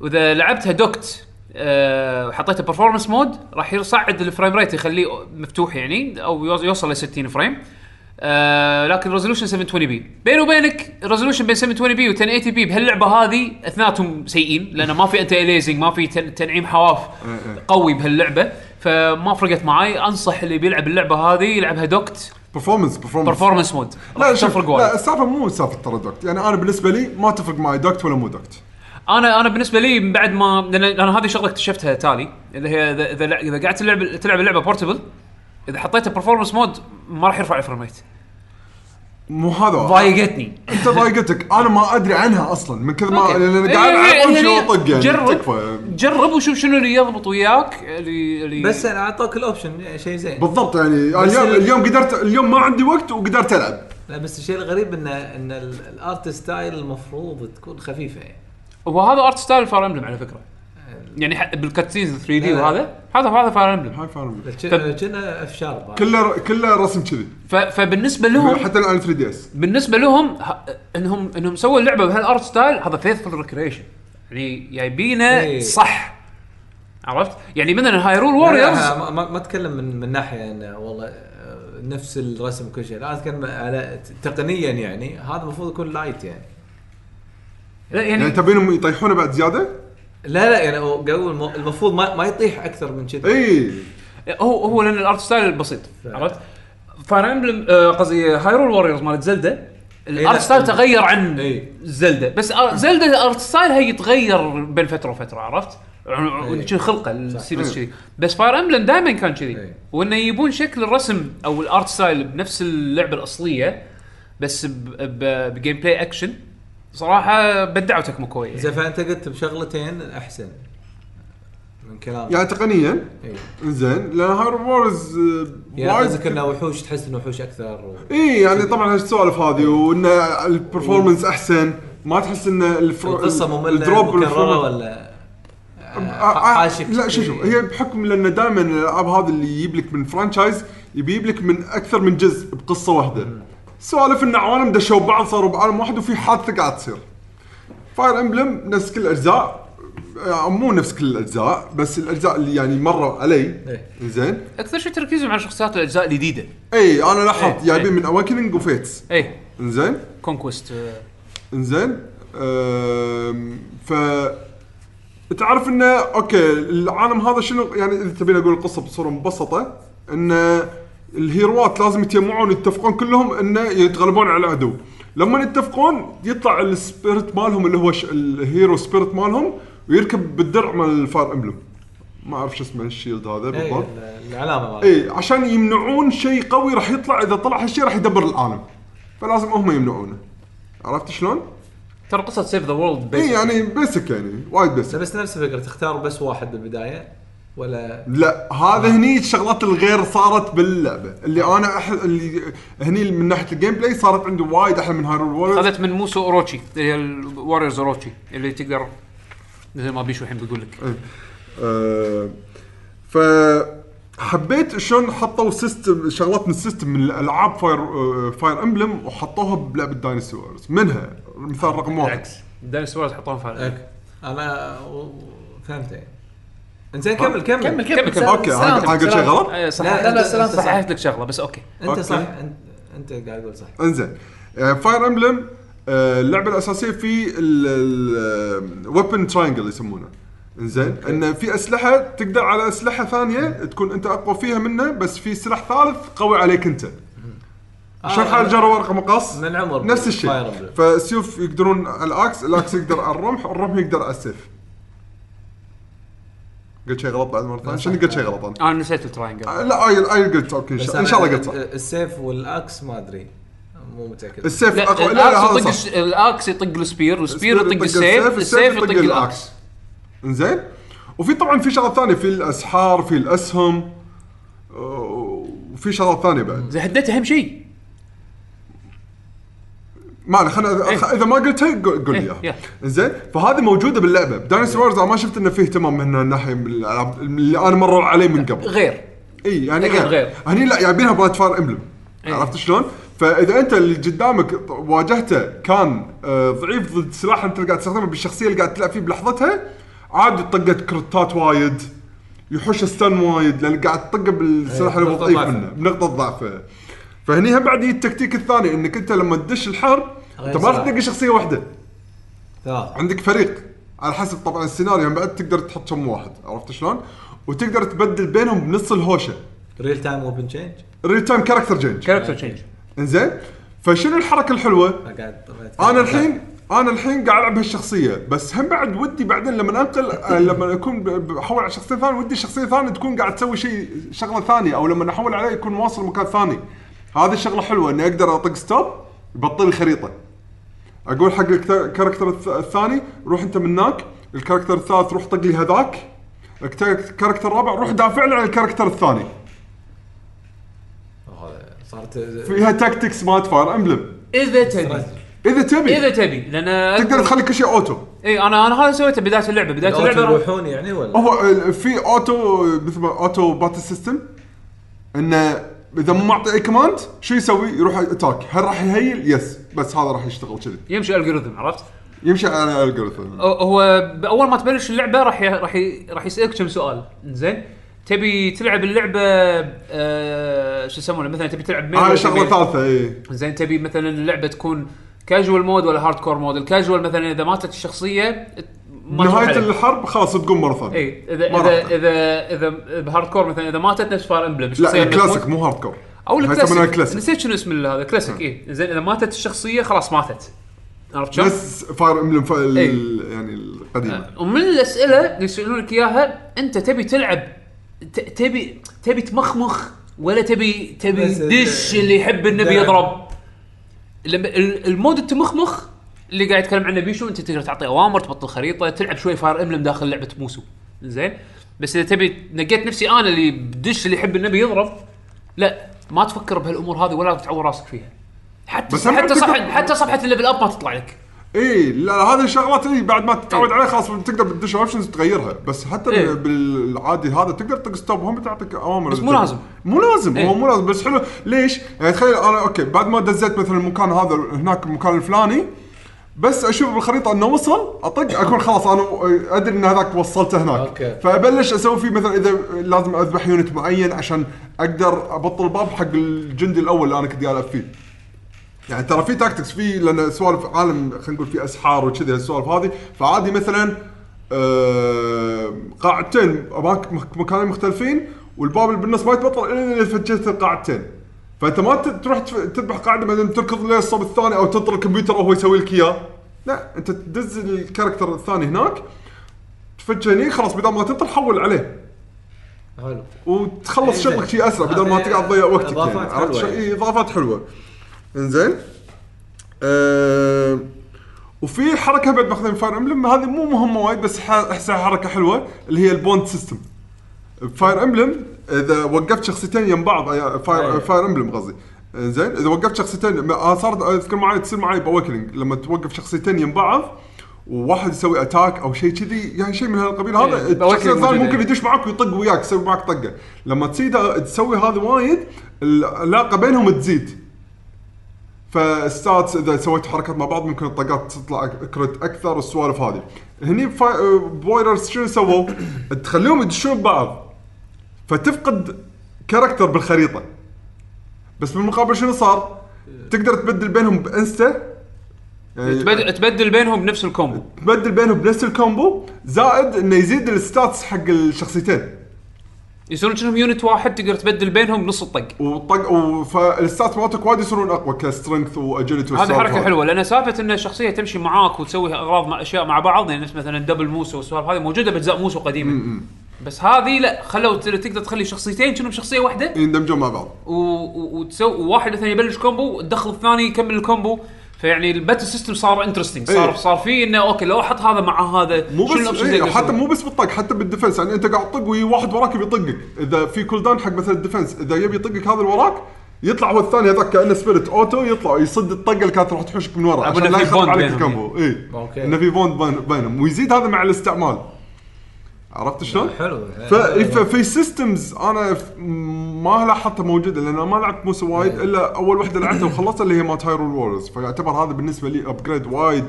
S1: واذا لعبتها دوكت آه، وحطيتها برفورمانس مود راح يصعد الفريم ريت يخليه مفتوح يعني او يوز- يوصل ل 60 فريم آه لكن الريزولوشن 720 بي بيني وبينك الريزولوشن بين 720 بي و 1080 بي بهاللعبه هذه اثنيناتهم سيئين لان ما في انت اليزنج ما في تن- تنعيم حواف
S3: إيه،
S1: قوي بهاللعبه فما فرقت معي انصح اللي بيلعب اللعبه هذه يلعبها دوكت
S3: برفورمانس برفورمانس
S1: برفورمانس مود
S3: لا
S1: راح
S3: شوف
S1: تفرق وايد
S3: لا السالفه مو سالفه ترى دوكت يعني انا بالنسبه لي ما تفرق معي دوكت ولا مو دوكت
S1: انا انا بالنسبه لي من بعد ما لان انا هذه شغله اكتشفتها تالي اللي هي اذا اذا لع- اذا قعدت تلعب تلعب اللعبه بورتبل اذا حطيتها برفورمانس مود ما راح يرفع الفريم ريت
S3: مو هذا
S1: ضايقتني
S3: انت ضايقتك انا ما ادري عنها اصلا من كثر ما
S1: أوكي.
S3: لان قاعد
S1: يعني-
S3: العب
S1: يعني
S3: شو اطق يعني
S1: جرب.
S3: تكفى
S1: جرب وشوف شنو اللي يضبط وياك اللي اللي
S4: بس انا اعطوك
S5: إيه،
S4: الاوبشن شيء زين
S3: بالضبط يعني اليوم,
S4: ال-
S3: اليوم قدرت اليوم ما عندي وقت وقدرت العب
S4: لا بس الشيء الغريب ان ان ال- الارت ستايل المفروض تكون خفيفه
S5: إيه.
S4: يعني
S1: وهذا ارت ستايل فاير امبلم على فكره يعني ح- بالكاتسينز 3 دي
S4: لا.
S1: وهذا هذا هذا فاير امبلم
S3: هاي فارم
S1: طب-
S4: كنا اف شارب
S3: كله كله رسم كذي
S1: فبالنسبه لهم
S3: حتى الان 3 دي اس
S1: بالنسبه لهم ه- انهم انهم سووا اللعبه بهالارت ستايل هذا فيثفul ريكريشن يعني جايبينه
S4: إيه.
S1: صح عرفت؟ يعني مثلا هايرول
S4: لا،
S1: ووريرز
S4: ما, ما, ما اتكلم من من ناحيه انه والله آه، نفس الرسم وكل شيء لا اتكلم على ت- تقنيا يعني هذا المفروض يكون لايت يعني
S1: لا،
S3: يعني
S1: يعني
S3: تبينهم يطيحونه بعد زياده؟
S4: لا لا يعني هو قالوا الم- المفروض ما, ما يطيح اكثر من كذا
S3: اي
S1: هو هو لان الارت ستايل بسيط
S4: فعلا.
S1: عرفت؟ فاير امبلم آه، قصدي هايرول ووريرز مالت زلده
S4: إيه، لا.
S1: الارت ستايل تغير عن
S4: إيه.
S1: زلده بس آه، زلده الارت ستايل هي يتغير بين فتره وفتره عرفت؟ شي خلقه السيريس كذي بس فاير امبلم دائما كان كذي
S4: إيه.
S1: وانه يبون شكل الرسم او الارت ستايل بنفس اللعبه الاصليه بس ب- ب- بجيم بلاي اكشن صراحه بدعوا تكمكوي يعني.
S4: زين فانت قلت بشغلتين احسن من كلامك
S3: يعني تقنيا
S4: إيه.
S3: زين لان هاير وورز
S4: يعني قصدك انه وحوش تحس انه وحوش اكثر و...
S3: اي آه، يعني طبعا هالسوالف هذه وان البرفورمنس احسن ما تحس ان الفر...
S4: القصه ممله
S3: الدروب
S4: مكرره
S3: بالفرو-
S4: ولا
S3: آه، آه،
S4: حاشك
S3: لا شوف شوف هي بحكم لان دائما الالعاب هذه اللي يجيب لك من فرانشايز يجيب لك من اكثر من جزء بقصه واحده سوالف ان عوالم دشوا بعض صاروا بعالم واحد وفي حادثه قاعد تصير فاير امبلم نفس كل الاجزاء آه، مو نفس كل الاجزاء بس الاجزاء اللي يعني مروا علي
S4: إيه.
S3: زين
S1: اكثر شيء تركيزهم على شخصيات الاجزاء الجديده
S3: اي انا لاحظت
S1: إيه،
S3: جايبين من اواكننج وفيتس
S1: اي
S3: زين
S1: كونكوست
S3: انزين أم، ف تعرف انه اوكي العالم هذا شنو يعني اذا تبين اقول القصه بصوره مبسطه ان الهيروات لازم يتجمعون يتفقون كلهم انه يتغلبون على العدو لما يتفقون يطلع السبيرت مالهم اللي هو ش... الهيرو سبيرت مالهم ويركب بالدرع مال الفاير امبلم ما اعرف شو اسمه الشيلد هذا
S4: إيه،
S3: بالضبط
S4: العلامه مالها
S3: اي عشان يمنعون شيء قوي راح يطلع اذا طلع هالشيء راح يدبر العالم فلازم هم يمنعونه عرفت شلون؟
S1: ترى قصه سيف ذا وورلد
S4: إيه،
S3: اي يعني بيسك يعني وايد بيسك
S4: لا، بس نفس الفكره تختار بس واحد بالبدايه ولا
S3: لا هذا هني الشغلات الغير صارت باللعبه اللي انا أح... اللي هني من ناحيه الجيم بلاي صارت عندي وايد احلى من هايرول ووريرز
S1: خذت من موسو اوروتشي اللي هي الوريرز اوروتشي اللي تقدر مثل ما بيشو الحين بيقول لك
S3: آه، ف حبيت شلون حطوا سيستم شغلات من السيستم من الالعاب فاير آه، فاير امبلم وحطوها بلعبه داينسورز منها مثال رقم واحد
S1: بالعكس داينسورز حطوهم فعلا
S4: أوكي. انا فهمت يعني انزين كمل كمل
S2: كمل كمل
S1: كمل.
S2: سلام-
S3: اوكي
S2: سلام.
S3: انا أنا قلت شيء غلط
S1: آه، صح
S4: لا،
S1: لا
S4: لا،
S1: لا
S4: لا، سلام، صح.
S1: صححت لك شغله بس اوكي
S4: انت
S3: أوكي.
S4: صح انت انت قاعد تقول صح
S3: انزين آه، فاير امبلم اللعبه الاساسيه آه، في الويبن تراينجل يسمونه انزين ان في اسلحه تقدر على اسلحه ثانيه تكون انت اقوى فيها منه بس في سلاح ثالث قوي عليك انت شلون حال جرى ورقه مقص
S4: آه، من العمر
S3: نفس
S4: Fire
S3: الشيء
S4: Emblem.
S3: فالسيوف يقدرون على الاكس الاكس يقدر على الرمح الرمح يقدر على السيف قلت شيء غلط بعد مره ثانيه شنو قلت شيء غلط انا
S1: انا نسيت التراينجل
S3: آه، لا اي اي قلت اوكي إن شاء- ان شاء الله قلت صح
S4: السيف والاكس ما ادري مو متاكد
S3: السيف
S1: لا
S3: اقوى لا لا
S1: الاكس
S3: هذا
S1: يطق
S3: صح
S1: الس- الاكس يطق السبير والسبير يطق السيف السيف يطق الاكس
S3: انزين وفي طبعا في شغلات ثانيه في الاسحار في الاسهم آه، وفي شغلات ثانيه بعد
S1: زين حددت اهم شيء
S3: ما عليه خلنا
S1: إيه.
S3: اذا ما قلتها قول قول لي
S1: إيه،
S3: اياها
S1: يلا.
S3: انزين فهذه موجوده باللعبه داينسور وورز أنا ما شفت انه فيه اهتمام من الناحيه من الالعاب اللي انا مروا علي من قبل
S1: غير
S3: اي يعني
S1: غير-
S3: غير
S1: غير.
S3: غير هني لا جايبينها بلاد فاير امبلم عرفت شلون؟ فاذا انت اللي قدامك ط- واجهته كان آه، ضعيف ضد سلاح انت اللي قاعد تستخدمه بالشخصيه اللي قاعد تلعب فيه بلحظتها عادي طقت كرتات وايد يحوش ستان وايد لان قاعد تطقه بالسلاح اللي هو
S4: بنقطة
S3: ضعيف
S4: ضعفه.
S3: منه بنقطه ضعفه فهني هم بعد يجي التكتيك الثاني انك انت لما تدش الحرب انت ما راح
S4: سلاح.
S3: تلقى شخصيه واحده
S4: ثلاث
S3: عندك فريق على حسب طبعا السيناريو هم بعد تقدر تحط كم واحد عرفت شلون؟ وتقدر تبدل بينهم بنص الهوشه
S4: ريل تايم اوبن تشينج
S3: ريل تايم كاركتر جينج
S1: كاركتر تشينج
S3: انزين فشنو الحركه الحلوه؟
S4: قاعد
S3: انا الحين انا الحين قاعد العب هالشخصيه بس هم بعد ودي بعدين لما انقل آه، لما اكون ب- بحول على شخصيه ثانيه ودي شخصيه ثانيه تكون قاعد تسوي شيء شغله ثانيه او لما احول عليه يكون واصل مكان ثاني هذه الشغله حلوه اني اقدر اطق ستوب يبطل الخريطه اقول حق الكت- الكاركتر الث- الثاني روح انت من هناك الكاركتر الثالث روح طق لي هذاك الكت- الكاركتر الرابع روح دافع له على الكاركتر الثاني
S4: هذا صارت
S3: فيها تاكتكس مالت فاير امبلم
S1: اذا تبي
S3: اذا تبي
S1: اذا تبي لان
S3: تقدر تخلي كل شيء اوتو
S1: اي انا انا هذا سويته بدايه اللعبه بدايه
S4: الأوتو
S1: اللعبه
S4: يروحون يعني ولا
S3: هو ال- في اوتو مثل ما اوتو باتل سيستم انه اذا ما اعطي اي كوماند شو يسوي؟ يروح اتاك، هل راح يهيل؟ يس بس هذا راح يشتغل كذي،
S1: يمشي الجوريثم عرفت؟
S3: يمشي على الالجوريثم.
S1: أو- هو ب- اول ما تبلش اللعبه راح ي- راح ي- راح يسالك كم سؤال زين تبي تلعب اللعبه آه شو يسمونه مثلا تبي تلعب ميل
S3: هاي
S1: ولا
S3: شغله
S1: تبي-
S3: ثالثه اي
S1: زين تبي مثلا اللعبه تكون كاجوال مود ولا هارد كور مود الكاجوال مثلا اذا ماتت الشخصيه ت- ما تروح إيه،
S3: نهايه
S1: عليك.
S3: الحرب خلاص تقوم مره ثانيه.
S1: اي اذا
S3: ما راح.
S1: اذا اذا اذا بهارد كور مثلا اذا ماتت نفس فاير امبلم
S3: لا الكلاسيك مو هارد كور.
S1: او
S3: هاي
S1: الكلاسيك
S3: يسمونها الكلاسيك.
S1: نسيت شنو اسم هذا كلاسيك اي زين اذا ماتت الشخصيه خلاص ماتت عرفت شلون؟
S3: بس فاير امبلم ف... ال-
S1: إي. آه.
S3: يعني القديمه.
S1: ومن الاسئله اللي يسالونك اياها انت تبي تلعب ت- تبي تبي تمخمخ ولا تبي تبي
S4: بس-
S1: دش اللي يحب النبي
S4: دعم.
S1: يضرب لما ال- المود التمخمخ اللي قاعد يتكلم عنه بيشو انت تقدر تعطي اوامر تبطل خريطه تلعب شوي فاير امبلم داخل لعبه موسو زين بس اذا تبي نقيت نفسي انا اللي بدش اللي يحب النبي يضرب لا ما تفكر بهالامور هذه ولا تعور راسك فيها حتى
S3: بس أنا
S1: حتى
S3: أعتقد-
S1: صفحه حتى صفحه الليفل اب ما تطلع لك
S3: اي إيه، لا لا، هذه الشغلات اي بعد ما
S1: إيه.
S3: تتعود عليها خلاص تقدر تدش اوبشنز تغيرها بس حتى
S1: إي.
S3: بال- بالعادي هذا تقدر تطق ستوب هم بتعطيك اوامر
S1: إيه. بس
S3: إذا
S1: مو
S3: تبي.
S1: لازم. إيه.
S3: مو لازم
S1: إي.
S3: هو مو لازم بس حلو ليش؟ يعني تخيل انا اوكي بعد ما دزيت مثلا المكان هذا هناك المكان الفلاني بس اشوف بالخريطه انه وصل اطق اكون خلاص انا ادري ان هذاك وصلته هناك
S4: أوكي.
S3: فابلش اسوي فيه مثلا اذا لازم اذبح يونت معين عشان اقدر ابطل باب حق الجندي الاول اللي انا كنت قاعد ألعب فيه يعني ترى في تاكتكس في لان سوالف عالم خلينا نقول في اسحار وكذي هالسوالف هذه فعادي مثلا آه، قاعدتين اماكن مكانين مختلفين والباب اللي بالنص ما يتبطل الا اذا فجرت القاعدتين فانت ما ت- تروح تف- تذبح قاعده بعدين تركض للصوب الثاني او تنطر الكمبيوتر وهو يسوي لك اياه لا انت تدز الكاركتر الثاني هناك تفجر هني خلاص بدل ما تنطر حول عليه
S4: حلو
S3: وتخلص
S4: إيه
S3: شغلك
S4: زين.
S3: شيء اسرع بدل ما
S4: هذه
S3: تقعد تضيع وقتك
S4: إضافات
S3: يعني عرفت
S4: حلوة
S3: شيء
S4: يعني.
S3: إيه، اضافات حلوه انزين أه وفي حركه بعد ماخذين من فاير امبلم هذه مو مهمه وايد بس ح- احسها حركه حلوه اللي هي البوند سيستم فاير امبلم اذا وقفت شخصيتين يم بعض آه، فاير
S4: أي.
S3: فاير امبلم قصدي زين اذا وقفت شخصيتين ما- آه، صارت اذكر معي تصير معي باوكلينج لما توقف شخصيتين يم بعض وواحد يسوي اتاك او شيء كذي يعني شيء من هالقبيل هذا الشخص الثاني
S1: موجودة.
S3: ممكن يدش معك ويطق وياك يسوي معك طقه لما تصيده تسوي هذا وايد العلاقه بينهم تزيد فستاتس اذا سويت حركات مع بعض ممكن الطاقات تطلع اكرت اكثر والسوالف هذه هني فا- بويلرز شنو سووا؟ [coughs] تخليهم يدشون ببعض فتفقد كاركتر بالخريطه بس بالمقابل شنو صار؟ تقدر تبدل بينهم بانستا يعني
S1: تبدل, تبدل بينهم بنفس الكومبو
S3: تبدل بينهم بنفس الكومبو زائد انه يزيد الستاتس حق الشخصيتين
S1: يصيرون كأنهم يونت واحد تقدر تبدل بينهم بنص الطق
S3: وطق فالستات مالتك وايد يصيرون اقوى كسترينث واجيلتي
S1: هذه حركه حلوه لان سالفه ان الشخصيه تمشي معاك وتسوي اغراض مع اشياء مع بعض يعني نفس مثلا دبل موسو والسوالف هذه موجوده باجزاء موسو قديمه بس هذه لا خلوا ت- تقدر تخلي شخصيتين كأنهم شخصيه واحده
S3: يندمجون مع بعض
S1: و- و- وتسوي وواحد مثلا يبلش كومبو وتدخل الثاني يكمل الكومبو فيعني الباتل سيستم صار انترستنج صار
S3: إيه.
S1: صار فيه انه اوكي لو احط هذا مع هذا
S3: مو
S1: شنو
S3: بس
S1: الأوبشنز
S3: إيه
S1: اللي أقدر
S3: حتى
S1: أسويها؟
S3: مو بس بالطق حتى بالدفنس يعني انت قاعد تطق وي واحد وراك بيطقك اذا في كول داون حق مثلا الدفنس اذا يبي يطقك هذا اللي وراك يطلع هو الثاني هذاك كانه سبيريت اوتو يطلع يصد الطقه اللي كانت راح تحوشك من ورا
S1: أبو
S3: عشان
S1: إنه
S3: لا
S1: في
S3: يخرب
S1: bond
S3: عليك
S1: بينهم،
S3: الكامبو اي
S4: أوكي.
S3: انه في بوند بين- بينهم ويزيد هذا مع الاستعمال عرفت شلون؟
S4: حلو
S3: ف- ففي سيستمز انا ف- ما لاحظتها موجوده لان أنا ما لعبت موسى وايد
S1: إيه.
S3: الا اول وحده لعبتها وخلصتها اللي هي مالت هايرول وورز فيعتبر هذا بالنسبه لي ابجريد وايد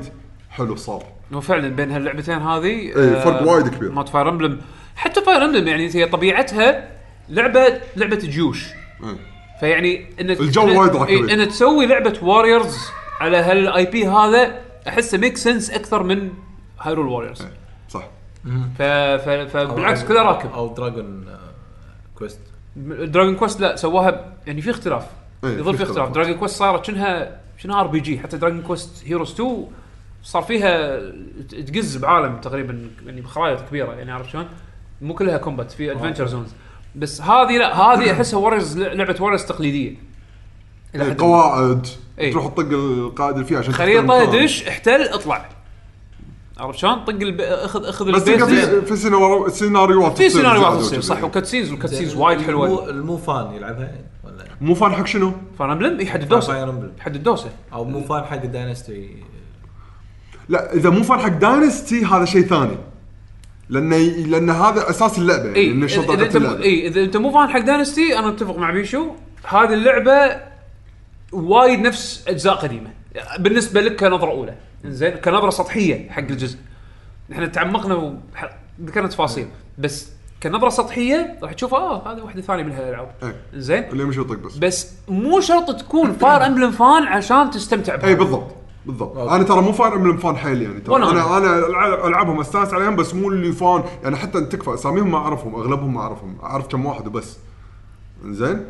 S3: حلو صار
S1: هو فعلا بين هاللعبتين هذه آه،
S3: إيه، فرق وايد كبير.
S1: مات فاير امبلم حتى فاير امبلم يعني هي طبيعتها لعبه لعبه جيوش
S3: إيه.
S1: فيعني ان
S3: الجو
S1: إن-
S3: وايد راح
S1: إيه،
S3: يبين.
S1: ان تسوي لعبه واريورز على هالاي بي هذا احسه ميك سنس اكثر من هايرول واريورز
S3: صح
S1: ف... ف... فبالعكس كله راكب
S4: او دراجون كويست
S1: دراجون كويست لا سواها ب- يعني في اختلاف
S3: إيه،
S1: يظل
S3: في
S1: في اختلاف
S3: اختلافات.
S1: دراجون كويست صارت شنها شنها ار بي جي حتى دراجون كويست هيروز 2 صار فيها ت- تقز بعالم تقريبا يعني بخرائط كبيره يعني عارف شلون؟ مو كلها كومبات في
S3: آه.
S1: ادفنتشر زونز بس هذه لا هذه احسها ورز لعبه ورز تقليديه إلى حد ما.
S3: إيه، قواعد
S1: إي.
S3: تروح تطق القائد اللي فيه عشان تختار
S1: خريطه
S3: المكان.
S1: دش احتل اطلع عرفت شلون؟ طق الب... اخذ اخذ
S3: بس
S1: البيس
S3: تلقى
S1: زين.
S3: في في سيناريو- سيناريوهات
S1: في
S3: تصير
S1: سيناريوهات
S3: زيادة
S1: تصير
S3: وكذي.
S1: صح وكاتسينز والكاتسينز وايد حلوه
S4: المو فان يلعبها يعني، ولا
S3: مو فان حق شنو؟
S1: فاير امبلم اي حد الدوسه
S4: فاير امبلم
S1: حد الدوسه
S4: او مو فان حق الداينستي
S3: لا اذا مو فان حق داينستي هذا شيء ثاني لان لان هذا اساس اللعبه يعني
S1: اي
S3: إنه
S1: إيه، إذا- إيه.
S3: شرطه
S1: اذا انت
S3: تحت
S1: مو-
S3: اللعبه
S1: اي اذا انت مو فان حق داينستي انا اتفق مع بيشو هذه اللعبه وايد نفس اجزاء قديمه بالنسبه لك كنظره اولى زين كنظره سطحيه حق الجزء احنا تعمقنا وح- ذكرنا تفاصيل بس كنظره سطحيه راح تشوف اه هذه واحده ثانيه من هالالعاب
S3: إي.
S1: زين
S3: اللي يمشي يطق بس
S1: بس مو شرط تكون فاير امبلم فان عشان تستمتع بها
S3: اي إيه، بالضبط بالضبط انا ترى مو فان امبلم فان حيل يعني ترى
S1: وأنا
S3: انا انا ألع- العبهم استانس عليهم بس مو اللي فان يعني حتى تكفى اساميهم ما اعرفهم اغلبهم ما اعرفهم اعرف كم واحد وبس زين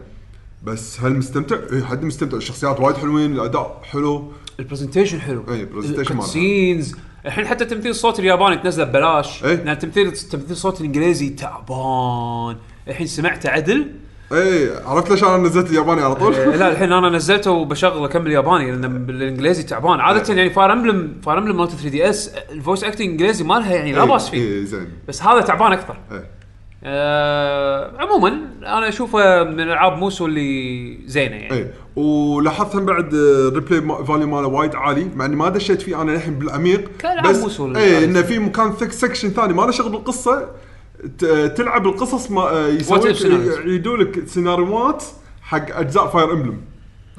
S3: بس هل مستمتع؟ اي حد مستمتع الشخصيات وايد حلوين الاداء حلو
S1: البرزنتيشن حلو
S3: إي، presentation مالها.
S1: السينز الحين حتى تمثيل الصوت الياباني تنزله ببلاش
S3: إي.
S1: لان تمثيل تمثيل الصوت الانجليزي تعبان الحين سمعته عدل
S3: اي إيه، عرفت ليش انا نزلت الياباني على
S1: [laughs]
S3: طول؟
S1: آه، لا الحين انا نزلته وبشغله كم بالياباني لان بالانجليزي تعبان عاده يعني فاير امبلم فاير امبلم مالت 3 دي اس الفويس اكتنج الانجليزي مالها يعني لا
S3: إي،
S1: باس فيه
S3: اي إيه، زين
S1: بس هذا تعبان اكثر
S3: إي.
S1: آه عموما انا اشوفه من العاب موسو اللي زينه يعني
S3: اي إيه. ولاحظت هم بعد آه، الريبلاي ما- فاليو ماله وايد عالي مع اني ما دشيت فيه انا الحين بالعميق
S1: كألعاب
S3: بس
S1: وصول.
S3: اي انه في مكان ثك سكشن ثاني ما له شغل بالقصه ت- تلعب القصص ما آه، يسوي
S1: What if scenarios.
S3: يعيدوا لك سيناريوهات حق اجزاء فاير امبلم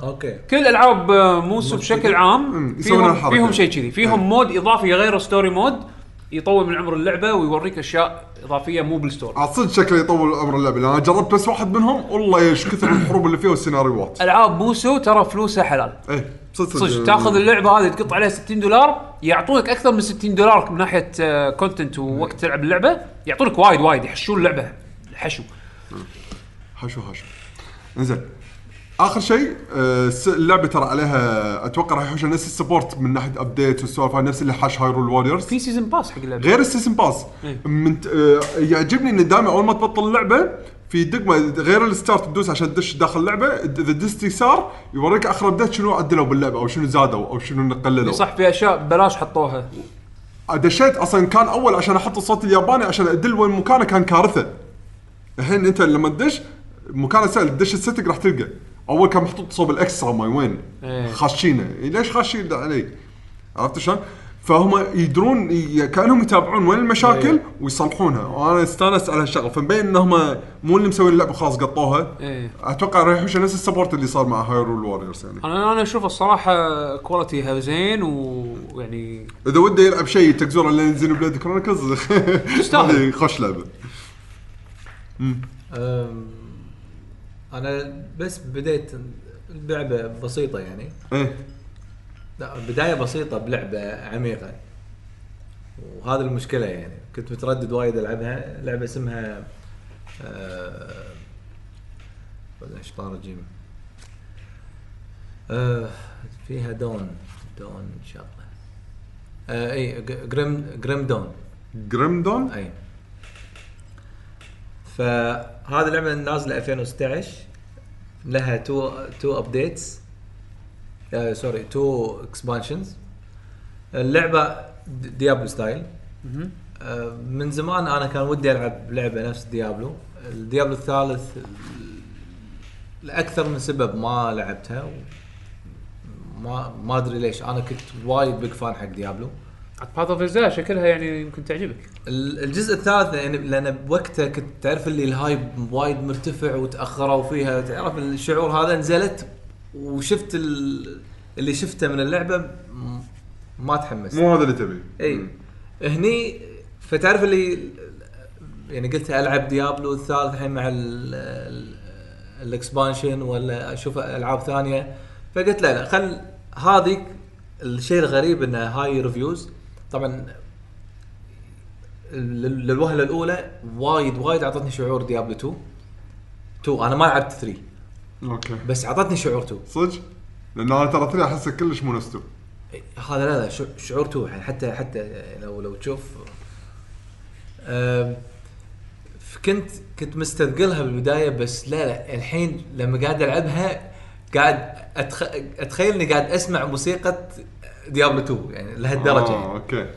S4: اوكي
S1: كل العاب آه، موسو بشكل عام
S3: أمم، يسوون إيه.
S1: فيهم,
S3: هالحركة.
S1: فيهم شيء كذي فيهم
S3: أي.
S1: مود اضافي غير ستوري مود يطول من عمر اللعبه ويوريك اشياء اضافيه مو بالستوري
S3: عاد آه، صدق شكله يطول عمر اللعبه لان انا جربت بس واحد منهم والله ايش كثر الحروب اللي فيها والسيناريوهات
S1: العاب موسو ترى فلوسها حلال
S3: اي صدق
S1: صدق تاخذ اللعبه هذه تقط عليها 60 دولار يعطونك اكثر من 60 دولار من ناحيه كونتنت
S3: إيه.
S1: ووقت تلعب اللعبه يعطونك وايد وايد يحشون اللعبه حشو
S3: حشو حشو انزين اخر شيء آه، س- اللعبه ترى عليها اتوقع راح يحوشها نفس السبورت من ناحيه ابديت والسوالف هاي، نفس اللي حاش هايرول واريورز
S1: في سيزون باس حق اللعبه
S3: غير السيزون باس
S1: إيه.
S3: من آه، يعجبني ان دائما اول ما تبطل اللعبه في دقمه غير الستارت تدوس عشان تدش داخل اللعبه اذا دست يسار يوريك اخر ابديت شنو عدلوا باللعبه او شنو زادوا او شنو قللوا
S1: صح في اشياء ببلاش حطوها
S3: دشيت اصلا كان اول عشان احط الصوت الياباني عشان ادل وين مكانه كان كارثه الحين انت لما تدش مكانه سهل تدش السيتنج راح تلقى اول كان محطوط صوب الاكسترا ماي وين
S1: إيه.
S3: خاشينه إيه ليش خاشين عليك عرفت شلون؟ فهم يدرون ي- كانهم يتابعون وين المشاكل ويصلحونها وانا استانست على هالشغله فمبين انهم مو اللي مسوين اللعبه خلاص قطوها
S1: إيه.
S3: اتوقع راح يحوش نفس السبورت اللي صار مع هايرول ووريرز يعني
S1: انا انا اشوف الصراحه كواليتيها زين يعني ويعني
S3: اذا وده يلعب شيء تكزور اللي ينزل بلاد كرونيكلز
S1: تستاهل.
S3: هذه خوش لعبه
S4: أم، انا بس بديت لعبه بسيطه يعني
S3: ايه
S4: لا بدايه بسيطه بلعبه عميقه وهذا المشكله يعني كنت متردد وايد العبها لعبه اسمها آه، ولا شطار الجيم آه، فيها دون دون ان شاء الله آه، اي جريم جريم دون
S3: جريمدون
S4: اي فهذه لعبه نازله 2016 لها تو تو ابديتس سوري تو اكسبانشنز اللعبه ديابلو ستايل آه، من زمان انا كان ودي العب لعبه نفس ديابلو الديابلو الثالث ال- لاكثر من سبب ما لعبتها و- ما ما ادري ليش انا كنت وايد بيج فان حق ديابلو
S1: باث اوف شكلها يعني يمكن تعجبك
S4: ال- الجزء الثالث يعني لان بوقتها كنت تعرف اللي الهايب وايد مرتفع وتاخروا فيها تعرف الشعور هذا نزلت وشفت ال- اللي شفته من اللعبه م- ما تحمست
S3: مو هذا اللي تبيه
S2: إيه.
S4: اي هني فتعرف اللي يعني قلت العب ديابلو الثالث الحين مع ال- ال- الاكسبانشن ولا اشوف العاب ثانيه فقلت لا لا خل هذه الشيء الغريب انها هاي ريفيوز طبعا لل- للوهله الاولى وايد وايد اعطتني شعور ديابلو 2 2 انا ما لعبت 3
S3: اوكي
S4: بس اعطتني شعور 2
S3: صدق؟ لان انا ترى ثري احسه كلش مو نفسه
S4: هذا لا لا شع- شعور توه يعني حتى حتى لو لو تشوف أم، ف- كنت كنت مستثقلها بالبدايه بس لا لا الحين لما قاعد العبها قاعد أتخ... اتخيل اني قاعد اسمع موسيقى ديابلو 2 يعني لهالدرجه يعني.
S3: آه، اوكي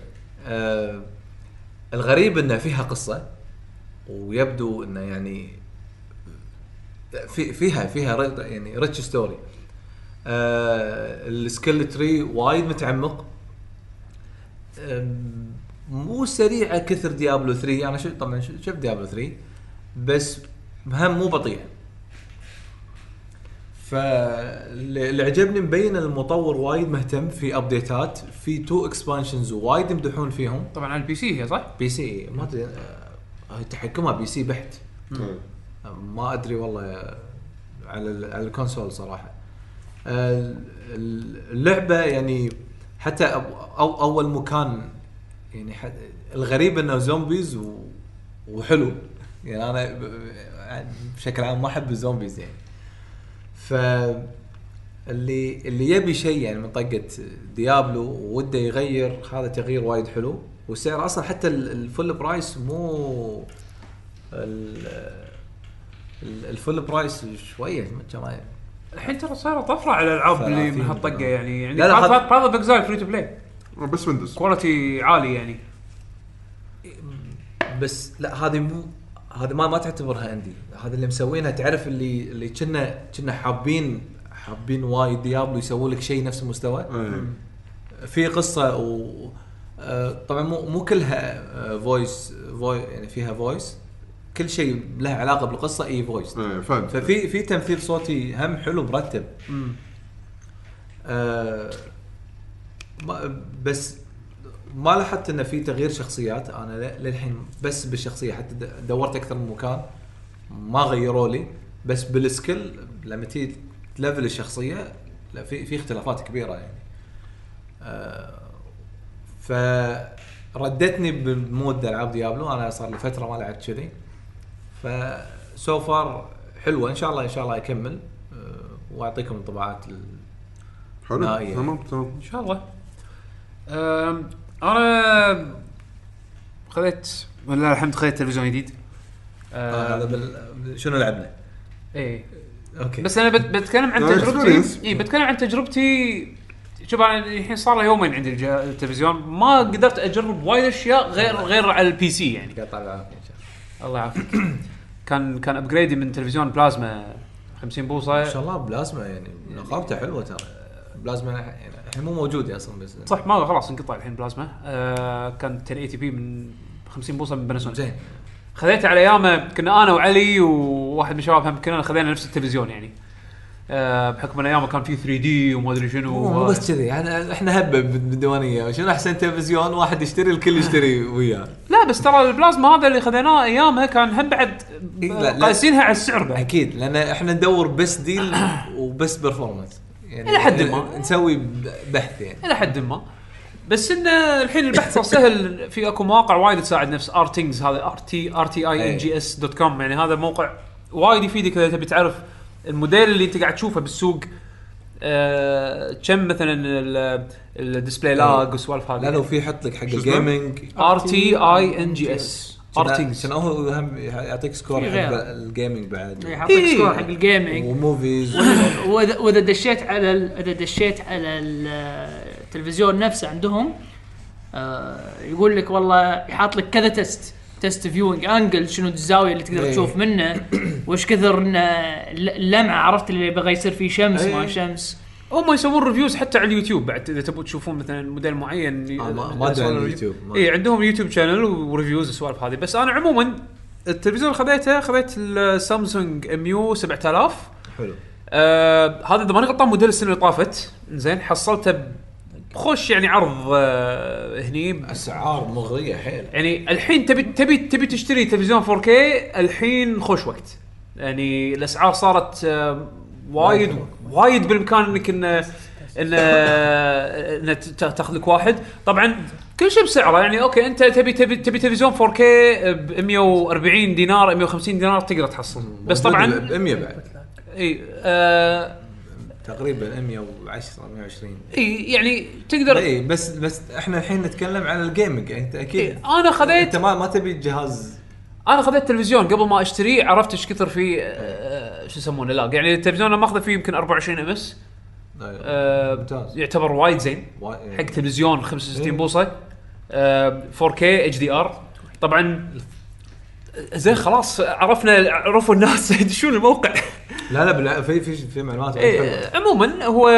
S4: آه الغريب انه فيها قصه ويبدو انه يعني في فيها فيها ر- يعني ريتش ستوري آه السكيل تري وايد متعمق آم، مو سريعه كثر ديابلو 3 انا شو طبعا ش- شفت ديابلو 3 بس هم مو بطيئه فاللي عجبني مبين إن المطور وايد مهتم في ابديتات في تو اكسبانشنز وايد يمدحون فيهم
S1: طبعا على البي سي هي صح؟
S4: بي سي ما ادري آه، هي تحكمها بي سي بحت
S3: إيه.
S4: آه، ما ادري والله آه، على ال- على الكونسول صراحه آه، ال- ال- اللعبه يعني حتى أو- أو اول مكان يعني ح- الغريب انه زومبيز و- وحلو يعني انا ب- ب- بشكل عام ما احب الزومبيز يعني ف اللي اللي يبي شيء يعني من طقه ديابلو وده يغير هذا تغيير وايد حلو والسعر اصلا حتى ال- الفل برايس مو ال- ال- الفل برايس شويه كم هاي؟
S1: الحين ترى صارت طفره على الالعاب اللي من هالطقه يعني يعني
S4: لا، لا، خد-
S1: بعض بعض الاجزاء فري تو بلاي
S3: بس ويندوز
S1: كواليتي عالي يعني
S4: بس لا هذه مو هذه ما ما تعتبرها عندي هذا اللي مسوينها تعرف اللي اللي كنا كنا حابين حابين وايد ديابلو يسووا لك شيء نفس المستوى
S3: إيه.
S4: في قصه و آه، طبعا مو مو كلها فويس فوي يعني فيها فويس كل شيء له علاقه بالقصه اي فويس
S3: إيه، فهمت
S4: ففي في تمثيل صوتي هم حلو مرتب آه ما بس ما لاحظت انه في تغيير شخصيات انا ل- للحين بس بالشخصيه حتى د- دورت اكثر من مكان ما غيروا لي بس بالسكيل لما تيجي تلفل الشخصيه لا في في اختلافات كبيره يعني آه فردتني بمود العاب ديابلو انا صار لي فتره ما لعبت كذي فسو فار حلوه ان شاء الله ان شاء الله اكمل آه، واعطيكم انطباعات ال...
S3: حلو
S4: آه، إيه.
S3: تمام تمام
S1: ان شاء الله أم، انا خذيت والله الحمد خذيت تلفزيون جديد
S4: آه، هذا
S1: أه
S4: بال... شنو لعبنا؟
S1: ايه
S4: اوكي
S1: بس انا بت- بتكلم عن
S3: لا،
S1: تجربتي
S3: experience.
S1: اي بتكلم عن تجربتي شوف انا الحين صار لي يومين عندي الج- التلفزيون ما قدرت اجرب وايد اشياء غير غير على البي سي يعني
S4: قطع العافيه ان شاء الله
S1: الله يعافيك كان كان ابجريدي من تلفزيون بلازما 50
S4: ان
S1: بوصه
S4: شاء الله بلازما يعني نقابته حلوه ترى بلازما يعني الحين مو موجوده اصلا بس
S1: صح ما خلاص انقطع الحين بلازما آه كان 1080 بي من 50 بوصه من باناسونيك
S4: زين
S1: خذيته على ايامه كنا انا وعلي وواحد من الشباب هم كنا خذينا نفس التلفزيون يعني آه بحكم ان ايامه كان فيه 3 دي وما ادري شنو
S4: مو مو بس كذي يعني احنا هبه بال- بالديوانيه شنو احسن تلفزيون واحد يشتري الكل يشتري وياه
S1: لا بس ترى البلازما هذا اللي خذيناه ايامها كان هم بعد
S4: إيه، لا، لا.
S1: قايسينها على السعر بعد
S4: اكيد لان احنا ندور بس ديل وبس برفورمانس يعني
S1: إلى حد ما.
S4: نسوي ب- بحث يعني
S1: الى حد ما بس انه الحين البحث صار سهل في اكو مواقع وايد تساعد نفس ارتنجز هذا ار تي ار تي اي ان جي اس دوت كوم يعني هذا موقع وايد يفيدك اذا تبي تعرف الموديل اللي انت قاعد تشوفه بالسوق آه، كم مثلا ال- الديسبلاي لاج والسوالف هذه
S4: لا لو في حط لك حق
S3: شو اسمه؟
S4: الجيمنج
S1: ار تي اي ان جي اس ارتنجز
S4: عشان هو هم يعطيك سكور
S2: في
S4: حق
S2: غيره.
S4: الجيمنج بعد
S2: يعطيك
S1: إيه.
S2: سكور حق الجيمنج
S4: وموفيز
S2: [laughs] واذا واذا دشيت على ال- اذا دشيت على ال- التلفزيون نفسه عندهم آه، يقول لك والله يحاط لك كذا تست تست فيوينج انجل شنو الزاويه اللي تقدر
S4: إيه.
S2: تشوف منه وش كثر إن الل- اللمعه عرفت اللي بغى يصير فيه شمس ما
S4: إيه.
S2: شمس
S1: هم يسوون ريفيوز حتى على اليوتيوب بعد اذا تبون تشوفون مثلا موديل معين
S4: آه، ما- ما أدري عن اليوتيوب، ما أدري.
S1: اي إيه، عندهم يوتيوب شانل وريفيوز السوالف هذه بس انا عموما التلفزيون اللي خذيته خذيت السامسونج ام يو 7000
S4: حلو
S1: آه هذا اذا ماني غلطان موديل السنه اللي طافت زين حصلته بخوش يعني عرض آه هني ب-
S4: اسعار مغريه حيل
S1: يعني الحين تبي تبي تبي تشتري تلفزيون 4K الحين خوش وقت يعني الاسعار صارت آه، وايد وايد بالامكان انك ان ان آه، ان ت- تاخذ لك واحد طبعا كل شيء بسعره يعني اوكي انت تبي تبي تبي تلفزيون 4K ب 140 دينار 150 دينار تقدر تحصل بس طبعا
S4: ب 100 بعد
S1: اي آه
S4: تقريبا 110 120
S1: اي يعني تقدر
S4: اي إيه، بس بس احنا الحين نتكلم على يعني الجيمنج انت
S1: إي،
S2: إيه،
S4: اكيد
S1: انا خذيت
S4: انت ما ما تبي جهاز
S1: انا خذيت تلفزيون قبل ما اشتريه عرفت ايش كثر فيه آه، شو يسمونه لاج يعني التلفزيون انا ماخذه فيه يمكن 24 ام اس
S2: آه،
S4: ممتاز.
S1: آه، يعتبر وايد زين
S4: وايد-
S1: حق تلفزيون 65
S4: إيه.
S1: بوصه آه، 4K اتش دي ار طبعا زين خلاص عرفنا عرفوا الناس [laughs] يدشون الموقع
S4: لا لا بلا في في في معلومات وايد حلوة.
S1: إيه عموما هو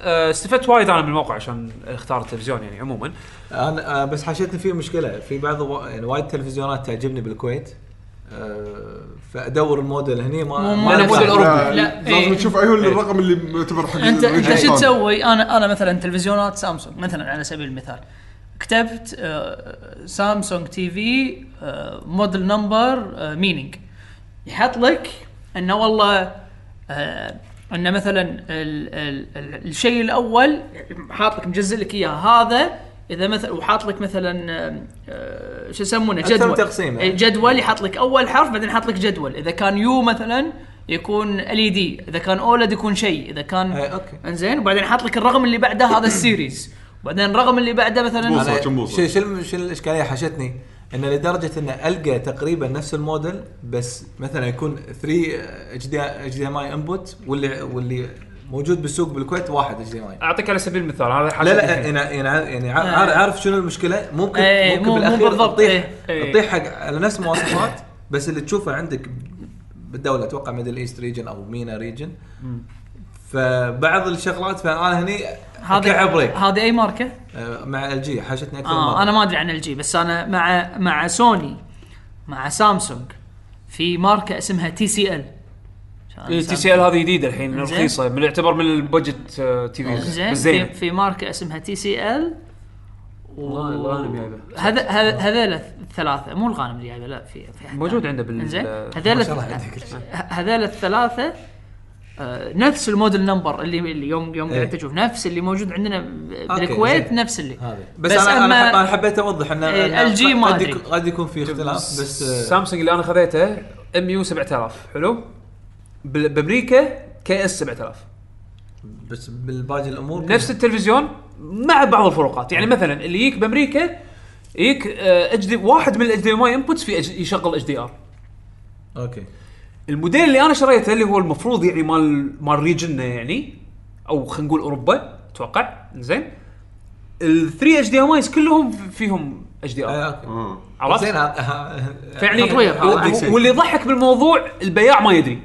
S1: آه، استفدت وايد انا من الموقع عشان اختار التلفزيون يعني عموما
S4: انا آه، بس حاشتني فيه مشكله في بعض وا- يعني وايد تلفزيونات تعجبني بالكويت آه، فادور الموديل هني ما
S2: مو-
S4: ما
S2: لا،
S4: أنا
S2: نفس
S4: ما-
S2: الأوروبي.
S3: لا،
S2: لا،
S3: لازم
S2: إيه.
S3: تشوف اي هو الرقم اللي معتبر حق
S2: انت انت شو
S3: الجهاز.
S2: تسوي؟ انا انا مثلا تلفزيونات سامسونج مثلا على سبيل المثال كتبت آه، سامسونج تي في آه، موديل نمبر آه، مينينج يحط لك انه والله آه، انه مثلا ال ال ال الشيء الاول حاط لك مجزء لك اياه هذا اذا مثلا وحاط لك مثلا آه، آه، شو يسمونه
S4: أكثر من
S2: جدول
S4: تقسيمة.
S2: إيه، جدول يحط لك اول حرف بعدين يحط لك جدول اذا كان يو مثلا يكون ال اي دي اذا كان اولد يكون شيء اذا كان
S4: إيه، أوكي.
S2: انزين وبعدين حاط لك الرقم اللي بعده
S4: [coughs]
S2: هذا السيريز وبعدين الرقم اللي بعده مثلا
S3: بوصة.
S4: أنا-
S3: كم بوصة؟
S4: شو شو الم- شو الاشكاليه حاشتني ان لدرجه ان القى تقريبا نفس الموديل بس مثلا يكون 3 اتش دي اتش دي ام اي انبوت واللي واللي موجود بالسوق بالكويت واحد اتش دي ام اي
S1: اعطيك على سبيل المثال هذا
S4: لا
S1: حاجة
S4: لا يعني يعني, يعني عارف, عارف شنو المشكله ممكن
S2: آه. إيه،
S4: ممكن
S2: مو- مو
S4: بالاخير
S2: بالضبط،
S4: تطيح
S2: إيه،
S1: إيه.
S4: تطيح حق على نفس مواصفات بس اللي تشوفه عندك بالدوله اتوقع ميدل ايست ريجن او مينا ريجن فبعض الشغلات فانا هني
S2: هذا
S4: كعب بريك
S2: هذا اي ماركه؟
S4: آه، مع ال جي حاشتني اكثر
S2: آه
S4: مرة.
S2: انا ما ادري عن الجي بس انا مع مع سوني مع سامسونج في ماركه اسمها تي سي ال
S4: إيه،
S1: التي إيه، سي ال هذه جديده الحين
S2: زين.
S1: رخيصه من يعتبر من البادجت آه، تي في
S2: زين في,
S1: زين
S2: في ماركه اسمها تي سي ال
S1: الغانم جايبه.
S2: هذا هذا- هذول الثلاثه مو الغانم اللي جايبه لا في في حد
S1: موجود
S2: ثاني.
S1: عنده بال-
S2: انزين
S4: ما
S2: هذول
S4: شاء الله عندك كل شيء.
S2: هذول الثلاثه آه، نفس الموديل نمبر اللي اللي يوم يوم
S4: إيه.
S2: قاعد تشوف نفس اللي موجود عندنا
S4: أوكي،
S2: بالكويت
S4: زين.
S2: نفس اللي
S4: هذا بس, بس انا أنا, حب- انا حبيت اوضح ان
S2: إيه،
S4: أنا
S2: ال جي ما
S4: قد
S2: أدري.
S4: يكون- قد يكون في اختلاف بس آه،
S1: سامسونج اللي انا خذيته ام يو 7000 حلو بال- بامريكا كي اس 7000
S4: بس بالباقي الامور
S1: نفس التلفزيون مع بعض الفروقات يعني مثلا اللي يجيك بامريكا يجيك اتش دي واحد من الاتش دي ماي انبوتس في HD يشغل اتش دي ار
S4: اوكي
S1: الموديل اللي انا شريته اللي هو المفروض يعني مال مال ريجننا يعني او خلينا نقول اوروبا اتوقع زين ال 3 اتش دي ام ايز كلهم فيهم اتش دي
S4: آه،
S1: ار
S4: اوكي
S3: آه.
S1: عرفت؟
S4: زين آه، آه،
S1: فيعني
S2: تطوير هذا.
S1: و- واللي يضحك بالموضوع البياع ما يدري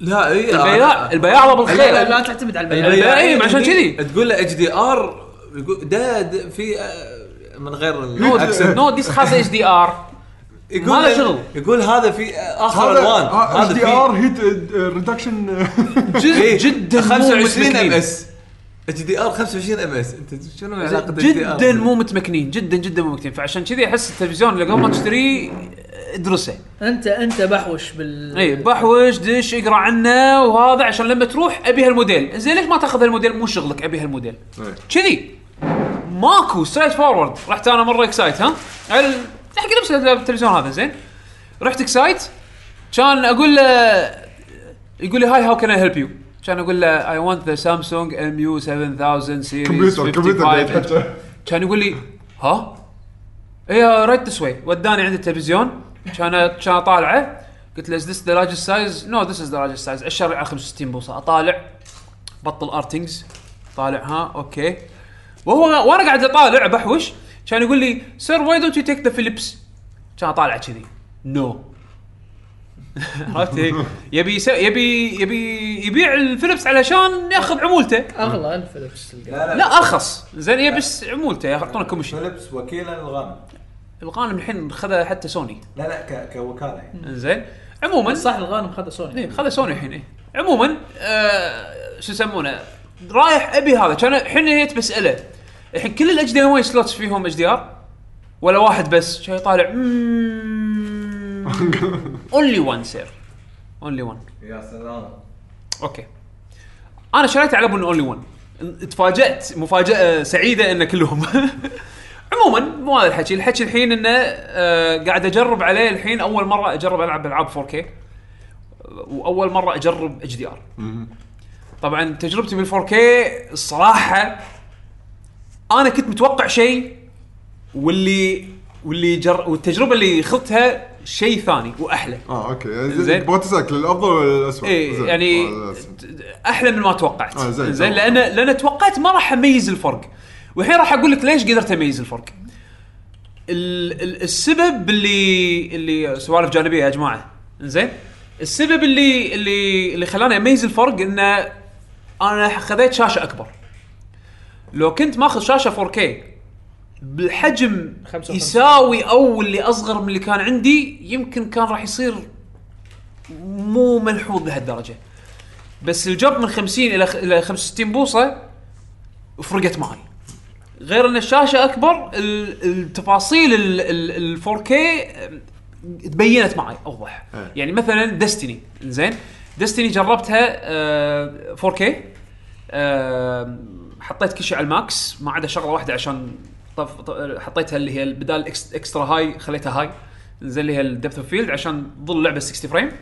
S4: لا اي آه،
S1: البياع
S4: آه.
S1: البياع الله بالخير
S2: لا لا تعتمد على البيع
S1: البياع أيوة. إيه، ما عشان
S4: يعني
S1: كذي.
S4: تقول له اتش دي ار يقول ده ده في آه، من غير
S1: نو
S4: الأكسنت.
S1: نو ديس خاصه اتش دي ار
S4: يقول
S1: ما له
S4: له-
S1: شغل.
S4: يقول هذا في آه، اخر
S3: هذا
S4: الوان
S3: اتش
S4: هذا
S3: دي
S4: في
S3: ار هيت uh, [laughs] ريدكشن
S4: إيه،
S1: جدا مو
S4: 25 ام
S1: متمكنين.
S4: اس اتش دي ار 25 ام اس انت شنو علاقه
S1: جدا مو متمكنين جدا جدا مو متمكنين فعشان كذي احس التلفزيون اللي قبل ما تشتريه ادرسه
S2: انت انت بحوش بال
S1: اي بحوش دش اقرا عنه وهذا عشان لما تروح ابي هالموديل زين ليش ما تاخذ هالموديل مو شغلك ابي هالموديل كذي ماكو ستريت فورورد رحت انا مره اكسايت ها على ال- حق نفس التلفزيون هذا زين رحت اكسايت كان اقول له يقول لي هاي هاو كان اي هيلب يو كان اقول له اي ونت ذا سامسونج ام يو 7000 سيريز
S3: كمبيوتر كمبيوتر قاعد
S1: 55
S3: يتحكى
S1: كان يقول لي ها؟ ايه رايت ذس واي وداني عند التلفزيون كان كان اطالعه قلت له از ذس ذا لارجست سايز؟ نو ذس از ذا لارجست سايز الشرع على 65 بوصه اطالع بطل ارتنجز طالع ها اوكي وهو وانا قاعد اطالع بحوش كان يقول لي سير واي دونت يو تيك ذا فيليبس كان اطالع كذي نو عرفت إيه؟ يبي يس- يبي يبي يبيع الفيليبس علشان ياخذ عمولته
S2: اغلى الفلبس
S1: لا ارخص زين يبس عمولته يعطونه كوميشن
S4: فيلبس وكيلا الغانم
S1: القانون الحين خذها حتى سوني
S4: لا لا ك- كوكاله يعني
S1: زين عموما
S2: صح الغانم خذ سوني
S1: إيه، خذها سوني الحين إيه. عموما آه شو يسمونه رايح ابي هذا كان الحين جيت بساله الحين كل الاتش دي ام سلوتس فيهم اتش دي ار ولا واحد بس شي طالع اونلي وان سير اونلي وان
S4: يا سلام
S1: اوكي انا شريته على ابن اونلي 1 تفاجات مفاجاه سعيده ان كلهم [laughs] عموما مو هذا الحكي الحكي الحين انه آه، قاعد اجرب عليه الحين اول مره اجرب العب العاب 4K واول مره اجرب اتش دي ار طبعا تجربتي بال 4K الصراحه انا كنت متوقع شيء واللي واللي جر والتجربه اللي خضتها شيء ثاني واحلى
S3: اه اوكي
S1: زين.
S3: زين تبغى تسالك للافضل ولا للاسوء؟
S1: ايه
S2: إيه،
S3: زين.
S1: يعني
S3: آه، للأسوأ.
S1: احلى من ما توقعت
S3: آه، زين،
S1: زين
S3: تمام.
S1: لان لان توقعت ما راح اميز الفرق والحين راح اقول لك ليش قدرت اميز الفرق ال- ال- السبب اللي اللي سوالف جانبيه يا جماعه زين السبب اللي اللي اللي خلاني اميز الفرق انه انا خذيت شاشه اكبر لو كنت ماخذ شاشه 4K بالحجم
S7: 55.
S1: يساوي او اللي اصغر من اللي كان عندي يمكن كان راح يصير مو ملحوظ لهالدرجه بس الجوب من 50 الى الى 65 بوصه فرقت معي غير ان الشاشه اكبر ال- التفاصيل ال- ال 4K تبينت معي اوضح
S3: أي.
S1: يعني مثلا ديستني زين ديستني جربتها آه، 4K آه، حطيت كل شيء على الماكس ما عدا شغله واحده عشان طف ط- حطيتها اللي هي بدال إكس- اكسترا هاي خليتها هاي زين اللي هي الدبث اوف فيلد عشان تظل اللعبه 60 فريم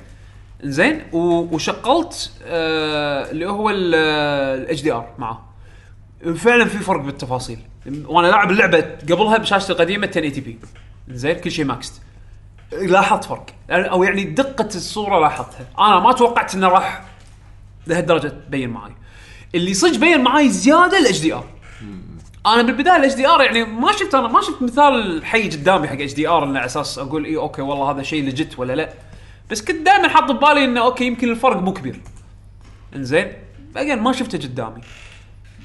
S1: زين و- وشغلت آه، اللي هو آه، الاتش دي ار معاه فعلا في فرق بالتفاصيل وانا لاعب اللعبه قبلها بشاشتي القديمه 1080 بي زين كل شيء ماكست لاحظت فرق او يعني دقه الصوره لاحظتها انا ما توقعت انه راح لهالدرجه تبين معي اللي صدق بين معي زياده الاتش دي ار انا بالبدايه الاتش دي ار يعني ما شفت انا ما شفت مثال حي قدامي حق اتش دي ار على اساس اقول اي اوكي والله هذا شيء لجت ولا لا بس كنت دائما حاط ببالي انه اوكي يمكن الفرق مو كبير انزين بعدين ما شفته قدامي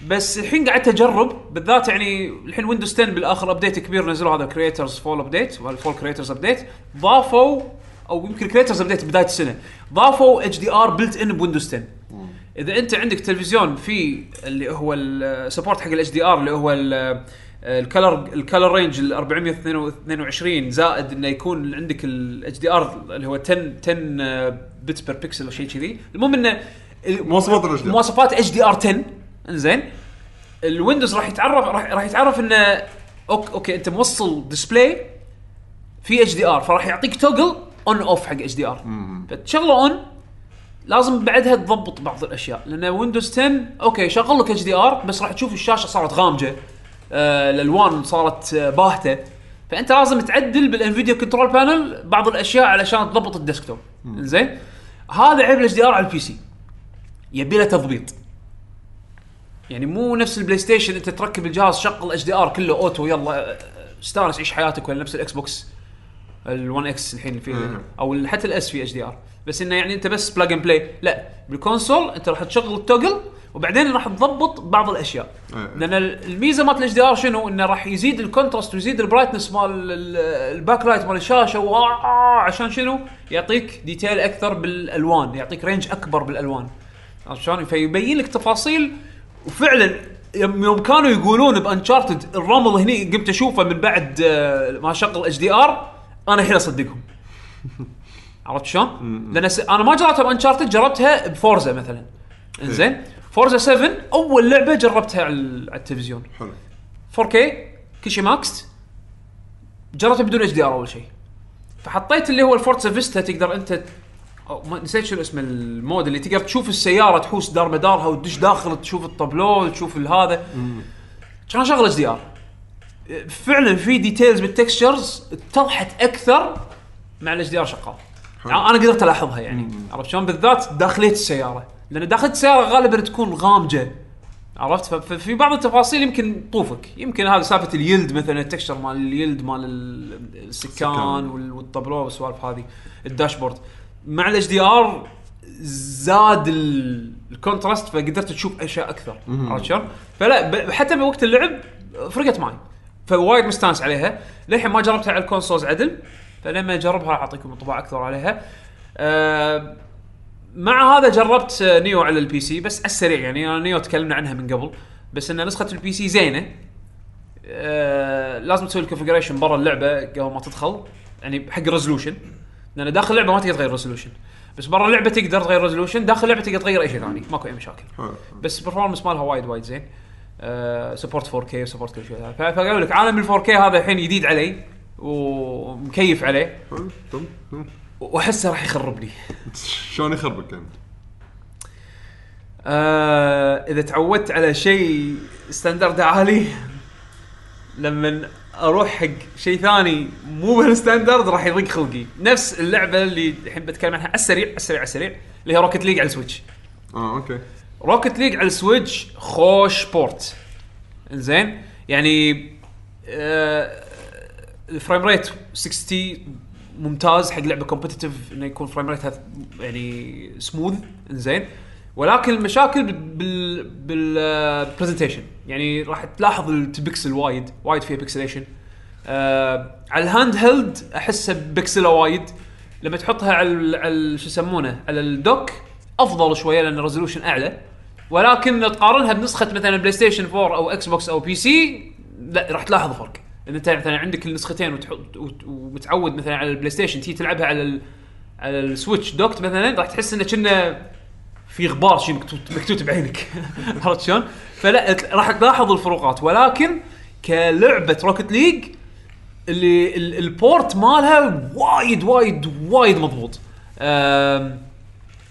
S1: بس الحين قعدت اجرب بالذات يعني الحين ويندوز 10 بالاخر ابديت كبير نزلوا هذا كريترز فول ابديت فول كريترز ابديت ضافوا او يمكن كريترز ابديت بدايه السنه ضافوا اتش دي ار بلت ان بويندوز 10 اذا انت عندك تلفزيون في اللي هو السبورت حق الاتش دي ار اللي هو الكلر الكلر رينج ال 422 زائد انه يكون عندك الاتش دي ار اللي هو 10 10 بت بير بكسل او شيء كذي المهم انه ال-
S3: مواصفات الرجل
S1: مواصفات اتش دي ار 10 انزين الويندوز راح يتعرف راح راح يتعرف انه اوكي اوكي انت موصل ديسبلاي في اتش دي ار فراح يعطيك توجل اون اوف حق اتش دي ار فتشغله اون لازم بعدها تضبط بعض الاشياء لان ويندوز 10 اوكي شغل لك اتش دي ار بس راح تشوف الشاشه صارت غامجه آه، الالوان صارت آه، باهته فانت لازم تعدل بالانفيديا كنترول بانل بعض الاشياء علشان تضبط الديسكتوب زين هذا عيب الاتش دي ار على البي سي يبي له تضبيط يعني مو نفس البلاي ستيشن انت تركب الجهاز شغل اتش دي ار كله اوتو يلا آه، استانس عيش حياتك ولا نفس الاكس بوكس ال1 اكس الحين اللي فيه
S3: مم.
S1: او ال- حتى الاس في اتش دي ار بس انه يعني انت بس بلاج اند بلاي لا بالكونسول انت راح تشغل التوجل وبعدين راح تضبط بعض الاشياء
S3: إيه.
S1: لان ال- الميزه مالت الاتش دي ار شنو انه راح يزيد الكونتراست ويزيد البرايتنس مال ال- الباك لايت مال الشاشه وآه، عشان شنو يعطيك ديتيل اكثر بالالوان يعطيك رينج اكبر بالالوان عرفت شلون فيبين لك تفاصيل وفعلا يوم يوم كانوا يقولون بانشارتد الرمل هني قمت اشوفه من بعد آه، ما شغل اتش دي ار انا الحين اصدقهم عرفت شلون؟ لان س- انا ما جربتها بانشارتد جربتها بفورزا مثلا انزين فورزا 7 اول لعبه جربتها على ال- على التلفزيون
S3: حلو
S1: 4K كل شيء ماكس جربته بدون اتش دي ار اول شيء فحطيت اللي هو الفورتسا فيستا تقدر انت أو ما نسيت شنو اسم المود اللي تقدر تشوف السياره تحوس دار مدارها وتدش داخل تشوف الطابلو تشوف هذا كان شغله اتش دي ار فعلا في ديتيلز بالتكستشرز اتضحت اكثر مع الاتش دي ار شغال انا قدرت الاحظها يعني عرفت شلون بالذات داخليه السياره لان داخليه السياره غالبا تكون غامجه عرفت ف- ففي بعض التفاصيل يمكن طوفك يمكن هذا سالفه اليلد مثلا التكشر مال اليلد مال ال- السكان
S3: السكان.
S1: وال- والطابلو والسوالف هذه الداشبورد مع الاتش دي ار زاد ال- الكونتراست فقدرت تشوف اشياء اكثر عرفت شلون؟ فلا ب- حتى بوقت اللعب فرقت معي فوايد مستانس عليها للحين ما جربتها على الكونسولز عدل فلما اجربها راح اعطيكم انطباع اكثر عليها آه، مع هذا جربت آه، نيو على البي سي بس على السريع يعني انا نيو تكلمنا عنها من قبل بس ان نسخه البي سي زينه آه، لازم تسوي الكونفجريشن برا اللعبه قبل ما تدخل يعني حق ريزولوشن لان داخل اللعبه ما تقدر تغير ريزولوشن بس برا اللعبه تقدر تغير ريزولوشن داخل اللعبه تقدر تغير اي شيء ثاني ماكو اي مشاكل
S3: حلو
S1: بس برفورمانس مالها وايد وايد زين آه، سبورت 4K وسبورت كل شيء ف- فاقول لك عالم ال 4K هذا الحين جديد علي ومكيف عليه
S3: حلو تم تم
S1: واحسه راح يخربني
S3: شلون يخربك يعني؟
S1: آه اذا تعودت على شيء ستاندرد عالي لما اروح حق شيء ثاني مو بهالستاندرد راح يضيق خلقي نفس اللعبه اللي الحين بتكلم عنها على السريع على السريع على السريع اللي هي روكت ليج على السويتش
S3: اه اوكي
S1: روكت ليج على السويتش خوش بورت زين يعني آه الفريم ريت 60 ممتاز حق لعبه كومبتتف انه يكون فريم ريتها يعني سموث زين ولكن المشاكل بال بالبرزنتيشن يعني راح تلاحظ البكسل وايد وايد فيها بكسليشن آه على الهاند هيلد احسه بكسله وايد لما تحطها على ال- على ال- شو يسمونه على الدوك افضل شويه لان الريزولوشن اعلى ولكن تقارنها بنسخه مثلا بلاي ستيشن 4 او اكس بوكس او بي سي لا راح تلاحظ فرق ان انت مثلا عندك النسختين وتحط وت- ومتعود مثلا على البلاي ستيشن تيجي تلعبها على ال- على السويتش دوكت مثلا راح تحس انه كنا في غبار شيء مكتوت مكتوت بعينك [laughs] عرفت شلون؟ فلا ت- راح تلاحظ الفروقات ولكن كلعبه روكت ليج اللي ال- البورت مالها وايد وايد وايد مضبوط أم،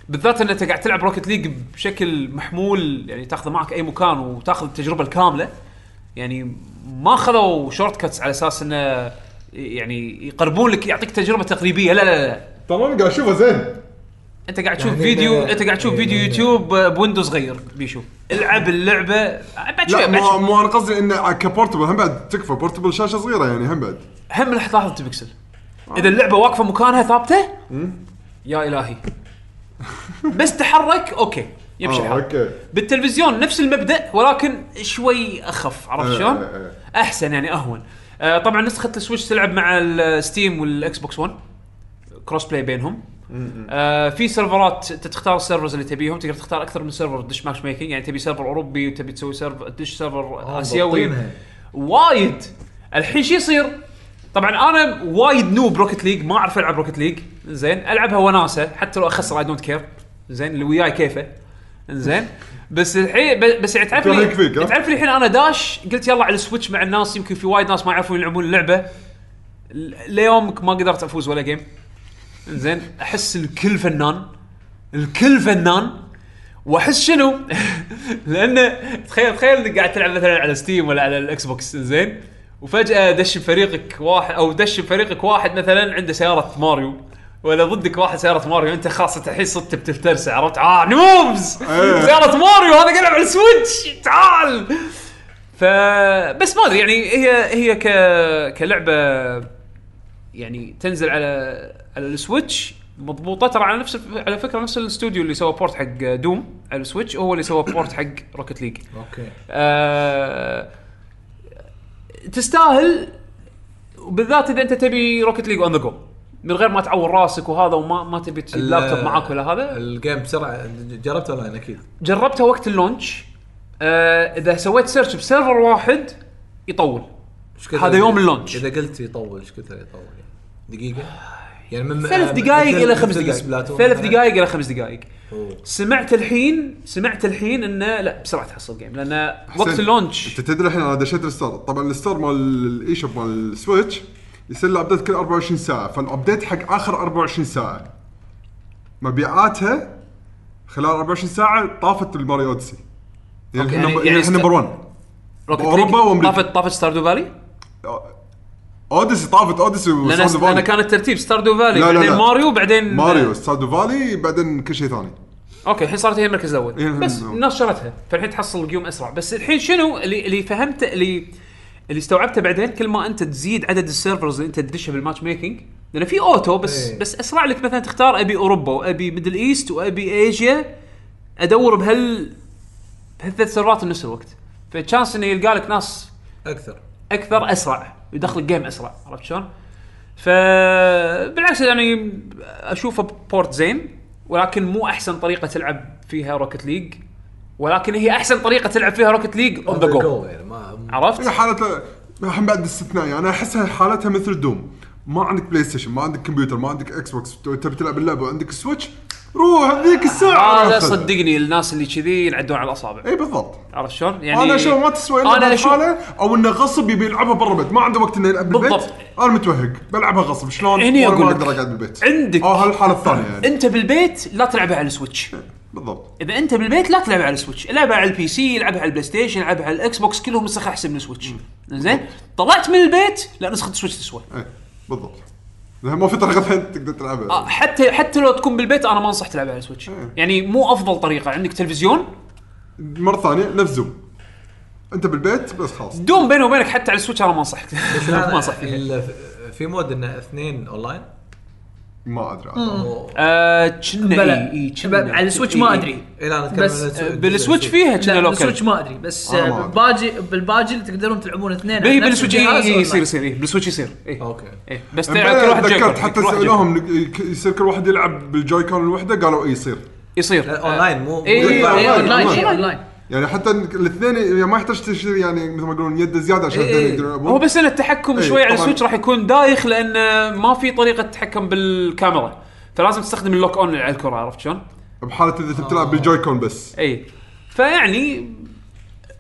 S1: بالذات ان انت قاعد تلعب روكت ليج بشكل محمول يعني تاخذه معك اي مكان وتاخذ التجربه الكامله يعني ما خذوا شورت كاتس على اساس انه يعني يقربون لك يعطيك تجربه تقريبيه لا لا لا
S3: تمام قاعد اشوفه زين
S1: انت قاعد تشوف
S4: يعني
S1: فيديو
S4: لا-
S1: انت قاعد تشوف
S4: إيه،
S1: فيديو
S4: لا- لا.
S1: يوتيوب آه، بويندو صغير بيشو العب اللعبه بعد شوي
S3: لا
S1: بعد
S3: مو
S1: شوي.
S3: مو انا قصدي انه كبورتبل هم بعد تكفى بورتبل شاشه صغيره يعني هم بعد
S1: هم راح تلاحظ البكسل اذا اللعبه واقفه مكانها ثابته يا الهي بس تحرك اوكي يمشي
S3: آه،
S1: الحال
S3: اوكي
S1: بالتلفزيون نفس المبدا ولكن شوي اخف عرفت
S3: إيه،
S1: شلون؟
S3: إيه، إيه.
S1: احسن يعني اهون آه، طبعا نسخه السويتش تلعب مع الستيم والاكس بوكس 1 كروس بلاي بينهم آه في سيرفرات انت تختار السيرفرز اللي تبيهم تقدر تختار اكثر من سيرفر دش ماتش ميكنج يعني تبي سيرفر اوروبي وتبي تسوي سيرفر دش سيرفر اسيوي
S4: ضبطينها.
S1: وايد الحين شو يصير؟ طبعا انا وايد نوب روكت ليج ما اعرف العب روكت ليج زين العبها وناسه حتى لو اخسر اي دونت كير زين اللي وياي كيفه زين بس الحين ب- بس يعني تعرف
S3: يكفيك،
S1: لي
S3: يكفيك، ها؟
S1: تعرف لي الحين انا داش قلت يلا على السويتش مع الناس يمكن في وايد ناس ما يعرفون يلعبون اللعبه ل- ليومك ما قدرت افوز ولا جيم زين احس الكل فنان الكل فنان واحس شنو؟ [laughs] لانه تخيل تخيل انك قاعد تلعب مثلا على ستيم ولا على الاكس بوكس زين وفجاه دش بفريقك واحد او دش بفريقك واحد مثلا عنده سياره ماريو ولا ضدك واحد سياره ماريو انت خاصة الحين صرت بتفترسع عرفت اه نوبز سياره ماريو هذا قاعد يلعب على السويتش تعال فبس ما ادري يعني هي هي ك كلعبه يعني تنزل على على السويتش مضبوطه ترى على نفس الف- على فكره نفس الاستوديو اللي سوى بورت حق دوم على السويتش هو اللي سوى بورت حق روكت ليج
S4: اوكي
S1: آه تستاهل بالذات اذا انت تبي روكت ليج اون ذا جو من غير ما تعور راسك وهذا وما ما تبي تجيب
S4: ال-
S1: لابتوب معاك ولا هذا
S4: الجيم بسرعه جربته اونلاين اكيد
S1: جربتها وقت اللونش آه اذا سويت سيرش بسيرفر واحد يطول
S4: إيش كثر-
S1: هذا يوم اللونش.
S4: اذا قلت يطول ايش كثر يطول يعني؟ دقيقه يعني من
S1: ثلاث دقائق الى خمس دقائق ثلاث دقائق الى خمس دقائق سمعت الحين سمعت الحين انه لا بسرعه تحصل جيم لان وقت
S3: حسين،
S1: اللونش
S3: انت تدري الحين انا دشيت الستار طبعا الستار مال الاي شوب مال السويتش يصير له ابديت كل 24 ساعه فالابديت حق اخر 24 ساعه مبيعاتها خلال 24 ساعه طافت الماريو اوديسي يعني
S1: أوكي،
S3: احنا
S1: يعني-
S3: يعني
S1: يعني
S3: احنا
S1: است-
S3: نمبر 1
S1: روكت
S3: أوروبا
S1: ليج
S3: وأمريكا.
S1: طافت طافت ستاردو فالي
S3: اوديسي طافت اوديسي
S1: لان
S3: وستاردو
S1: لان
S3: فالي
S1: كان الترتيب ستاردو فالي
S3: لا، لا،
S1: بعدين
S3: لا.
S1: ماريو بعدين
S3: ماريو ستاردو فالي بعدين كل شيء ثاني
S1: اوكي الحين صارت هي المركز
S3: هي
S1: الاول
S3: المركز
S1: بس
S3: الأول.
S1: الناس شرتها فالحين تحصل القيوم اسرع بس الحين شنو اللي اللي فهمته اللي اللي استوعبته بعدين كل ما انت تزيد عدد السيرفرز اللي انت تدشها بالماتش ميكنج لان في اوتو بس
S4: إيه.
S1: بس اسرع لك مثلا تختار ابي اوروبا وابي ميدل ايست وابي ايجيا ادور بهال بهالثلاث سيرفرات بنفس الوقت فالشانس انه يلقى لك ناس
S4: اكثر
S1: اكثر اسرع يدخلك جيم اسرع عرفت شلون؟ فبالعكس يعني اشوفه بورت زين ولكن مو احسن طريقه تلعب فيها روكت ليج ولكن هي احسن طريقه تلعب فيها روكت ليج اون ذا جو
S4: يعني ما
S1: عرفت؟
S3: هي حالتها الحين بعد استثنائي انا احسها حالتها مثل دوم ما عندك بلاي ستيشن ما عندك كمبيوتر ما عندك اكس بوكس تو- تبي تلعب اللعبه وعندك سويتش روح ذيك الساعه
S1: هذا
S3: خذها.
S1: صدقني الناس اللي كذي ينعدون على الاصابع
S3: اي بالضبط
S1: عرفت شلون؟ يعني
S3: يعني انا اشوف ما تسوى الا
S1: انا اشوف
S3: بالحالة او انه غصب يبي يلعبها برا البيت ما عنده وقت انه يلعب بالبيت
S1: بالضبط.
S3: انا متوهق بلعبها غصب شلون؟
S1: هني
S3: وأنا
S1: أقول
S3: ما
S1: لك.
S3: اقدر اقعد بالبيت
S1: عندك- [laughs]
S3: اه هالحاله الثانيه يعني
S1: انت بالبيت لا تلعبها على السويتش
S3: بالضبط
S1: اذا انت بالبيت لا تلعب على السويتش العبها على البي سي العبها على البلاي ستيشن العبها على الاكس بوكس كلهم نسخ احسن من السويتش زين طلعت من البيت لا نسخه السويتش تسوى
S3: ايه بالضبط لأن ما في طريقه ثانيه تقدر تلعبها
S1: آه، حتى حتى لو تكون بالبيت انا ما انصح تلعب على السويتش
S2: آه.
S1: يعني مو افضل طريقه عندك تلفزيون
S3: مره ثانيه نفس زوم انت بالبيت بس خلاص
S1: دوم بيني وبينك حتى على السويتش انا ما [laughs] انصحك ما انصح فيها
S4: ال- ف- في مود انه اثنين اونلاين
S3: ما ادري عاد.
S4: و-
S1: آه، كنا
S2: بلا.
S1: إي- إي، إيه، كنا.
S2: على السويتش ما ادري
S4: إيه، لا انا اتكلم
S2: بس،
S4: عن الس-
S1: آه،
S4: الجزء
S1: بالسويتش
S4: السويتش.
S1: فيها كنا
S2: لا
S1: لوكال
S2: بالسويتش ما ادري بس
S3: أنا ما
S2: آه،
S3: أدري.
S2: بالباجي بالباجل تقدرون تلعبون اثنين على
S1: اي
S2: نفس
S1: بالسويتش إي-
S2: الجهاز
S1: إي- إي، يصير
S2: أونلاين.
S1: يصير إي، بالسويتش يصير اي
S4: اوكي
S1: إيه، بس تلعب كل
S3: امبارح
S1: واحد
S3: تذكرت
S1: جايكون
S3: حتى
S1: كل واحد جايكون.
S3: سالوهم ك- يصير كل واحد يلعب بالجوي كون وحده قالوا اي يصير
S1: يصير
S4: لا، اونلاين
S3: أه،
S4: مو
S1: إيه،
S4: مو-
S1: إيه،
S2: إيه،
S3: أونلاين،
S2: اونلاين
S3: أونلاين.
S2: إيه، اونلاين
S3: يعني حتى إن- الاثنين يعني ما يحتاج تشتري يعني مثل ما يقولون يد زياده عشان
S4: إيه،
S3: الاثنين
S4: إيه.
S3: يقدرون يلعبون
S1: هو بس ان التحكم
S3: إي،
S1: شوي على
S3: إيه، طبعاً.
S1: السويتش راح يكون دايخ لان آه، ما في طريقه تتحكم بالكاميرا فلازم تستخدم اللوك اون على الكره عرفت شلون؟
S3: بحاله اذا تبي
S1: آه.
S3: تلعب بالجوي كون بس
S1: اي إيه. فيعني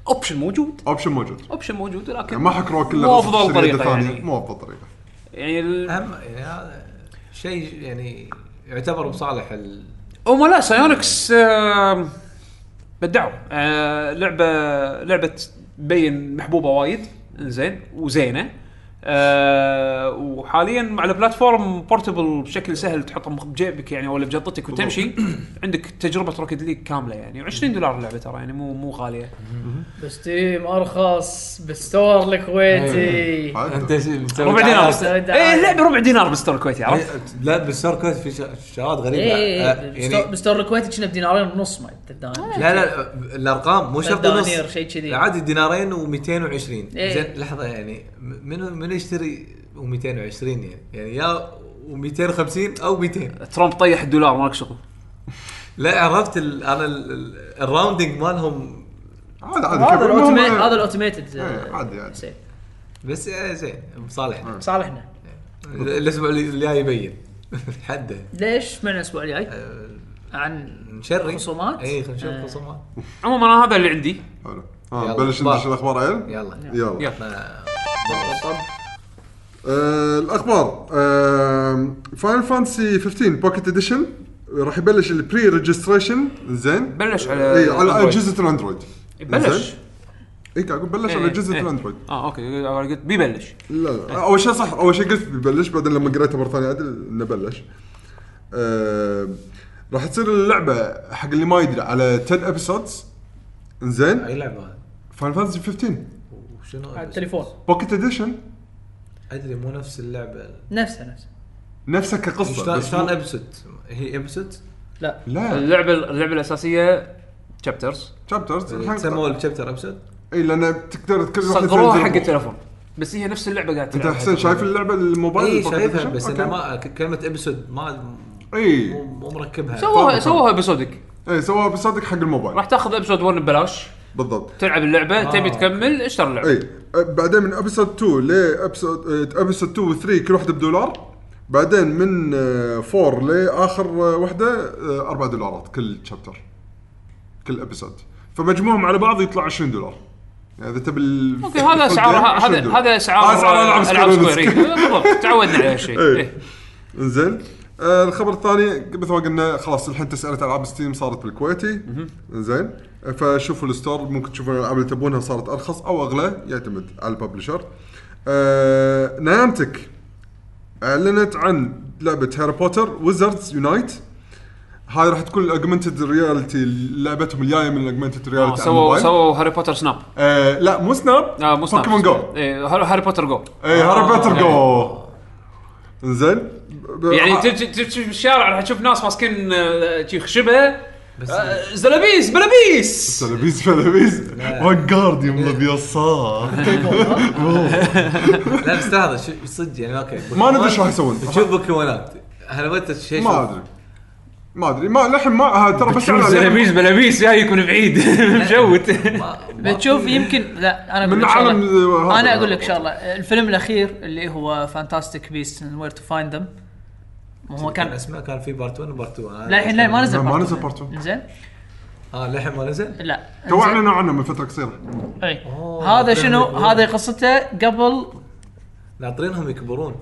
S1: اوبشن موجود
S3: اوبشن موجود
S1: اوبشن موجود ولكن
S3: يعني ما حكروه كله
S1: مو
S3: بس
S1: أفضل
S3: تشتري يد
S1: طريقة
S3: ثانية.
S1: يعني.
S3: مو افضل طريقه
S1: يعني ال-
S4: اهم يعني هذا شيء يعني يعتبر بصالح ال
S1: هم لا سايونكس آه، بدعوا آه، لعبه لعبه تبين محبوبه وايد زين وزينه آه، وحاليا على بلاتفورم بورتبل بشكل سهل تحطه مخ- بجيبك يعني ولا بجنطتك وتمشي عندك تجربه روكت ليج كامله يعني 20 دولار اللعبه ترى يعني مو مو غاليه
S2: بستيم ارخص بالستور
S4: إيه.
S2: الكويتي إيه،
S3: عاد.
S5: انت ش- مسوي
S1: ربع دينار
S4: [laughs]
S5: تعال-
S1: بس- ايه اللعبه ربع دينار بالستور الكويتي عرفت؟
S5: إيه، لا بالستور كويس في ش- شغلات غريبه
S2: اي
S5: آه،
S2: اي
S5: يعني
S2: بالستور إيه. الكويتي كنا بدينارين ونص ما تداني
S4: لا لا الارقام مو شرط نص
S2: دنانير، شيء كذي.
S4: عادي دينارين و220
S2: إيه.
S4: زين لحظه يعني م- منو منو يشتري و220 يعني يعني يا و250 او 200
S1: ترامب طيح الدولار مالك شغل
S4: لا عرفت ال انا ال- ال- الراوندنج مالهم
S3: عاد عاد
S2: هذا
S3: كبر منهم،
S2: الاوتوميت
S3: إيه.
S2: هذا آه، الاوتوميتد
S3: إيه، عادي عادي
S2: سيف.
S4: بس آه، زين مصالحنا
S2: صالحنا
S4: ال- الاسبوع اللي الجاي يبين [laughs] حده
S2: ليش معنا الاسبوع الجاي
S4: آه،
S2: عن
S4: نشري
S2: خصومات؟
S4: اي خلينا
S2: آه.
S4: نشوف خصومات
S1: عموما انا هذا اللي عندي
S3: حلو ها
S4: يلا.
S3: بلش
S4: أخبار.
S3: ندش الاخبار عيل
S4: يلا
S3: يلا
S1: يلا.
S4: ما-
S3: آه، الاخبار فاينل فانتسي 15 بوكيت اديشن راح يبلش البري ريجستريشن زين
S1: بلش على
S3: اي على
S1: أندرويد.
S3: اجهزه الاندرويد
S1: بلش
S3: اي قاعد اقول بلش على
S1: إيه،
S3: اجهزه
S1: إيه.
S3: الاندرويد
S1: اه اوكي أنا قلت بيبلش
S3: لا لا اول شيء صح اول شيء قلت ببلش بعدين لما قريتها مره ثانيه عدل انه بلش آه، راح تصير اللعبه حق اللي ما يدري على 10 ابيسودز زين
S4: اي لعبه هذه؟
S3: فاينل فانتسي 15
S4: وشنو
S2: على التليفون
S3: بوكيت اديشن
S4: ادري مو نفس اللعبه
S2: نفسها نفسها
S3: نفسها كقصه
S4: شلون
S3: بس
S4: شلون
S3: مو-
S4: ابسط هي ابسط
S2: لا
S3: لا
S1: اللعبه اللعبه الاساسيه تشابترز
S3: شابترز
S4: سموا الشابتر ابسط
S3: اي لان إيه، تقدر تكلم
S1: صغروها حق التليفون بس هي نفس اللعبه قاعد
S3: انت
S1: تلعب
S3: حسين شايف اللعبه الموبايل
S1: إيه،
S4: اي
S3: البوكيت
S4: شايفها
S3: إديشن؟
S4: إيه، بس
S3: أوكي. إيه.
S4: انا ما ك- كلمه ابسود ما مو-
S3: اي
S4: مو مركبها
S1: سووها
S3: طبعاً.
S1: سووها بسودك
S3: اي سووها بس صدق إيه، حق الموبايل
S1: راح تاخذ ابسود 1 ببلاش
S3: بالضبط
S1: تلعب اللعبه
S4: آه.
S1: تبي تكمل اشتري اللعبه
S3: اي أه، بعدين من ابيسود 2 ل ابيسود أه، ابيسود 2 و 3 كل واحده بدولار بعدين من أه، 4 لاخر أه، واحده 4 دولارات كل شابتر كل ابيسود فمجموعهم على بعض يطلع 20 دولار يعني اذا تبي ال-
S1: اوكي هذا
S3: [laughs] full
S1: اسعار
S3: game،
S1: ه-
S3: 20
S1: هذا
S3: دولار.
S1: هذا
S3: هذا آه، أسعار
S1: اسعار العاب سكوير إي، بالضبط تعودنا على إيه. هالشيء
S3: إي.
S1: إي.
S3: انزين آه الخبر الثاني مثل ما قلنا خلاص الحين تسألة العاب ستيم صارت بالكويتي انزين آه، فشوفوا الستور ممكن تشوفون الالعاب اللي تبونها صارت ارخص او اغلى يعتمد على الببلشر آه نيانتك اعلنت عن لعبه هاري بوتر ويزردز يونايت هاي راح تكون الاوجمنتد رياليتي لعبتهم الجايه من الاوجمنتد
S1: آه،
S3: رياليتي
S1: سووا سووا هاري بوتر سناب
S3: آه لا مو آه، سناب
S1: آه، مو سناب
S3: بوكيمون جو
S1: إي، هاري هاري بوتر جو
S3: اي هاري
S1: آه،
S3: بوتر جو
S1: [laughs]
S3: انزين ب-
S1: يعني
S3: ها-
S1: تمشي تمشي بالشارع راح تشوف ناس ماسكين آه، شي خشبه آه، زلابيس بلابيس
S3: تلابيس تلابيس وانجارد يم ابيض صار
S4: لا بس لحظه شو- صدق يعني اوكي
S3: [laughs] ما ندري شو راح يسوون
S4: تشوف بوكيمونات انا بدت شيء
S3: ما ادري ما ادري ما للحين ما ها، ترى بس على-
S1: زلابيس بلابيس جايك من بعيد [laughs] مجوت
S2: [laughs] بتشوف يمكن لا انا اقول
S3: من
S2: لك شغلة.
S3: عالم هذا.
S2: انا اقول لك شغله الفيلم الاخير اللي هو فانتاستيك بيست وير تو فايند ذم هو
S4: كان
S2: كان
S4: اسمه كان في بارت 1 وبارت 2
S2: لا الحين لا ما نزل
S3: ما
S2: part
S3: نزل
S2: one.
S3: part one.
S2: زين
S4: اه للحين ما نزل
S2: لا
S3: تو
S2: زين.
S3: اعلنوا عنه من فتره قصيره
S2: اي
S4: أوه،
S2: هذا
S4: فهمت.
S2: شنو هذا قصته قبل
S4: ناطرينهم يكبرون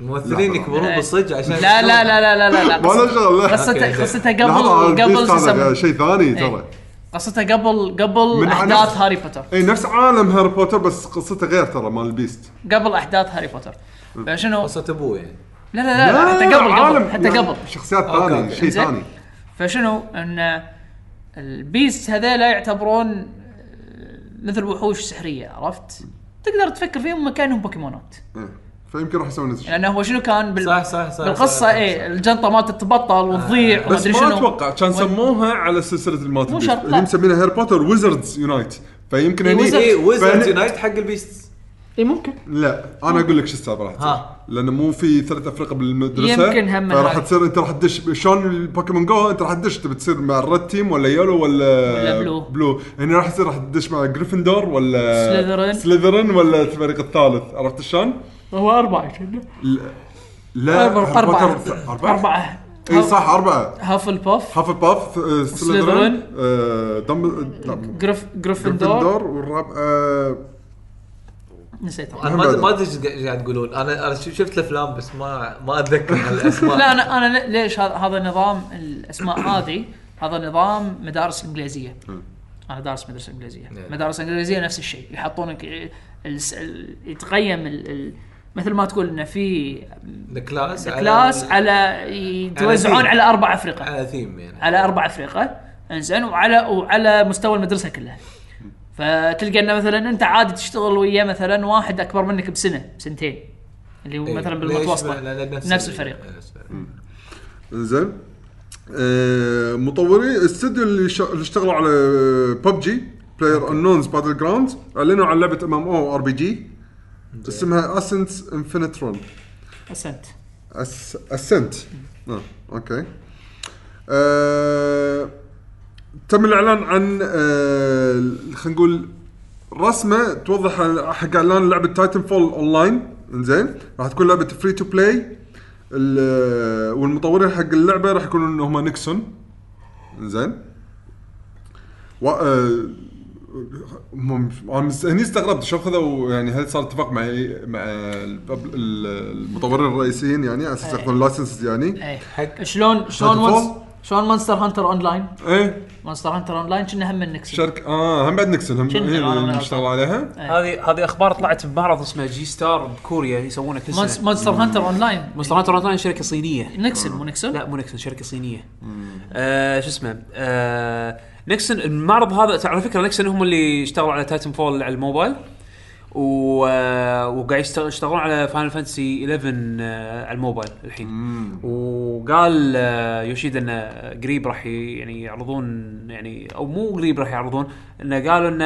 S4: الممثلين
S3: لا،
S4: يكبرون بالصدق عشان
S2: أه. لا لا لا لا لا لا لا
S3: ما له
S2: قصة-
S3: شغل لا.
S4: أوكي،
S2: قصته
S4: زين.
S2: قصته
S3: لحظة، أنا
S2: قبل قبل
S3: بليز
S2: شو
S3: كان هذا
S2: يسمونه؟
S3: شيء ثاني
S2: إيه.
S3: ترى
S2: قصته قبل قبل
S3: من
S2: احداث
S3: عنف-
S2: هاري بوتر
S3: اي نفس عالم هاري بوتر بس قصته غير ترى مال البيست
S2: قبل احداث هاري بوتر فشنو
S4: قصة ابوه يعني
S2: لا لا لا, لا حتى قبل
S3: عالم
S2: قبل حتى
S3: يعني
S2: قبل
S3: شخصيات
S4: أوكي،
S3: ثانية
S4: أوكي.
S3: شيء
S2: إنزين.
S3: ثاني
S2: فشنو ان البيست هذيلا يعتبرون آه، مثل وحوش سحريه عرفت؟ تقدر تفكر فيهم مكانهم بوكيمونات
S3: إيه. فيمكن راح يسوون نفس الشيء
S2: لانه هو شنو كان بال...
S4: صح صح صح
S2: بالقصه
S4: صح،
S2: ايه
S4: صح.
S2: الجنطه مالته تتبطل وتضيع وما
S3: بس
S2: ادري
S3: ما
S2: شنو
S3: اتوقع كان
S2: وال-
S3: سموها على سلسله المات
S2: مو
S3: البيست.
S2: شرط، لا.
S3: اللي مسمينها هاري بوتر ويزردز يونايت فيمكن
S2: إيه، Wizards-
S4: اي ويزرد
S3: فهني-
S4: يونايت حق البيست
S2: اي إيه، ممكن
S3: لا انا اقول لك شو السالفه راح تصير
S4: ها.
S3: لانه مو في ثلاث افرقه بالمدرسه
S2: يمكن هم
S3: فراح
S2: هاي.
S3: تصير انت راح تدش شلون البوكيمون جو انت راح تدش تبي تصير مع الريد تيم ولا يلو ولا
S2: ولا بلو.
S3: بلو هنا راح تصير راح تدش مع جريفندور ولا
S2: سليذرين.
S3: سليذرين ولا الفريق الثالث عرفت شلون؟
S2: هو اربعه شنو؟
S3: لا
S2: اربعه
S3: هاري بوتر-
S2: اربعه اربعه
S3: اي صح اربعه
S2: هاف البوف
S3: هاف باف سليذرين
S2: سليذرين.
S3: آه، دم لا، مو-
S2: جريف جريفندور
S3: جريفندور والرابع آه،
S2: نسيت
S4: انا ما أد- ما ادري ايش قاعد تقولون انا انا ش- شفت الافلام بس ما ما
S5: [laughs]
S4: اتذكر هالاسماء
S2: لا انا انا لي- ليش هذا هذا نظام الاسماء هذه هذا نظام مدارس انجليزيه انا دارس مدرسه انجليزيه
S4: نعم.
S2: مدارس انجليزيه نفس الشيء يحطونك ال- ال- يتقيم ال- ال- مثل ما تقول انه في
S4: الكلاس على-
S2: كلاس على يتوزعون
S4: على-
S2: على اربع افرقه
S4: على ثيم يعني
S2: على اربع افرقه انزين وعلى وعلى مستوى المدرسه كلها فتلقى انه مثلا انت عادي تشتغل ويا مثلا واحد اكبر منك بسنه بسنتين اللي هو
S4: إيه.
S2: مثلا
S4: ليش؟
S2: بالمتوسطه
S4: لأن- لأن
S2: نفس الفريق
S4: نفس آه. الفريق.
S3: انزين آه، مطوري الاستوديو اللي شا- اللي اشتغلوا على ببجي بلاير انونز باتل جراوند اعلنوا عن لعبه ام ام او ار بي جي اسمها اسنس انفينيترون
S2: احسنت
S3: اسنت آه، اوكي آه، تم الاعلان عن آه، خلينا نقول رسمه توضح عن- حق اعلان لعبه تايتن فول اونلاين انزين راح تكون لعبه فري تو بلاي آه، والمطورين حق اللعبه راح يكونون هم نيكسون انزين و آه، هم انا مس- هني استغربت شو خذوا يعني هل صار اتفاق مع مع البب- ال- المطورين الرئيسيين يعني على
S1: إيه.
S3: اساس ياخذون لايسنس يعني
S2: ايه
S4: حق-
S2: شلون شلون
S3: Titanfall؟
S2: مونس- شلون مونستر هانتر اون لاين
S3: ايه
S2: مونستر هانتر اون لاين كنا هم من نكسب
S3: شركه اه هم بعد نكسل هم
S2: شنو؟
S3: هي
S2: أنا
S3: اللي
S2: ما
S3: اشتغلوا عليها
S1: هذه هذه اخبار طلعت بمعرض اسمه جي ستار بكوريا يسوونه كل سنه
S2: مونستر هانتر اون لاين
S1: مونستر هانتر أونلاين شركه صينيه
S2: نكسل مو نكسل؟
S1: لا مو نكسن شركه صينيه آه شو اسمه آه نكسن المعرض هذا على فكره نكسن هم اللي اشتغلوا على تايتن فول على الموبايل و... آه، وقاعد يشتغل- يشتغلون على فاينل فانتسي 11 آه، على الموبايل الحين وقال آه، يوشيدا انه قريب راح ي- يعني يعرضون يعني او مو قريب راح يعرضون انه قالوا انه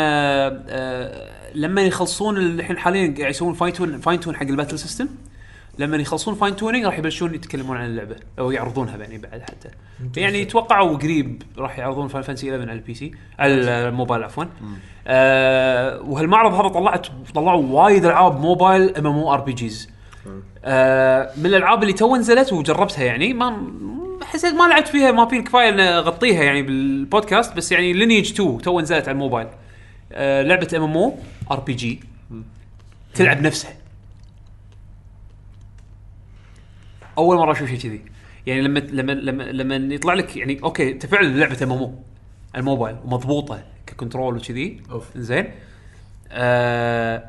S1: آه، لما يخلصون الحين حاليا قاعد يسوون فاين تون فاين تون حق الباتل سيستم لما يخلصون فاين تونينج راح يبلشون يتكلمون عن اللعبه او يعرضونها يعني بعد حتى يعني يتوقعوا قريب راح يعرضون فاين فانسي 11 على البي سي على الموبايل عفوا آه وهالمعرض هذا طلعت طلعوا وايد العاب موبايل ام ام او ار بي جيز آه، من الالعاب اللي تو نزلت وجربتها يعني ما حسيت ما لعبت فيها ما في الكفايه ان اغطيها يعني بالبودكاست بس يعني لينيج 2 تو نزلت على الموبايل آه، لعبه ام ام او ار بي جي تلعب نفسها اول مره اشوف شيء كذي يعني لما لما لما لما يطلع لك يعني اوكي انت فعلا لعبه ام ام او الموبايل ومضبوطه ككنترول وكذي
S4: أوف.
S1: زين آه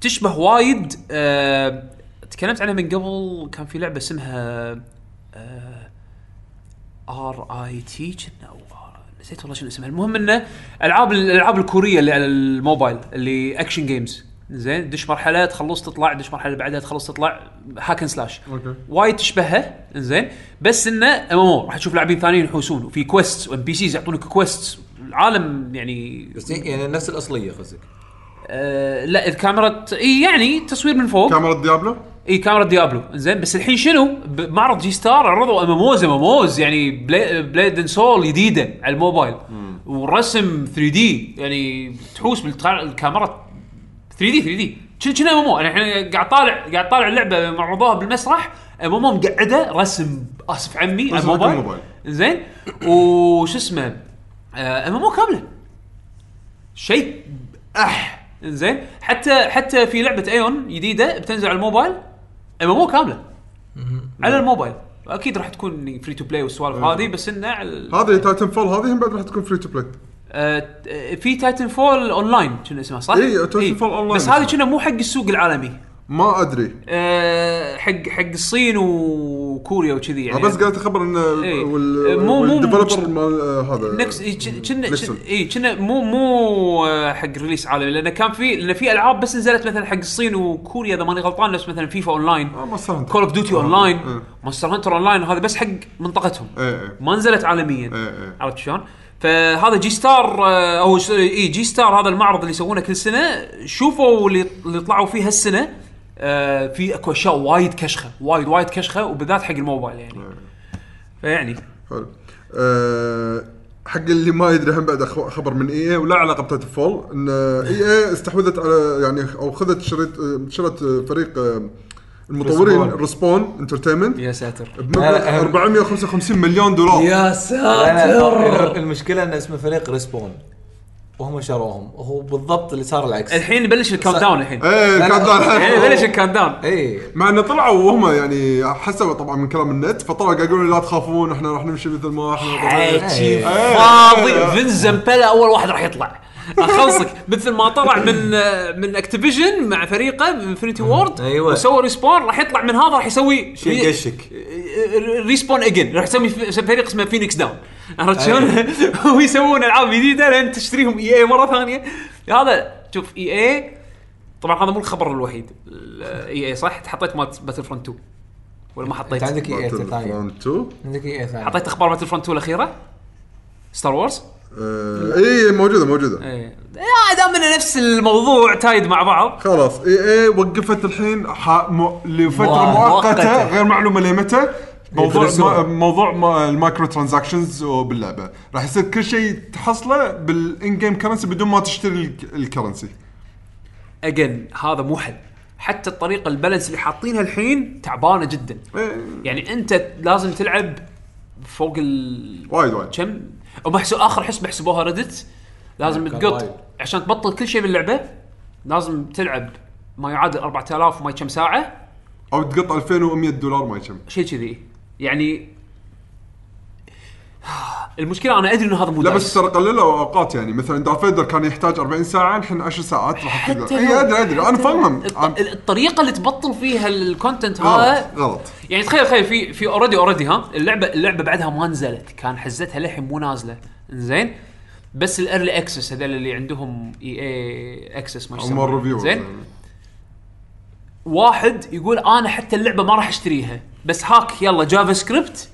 S1: تشبه وايد آه تكلمت عنها من قبل كان في لعبه اسمها آه، ار اي تي او R- آه، نسيت والله شنو اسمها المهم انه العاب الالعاب الكوريه اللي على الموبايل اللي اكشن جيمز زين دش مرحله تخلص تطلع دش مرحله بعدها تخلص تطلع هاكن سلاش
S3: اوكي
S1: وايد تشبهها زين بس انه ام ام راح تشوف لاعبين ثانيين يحوسون وفي كويست وام بي سيز يعطونك كويست العالم يعني
S4: بس يعني نفس الاصليه قصدك
S1: آه لا الكاميرا ت- اي يعني تصوير من فوق
S3: كاميرا ديابلو
S1: اي كاميرا ديابلو زين بس الحين شنو بمعرض جي ستار عرضوا ام اموز ام اموز يعني بلا- بليد اند سول جديده على الموبايل والرسم 3 دي يعني تحوس بالكاميرا 3 دي 3 دي كنا ام ام احنا قاعد طالع قاعد طالع اللعبه معرضوها بالمسرح ام ام مقعده رسم اسف عمي على
S3: رسم على
S1: الموبايل
S3: الموبايل.
S1: زين وش اسمه آه، ام ام كامله شيء اح زين حتى حتى في لعبه ايون جديده بتنزل على الموبايل ام ام كامله على الموبايل اكيد راح تكون فري تو بلاي والسوالف هذه بس انه على ال-
S3: أيوة. هذه تايتن فول هذه هم بعد راح تكون فري تو بلاي
S1: آه، ت- آه، في تايتن فول اون لاين كنا اسمها صح؟ إيه.
S3: إي، إيه، Titanfall Online
S1: بس هذه كنا مو حق السوق العالمي
S3: ما ادري
S1: آه، حق حق الصين وكوريا وكذي يعني
S3: أنا آه، بس قاعد اخبر ان
S1: إيه.
S3: وال-
S1: مو- مو-
S3: والديفلوبر مال آه، هذا
S1: نكس إي، إيه، كن- كنا
S3: نكسل.
S1: كن- اي كنا مو مو آه، حق ريليس عالمي لانه كان في لان في العاب بس نزلت مثلا حق الصين وكوريا اذا ماني غلطان نفس مثلا فيفا اون لاين
S3: آه، ما صار
S1: كول اوف ديوتي اون
S3: إيه.
S1: لاين مونستر هانتر اون لاين هذا بس حق منطقتهم
S3: إيه، إيه.
S1: ما نزلت عالميا
S3: إيه، إيه.
S1: عرفت شلون؟ فهذا جي ستار آه، او س- اي جي ستار هذا المعرض اللي يسوونه كل سنه شوفوا اللي اللي طلعوا فيه هالسنه آه، في اكو اشياء وايد كشخه وايد وايد كشخه وبالذات حق الموبايل يعني
S3: آه.
S1: فيعني
S3: حلو أه حق اللي ما يدري هم بعد أخو- خبر من اي ولا علاقه بتايتن فول ان اي اي
S5: إيه.
S3: استحوذت على يعني او خذت شريت آه، شرت آه، فريق آه، المطورين
S5: Respawn.
S3: ريسبون انترتينمنت
S1: يا ساتر
S3: بمبلغ 455 مليون دولار
S5: يا ساتر المشكله ان اسمه فريق ريسبون وهم شروهم هو بالضبط اللي صار العكس
S1: الحين بلش الكاونت داون الحين يعني
S3: ايه
S5: لا، لا.
S3: كان
S1: الحين
S3: دار
S1: بلش الكاونت داون
S5: اي
S3: مع انه طلعوا وهم يعني حسبوا طبعا من كلام النت فطلعوا قاعد يقولون لا تخافون احنا راح نمشي مثل ما احنا طبعاً.
S1: حكي فاضي فين زمبلا اول واحد راح يطلع اخلصك مثل ما طلع من آه، من اكتيفيجن مع فريقه من انفنتي وورد
S4: أيوة.
S1: وسوى ريسبون راح يطلع من هذا راح يسوي
S4: شيء قشك.
S1: ريسبون اجن راح يسوي ف- فريق اسمه فينيكس داون عرفت
S4: أيوة.
S1: شلون؟ [laughs] ويسوون العاب جديده لين تشتريهم E اي اي مره ثانيه هذا شوف اي اي طبعا هذا مو الخبر الوحيد اي اي صح؟ حطيت مالت باتل فرونت 2 ولا ما حطيت؟
S5: انت عندك اي
S3: باتل
S5: ثاني
S3: فرونت 2
S5: عندك اي ثاني
S1: حطيت اخبار باتل فرونت 2 الاخيره ستار وورز
S3: آه، اي موجوده
S5: إيه.
S3: موجوده
S1: ايه آه، دام انه نفس الموضوع تايد مع بعض
S3: خلاص اي اي وقفت الحين ح... م... لفتره مؤقته
S1: مؤقتة.
S3: غير معلومه لمتى موضوع ما...
S4: يدرسون.
S3: موضوع ما... المايكرو ترانزاكشنز باللعبه راح يصير كل شيء تحصله بالان جيم كرنسي بدون ما تشتري الك... الكرنسي
S1: اجن هذا مو حل حتى الطريقه البالانس اللي حاطينها الحين تعبانه جدا
S3: إيه.
S1: يعني انت لازم تلعب فوق ال
S3: وايد وايد
S1: كم هم حسوا اخر حسبه حسبوها ردت لازم تقط
S5: وايد.
S1: عشان تبطل كل شيء باللعبه لازم تلعب ما يعادل 4000 وما كم ساعه
S3: او تقطع 2100 دولار ما يشم
S1: شيء كذي يعني [sighs] المشكله انا ادري ان هذا مو
S3: لا
S1: دايس.
S3: بس ترى قللوا اوقات يعني مثلا دارث فيدر كان يحتاج 40 ساعه الحين 10 ساعات راح
S1: حتى
S3: تقدر
S1: لو-
S3: اي ادري ادري انا
S1: حتى
S3: فاهمهم
S1: الط-
S3: أنا-
S1: الطريقه اللي تبطل فيها الكونتنت
S3: غلط
S1: هذا
S3: غلط
S1: يعني تخيل تخيل في في اوريدي اوريدي ها اللعبه اللعبه بعدها ما نزلت كان حزتها للحين مو نازله زين بس الارلي اكسس هذول اللي عندهم اي اي اكسس ما
S3: هم
S1: يسمونه.
S3: الريفيو
S1: زين واحد يقول انا حتى اللعبه ما راح اشتريها بس هاك يلا جافا سكريبت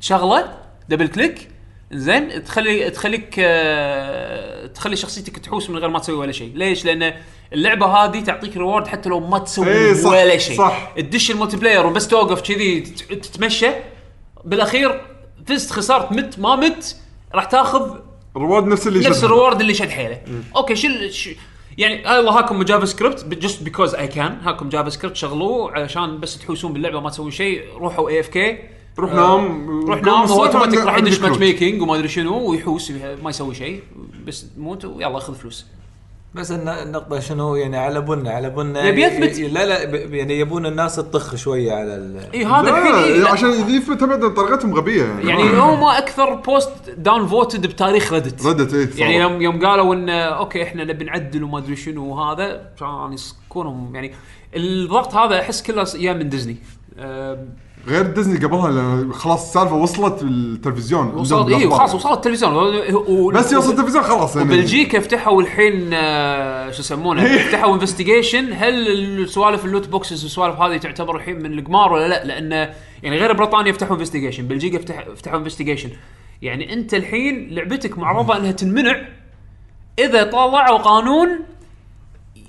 S1: تشغله دبل كليك زين تخلي تخليك آه، تخلي شخصيتك تحوس من غير ما تسوي ولا شيء، ليش؟ لان اللعبه هذه تعطيك ريورد حتى لو ما تسوي
S3: إيه، صح،
S1: ولا شيء
S3: صح.
S1: تدش الملتي بلاير وبس توقف كذي تت- تتمشى بالاخير فزت خسرت مت ما مت راح تاخذ
S3: الرواد نفس اللي
S1: نفس
S3: شدها.
S1: الريورد اللي شد حيله اوكي شل ش... يعني يلا هاكم جافا سكريبت جست بيكوز اي كان هاكم جافا سكريبت شغلوه علشان بس تحوسون باللعبه ما تسوون شيء روحوا اي اف كي
S3: روح نام
S1: آه، روح نام هو اوتوماتيك راح يدش ماتش
S3: ميك
S1: ميكينج وما ادري شنو ويحوس ما يسوي شيء بس تموت ويلا خذ فلوس
S5: بس الن- النقطه شنو يعني على بنا على بنا
S1: يبي يثبت.
S5: لا لا ب- يعني يبون الناس تطخ شويه على ال...
S1: اي هذا الحين إيه،
S3: لا يعني
S1: لا.
S3: عشان يضيف ابدا طريقتهم غبيه يعني
S1: يعني هو ما اكثر بوست داون فوتد بتاريخ ريدت
S3: ردت ايه صراحة.
S1: يعني يوم يوم قالوا ان اوكي احنا نبي نعدل وما ادري شنو وهذا كان يسكونهم يعني الضغط هذا احس كله يا من ديزني آه، أم،
S3: غير ديزني قبلها لأن خلاص السالفه وصلت التلفزيون
S1: وصلت
S3: عندهم
S1: اي
S3: بالأخبار.
S1: إيه، خلاص وصلت التلفزيون و...
S3: بس يوصل التلفزيون خلاص يعني
S1: بلجيكا فتحوا الحين آه، شو
S3: [laughs]
S1: يسمونه فتحوا انفستيجيشن هل السوالف اللوت بوكسز والسوالف هذه تعتبر الحين من القمار ولا لا لان يعني غير بريطانيا فتحوا انفستيجيشن بلجيكا فتح فتحوا انفستيجيشن يعني انت الحين لعبتك معرضه انها تنمنع اذا طلعوا قانون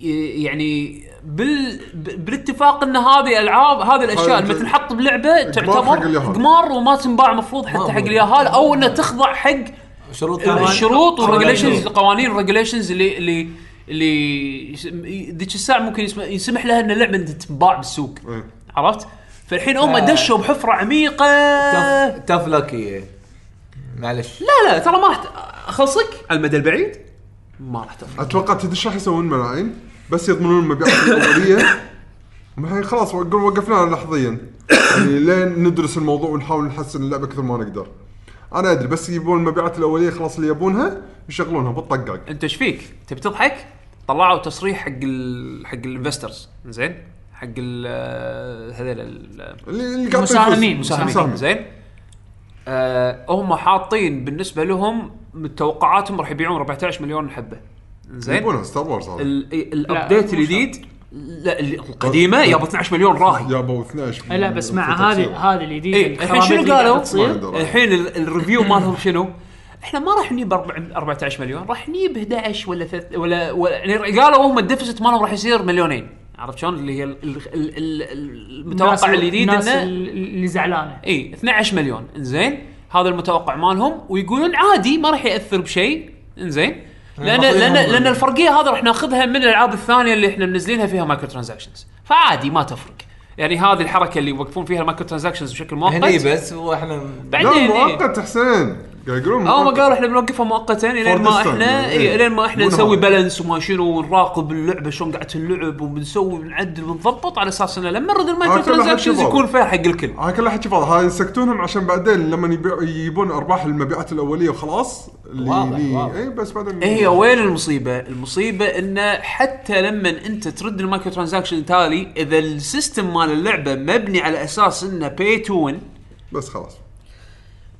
S1: ي- يعني بال ب- بالاتفاق ان هذه العاب هذه الاشياء
S3: هذا
S1: لما تنحط بلعبه
S3: حق
S1: تعتبر
S3: اليهال.
S1: قمار وما تنباع مفروض حتى حق اليهال او انها تخضع حق
S5: شروط يعني
S1: الشروط والريجليشنز القوانين الريجليشنز اللي اللي اللي يسم- ذيك الساعه ممكن يسم- يسمح لها ان اللعبه تنباع بالسوق
S3: إيه.
S1: عرفت؟ فالحين هم دشوا بحفره عميقه
S5: تف لاكي إيه. معلش
S1: لا لا ترى ما راح ت- اخلصك على المدى البعيد ما راح تفرق
S3: اتوقع تدش راح يسوون ملاعين بس يضمنون المبيعات الاوليه الحين خلاص اقول وقفنا لحظيا يعني لين ندرس الموضوع ونحاول نحسن اللعبه كثر ما نقدر انا ادري بس يبون المبيعات الاوليه خلاص اللي يبونها يشغلونها بالطقاق
S1: انت ايش فيك؟ تبي تضحك؟ طلعوا تصريح حق ال... حق الانفسترز زين؟ حق ال هذول ال-
S3: اللي اللي قاعد يفوز.
S2: المساهمين.
S1: المساهمين زين؟ آه هم حاطين بالنسبه لهم توقعاتهم راح يبيعون 14 مليون حبه زين؟
S3: يبونها ستار وورز هذا.
S1: ال- الابديت الجديد لا ال- القديمه يابا 12 مليون راهي
S3: جابوا 12
S2: إيه، لا بس مع
S3: فترة
S2: هذه
S3: تصوير.
S2: هذه الجديده
S1: إيه، الحين
S2: الخرابيط
S1: شنو
S2: اللي قاعدة
S1: قالوا؟
S2: تصير.
S3: ما أقدر.
S1: الحين ال- الريفيو مالهم شنو؟ احنا ما راح نجيب أربع- 14 مليون راح نجيب 11 ولا ثلاث ولا, ولا يعني قالوا هم الديفست مالهم راح يصير مليونين عرفت شلون اللي هي ال- ال- ال- ال-
S2: الناس-
S1: المتوقع الجديد
S2: الناس
S1: انه
S2: ال- اللي زعلانه
S1: اي 12 مليون انزين هذا المتوقع مالهم ويقولون عادي ما راح ياثر بشيء انزين
S3: يعني
S1: لان لان لان الفرقيه هذا راح ناخذها من الالعاب الثانيه اللي احنا منزلينها فيها مايكرو ترانزاكشنز فعادي ما تفرق يعني هذه الحركه اللي يوقفون فيها المايكرو ترانزاكشنز بشكل
S5: هني
S1: مؤقت
S5: بس واحنا
S3: لا
S1: بعدين إيه.
S3: مؤقت حسين قاعد يقولون
S1: هم
S3: مؤقت.
S1: قالوا احنا بنوقفها مؤقتا الين
S3: For
S1: ما
S3: this time.
S1: احنا
S3: إيه.
S1: إيه، الين ما احنا
S3: مو
S1: نسوي
S3: نهاية.
S1: بالانس وما شنو ونراقب اللعبه شلون قاعده تنلعب وبنسوي بنعدل بنضبط على اساس انه لما نرد المايكرو
S3: آه، كلها
S1: ترانزاكشنز
S3: حكي
S1: يكون
S3: فاضي.
S1: فير حق الكل
S3: هاي كلها حكي فاضي هاي يسكتونهم عشان بعدين لما يبيع- يجيبون ارباح المبيعات الاوليه وخلاص اللي
S5: واضح،
S3: اللي-
S5: واضح.
S3: اي بس بعدين
S1: إيه هي وين المصيبه؟ المصيبه انه حتى لما انت ترد المايكرو ترانزاكشن تالي اذا السيستم مال اللعبه مبني على اساس انه باي تو وين
S3: بس خلاص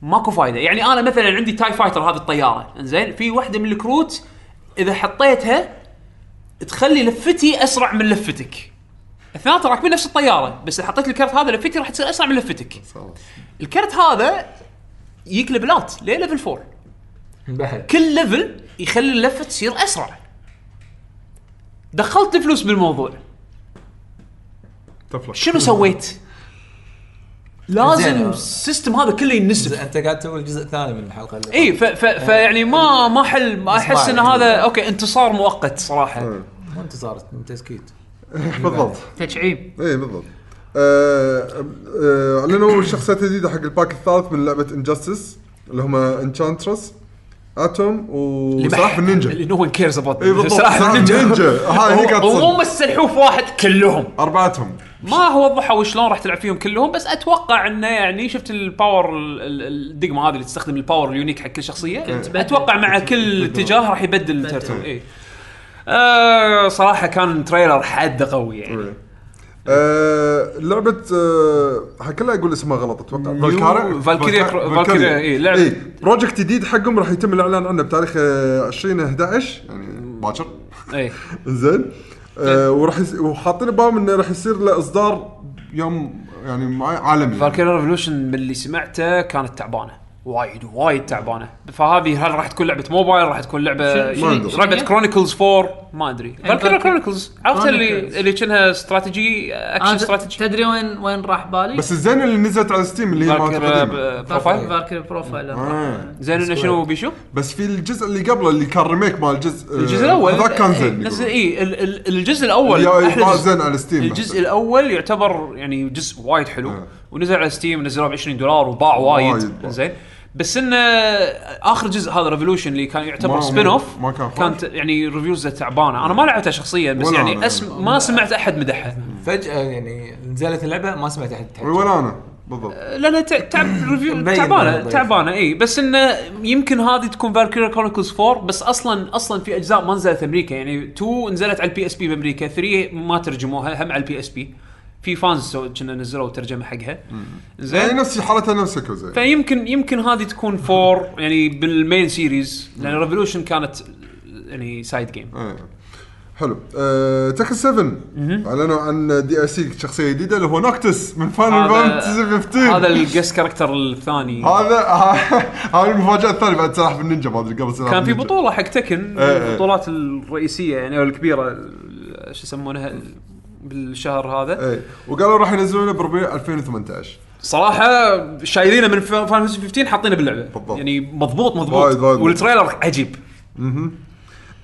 S1: ماكو فايده يعني انا مثلا عندي تاي فايتر هذه الطياره انزين في واحده من الكروت اذا حطيتها تخلي لفتي اسرع من لفتك اثنيناتهم راكبين نفس الطياره بس اذا حطيت الكرت هذا لفتي راح تصير اسرع من لفتك
S3: خلاص
S1: الكرت هذا يجيك ليفلات ليه ليفل 4
S5: انبحر
S1: كل ليفل يخلي اللفه تصير اسرع دخلت فلوس بالموضوع
S3: تفلح
S1: شنو سويت لازم
S5: زين.
S1: السيستم هذا كله ينسف
S5: انت قاعد تسوي الجزء الثاني من الحلقه اللي
S1: اي ف ف فيعني ما ما حل ما احس ان
S5: إصبع.
S1: هذا اوكي انتصار مؤقت صراحه
S5: مو انتصار تسكيت
S3: إيه، بالضبط
S2: تشعيب
S3: اي بالضبط آه، آه، اعلنوا شخصيات جديده حق الباك الثالث من لعبه انجستس اللي هم انشانترس اتوم وسلاحف النينجا
S1: نو ون كيرز اباوت
S3: اي إيه، بالضبط سلاحف
S1: [laughs]
S3: النينجا هاي هي قاعد
S1: مو
S3: تصير
S1: بس سلحوف واحد كلهم
S3: اربعتهم
S1: ما هو وضحوا شلون راح تلعب فيهم كلهم بس اتوقع انه يعني شفت الباور ال- ال- الدقمه هذه اللي تستخدم الباور اليونيك حق كل شخصيه اتوقع مع كل اتجاه راح يبدل الترتيب اي آه صراحه كان تريلر حد قوي يعني
S3: آه، لعبة آه، كلها اقول اسمها غلط اتوقع فالكارا
S1: فالكيريا- فالكيريا، إيه، لعبة.
S3: اي بروجكت جديد حقهم راح يتم الاعلان عنه بتاريخ آه، 20 11 يعني باكر
S1: اي
S3: زين آه، وراح يس- وحاطين ببالهم انه راح يصير له اصدار يوم يعني مع- عالمي يعني.
S1: فالكير ريفولوشن من اللي سمعته كانت تعبانه وايد وايد تعبانه فهذه هل راح تكون لعبه موبايل راح تكون لعبه
S2: شنو-
S3: ما أدري.
S1: لعبه كرونيكلز 4 ما ادري فالكير كرونيكلز عرفت اللي
S2: Chronicles.
S1: اللي كانها استراتيجي اكشن
S2: أنا
S1: استراتيجي
S2: تدري وين وين راح بالي؟
S3: بس الزين اللي نزلت على ستيم اللي هي مالت القديمة.
S1: فالكير بروفايل
S2: فالكري بروفايل
S3: آه.
S1: زين انه شنو بيشو؟
S3: بس في الجزء اللي قبله اللي كان ريميك مال الجزء
S1: الجزء الاول
S3: ذاك كان
S1: إيه،
S3: زين
S1: نزل
S3: يقولون.
S1: اي ال- ال- الجزء الاول
S3: يا-
S1: أحلى
S3: يطلع
S1: جزء.
S3: زين على ستيم
S1: الجزء
S3: بعد.
S1: الاول يعتبر يعني جزء وايد حلو
S3: آه.
S1: ونزل على ستيم نزلوه ب 20 دولار وباع وايد
S3: وايد باع.
S1: زين بس انه اخر جزء هذا ريفولوشن اللي كان
S3: ما-
S1: يعتبر
S3: ما-
S1: سبين اوف
S3: ما كان
S1: كانت يعني ريفيوزه تعبانه انا ما لعبتها شخصيا بس
S3: ولا
S1: يعني
S3: أنا.
S1: اسم ما سمعت احد مدحها
S5: فجاه يعني نزلت اللعبه ما سمعت احد يتحكى.
S3: ولا انا بالضبط
S1: لانها تع-
S5: [clears throat]
S1: تعب ريفيو
S5: مبين
S1: تعبانه
S5: إنه ضعيف.
S1: تعبانه اي بس انه يمكن هذه تكون فالكيريا كرونيكلز 4 بس اصلا اصلا في اجزاء ما نزلت امريكا يعني 2 نزلت على البي اس بي بامريكا 3 ما ترجموها هم على البي اس بي في فانز سو- كنا نزلوا ترجمه حقها
S3: يعني
S1: زين
S3: نفس حالتها نفس كوزي
S1: فيمكن يمكن هذه تكون 4 يعني بالمين سيريز لان ريفولوشن كانت يعني سايد جيم
S3: آه. حلو أه تكن 7 اعلنوا عن دي اي سي شخصيه جديده اللي هو نوكتس من فاينل فانتسي 15
S1: هذا الجس كاركتر الثاني
S3: هذا [laughs] هاي المفاجاه الثانيه بعد سلاحف النينجا ما ادري قبل سلاحف
S1: كان في
S3: النينجا.
S1: بطوله حق تكن
S3: إيه إيه.
S1: البطولات الرئيسيه يعني او الكبيره ال- شو يسمونها ال- بالشهر هذا
S3: اي إيه. وقالوا راح ينزلونه بربيع 2018
S1: صراحه شايلينه من فان فانتسي 15 حاطينه باللعبه
S3: بالضبط.
S1: يعني مضبوط مضبوط
S3: وايد- وايد.
S1: والتريلر عجيب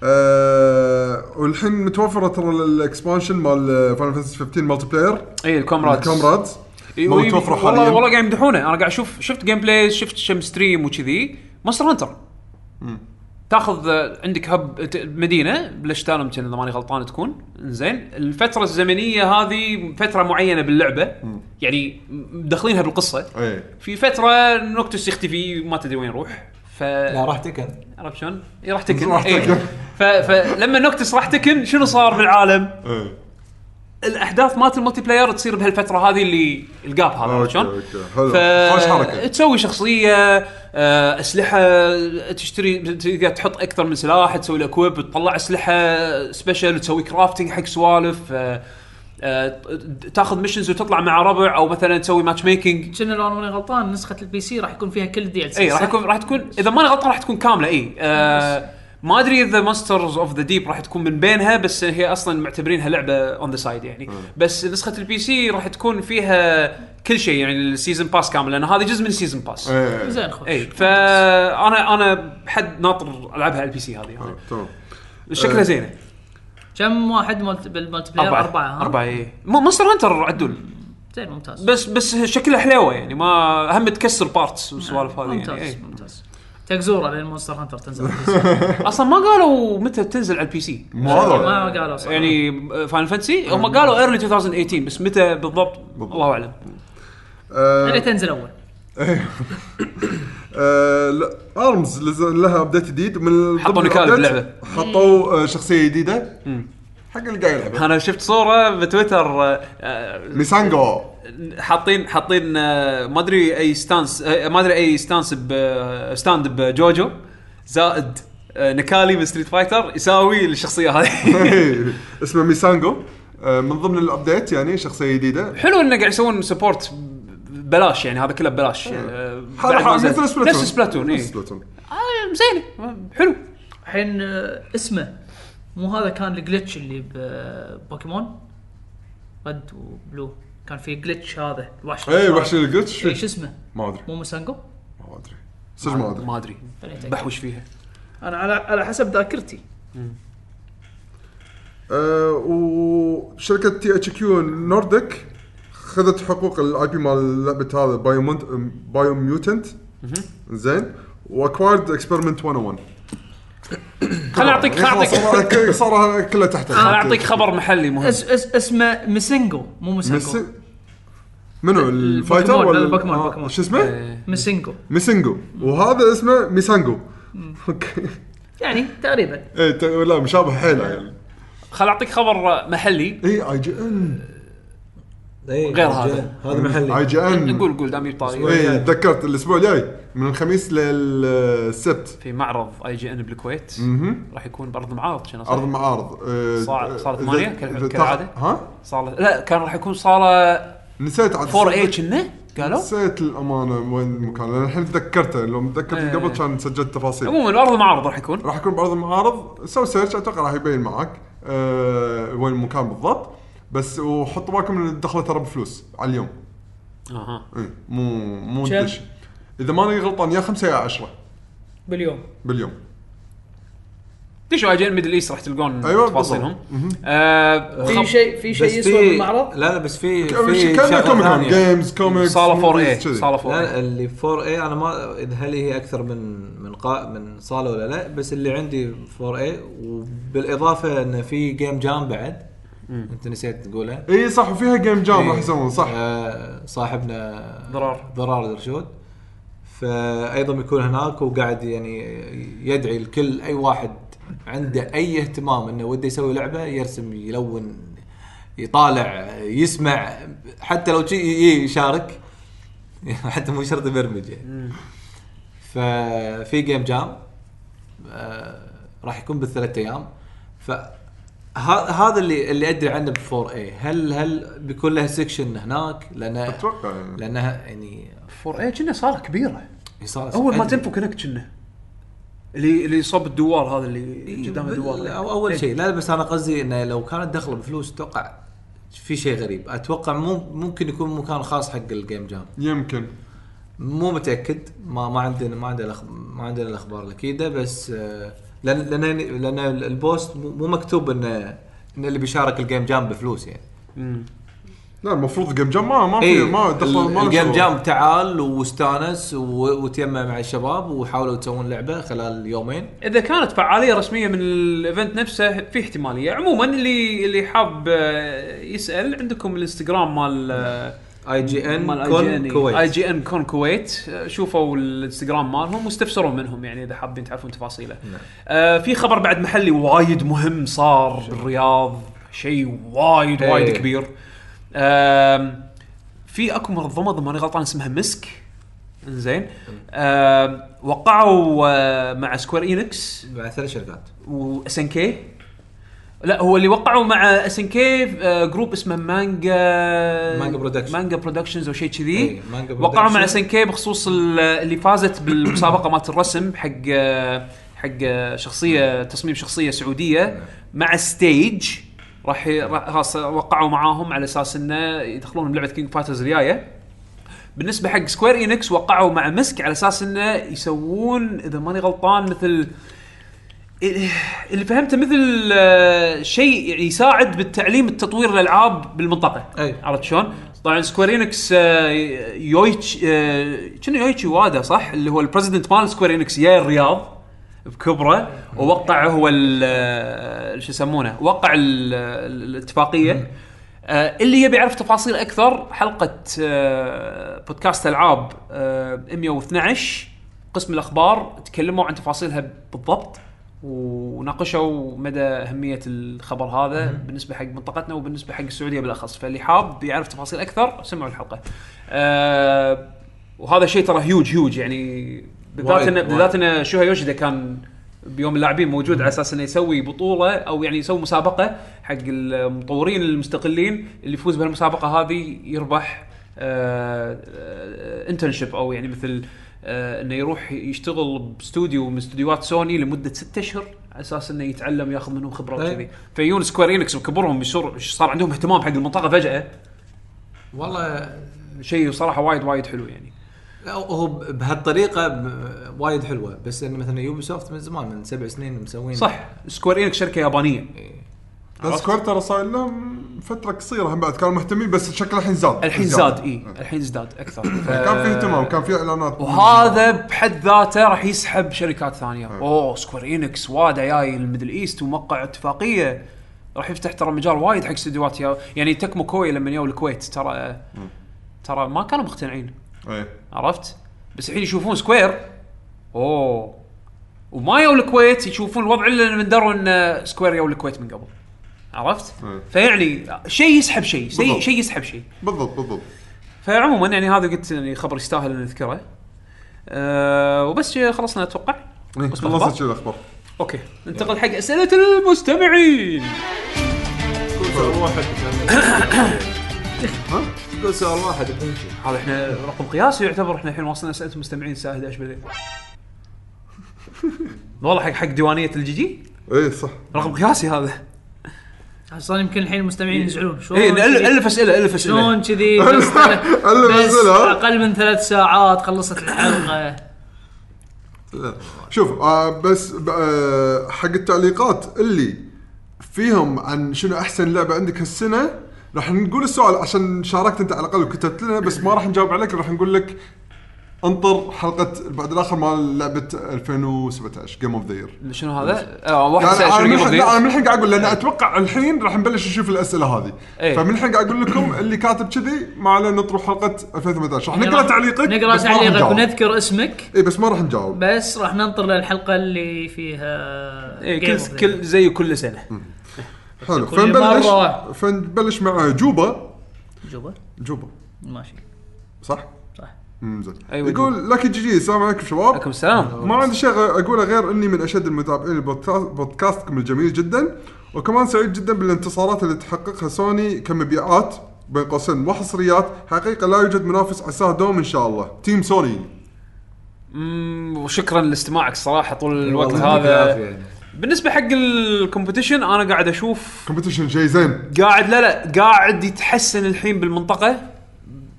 S3: أه والحين متوفره ترى الاكسبانشن مال فاينل فانتسي 15 مالتي بلاير
S1: اي إيه، الكومراد
S3: الكامرات
S1: إي،
S3: ما
S1: وي-
S3: متوفره
S1: إيه، والله
S3: حاليا.
S1: والله قاعد يمدحونه انا قاعد اشوف شفت جيم بلاي شفت شم ستريم وكذي مونستر هانتر تاخذ آه، عندك هب ت- مدينه بلشتان يمكن اذا ماني غلطان تكون زين الفتره الزمنيه هذه فتره معينه باللعبه يعني مدخلينها بالقصه
S3: ايه
S1: في فتره نوكتوس يختفي ما تدري وين يروح ف
S5: لا راح تكن
S1: عرفت شلون؟ إي، راح تكن
S3: [laughs] راح
S1: إي.
S3: تكن.
S1: ف... فلما نوكتس راح تكن شنو صار بالعالم؟
S3: ايه
S1: الاحداث مالت الملتي بلاير تصير بهالفتره هذه اللي الجاب هذا عرفت
S3: اوكي
S1: شلون؟
S3: اوكي حلو
S1: ف...
S3: خوش حركه
S1: تسوي شخصيه آه، اسلحه تشتري تقدر تحط اكثر من سلاح تسوي الاكويب تطلع اسلحه سبيشل تسوي كرافتنج حق سوالف آه، آه، ت- تاخذ ميشنز وتطلع مع ربع او مثلا تسوي ماتش ميكنج
S2: كنا لو انا ماني غلطان نسخه البي سي راح يكون فيها كل الدي ال سي
S1: اي إيه، راح يكون راح تكون اذا ماني غلطان راح تكون كامله اي آه ما ادري اذا ماسترز اوف ذا ديب راح تكون من بينها بس هي اصلا معتبرينها لعبه اون ذا سايد يعني بس نسخه البي سي راح تكون فيها كل شيء يعني السيزون باس كامل لان هذا جزء من إيه، السيزون باس
S2: إيه.
S3: ايه
S2: زين خوش
S1: اي فانا انا حد ناطر العبها على البي سي هذه
S3: آه،
S1: يعني.
S3: تمام
S2: إيه.
S1: شكلها زينه
S2: كم واحد ملت... بالملتي بلاير
S1: اربعه
S2: اربعه ها؟
S1: اربعه اي مونستر هانتر عدول
S2: زين ممتاز
S1: بس بس شكلها حلوه يعني ما هم تكسر بارتس والسوالف هذه
S2: ممتاز
S1: يعني إي.
S2: ممتاز تكزوره لين مونستر هانتر تنزل
S1: اصلا ما قالوا متى تنزل على البي سي
S3: مو هذا
S2: ما آه، قالوا صراحه
S1: يعني فاين فانتسي هم قالوا ايرلي 2018 بس متى بالضبط الله اعلم
S2: اللي
S1: يعني
S3: آه،
S2: تنزل اول
S3: إيه. [coughs] آه، لا، ارمز لز- لها ابديت جديد من
S1: حطوا
S3: ضمن
S1: نكال
S3: الأبديت
S1: باللعبة.
S3: حطوا آه، شخصيه جديده حق اللي قاعد يلعب
S1: انا شفت صوره بتويتر آه، آه،
S3: ميسانجو [laughs]
S1: حاطين حاطين آه، ما ادري اي ستانس آه، ما ادري اي ستانس ب آه، ستاند بجوجو زائد آه، نكالي من ستريت فايتر يساوي الشخصيه هذه
S3: [laughs] اسمه ميسانجو آه، من ضمن الابديت يعني شخصيه جديده
S1: حلو انه قاعد يسوون سبورت ببلاش يعني هذا كله ببلاش آه، بعد ما
S3: حلو حلو
S1: نزل.
S3: إيه. مثل سبلاتون
S1: نفس سبلاتون إيه. اي
S3: نفس سبلاتون
S1: زين حلو
S2: الحين آه، اسمه مو هذا كان الجلتش اللي ببوكيمون رد وبلو كان في جلتش هذا الوحش
S3: اي إيه، وحش القدس
S2: إي، شو اسمه
S3: ما ادري
S2: مو مسانجو
S3: ما ادري صدق ما ادري
S1: ما ادري بحوش فيها
S2: انا على على حسب ذاكرتي
S3: آه، وشركه تي اتش كيو نورديك خذت حقوق الاي بي مال لعبه هذا بايو مونت بايو ميوتنت زين واكوايرد اكسبيرمنت 101
S1: خليني اعطيك خليني
S3: يعني خلاص،
S1: اعطيك
S3: صار- ك- صار كله تحت
S4: آه.
S1: خل اعطيك خبر محلي مهم
S2: اس اس اسمه مسنجو مو
S3: مس...
S2: مسنجو
S3: منو الفايتر ولا
S2: البوكيمون،
S3: آه،
S2: البوكيمون. إيه.
S3: شو اسمه؟
S2: مسنجو
S3: ميسنجو وهذا اسمه ميسانجو [laughs] اوكي
S2: يعني تقريبا
S3: ايه ت- لا مشابه حيل يعني إيه،
S1: خل اعطيك خبر محلي
S3: اي اي جي ان
S5: إيه،
S1: غير هذا.
S4: هذا محلي
S3: اي جي ان
S1: نقول قول دامي طاري
S3: اي إيه، تذكرت الاسبوع الجاي من الخميس للسبت
S1: في معرض اي جي ان بالكويت راح يكون برضه معارض شنو
S3: ارض
S1: صار؟
S3: معارض آه،
S1: صار- صار
S3: إذا-
S1: ثمانية
S3: إذا
S1: كالع-
S3: تاخ-
S1: كالعادة؟
S3: ها
S1: صاله لا كان راح يكون صاله
S3: نسيت عاد
S1: 4 اي كنا إيه قالوا
S3: نسيت الامانه وين المكان لان الحين تذكرته لو متذكرت
S1: إيه.
S3: قبل كان سجلت تفاصيل
S1: عموما ارض المعارض راح يكون
S3: راح يكون بعرض المعارض سو سيرش اتوقع راح يبين معك أه وين المكان بالضبط بس وحطوا بالكم ان الدخله ترى بفلوس على اليوم
S1: اها
S3: إيه، مو مو
S2: كم؟
S3: دش اذا ماني غلطان يا خمسه يا عشرة
S2: باليوم
S3: باليوم
S1: دشوا اي جي ان ميدل ايست راح تلقون
S3: أيوة،
S1: تفاصيلهم آه،
S2: في
S1: خب-
S2: شيء في شيء يسوى بالمعرض
S4: لا لا بس في في
S3: كانه
S4: شغلة
S3: كوميك كون
S4: ثانية.
S3: جيمز كوميكس
S1: صاله 4
S3: موفيز،
S1: اي
S3: كذي.
S1: صاله 4
S4: لا
S1: اي
S4: اللي 4 اي انا ما إذا هل هي اكثر من من قا من صاله ولا لا بس اللي عندي 4 اي وبالاضافه انه في جيم جام بعد انت نسيت تقولها
S3: اي إيه، صح وفيها جيم
S4: إيه.
S3: جام راح يسوون صح
S4: آه صاحبنا
S1: ضرار.
S4: ضرار الرشود فايضا بيكون هناك وقاعد يعني يدعي الكل اي واحد عنده اي اهتمام انه وده يسوي لعبه يرسم يلون يطالع يسمع حتى لو شيء ي- يشارك [laughs] حتى مو شرط يبرمج يعني ففي جيم جام آه، راح يكون بالثلاث ايام ف ه- هذا اللي اللي ادري عنه ب 4 اي هل هل بيكون له سيكشن هناك لان
S3: اتوقع يعني
S4: لانها يعني
S1: 4 اي كنا صاله كبيره
S4: هي صار
S1: اول ما
S4: أدري.
S1: تنفو كونكت كنا اللي اللي صوب الدوار هذا اللي قدام إيه.
S4: بال-
S1: الدوار
S4: أو اول شيء إيه، لا بس انا قصدي انه لو كانت دخله بفلوس اتوقع في شيء غريب اتوقع مو ممكن يكون مكان خاص حق الجيم جام
S3: يمكن
S4: مو متاكد ما ما عندنا ما عندنا الأخ- ما عندنا الاخبار الاكيده بس آه، لان لان لان البوست مو مو مكتوب انه ان اللي بيشارك الجيم جام بفلوس يعني
S3: لا المفروض جيم جام ما ما
S1: إيه،
S3: في
S4: اي
S3: ما دخل ما له
S4: إيه، الجيم
S3: شغل.
S4: جام تعال واستانس و- وتيمع مع الشباب وحاولوا تسوون لعبه خلال يومين
S1: اذا كانت فعاليه رسميه من الايفنت نفسه في احتماليه عموما اللي اللي حاب آه، يسال عندكم الانستغرام مال آه،
S4: اي جي
S1: مال
S4: ان كون
S1: اي
S4: كويت
S1: آه، جي ان كون كويت آه، شوفوا الانستغرام مالهم واستفسروا منهم يعني اذا حابين تعرفون تفاصيله
S4: نعم.
S1: آه في خبر بعد محلي وايد مهم صار بالرياض شيء وايد
S4: إيه.
S1: وايد كبير آم، في اكو منظمه اذا ماني غلطان اسمها مسك زين وقعوا آه، مع سكوير انكس
S4: مع ثلاث شركات
S1: واس ان كي لا هو اللي وقعوا مع اس ان كي جروب آه، اسمه مانجا
S4: مانجا Productions.
S1: مانجا برودكشنز او شيء كذي
S4: إيه، مانجا
S1: وقعوا مع
S4: Productions.
S1: اس ان كي بخصوص ال- اللي فازت بالمسابقه مالت الرسم حق آه، حق شخصيه تصميم شخصيه سعوديه مع ستيج راح ي- راح خلاص وقعوا معاهم على اساس انه يدخلون بلعبه كينج فايترز الجايه بالنسبه حق سكوير انكس وقعوا مع مسك على اساس انه يسوون اذا ماني غلطان مثل اللي فهمته مثل آه، شيء يعني يساعد بالتعليم التطوير الالعاب بالمنطقه
S4: أي.
S1: عرفت شلون؟ طبعا سكويرينكس آه، يويتش آه، كنا يويتشي وادا صح اللي هو البريزدنت مال سكويرينكس يا الرياض بكبره ووقع هو ال- آه، شو يسمونه وقع ال- آه، الاتفاقيه آه، اللي يبي يعرف تفاصيل اكثر حلقه آه، بودكاست العاب آه، 112 قسم الاخبار تكلموا عن تفاصيلها بالضبط وناقشوا مدى اهميه الخبر هذا بالنسبه حق منطقتنا وبالنسبه حق السعوديه بالاخص فاللي حاب يعرف تفاصيل اكثر سمعوا الحلقه. آه وهذا شيء ترى هيوج هيوج يعني بالذات
S4: وايد-
S1: ان
S4: وايد.
S1: بالذات ان شوها يوشيدا كان بيوم اللاعبين موجود على اساس انه يسوي بطوله او يعني يسوي مسابقه حق المطورين المستقلين اللي يفوز بهالمسابقه هذه يربح آه، انترنشيب او يعني مثل آه، انه يروح يشتغل باستوديو من استديوهات سوني لمده ستة اشهر على اساس انه يتعلم ياخذ منهم خبره
S4: أي.
S1: وكذي فيون سكوير انكس وكبرهم يصير صار عندهم اهتمام حق المنطقه فجاه
S4: والله
S1: شيء صراحه وايد وايد حلو يعني
S4: لا، هو ب- بهالطريقه ب- وايد حلوه بس انه مثلا يوبي سوفت من زمان من سبع سنين مسوين
S1: صح سكوير انكس شركه يابانيه
S3: بس سكوير ترى صاير لهم فتره قصيره هم بعد كانوا مهتمين بس شكله الحين زاد يعني
S1: الحين زاد إيه. اي الحين ازداد اكثر
S3: كان في اهتمام كان في اعلانات
S1: وهذا بحد ذاته راح يسحب شركات ثانيه اوه سكوير انكس وادا جاي الميدل ايست وموقع اتفاقيه راح يفتح ترى مجال وايد حق استديوهات يا- يعني تكمو كوي لما يو الكويت ترى ترى ما كانوا مقتنعين
S3: إيه.
S1: عرفت بس الحين يشوفون سكوير اوه وما يو الكويت يشوفون الوضع الا من دروا ان سكوير يو الكويت من قبل عرفت؟
S3: مم.
S1: فيعني شيء يسحب شيء شيء
S3: بالضبط.
S1: شيء يسحب شيء
S3: بالضبط بالضبط
S1: فعموما يعني هذا قلت يعني خبر يستاهل ان نذكره أه وبس خلصنا اتوقع
S3: إيه،
S1: قسم
S3: خلصت
S1: أخبار؟
S3: شي الاخبار
S1: اوكي ننتقل حق اسئله المستمعين
S4: سؤال واحد تقول سؤال واحد بنمشي
S1: هذا احنا رقم قياسي يعتبر احنا الحين واصلنا اسئله المستمعين الساعه 11 بالليل والله حق حق ديوانيه الجي جي
S3: اي إيه، صح
S1: رقم قياسي هذا إيه،
S2: اصلا يمكن الحين المستمعين يزعلون شلون
S1: اي نأل-
S2: كذي؟
S1: الف اسئله الف اسئله
S2: شلون كذي بس
S3: إلا
S2: بس
S3: نزل، ها؟
S2: اقل من ثلاث ساعات خلصت الحلقه
S3: لا. شوف آه بس ب- آه حق التعليقات اللي فيهم عن شنو احسن لعبه عندك هالسنه راح نقول السؤال عشان شاركت انت على الاقل وكتبت لنا بس ما راح نجاوب عليك راح نقول لك انطر حلقه بعد الاخر مال لعبه 2017 جيم اوف ذا يير
S1: شنو هذا؟ آه واحد سأل
S3: انا
S1: شنو
S3: من
S1: Game of the Year.
S3: الحين لا، يعني أنا من الحين قاعد اقول لان اتوقع الحين راح نبلش نشوف الاسئله هذه
S1: إيه.
S3: فمن الحين قاعد اقول لكم اللي كاتب كذي ما عليه نطرح حلقه 2018 راح نقرا تعليقك
S2: نقرا
S3: بس ما راح
S2: تعليقك
S3: نجاوب.
S2: ونذكر اسمك
S3: اي بس ما راح نجاوب
S2: بس راح ننطر للحلقه اللي فيها
S1: إيه،
S2: Game of
S1: كل
S2: the
S1: كل زي كل سنه
S3: حلو
S2: كل
S3: فنبلش
S2: مرة.
S3: فنبلش مع جوبا
S2: Year. جوبا
S3: جوبا
S2: ماشي
S3: صح؟
S2: صح.
S3: مم، زين
S1: أيوة،
S3: يقول لك جي جي السلام عليكم شباب
S1: عليكم السلام
S3: ما عندي شيء غ- اقوله غير اني من اشد المتابعين لبودكاست- بودكاستكم الجميل جدا وكمان سعيد جدا بالانتصارات اللي تحققها سوني كمبيعات بين قوسين وحصريات حقيقه لا يوجد منافس عساه دوم ان شاء الله تيم سوني
S1: أمم، وشكرا لاستماعك صراحه طول الوقت
S4: والله يعطيك العافية
S1: هذا
S4: يعني.
S1: بالنسبه حق الكومبetition انا قاعد اشوف
S3: كومبيتيشن شيء زين
S1: قاعد لا لا قاعد يتحسن الحين بالمنطقه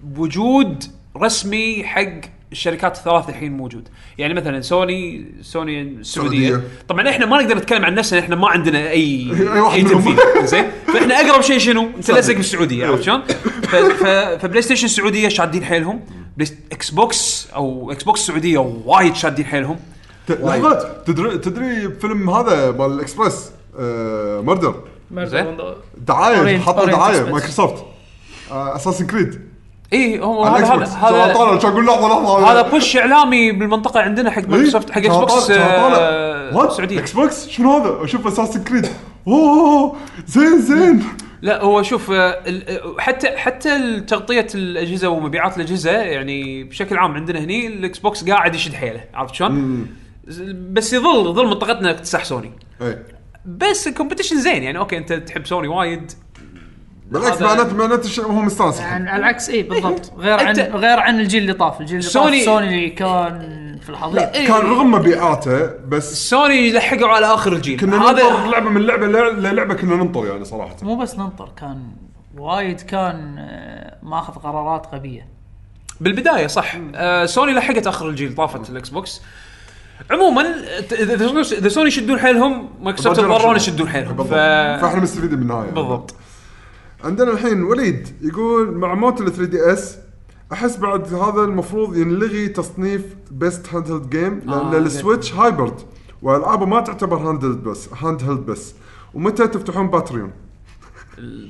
S1: بوجود رسمي حق الشركات الثلاث الحين موجود يعني مثلا سوني سوني السعوديه
S3: السعودية.
S1: طبعا احنا ما نقدر نتكلم عن نفسنا احنا ما عندنا اي
S3: أي واحد
S1: اي
S3: منهم.
S1: تنفيذ زين فاحنا اقرب شيء شنو انت لازق بالسعوديه عرفت شلون ف- ف- فبلاي ستيشن السعوديه شادين حيلهم بلاي- اكس بوكس او اكس بوكس السعوديه وايد شادين حيلهم
S3: ت- لحظه تدري تدري فيلم هذا مال الاكسبرس آه، مردر
S1: زين.
S3: دعايه
S2: Orient-
S3: حطوا
S2: Orient
S3: دعايه
S2: Express.
S3: مايكروسوفت اساسن كريد
S1: اي هو
S3: على
S1: إيه، هذا هذا
S3: الاكس بوكس
S1: هذا-
S3: طالع شو اقول لحظه لحظه
S1: هذا بوش اعلامي بالمنطقه عندنا
S3: إيه،
S1: حق مايكروسوفت حق اكس بوكس آه،
S3: السعوديه
S1: السعوديه
S3: اكس بوكس شنو هذا؟ اشوف اساسن كريد اوه زين زين
S1: لا هو شوف آه، ال- آه، حتى حتى تغطيه الاجهزه ومبيعات الاجهزه يعني بشكل عام عندنا هني الاكس بوكس قاعد يشد حيله عرفت شلون؟ ز- بس يظل ظل منطقتنا اكتساح سوني
S3: إيه.
S1: بس الكومبetition زين يعني اوكي انت تحب سوني وايد
S3: بالعكس
S1: هذا-
S3: معناته معناته الشيء هو مستانس الحين.
S2: يعني على العكس اي بالضبط غير عن
S1: أنت-
S2: غير عن الجيل اللي طاف الجيل اللي
S1: سوني-
S2: طاف سوني اللي كان في الحضيض
S1: إيه،
S3: كان رغم مبيعاته بس
S1: سوني لحقوا على اخر الجيل
S3: كنا ننطر لعبه من لعبه ل- للعبه كنا ننطر يعني صراحه
S2: مو بس ننطر كان وايد كان آه، ماخذ قرارات غبيه
S1: بالبدايه صح آه سوني لحقت اخر الجيل طافت الاكس بوكس عموما ت- اذا إذا سوني- إذا سوني يشدون حيلهم مايكروسوفت
S3: بجرب
S1: يضطرون
S3: شنو.
S1: يشدون حيلهم
S3: بالضبط.
S1: ف...
S3: فاحنا مستفيدين منها يعني
S1: بالضبط
S3: عندنا الحين وليد يقول مع موت ال 3 دي اس احس بعد هذا المفروض ينلغي تصنيف بيست هاند هيلد جيم لان
S2: آه،
S3: السويتش هايبرد والعابه ما تعتبر هاند هيلد بس هاند هيلد بس ومتى تفتحون باتريون؟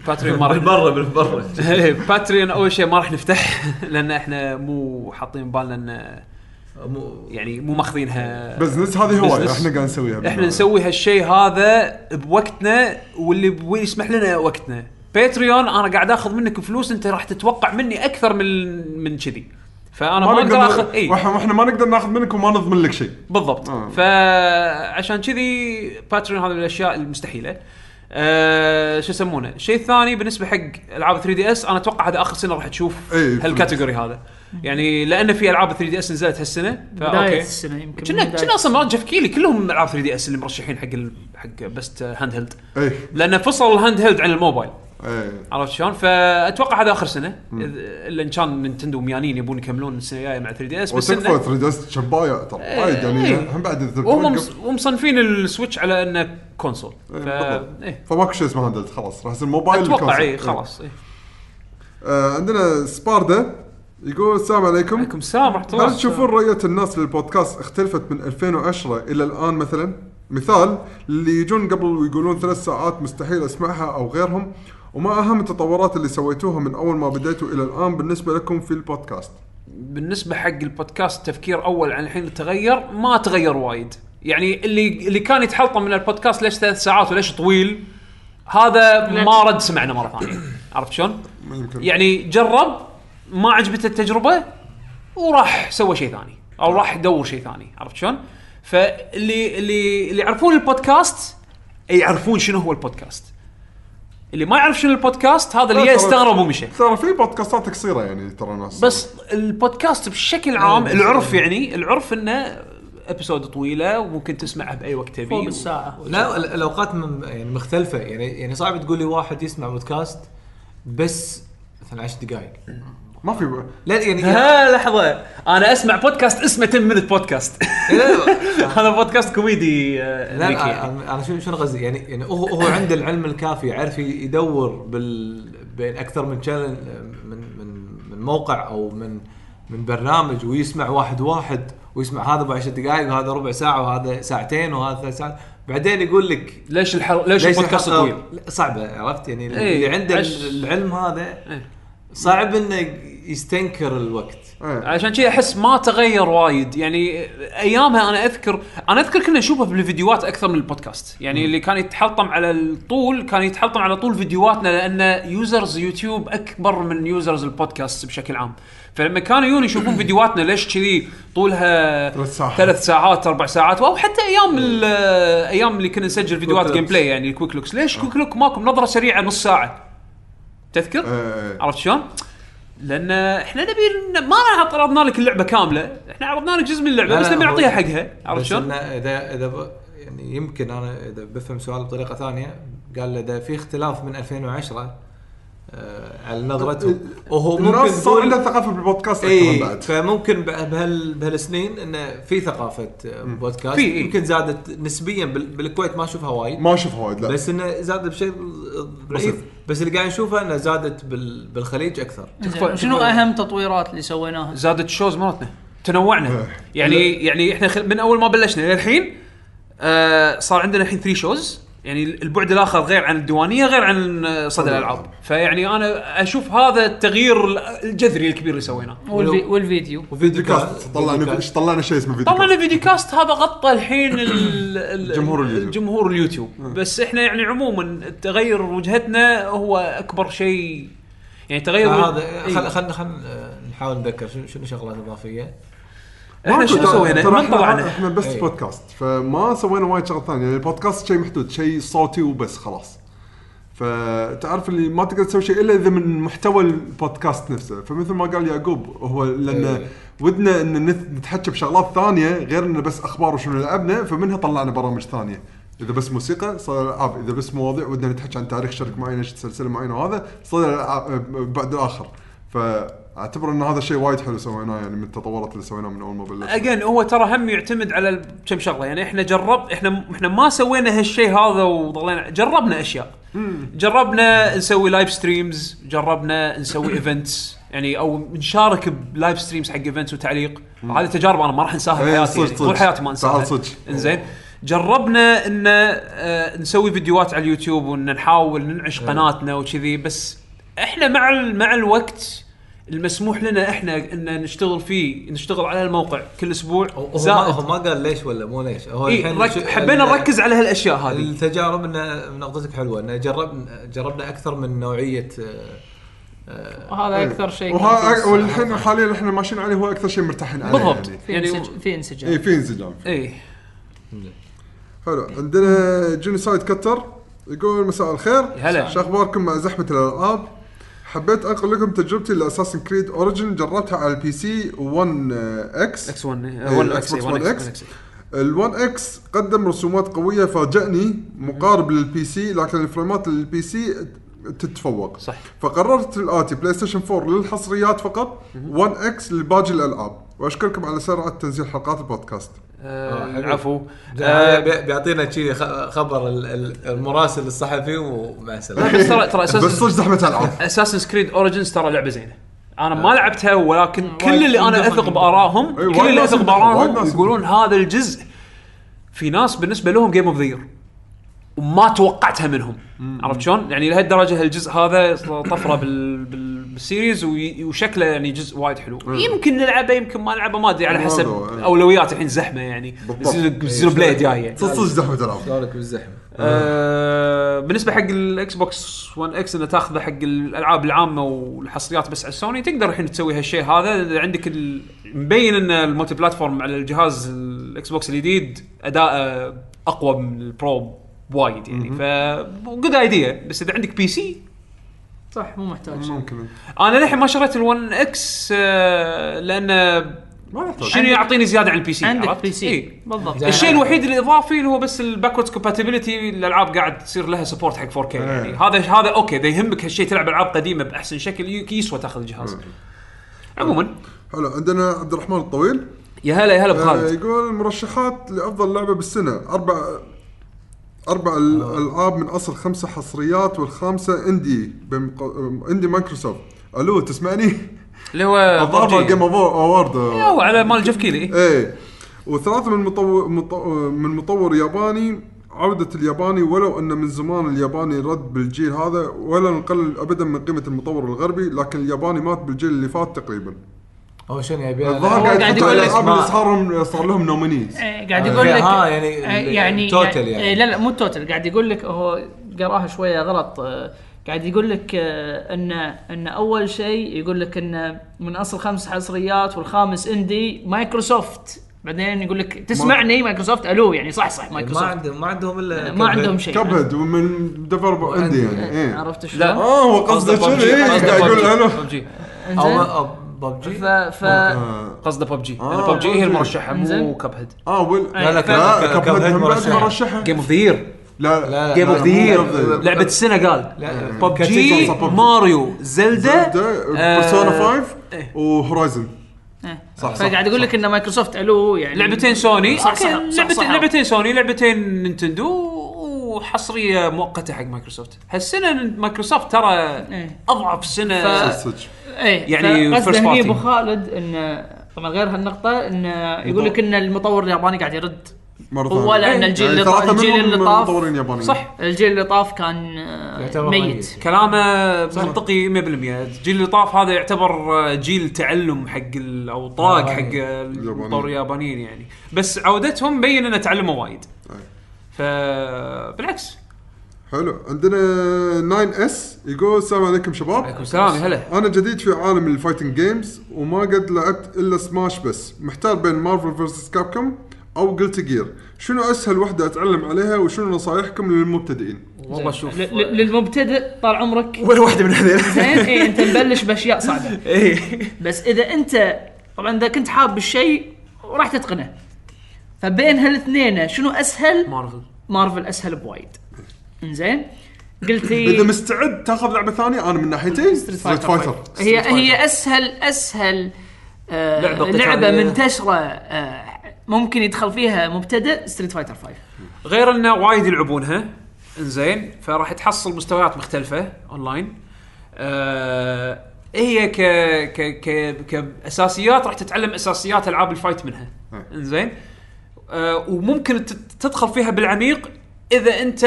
S1: باتريون ما راح
S4: بالبره بالبره
S1: [laughs] باتريون اول شيء ما راح نفتح [laughs] لان احنا مو حاطين بالنا ان
S4: مو-
S1: يعني مو ماخذينها
S3: بزنس هذه هوايه
S1: بزنس.
S3: احنا قاعد نسويها
S1: احنا نسوي هالشيء هذا بوقتنا واللي واللي يسمح لنا وقتنا باتريون انا قاعد اخذ منك فلوس انت راح تتوقع مني اكثر من من كذي فانا ما إيه. اقدر اخذ اي
S3: واحنا واحنا ما نقدر ناخذ منك وما نضمن لك شيء
S1: بالضبط
S3: آه.
S1: فعشان كذي باتريون هذا من الاشياء المستحيله أه شو يسمونه الشيء الثاني بالنسبه حق العاب 3 دي اس انا اتوقع هذا اخر سنه راح تشوف
S3: إي، فهمت.
S1: هالكاتيجوري هذا يعني لان في العاب 3 دي اس نزلت هالسنه
S2: بدايه السنه يمكن
S1: كنا
S2: بداية
S1: كنا اصلا مرات جيف كيلي كلهم العاب 3 دي اس اللي مرشحين حق ال... حق بست هاند هيلد
S3: اي
S1: لان فصل الهاند هيلد عن الموبايل
S3: اي
S1: عرفت شلون؟ فاتوقع هذا اخر سنه إذ- الا ان كان نينتندو ميانين يبون يكملون السنه الجايه مع 3 دي اس بس
S3: وتكفى
S1: إنه-
S3: 3 دي اس شبايه ترى
S1: إيه،
S3: وايد يعني
S1: إيه.
S3: هم بعد إذا
S1: وهم
S3: توقف-
S1: مص- ومصنفين السويتش على انه كونسول ف...
S3: بالضبط.
S1: إيه.
S3: فماكو شيء اسمه هاند هيلد خلاص راح يصير موبايل
S1: اتوقع
S3: الكونسول.
S1: اي خلاص إيه.
S3: آه عندنا سباردا يقول السلام عليكم
S1: عليكم السلام ورحمه الله
S3: هل تشوفون رؤية الناس للبودكاست اختلفت من 2010 إلى الآن مثلا؟ مثال اللي يجون قبل ويقولون ثلاث ساعات مستحيل أسمعها أو غيرهم وما أهم التطورات اللي سويتوها من أول ما بديتوا إلى الآن بالنسبة لكم في البودكاست
S1: بالنسبه حق البودكاست تفكير اول عن الحين تغير ما تغير وايد يعني اللي اللي كان يتحلطم من البودكاست ليش ثلاث ساعات وليش طويل هذا ما رد سمعنا مره ثانيه عرفت شلون؟ يعني جرب ما عجبته التجربه وراح سوى شيء ثاني او راح يدور شيء ثاني عرفت شلون؟ فاللي اللي اللي يعرفون البودكاست يعرفون شنو هو البودكاست اللي ما يعرف شنو البودكاست هذا اللي
S3: لا، ترى-
S1: يستغرب ومشى
S3: ترى في بودكاستات قصيرة يعني ترى ناس
S1: بس البودكاست بشكل عام العرف يعني العرف انه ابيسود طويله وممكن تسمعها باي وقت تبي
S2: فوق الساعه
S4: لا ال- الاوقات م- يعني مختلفه يعني يعني صعب تقول لي واحد يسمع بودكاست بس مثلا 10 دقائق
S3: ما في
S4: لا يعني
S1: ها لحظه انا اسمع بودكاست اسمه 10 مينت بودكاست [laughs]
S4: لا-
S1: هذا بودكاست كوميدي آه،
S4: لا
S1: أمريكي
S4: أنا-
S1: يعني.
S4: انا أنا شنو شنو قصدي يعني يعني هو هو عنده العلم الكافي يعرف يدور بال بين اكثر من channel- من من من موقع او من من برنامج ويسمع واحد واحد ويسمع هذا ابو 10 دقائق وهذا ربع ساعه وهذا ساعتين وهذا ثلاث ساعات بعدين يقول لك
S1: ليش الحر... ليش, البودكاست
S4: الحلقة-
S1: طويل؟
S4: لا، صعبه عرفت يعني
S1: إيه،
S4: اللي عنده
S1: عش-
S4: العلم هذا
S1: إيه.
S4: صعب انه يستنكر الوقت
S3: إيه.
S1: عشان كذي احس ما تغير وايد يعني ايامها انا اذكر انا اذكر كنا نشوفه بالفيديوهات اكثر من البودكاست يعني اللي كان يتحلطم على الطول كان يتحلطم على طول فيديوهاتنا لان يوزرز يوتيوب اكبر من يوزرز البودكاست بشكل عام فلما كانوا يجون يشوفون فيديوهاتنا ليش كذي طولها
S3: ثلاث ساعات.
S1: ثلاث ساعات اربع ساعات او حتى ايام ال- ايام اللي كنا نسجل فيديوهات
S4: Quick looks.
S1: جيم بلاي يعني الكويك لوكس ليش كويك لوك ماكو نظره سريعه نص ساعه تذكر؟
S3: إيه، إيه.
S1: عرفت شلون؟ لان احنا نبي ما راح عرضنا لك اللعبه كامله، احنا عرضنا لك جزء من اللعبه
S4: لا،
S1: بس
S4: لا،
S1: نبي
S4: هو-
S1: نعطيها حقها، عرفت
S4: بس
S1: شلون؟
S4: إنه اذا اذا ب- يعني يمكن انا اذا بفهم سؤال بطريقه ثانيه قال اذا في اختلاف من 2010 آه، على نظرته وهو ممكن
S3: الناس صار
S4: يقول-
S3: عندها ثقافه بالبودكاست
S1: إيه.
S3: اكثر
S4: اي
S3: بعد
S4: فممكن بع- بهال بهالسنين انه في ثقافه آه، بودكاست
S1: في، إيه. إي.
S4: يمكن زادت نسبيا بال- بالكويت ما اشوفها وايد
S3: ما اشوفها وايد لا
S4: بس انه زادت بشكل ضعيف بس اللي قاعد نشوفه انه زادت بال- بالخليج اكثر
S2: زين، شنو اهم تطويرات اللي سويناها؟
S1: زادت الشوز مالتنا تنوعنا
S3: إيه.
S1: يعني يعني احنا خل- من اول ما بلشنا للحين آه صار عندنا الحين 3 شوز يعني البعد الاخر غير عن الديوانيه غير عن آه، صدى الالعاب فيعني انا اشوف هذا التغيير ال- الجذري الكبير اللي سويناه
S2: والفي... والفيديو
S4: وفيديو
S3: بودكاست
S4: فيديو
S3: طلعنا
S4: كاست.
S3: ايش طلعنا شيء اسمه فيديو
S1: طبعا الفيديو كاست هذا غطى الحين
S3: [coughs]
S1: ال- ال-
S3: جمهور اليوتيوب.
S1: جمهور اليوتيوب بس احنا يعني عموما تغير وجهتنا هو اكبر شيء يعني تغير
S4: فهذا
S1: إيه.
S4: آه، خل خل خل آه، نحاول نتذكر شنو شنو شغلات اضافيه
S1: احنا شنو
S3: ترى-
S1: سوينا؟
S3: ترى
S1: من
S3: احنا-
S1: طلعنا؟
S3: احنا بس
S4: إيه.
S3: بودكاست فما سوينا وايد شغل ثاني يعني البودكاست شيء محدود شيء صوتي وبس خلاص فتعرف اللي ما تقدر تسوي شيء الا اذا من محتوى البودكاست نفسه فمثل ما قال يعقوب هو لان
S4: إيه.
S3: ودنا ان نت- نتحكى بشغلات ثانيه غير انه بس اخبار وشنو لعبنا فمنها طلعنا برامج ثانيه اذا بس موسيقى صار العاب اذا بس مواضيع ودنا نتحكى عن تاريخ شركه معينه سلسله معينه وهذا صار الألعاب- بعد الاخر فاعتبر ان هذا شيء وايد حلو سويناه يعني من التطورات اللي سويناها من اول ما بلشنا
S1: اجين هو ترى هم يعتمد على ال- كم شغله يعني احنا جرب احنا احنا ما سوينا هالشيء هذا وظلينا جربنا اشياء جربنا نسوي لايف ستريمز جربنا نسوي ايفنتس يعني او نشارك بلايف ستريمز حق ايفنتس وتعليق هذه تجارب انا ما راح انساها
S3: إيه،
S1: بحياتي
S3: صدق،
S1: يعني. طول
S3: صدق.
S1: حياتي ما انساها
S3: تعال صدق.
S1: انزين جربنا ان آه، نسوي فيديوهات على اليوتيوب وان نحاول
S3: إيه.
S1: ننعش قناتنا وكذي بس احنا مع ال- مع الوقت المسموح لنا احنا ان نشتغل فيه نشتغل على الموقع كل اسبوع
S4: هو- هو ما هو
S1: زائد
S4: ما قال ليش ولا مو ليش هو
S1: إيه
S4: الحين
S1: رك-
S4: شو-
S1: حبينا
S4: ال-
S1: نركز على هالاشياء هذه
S4: التجارب انه نقطتك حلوه انه جربنا جربنا اكثر من نوعيه آه،
S2: وهذا اكثر أيوة، شيء
S3: وها والحين حاليا احنا ماشيين عليه هو اكثر شيء مرتاحين عليه
S1: بالضبط.
S3: يعني.
S2: في
S1: يعني-
S2: انسج- في انسجام
S3: اي في انسجام
S1: اي
S3: حلو عندنا جينوسايد كتر يقول مساء الخير
S1: هلا.
S3: شو اخباركم مع زحمه الالعاب حبيت انقل لكم تجربتي لاساسن كريد اوريجن جربتها على البي سي 1 اكس
S1: اكس 1
S3: إيه،
S1: 1
S3: Xbox
S1: اكس
S3: One
S1: 1
S3: X.
S1: اكس
S3: ال1 اكس قدم رسومات قويه فاجأني مقارب للبي سي لكن الفريمات للبي سي تتفوق
S1: صح.
S3: فقررت الاتي بلاي ستيشن 4 للحصريات فقط 1 اكس لباقي الالعاب واشكركم على سرعه تنزيل حلقات البودكاست
S4: آه، حلو.
S1: العفو
S4: آه،
S1: آه،
S4: بي- بيعطينا شي خ- خبر ال- ال- المراسل الصحفي ومع
S1: [laughs]
S4: السلامه
S1: بس ترى ترى
S3: بس
S1: اساسا
S3: صدق زحمه
S1: [laughs]
S3: العاب
S1: اساسن سكريد اوريجنز ترى لعبه زينه انا ما لعبتها ولكن كل
S2: وايد
S1: اللي انا
S2: يندفع
S1: اثق
S2: منها.
S1: بارائهم
S3: أي،
S1: كل
S3: آه. وايد
S1: اللي
S3: ناس
S1: اثق
S3: يندفع، وايد
S1: بارائهم
S3: ناس
S1: يقولون هذا الجزء في ناس بالنسبه لهم جيم اوف ذا يير وما توقعتها منهم عرفت شلون؟ يعني لهالدرجه هالجزء هذا طفره بال... بال... بالسيريز وي... وشكله يعني جزء وايد حلو يمكن نلعبه يمكن ما نلعبه ما ادري على
S3: هذا
S1: حسب
S3: هو، إيه.
S1: اولويات الحين زحمه يعني
S3: بالضبط.
S1: زيرو بليد جايه
S3: صدق صدق زحمه العاب
S4: سؤالك بالزحمه
S1: آه، بالنسبه حق الاكس بوكس 1 اكس انه تاخذه حق الالعاب العامه والحصريات بس على سوني تقدر الحين تسوي هالشيء هذا إذا عندك ال- مبين ان الملتي بلاتفورم على الجهاز الاكس بوكس الجديد اداءه اقوى من البرو وايد يعني ف جود ايديا بس اذا عندك بي سي
S2: صح مو محتاج
S3: ممكن
S1: انا للحين ما شريت ال1 اكس لان آه، شنو يعطيني زياده عن البي سي
S2: عندك
S1: عرفت؟
S2: بي سي
S1: إيه.
S2: بالضبط
S4: زين.
S1: الشيء الوحيد الاضافي اللي هو بس الباكورد كومباتيبلتي الالعاب قاعد تصير لها سبورت حق 4K يعني هذا هذا اوكي اذا يهمك هالشيء تلعب العاب قديمه باحسن شكل ي- يسوى تاخذ الجهاز عموما
S3: حلو عندنا عبد الرحمن الطويل
S1: يا هلا يا هلا
S3: آه
S1: بخالد
S3: يقول مرشحات لافضل لعبه بالسنه اربع اربع الالعاب من اصل خمسه حصريات والخامسه اندي بمق... اندي مايكروسوفت الو تسمعني؟
S1: اللي هو
S3: الظاهر
S1: PUBG.
S3: جيم اوورد
S1: او على مال جيف كيلي
S3: ايه وثلاثه من مطور مطو... من مطور ياباني عودة الياباني ولو ان من زمان الياباني رد بالجيل هذا ولا نقلل ابدا من قيمة المطور الغربي لكن الياباني مات بالجيل اللي فات تقريبا.
S4: هو شنو يبي
S3: الظاهر قاعد
S2: قاعد
S3: يحط
S2: يقول
S3: على
S2: لك
S3: الالعاب اللي
S4: ما-
S3: صار لهم صار لهم نومينيز.
S2: إيه، قاعد يقول لك
S4: ها، يعني
S2: إيه،
S4: ال-
S2: يعني
S4: التوتال يعني.
S2: إيه، لا لا مو التوتال قاعد يقول لك هو قراها شويه غلط آه، قاعد يقول لك آه، ان ان اول شيء يقول لك ان من اصل خمس حصريات والخامس اندي مايكروسوفت بعدين يقول لك تسمعني مايكروسوفت الو يعني صح صح
S4: ما
S2: مايكروسوفت
S4: عندهم ما عندهم الا
S2: ما عندهم شيء
S3: كبد ومن ديفلوبر اندي يعني
S2: إيه،
S3: ايه
S2: عرفت شلون؟
S3: اه هو قصده
S1: قصده
S3: شنو إيه،
S1: PUBG.
S3: قاعد يقول انا
S1: PUBG.
S2: انزين
S4: او ببجي
S2: ف ف
S3: آه،
S1: قصده ببجي لان
S3: آه،
S1: ببجي هي
S3: PUBG.
S1: المرشحه مو
S2: إنزين.
S1: كب هيد
S2: إيه.
S3: اه ويل
S4: لا لا
S3: لا
S4: كبد
S3: كبد هم بعد
S4: مرشح
S3: مرشحه
S1: جيم اوف ذا يير
S3: لا
S4: لا،
S1: جيم اوف ذا يير
S3: لا.
S1: لعبه السنه قال
S4: لا لا.
S1: ببجي
S3: كاتيجوري.
S1: ماريو زلدا
S3: uh,
S1: آه،
S3: بيرسونا
S2: إيه.
S3: 5 وهورايزن
S2: صح فقاعد اقول لك ان مايكروسوفت الو يعني
S1: لعبتين سوني
S2: صح، صح،
S1: أوكي،
S2: صح،
S1: لعبتين-
S2: صح.
S1: لعبتين سوني لعبتين نينتندو وحصريه مؤقته حق مايكروسوفت هالسنه مايكروسوفت ترى
S2: إيه.
S1: اضعف سنه
S2: ف-
S3: صدق
S2: ايه
S1: يعني
S2: يعني
S1: first
S2: قصده هني
S1: party.
S2: ابو خالد ان طبعا غير هالنقطه ان يقول لك ان المطور الياباني قاعد يرد
S3: مره ثانيه
S2: ولا ان الجيل اللي طاف الجيل اللي طاف
S3: إيه، مطورين يابانيين
S1: صح
S2: الجيل اللي طاف كان آه،
S4: يعتبر
S2: ميت
S4: ميت.
S1: كلامه منطقي 100% الجيل اللي طاف هذا يعتبر آه، جيل تعلم حق ال- او طاق
S4: آه،
S1: حق آه، المطور اليابانيين يعني بس عودتهم بين انه تعلموا وايد
S3: أي.
S1: فبالعكس
S3: حلو عندنا 9 اس يقول السلام عليكم شباب
S1: سلام يا هلا
S3: انا جديد في عالم الفايتنج جيمز وما قد لعبت الا سماش بس محتار بين مارفل فيرسس كابكوم او قلت جير شنو اسهل وحده اتعلم عليها وشنو نصايحكم للمبتدئين
S1: والله شوف
S2: ل- ل- للمبتدئ طال عمرك
S1: [laughs] ولا واحده من هذول
S2: زين ايه انت مبلش باشياء
S1: [laughs]
S2: صعبه
S1: ايه
S2: بس اذا انت طبعا اذا كنت حاب الشيء وراح تتقنه فبين هالاثنين شنو اسهل
S1: مارفل
S2: مارفل اسهل بوايد انزين قلت
S3: اذا
S2: لي
S3: مستعد تاخذ لعبه ثانيه انا من ناحيتي ستريت فايتر
S2: هي هي اسهل اسهل آه
S1: لعبة
S2: لعبه,
S1: قتالية.
S2: لعبة منتشره آه ممكن يدخل فيها مبتدئ ستريت فايتر 5
S1: غير انه وايد يلعبونها انزين فراح تحصل مستويات مختلفه اونلاين آه هي ك ك ك كاساسيات راح تتعلم اساسيات العاب الفايت منها انزين آه وممكن تت- تدخل فيها بالعميق اذا انت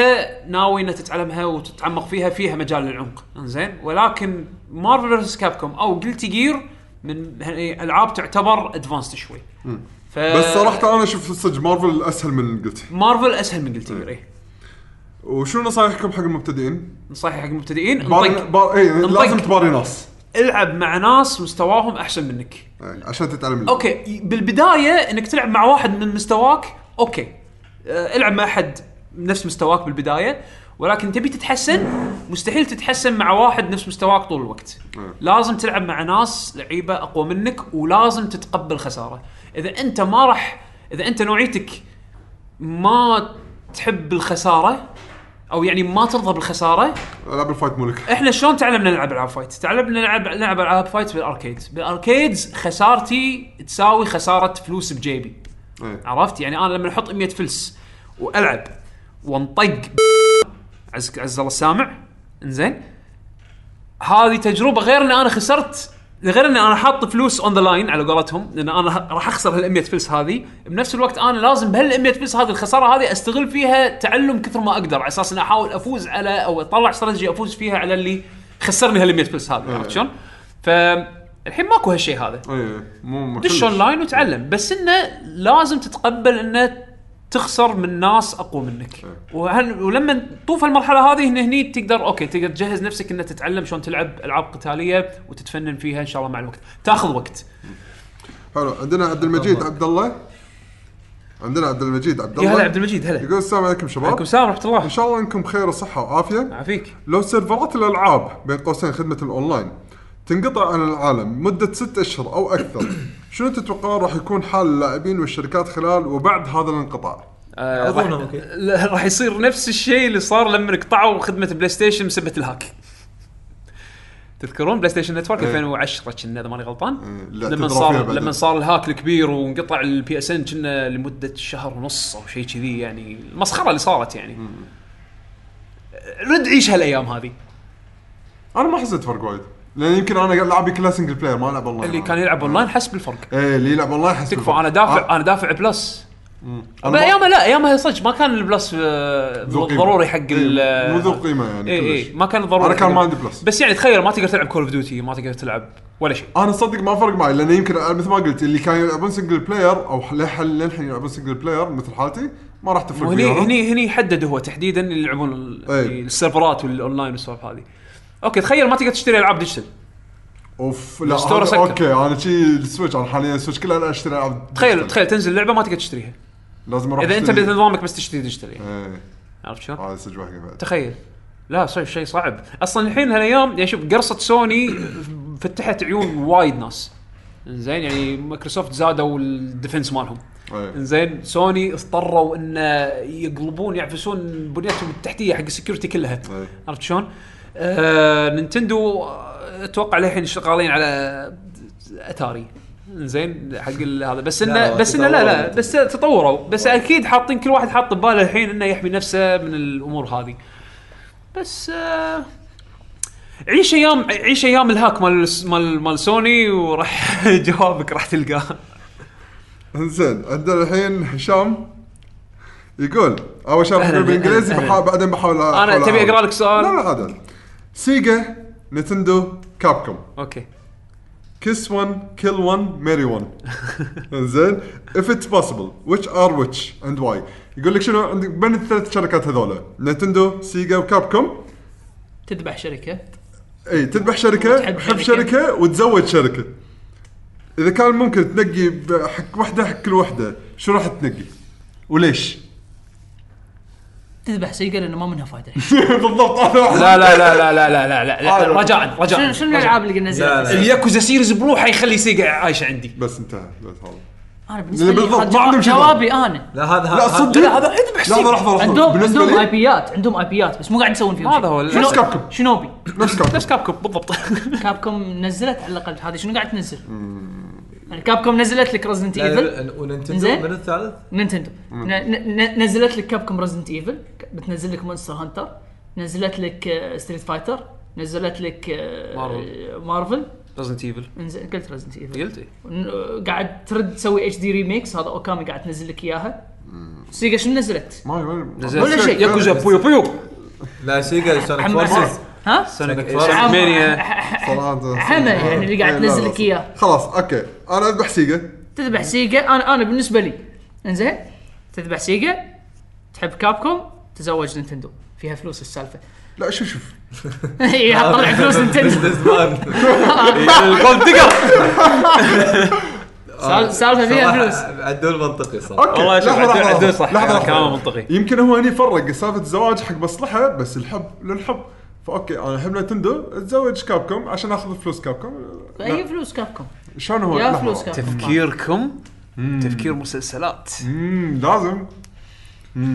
S1: ناوي انك تتعلمها وتتعمق فيها فيها مجال للعمق انزين ولكن مارفل فيرسس كابكوم او جلتي جير من هاي العاب تعتبر ادفانسد شوي ف...
S3: بس صراحه انا اشوف صدق مارفل اسهل من قلت
S1: مارفل اسهل من جلتي جير إيه.
S3: وشنو نصايحكم حق المبتدئين؟
S1: نصيحه حق المبتدئين
S3: بار...
S1: انطق
S3: بار... اي
S1: انطق.
S3: لازم تباري ناس
S1: العب مع ناس مستواهم احسن منك
S3: إيه، عشان تتعلم اللعبة.
S1: اوكي ي- بالبدايه انك تلعب مع واحد من مستواك اوكي آه، العب مع احد نفس مستواك بالبدايه ولكن تبي تتحسن مستحيل تتحسن مع واحد نفس مستواك طول الوقت لازم تلعب مع ناس لعيبه اقوى منك ولازم تتقبل خساره اذا انت ما راح اذا انت نوعيتك ما تحب الخساره او يعني ما ترضى بالخساره
S3: العاب الفايت ملك
S1: احنا شلون تعلمنا نلعب العاب فايت؟ تعلمنا نلعب نلعب العاب فايت بالاركيد، بالاركيدز خسارتي تساوي خساره فلوس بجيبي.
S3: إيه.
S1: عرفت؟ يعني انا لما احط 100 فلس والعب وانطق عز عز الله السامع انزين هذه تجربه غير ان انا خسرت غير ان انا حاط فلوس اون ذا لاين على قولتهم لان انا ه- راح اخسر هال 100 فلس هذه بنفس الوقت انا لازم بهال 100 فلس هذه الخساره هذه استغل فيها تعلم كثر ما اقدر على اساس ان احاول افوز على او اطلع استراتيجي افوز فيها على اللي خسرني هال 100 فلس هذه عرفت شلون؟ فالحين ماكو هالشيء هذا
S3: اي إيه، مو مو
S1: دش
S3: كلش.
S1: اون لاين وتعلم بس انه لازم تتقبل انه تخسر من ناس اقوى منك وهن ولما تطوف المرحله هذه هنا هني تقدر اوكي تقدر تجهز نفسك انك تتعلم شلون تلعب العاب قتاليه وتتفنن فيها ان شاء الله مع الوقت تاخذ وقت
S3: حلو عندنا عبد المجيد عبد الله عندنا عبد المجيد عبد
S1: يا
S3: الله
S1: هلا عبد المجيد هلا
S3: يقول السلام عليكم
S1: عليكم
S3: شباب
S1: السلام ورحمه
S3: ان
S1: الله
S3: شاء الله انكم بخير وصحه وعافيه
S1: عافيك
S3: لو سيرفرات الالعاب بين قوسين خدمه الاونلاين تنقطع عن العالم مده ست اشهر او اكثر شنو تتوقعون راح يكون حال اللاعبين والشركات خلال وبعد هذا الانقطاع؟
S1: آه،
S4: أظن
S1: راح-
S4: أوكي.
S1: لا، [laughs] راح يصير نفس الشيء اللي صار لما قطعوا خدمه بلاي ستيشن بسبه الهاك تذكرون بلاي ستيشن نتورك 2010 كنا اذا ماني غلطان
S3: لا،
S1: لما
S3: تدرى فيها
S1: صار
S3: بعدين.
S1: لما صار الهاك الكبير وانقطع البي اس ان كنا لمده شهر ونص او شيء كذي يعني المسخره اللي صارت يعني رد عيش هالايام هذه
S3: انا ما حسيت فرق وايد لان يمكن انا قاعد لعبي كلها سنجل بلاير ما العب اونلاين
S1: اللي كان يلعب اونلاين حس بالفرق
S3: ايه اللي يلعب اونلاين حس
S1: تكفى
S3: بالفرق.
S1: انا دافع انا دافع بلس
S3: آه، أنا
S1: بس
S3: ما-
S1: ايامها لا ايامها صدق ما كان البلس آه،
S3: ذو قيمة.
S1: ضروري حق ال إيه.
S3: إيه، مو ذو قيمه يعني
S1: اي
S3: كلش.
S1: اي ما كان ضروري
S3: أنا كان
S1: حق-
S3: ما عندي بلس.
S1: بس يعني تخيل ما تقدر تلعب كول اوف ديوتي ما تقدر تلعب ولا شيء
S3: انا صدق ما فرق معي لان يمكن مثل ما قلت اللي كانوا يلعبون سنجل بلاير او للحين للحين يلعبون سنجل بلاير مثل حالتي ما راح تفرق
S1: وهني
S3: وياهم.
S1: هني هني حدد هو تحديدا اللي يلعبون ال-
S3: إي.
S1: السيرفرات والاونلاين والسوالف هذه اوكي تخيل ما تقدر تشتري العاب ديجيتال
S3: اوف لا
S1: الستور
S3: هذا-
S1: سكر.
S3: اوكي انا شي السويتش انا حاليا السويتش كله انا اشتري العاب
S1: تخيل
S3: ديجيتال.
S1: تخيل تنزل لعبه ما تقدر تشتريها
S3: لازم اروح
S1: اذا انت
S3: أشتري-
S1: بنظامك بس تشتري ديجيتال يعني.
S3: ايه
S1: عرفت شلون؟
S3: هذا صدق واحد بعد
S1: تخيل لا صحيح شيء صعب اصلا الحين هالايام يعني شوف قرصه سوني فتحت عيون وايد ناس زين يعني مايكروسوفت زادوا الديفنس مالهم
S3: إيه.
S1: زين سوني اضطروا ان يقلبون يعفسون بنيتهم التحتيه حق السكيورتي كلها
S3: إيه.
S1: عرفت شلون؟ آه نينتندو اتوقع للحين شغالين على اتاري زين حق ال- هذا بس
S4: لا،
S1: انه
S4: لا،
S1: بس انه لا لا
S4: تطوروا.
S1: بس تطوروا بس اكيد حاطين كل واحد حاط بباله الحين انه يحمي نفسه من الامور هذه بس آه عيش ايام عيش ايام الهاك مال مال مال سوني وراح [laughs] جوابك راح تلقاه
S3: انزين عندنا الحين هشام يقول اول شيء
S1: أهلاً،
S3: بقول بالانجليزي
S1: أهلاً.
S3: بحا... بعدين بحاول أ-
S1: أنا
S3: أحاول
S1: تبي
S3: أعرف.
S1: أقرأ لك سؤال؟
S3: لا لا عادي سيجا نتندو كابكوم
S1: اوكي
S3: Kiss one, kill one, marry
S2: [laughs]
S3: one. زين if it's possible which are which and why يقول لك شنو عندك بين الثلاث شركات هذولا نتندو سيجا وكابكوم
S2: تذبح شركه
S3: اي تذبح شركه
S2: وتحب
S3: تحب
S2: شركة.
S3: شركه وتزوج شركه اذا كان ممكن تنقي ب- حق واحده حق كل واحده شو راح تنقي وليش [laughs]
S2: تذبح سيجا لانه ما منها فائده
S3: بالضبط انا
S1: لا لا لا لا لا لا لا لا, لا رجاء
S2: [laughs] شنو
S1: رجاء
S2: شنو الالعاب اللي نزلت
S4: لا.
S1: الياكوزا سيريز بروحه يخلي سيجا عايشه عندي
S3: بس انتهى بس هذا
S2: انا بالنسبه
S3: بالضبط،
S2: لي
S3: ما عندهم شغل.
S2: جوابي انا
S4: لا هذا
S3: لا
S4: هذا-
S3: صدق لا هذا اذبح لحظه لحظه لحظه
S2: عندهم
S3: بالنسبه
S2: عندهم اي
S3: لي
S2: بيات عندهم اي بيات بس مو قاعد يسوون فيهم
S1: هذا هو
S3: نفس
S1: نفس
S3: كابكم
S2: شنوبي
S3: نفس كابكم
S1: نفس كابكم بالضبط
S2: كابكوم نزلت على الاقل هذه شنو قاعد تنزل؟ كابكوم نزلت لك رزنت
S4: لا،
S2: ايفل
S4: لا، وننتندو
S2: إنزين.
S4: من الثالث
S2: نينتندو ن- ن- نزلت لك كابكوم رزنت ايفل بتنزل لك مونستر هانتر نزلت لك ستريت فايتر نزلت لك آه،
S1: مارفل.
S2: مارفل
S1: ريزنت ايفل
S2: نزل- قلت رزنت ايفل
S1: قلت إيه.
S2: قاعد ترد تسوي اتش دي ريميكس هذا اوكامي قاعد تنزل لك اياها سيجا شنو نزلت؟
S3: ما ما-
S1: زين.
S2: ولا شيء.
S1: ياكوزا بويو بويو
S4: لا سيجا سونيك
S2: حماس.
S4: فورسز
S2: ها؟
S4: سونيك
S1: سونيك
S4: فورسز
S1: مانيا
S3: صراحه
S2: حمى يعني اللي قاعد
S3: إيه، لا، لا،
S2: تنزل لك إياه.
S3: خلاص اوكي انا اذبح سيجا
S2: تذبح سيجا انا انا بالنسبه لي انزين تذبح سيجا تحب كابكوم تزوج نينتندو فيها فلوس [laughs] السالفه
S3: لا شوف شوف
S2: هي طلع فلوس نينتندو
S1: الجولد ديجر
S2: سال- سالفه فيها فلوس
S4: عدول منطقي صراحه
S3: اوكي
S1: والله شوف
S3: لحظة، لحظة،
S1: عدول-
S3: لحظة.
S1: عدول صح، يعني
S3: لحظة،
S1: كلامه
S3: لحظة.
S1: منطقي.
S3: يمكن هو هني فرق سالفه الزواج حق مصلحه بس الحب للحب فاوكي انا احب نتندو اتزوج كابكم عشان اخذ فلوس كابكم
S2: اي فلوس كابكوم
S3: شلون هو
S2: يا
S3: لحظة.
S2: فلوس كابكوم
S1: تفكيركم تفكير مسلسلات
S3: امم لازم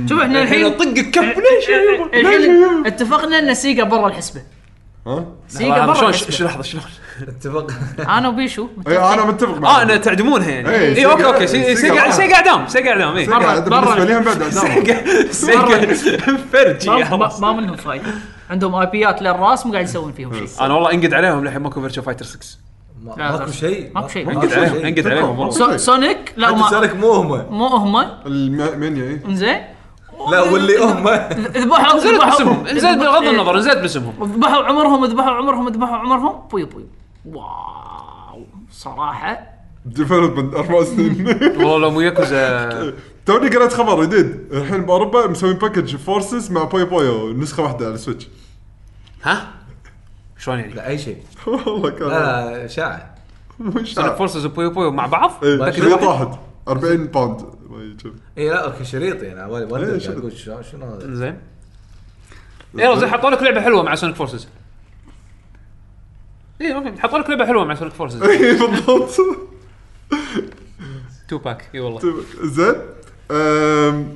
S2: شوف احنا الحين
S1: طق الكف
S2: الحين إيه، اتفقنا ان سيجا برا الحسبه
S3: ها
S2: سيجا برا
S1: آه، شلون شو
S2: الحسبه
S1: لحظه شلون
S4: اتفق
S2: انا وبيشو
S3: اي انا متفق
S1: اه
S3: معك
S1: انا تعدمونها يعني
S3: إيه،
S1: اي
S3: سيجا-
S1: اوكي اوكي سي-
S3: سيجا
S1: سيجا
S3: معاها.
S1: سيجا اعدام سيجا اعدام اي
S3: سيجا عاد
S2: برا-
S3: بالنسبه لي هم بعد
S1: [laughs]
S3: عداوة.
S1: سيجا [laughs] فرجي
S2: ما- ما ما منهم فايده عندهم اي بيات للراس مو قاعد يسوون فيهم شيء
S1: انا والله انقد عليهم للحين ماكو فيرتشو فايتر 6
S4: ما-
S2: لا،
S4: ماكو
S2: لا.
S4: شيء
S2: ماكو شيء.
S3: آه،
S1: انقد عليهم
S3: إيه.
S1: انقد عليهم والله.
S2: سو- سونيك لا
S4: حتى
S2: ما
S4: سونيك مو هم
S2: مو هم
S3: المنيا اي
S2: انزين
S4: لا واللي هم
S2: ذبحوا
S1: نزلت
S2: ذبحوا إيه.
S1: باسمهم نزلت بغض النظر نزلت باسمهم
S2: ذبحوا عمرهم ذبحوا عمرهم ذبحوا عمرهم بوي بوي واو صراحه
S3: ديفلوبمنت اربع [laughs] سنين
S1: والله لو مو ياكوزا
S3: توني قريت خبر جديد الحين باوروبا مسوي باكج فورسز مع بوي بويو نسخه واحده على السويتش
S1: ها شلون يعني؟
S4: لا اي شيء
S3: [laughs] والله كان
S1: آه.
S4: لا لا، شاع
S3: مش
S1: سونيك
S3: عارف.
S1: فورسز وبويو بويو مع بعض؟
S3: ايه
S1: باكج
S3: شريط
S1: واحد؟
S3: واحد 40 باوند ما يجيب. [laughs]
S4: اي لا اوكي شريط يعني على بالي ما
S3: إيه،
S4: أدري
S3: شريط.
S4: قاعد اقول شلون- شنو هذا
S1: زين يلا زين
S3: إيه.
S1: حطوا لك لعبه حلوه مع سونيك فورسز اي اوكي حطوا لك لعبه حلوه مع سونيك فورسز
S3: ايه بالضبط
S1: تو باك اي والله
S3: زين أم،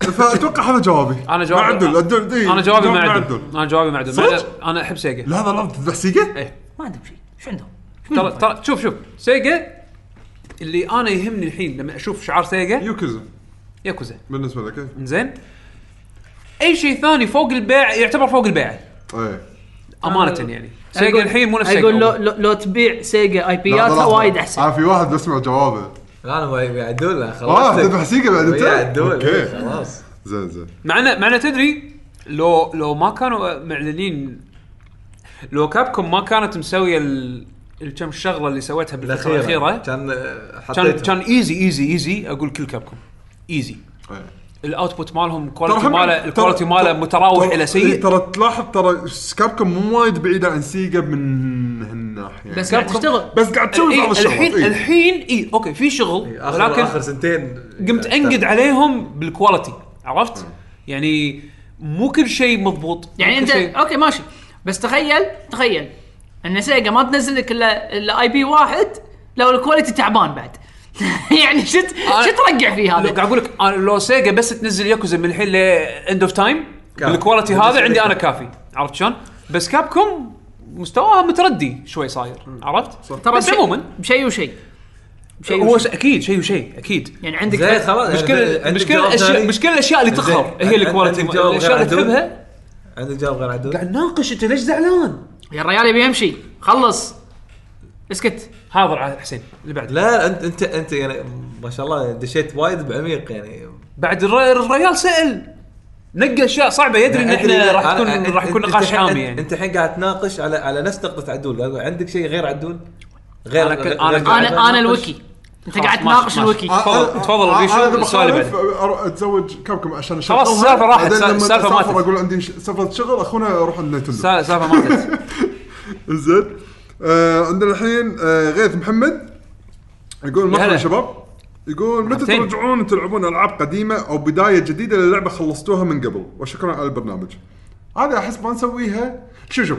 S3: فاتوقع هذا جوابي
S1: انا جوابي
S3: مع عدل عدل إيه،
S1: انا جوابي
S3: جواب
S1: معدل انا جوابي معدل
S3: صدق؟
S1: معدل. انا احب سيجا
S3: لا هذا لفظ تذبح سيجا؟
S2: ما عندهم شيء شو عندهم؟ شو
S1: ترى
S2: عندهم؟
S1: ترى شوف شوف سيجا اللي انا يهمني الحين لما اشوف شعار سيجا
S3: يوكيزا
S1: ياكوزا
S3: بالنسبه لك إيه.
S1: زين اي شيء ثاني فوق البيع يعتبر فوق البيع
S3: ايه
S1: امانه يعني
S2: آه، أقول-
S1: سيجا الحين مو نفس سيجا
S2: اقول لو
S1: أول.
S2: لو, لو تبيع سيجا اي
S3: لا،
S2: بياتها
S3: لحظة.
S2: وايد احسن
S3: آه، في واحد بسمع جوابه
S4: لا انا ويا ويا عدول لا،
S3: اه
S4: خلصت
S3: تذبح سيجا بعد انت؟
S4: ويا عدول إيه،
S3: اوكي
S4: خلاص
S3: زين زين
S1: معنا معنا تدري لو لو ما كانوا معلنين لو كابكم ما كانت مسويه ال- الكم شغله اللي سويتها بالفتره الاخيره
S4: كان
S1: كان
S4: حطيت
S1: كان ايزي ايزي ايزي اقول كل كابكم ايزي
S3: إيه.
S1: الاوتبوت مالهم
S3: ترى
S1: الكواليتي
S3: هم-
S1: ماله
S3: ترى-
S1: الكواليتي
S3: ترى-
S1: ماله متراوح
S3: ترى-
S1: الى
S3: إيه،
S1: سيء
S3: ترى تلاحظ ترى كابكم مو وايد بعيده عن سيجا من هالناحيه
S2: بس قاعد
S1: كابكوم-
S2: تشتغل
S3: بس قاعد تسوي بعض
S1: إيه
S3: الشغلات
S1: الحين
S3: إيه.
S1: الحين اي اوكي في شغل
S4: اخر اخر
S1: ولكن
S4: سنتين
S1: قمت انقد عليهم بالكواليتي عرفت؟ يعني مو كل شيء مضبوط
S2: يعني
S1: مو كل
S2: انت
S1: شيء-
S2: اوكي ماشي بس تخيل تخيل ان سيجا ما تنزل لك الا الا اي بي واحد لو الكواليتي تعبان بعد [laughs] يعني شت شت ترقع فيه
S1: آه. لو
S2: هذا
S1: قاعد اقول لك أنا لو سيجا بس تنزل ياكوزا من الحين لاند اوف تايم
S4: كافي.
S1: بالكواليتي هذا عندي انا كافي عرفت شلون؟ بس كاب كوم مستواها متردي شوي صاير عرفت؟
S2: ترى
S1: بس
S2: بشيء-
S1: عموما
S2: بشيء وشيء بشيء
S1: هو
S2: وشيء.
S1: ش- اكيد شيء وشيء اكيد
S2: يعني عندك
S4: زين
S2: بس-
S4: خلاص
S1: مشكلة مشكلة الاشياء مشكلة الاشياء اللي تخر
S4: زين.
S1: هي
S4: عندك
S1: الكواليتي
S4: جواب غير
S1: الاشياء اللي
S4: عدول؟
S1: تحبها
S4: عندك جواب غير عدول؟
S1: قاعد ناقش انت ليش زعلان؟
S2: يا الرجال يبي يمشي خلص اسكت
S1: حاضر عاد حسين اللي بعده
S4: لا انت انت انت يعني ما شاء الله دشيت وايد بعميق يعني
S1: بعد الر- الريال سال نقى اشياء صعبه يدري ان احنا
S4: أدري-
S1: راح
S4: أنا-
S1: تكون
S4: أنت-
S1: راح يكون
S4: أنت
S1: نقاش
S4: الحين-
S1: حامي يعني
S4: انت الحين قاعد تناقش على على نفس نقطه عدول أقول عندك شيء غير عدول؟ غير
S1: أنا كنت-
S4: غير-
S1: أنا-
S4: غير-
S1: أنا-
S4: غير-
S2: انا انا
S4: ناقش.
S2: الوكي انت قاعد
S1: خلاص، ماشي،
S2: تناقش
S1: ماشي. آه،
S2: الوكي
S3: آه،
S1: تفضل- تفضل،
S3: أنا-
S1: بيشو،
S3: أنا إذا
S1: السؤال اللي
S3: بخالف، أروح اتزوج كاب كوم عشان اشوف
S1: خلاص، السالفة راحت،
S3: بعدين لما
S1: السالفة
S3: اسافر
S1: ماتت.
S3: اقول عندي ش- سالفه شغل اخونا اروح لنتندو
S1: سا- سالفه ماتت
S3: زين آه، عندنا الحين آه، غيث محمد يقول مرحبا
S1: هلا.
S3: يا شباب يقول متى
S1: مرحبتين.
S3: ترجعون تلعبون العاب قديمه او بدايه جديده للعبه خلصتوها من قبل وشكرا على البرنامج هذا احس ما نسويها شو شو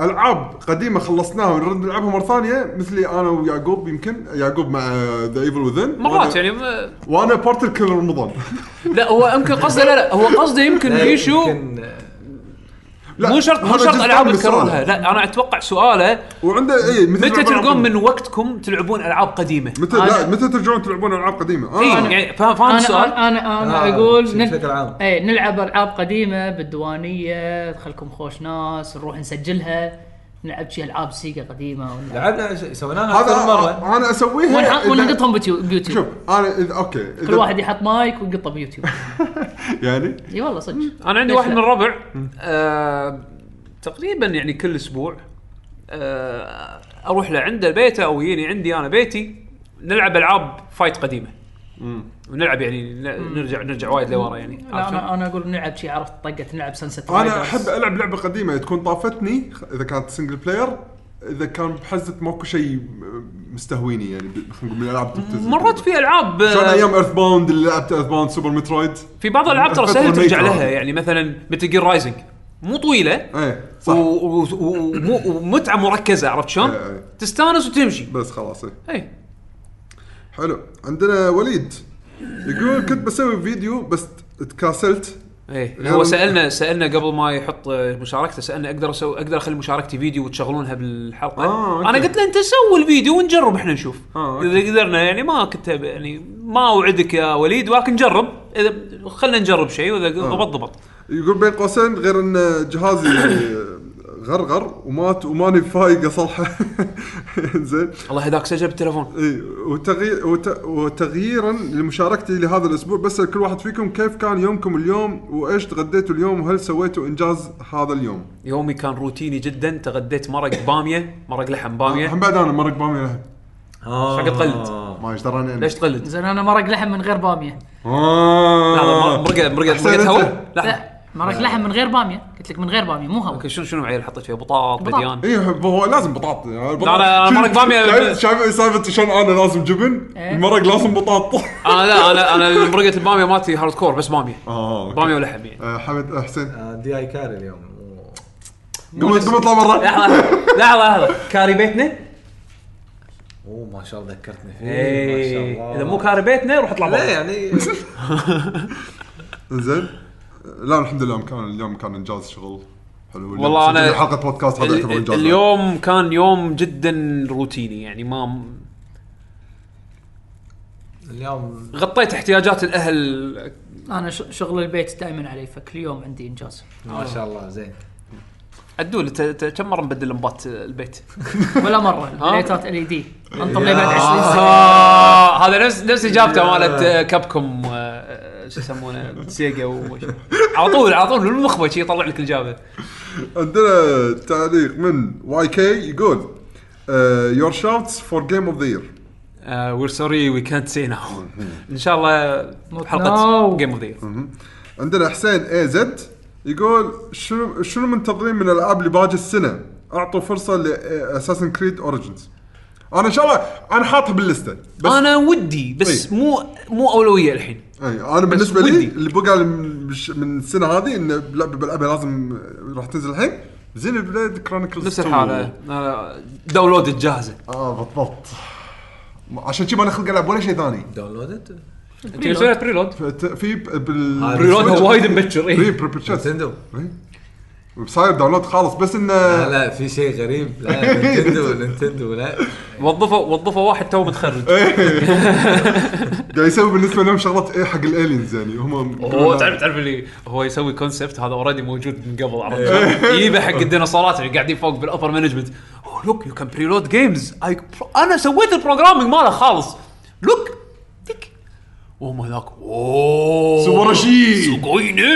S3: العاب قديمه خلصناها ونرد نلعبها مره ثانيه مثلي انا ويعقوب يمكن يعقوب مع ذا ايفل وذن
S1: مرات يعني ما-
S3: وانا بارتل كل رمضان
S1: [laughs] لا هو يمكن قصده لا لا هو قصده يمكن
S4: لا،
S1: بيشو
S4: يمكن-
S3: لا،
S1: مو شرط مو
S3: هذا
S1: شرط
S3: جزء
S1: العاب
S3: من السؤال.
S1: تكررها لا انا اتوقع سؤاله
S3: وعنده إيه، اي
S1: متى تلقون من وقتكم تلعبون العاب قديمه؟
S3: متى
S2: أنا-
S3: لا متى ترجعون تلعبون العاب قديمه
S1: اي
S3: آه.
S1: يعني فاهم فاهم
S2: انا
S1: السؤال؟
S2: انا انا,
S4: آه،
S2: أنا اقول نل...
S4: بشكل عام.
S2: اي نلعب العاب قديمه بالديوانيه خلكم خوش ناس نروح نسجلها نلعب شي العاب سيجا قديمه ونلعب-
S4: لعبنا ش- سويناها
S3: هذا
S4: اكثر من مره
S3: انا اسويها
S2: ونح-
S3: إذا-
S2: ونلقطهم بيوتيو- بيوتيوب
S3: شوف انا اذا اوكي إذا
S2: كل واحد يحط مايك ويقطه بيوتيوب
S3: يعني
S2: اي والله صدق
S1: انا عندي
S2: ليش
S1: واحد
S2: لا؟
S1: من الربع آه تقريبا يعني كل اسبوع آه اروح له عنده بيته او يجيني عندي انا بيتي نلعب العاب فايت قديمه ونلعب يعني ن- نرجع نرجع وايد لورا يعني
S2: لا
S1: عرفت شلون؟
S2: انا انا اقول نلعب شي عرفت طقه نلعب سنسيت
S3: انا احب العب لعبه قديمه تكون طافتني خ- اذا كانت سنجل بلاير اذا كان بحزه ماكو شيء م- مستهويني يعني ب- خلينا نقول من الالعاب اللي بتنزل.
S1: مرات في العاب
S3: شلون
S1: آه،
S3: ايام ايرث باوند اللي لعبت ايرث باوند سوبر مترويد
S1: في بعض الالعاب ترى
S3: Earthbound
S1: سهل ترجع
S3: Maker.
S1: لها يعني مثلا متل جير رايزنج مو طويله
S3: ايه
S1: و-
S3: صح
S1: و- و- ومو- ومتعه مركزه عرفت شلون؟
S3: إيه، إيه.
S1: تستانس وتمشي إيه،
S3: بس خلاص ايه
S1: اي
S3: حلو عندنا وليد يقول كنت بسوي فيديو بس تكاسلت
S1: ايه
S3: غير
S1: هو
S3: ال-
S1: سالنا سالنا قبل ما يحط آه، مشاركته سالنا اقدر اسوي اقدر اخلي مشاركتي فيديو وتشغلونها بالحلقه
S3: آه، أوكي.
S1: انا قلت له انت سوي الفيديو ونجرب احنا نشوف
S3: آه، أوكي.
S1: اذا قدرنا يعني ما كنت أب- يعني ما اوعدك يا وليد ولكن جرب اذا خلينا نجرب شيء واذا
S3: آه.
S1: ضبط ضبط
S3: يقول بين قوسين غير ان جهازي غرغر ومات وماني فايقه صلحه [laughs] زين
S1: الله هداك سجل بالتليفون
S3: اي وتغيير وت- وتغييرا لمشاركتي لهذا الاسبوع بس كل واحد فيكم كيف كان يومكم اليوم وايش تغديتوا اليوم وهل سويتوا انجاز هذا اليوم؟
S1: يومي كان روتيني جدا تغديت مرق باميه مرق لحم
S3: الحين
S1: باميه
S3: بعد انا مرق بامي لها
S4: آه.
S1: شقد قلت.
S3: ما ايش دراني أنا.
S1: ليش تقلد؟
S2: زين انا مرق لحم من غير باميه
S1: لا لا،
S3: آه.
S1: مرقه مرقه
S3: أحسن
S1: مرقه
S3: أنت.
S1: هواء لا
S2: لا مرق لحم من غير باميه قلت لك من غير باميه مو هوا
S1: اوكي شنو شنو عيل حطيت فيها بطاط
S2: بطاط.
S1: بديان
S3: اي إيه، هو لازم بطاط
S1: لا، لا، مرق بامية-
S3: شايف سالفه شلون انا لازم جبن
S2: إيه.
S3: المرق لازم بطاط
S1: [laughs] انا آه، لا انا انا مرقه الباميه مالتي هارد كور بس باميه
S3: آه، أوكي.
S1: باميه ولحم يعني
S3: آه، حمد حسين
S4: آه، دي اي كاري اليوم مو-
S3: قوم قوم اطلع برا
S1: لحظه لحظه لحظه كاري بيتنا
S4: اوه ما شاء الله ذكرتني فيه إيه، ما شاء
S1: ايه
S4: الله
S1: اذا مو كاري بيتنا روح اطلع
S4: لا
S1: برا
S4: يعني
S3: [laughs] زين لا الحمد لله كان اليوم كان انجاز شغل حلو اليوم
S1: والله أنا-
S3: سجلنا حلقه بودكاست هذا يعتبر
S1: ال-
S3: انجاز
S1: اليوم كان يوم جدا روتيني يعني ما
S4: اليوم
S1: غطيت احتياجات الاهل
S2: انا ش- شغل البيت دائما علي فكل يوم عندي [laughs] انجاز
S4: ما شاء الله زين
S1: عدول ت- ت- كم مره مبدل لمبات البيت؟
S2: ولا مره
S1: ها؟
S2: ليتات ال اي دي انطر E لي
S3: آه.
S2: بعد 20 سنه
S1: آه، هذا نفس نفس اجابته مالت كابكم شو يسمونه سيجا وش على طول على طول من المخبه شي يطلع لك الاجابه
S3: عندنا تعليق من واي كي يقول آه، يور شوتس فور جيم اوف ذا يير
S1: وير سوري وي كانت سي ناو ان شاء الله حلقه
S2: now.
S1: جيم اوف ذا
S3: عندنا حسين اي زد يقول شنو شنو منتظرين من الالعاب اللي باجي السنه؟ اعطوا فرصه لاساسن كريد اوريجنز انا ان شاء الله انا حاطها باللسته بس انا,
S1: انا ودي بس مو مو اولويه الحين
S3: أي انا بالنسبه لي
S1: ودي.
S3: اللي بقى من من السنه هذه ان لعبه بلعبها لازم راح تنزل الحين زين بلاد كرونيكلز
S1: آه، نفس الحاله داونلود جاهزه
S3: اه بالضبط عشان كذي ما نخلق العب ولا شيء ثاني
S4: داونلودد
S1: انت مسوي بريلود
S3: فت- في ب- بال
S4: هذا
S1: بريلود
S3: [laughs] بالسويتش-
S1: وايد مبكر إيه.
S3: بري
S1: اي
S3: بريبتشن
S4: نتندو
S3: صاير داونلود خالص بس
S4: لا
S3: انه
S4: لا في شيء غريب لا نتندو نتندو لا
S1: وظفوا وظفوا واحد تو متخرج
S3: قاعد يسوي بالنسبه لهم شغلات إيه حق الالينز يعني هم
S1: هو تعرف تعرف اللي هو يسوي كونسبت هذا اوريدي موجود من قبل عرفت شلون؟ يجيبه حق الديناصورات اللي قاعدين فوق "Oh, بالابر مانجمنت لوك يو كان بريلود جيمز انا سويت البروجرامينج ماله خالص Oh لوك تك وهم هناك اوه
S3: سوبرشي
S1: سوغويني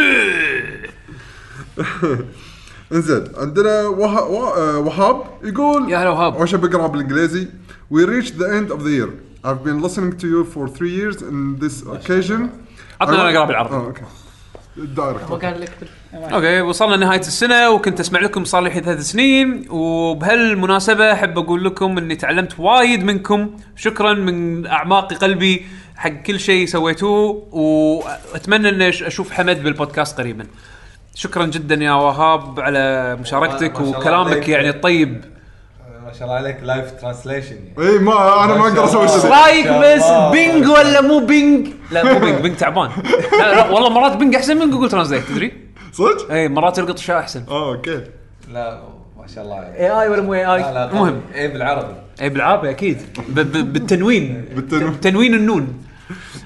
S3: انزين عندنا وه... و... آه، وهاب يقول
S1: يا هلا وهاب.
S3: اول شيء بقرا بالانجليزي We reached the end of the year. I've been listening to you for three years in this occasion.
S1: عطنا
S3: I-
S1: انا اقرا بالعربي
S3: اه اوكي.
S2: هو
S3: دايركت
S2: قال لك بال-
S1: اوكي وصلنا لنهايه السنه وكنت اسمع لكم صار لي الحين ثلاث سنين وبهالمناسبه احب اقول لكم اني تعلمت وايد منكم شكرا من اعماق قلبي حق كل شيء سويتوه واتمنى ان أش- اشوف حمد بالبودكاست قريبا شكرا جدا يا وهاب على
S4: ما
S1: مشاركتك
S4: شاء الله عليك.
S1: وكلامك يعني الطيب
S4: ما شاء الله عليك لايف ترانسليشن
S3: اي إيه، ما انا ما اقدر اسوي كذي
S1: رايك بس بينج ولا مو بينج لا مو بينج بينج تعبان لا لا والله مرات بينج احسن من جوجل ترانزليت تدري
S3: صدق؟
S1: اي مرات القط اشياء احسن
S3: اه اوكي
S4: لا ما شاء الله عليك
S1: اي اي إيه، ولا مو اي
S4: لا لا
S1: اي المهم
S4: اي بالعربي
S1: اي بالعاب اكيد إيه، ب- ب- بالتنوين
S3: بالتنوين.
S1: تنوين النون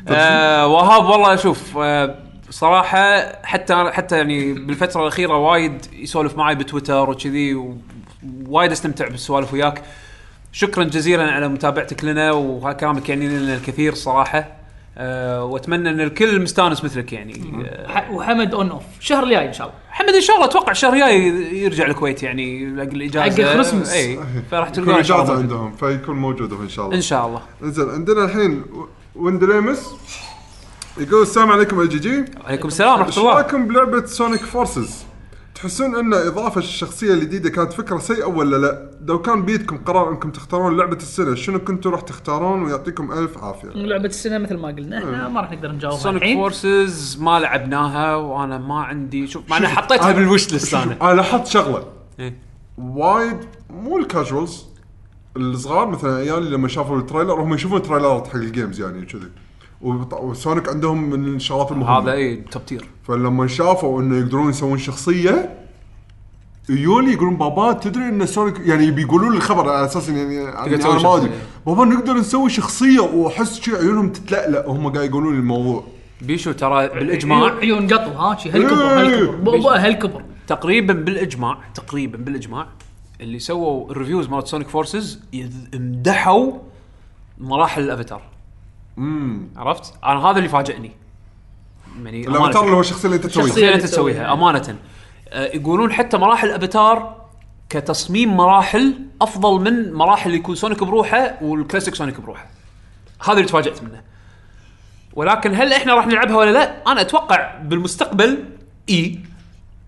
S1: آه وهاب والله شوف آه صراحه حتى حتى يعني بالفتره الاخيره وايد يسولف معي بتويتر وكذي و- وايد استمتع بالسوالف وياك شكرا جزيلا على متابعتك لنا وكلامك يعني لنا الكثير صراحه آه واتمنى ان الكل مستانس مثلك يعني آه
S2: ح- وحمد اون اوف الشهر الجاي ان شاء الله
S1: حمد ان شاء الله اتوقع الشهر الجاي يرجع الكويت يعني حق الاجازه
S2: حق الخرسمس.
S1: اي فراح
S3: يكون
S1: تلقاه ان شاء
S3: اجازه
S1: الله
S3: عندهم فيكون موجود هو ان شاء الله
S1: ان شاء الله
S3: انزين عندنا الحين و- وندريمس يقول السلام عليكم الجي جي
S1: عليكم السلام ورحمه
S3: ايش
S1: الله
S3: رايكم بلعبه سونيك فورسز؟ تحسون ان اضافه الشخصيه الجديده كانت فكره سيئه ولا لا؟ لو كان بيدكم قرار انكم تختارون لعبه السنه شنو كنتوا راح تختارون ويعطيكم الف عافيه.
S2: لعبه السنه مثل ما قلنا احنا ما راح نقدر نجاوبها
S1: سونيك
S2: الحين
S1: فورسز ما لعبناها وانا ما عندي شوف ما انا حطيتها
S3: أنا-
S1: بالوش ليست انا
S3: انا لاحظت شغله
S1: إيه.
S3: وايد مو الكاجوالز الصغار مثلا عيالي لما شافوا التريلر هم يشوفون تريلرات حق الجيمز يعني كذي وبط- وسونيك عندهم من الشغلات المهمه
S1: هذا اي توب تير
S3: فلما شافوا انه يقدرون يسوون شخصيه يجوني يقولون بابا تدري ان سونيك يعني بيقولون لي الخبر على اساس يعني يعني
S1: تسوي
S3: انا ما ادري
S1: شخصية.
S3: بابا نقدر نسوي شخصيه واحس شي عيونهم تتلألأ وهم قاعد يقولون لي الموضوع
S1: بيشو ترى بالاجماع
S2: عيون عيون قطو أيوه، ها شي هالكبر
S1: إيه.
S2: هالكبر بابا هالكبر
S1: تقريبا بالاجماع تقريبا بالاجماع اللي سووا الريفيوز مالت سونيك فورسز يذ- مدحوا مراحل الافاتار
S3: امم
S1: عرفت؟ انا هذا اللي فاجئني يعني أمانة.
S3: الافاتار اللي هو الشخصيه اللي انت
S2: شخصية.
S3: تسويها
S1: شخصيا انت
S2: اللي تسويها.
S1: تسويها امانه آه، يقولون حتى مراحل الافاتار كتصميم مراحل افضل من مراحل اللي يكون سونيك بروحه والكلاسيك سونيك بروحه هذا اللي تفاجات منه ولكن هل احنا راح نلعبها ولا لا انا اتوقع بالمستقبل اي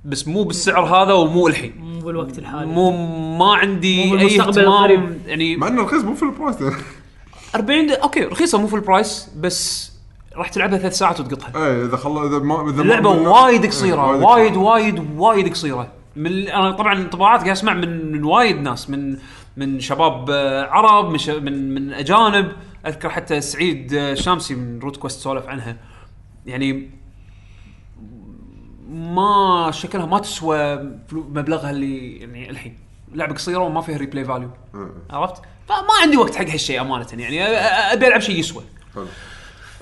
S1: بس مو بالسعر هذا ومو الحين
S2: مو بالوقت الحالي
S1: مو ما
S2: مو
S1: عندي اي
S2: بالمستقبل
S1: اهتمام
S2: القريب.
S1: يعني
S3: مع انه رخيص مو في البرايس [laughs]
S1: 40 د- اوكي رخيصه مو في البرايس بس راح تلعبها ثلاث ساعات وتقطها
S3: اي اذا إيه، خلص اذا ما اذا ما-
S1: اللعبه
S3: ما-
S1: وايد
S3: إيه،
S1: قصيره وايد وايد وايد قصيره من ال- انا طبعا انطباعات قاعد اسمع من من وايد ناس من من شباب آه، عرب من ش- من من اجانب اذكر حتى سعيد آه، شامسي من روت كويست سولف عنها يعني ما شكلها ما تسوى فلو- مبلغها اللي يعني الحين لعبه قصيره وما فيها ريبلاي فاليو
S3: إيه،
S1: عرفت؟ فما عندي وقت حق هالشيء امانه يعني أ- أ- ابي العب شيء يسوى.
S3: حلو.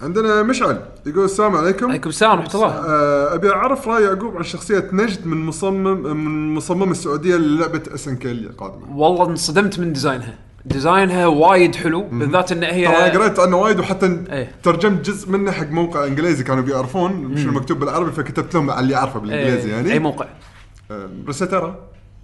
S3: عندنا مشعل يقول السلام عليكم
S1: عليكم السلام ورحمه الله.
S3: آه، ابي اعرف راي يعقوب عن شخصيه نجد من مصمم من مصمم السعوديه للعبه اس ان كي القادمه
S1: والله انصدمت من ديزاينها ديزاينها وايد حلو بالذات ان هي
S3: ترى انا قريت عنه وايد وحتى
S1: إيه.
S3: ترجمت جزء منه حق موقع انجليزي كانوا بيعرفون شنو مكتوب بالعربي فكتبت لهم على اللي اعرفه بالانجليزي
S1: إيه،
S3: يعني
S1: اي موقع
S3: آه، ريسترا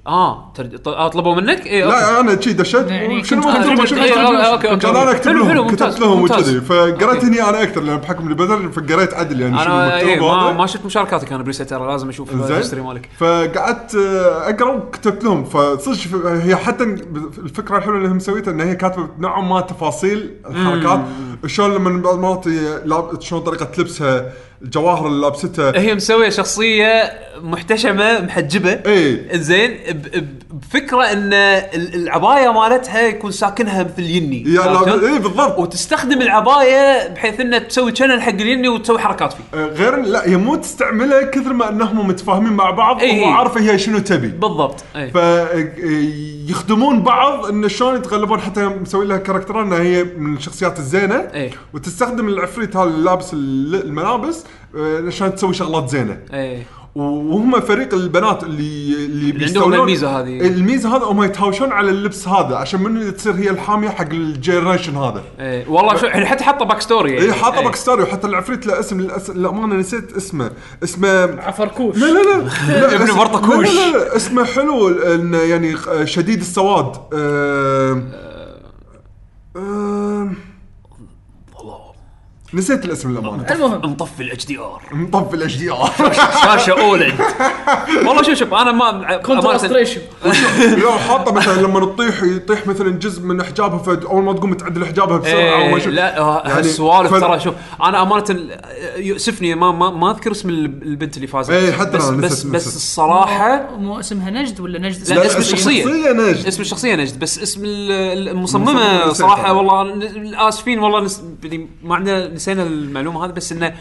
S1: اه تر- ط- آه، طلبوا منك اي
S3: لا انا شي دشيت
S2: يعني
S3: وشنو
S2: كنت-
S3: مكتوب
S2: آه،
S3: شنو
S2: إيه،
S3: مكتوب.
S2: آه،
S1: أوكي، أوكي.
S3: كان انا اكتب
S1: حلو، حلو،
S3: لهم
S1: ممتاز،
S3: كتبت لهم
S1: ممتاز.
S3: وكذي فقريت
S1: أوكي.
S3: هني انا اكثر لان بحكم البدر فقريت عدل يعني شنو
S1: انا اي
S3: مكتوب
S1: إيه، ما,
S3: وهذا.
S1: ما شفت مشاركاتك انا بريستر لازم اشوف الهيستوري
S3: زين
S1: مالك
S3: فقعدت آه، اقرا وكتبت لهم فصدق شف- هي حتى الفكره الحلوه اللي هم مسويتها ان هي كاتبه نوعا ما تفاصيل الحركات شلون لما بعض المرات ي- لاب- شلون طريقه لبسها الجواهر اللي لابستها إيه.
S1: هي مسويه شخصيه محتشمه محجبه
S3: إيه.
S1: زين ب- ب- فكره ان ال- العبايه مالتها يكون ساكنها مثل يني
S3: يا
S1: عرفت
S3: لا،
S1: شلون؟
S3: إيه، بالضبط.
S1: وتستخدم العبايه بحيث انها تسوي شنن حق اليني وتسوي حركات فيه
S3: آه، غير لا هي مو تستعمله كثر ما انهم متفاهمين مع بعض
S1: إيه.
S3: وعارفه هي شنو تبي
S1: بالضبط إيه. اي
S3: فيخدمون بعض ان شلون يتغلبون حتى مسوي لها كاركترها انها هي من الشخصيات الزينه
S1: إيه.
S3: وتستخدم العفريت هذا اللي لابس ال- الملابس آه، عشان تسوي شغلات زينه
S1: اي
S3: وهم فريق البنات اللي اللي
S1: عندهم
S3: بيستولون
S1: الميزة هذه.
S3: الميزه هذا هم يتهاوشون على اللبس هذا عشان من تصير هي الحاميه حق الجنريشن هذا
S1: اي والله شو يعني حتى حاطه باك ستوري يعني
S3: اي حاطه
S1: إيه.
S3: باك ستوري وحتى العفريت له اسم للأس... للامانه نسيت اسمه اسمه
S2: عفركوش
S3: لا لا لا, لا
S1: ابن
S3: اسم-
S1: برطكوش.
S3: لا لا لا اسمه حلو انه يعني آه، شديد السواد آه، آه، نسيت الاسم للامانه
S2: المهم
S1: مطفي الاتش دي ار
S3: مطب
S1: [laughs]
S3: الاتش دي ار
S1: شاشه اولد والله شوف شوف انا ما إيه،
S2: كونتراستريشن
S3: لو حاطه مثلا لما تطيح يطيح مثلا جزء من حجابها فاول ما تقوم تعدل حجابها بسرعه
S1: إيه
S3: وما شو
S1: لا
S3: يعني
S1: هالسوالف
S3: فل-
S1: ترى شوف انا امانه يؤسفني ما ما, ما اذكر اسم ال- البنت اللي فازت
S3: إيه، حتى
S1: بس
S3: أنا نسيت
S1: بس,
S3: اسم
S1: بس
S3: الست.
S1: الصراحه
S2: مو اسمها نجد ولا نجد
S1: لا،
S2: اسمها؟
S1: اسم الشخصية.
S3: الشخصيه نجد
S1: اسم الشخصيه نجد بس اسم ال- ال-
S3: المصممة
S1: المصممه
S3: نسيت
S1: صراحه
S3: أنا.
S1: والله ن- اسفين والله نس... يعني ما عندنا نسينا المعلومه هذه بس انه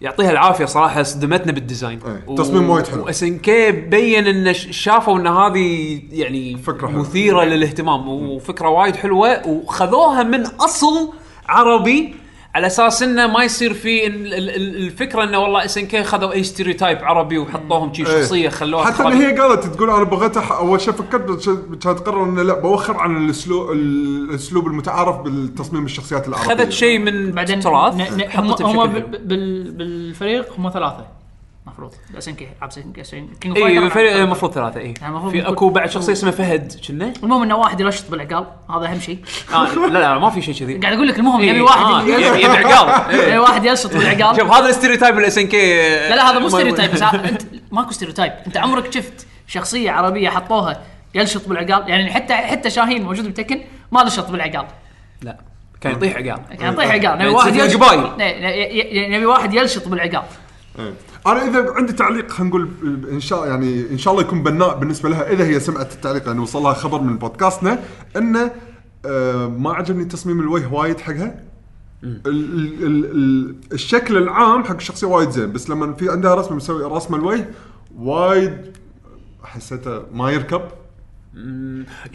S1: يعطيها العافيه صراحه صدمتنا بالديزاين
S3: إيه، تصميم وايد حلو.
S1: اس ان كي بين ان ش- شافوا ان هذه يعني
S3: فكرة حلوة.
S1: مثيره للاهتمام وفكره وايد حلوه وخذوها من اصل عربي على اساس انه ما يصير في ال- ال- ال- الفكره انه والله اس ان كي خذوا اي ستيريوتايب عربي وحطوهم شي
S3: إيه.
S1: شخصيه خلوها
S3: حتى ان هي قالت تقول انا بغيت أح- اول شيء فكرت بس كانت تقرر انه لا بوخر عن الاسلوب الاسلوب المتعارف بالتصميم الشخصيات العربيه
S1: خذت شيء من
S2: بعدين
S1: التراث
S2: ن- ن- هم
S1: حطته
S2: هم
S1: بشكل حلو.
S2: بال- بال- بالفريق هم ثلاثه المفروض بس انك عبس انك كينج
S1: اي
S2: فايتر
S1: الفريق
S2: عبس-
S1: إيه، المفروض ثلاثة اي
S2: يعني المفروض
S1: في
S2: يكون-
S1: اكو بعد شخصية اسمها فهد كنا
S2: المهم انه واحد يرشط بالعقال هذا اهم شيء [laughs]
S1: آه لا لا ما في شيء كذي
S2: قاعد اقول لك المهم
S1: إي،
S2: يبي
S1: آه،
S2: واحد
S1: يبي
S2: يبي [laughs]
S1: يبي عقال إي.
S2: واحد يرشط بالعقال
S1: شوف هذا الاستيريوتايب الاس ان كي
S2: لا لا هذا مو ستيريوتايب بس ها- انت ماكو ستيريوتايب انت عمرك شفت شخصيه عربيه حطوها يلشط بالعقال يعني حتى حتى شاهين موجود بتكن ما لشط بالعقال
S1: لا كان يطيح عقال
S2: يعني
S3: أه،
S2: طيح عقال نبي
S1: يعني
S2: واحد
S1: تصير
S2: يلشط
S1: قبايل.
S2: ن- ن- نبي واحد يلشط بالعقال
S3: إيه. انا اذا عندي تعليق خلينا نقول ب- ان شاء يعني ان شاء الله يكون بناء بالنسبه لها اذا هي سمعت التعليق لان وصلها خبر من بودكاستنا انه آه، ما عجبني تصميم الوجه وايد حقها ال ال ال ال الشكل العام حق الشخصيه وايد زين بس لما في عندها رسمه مسوي رسمه الوجه وايد حسيته ما يركب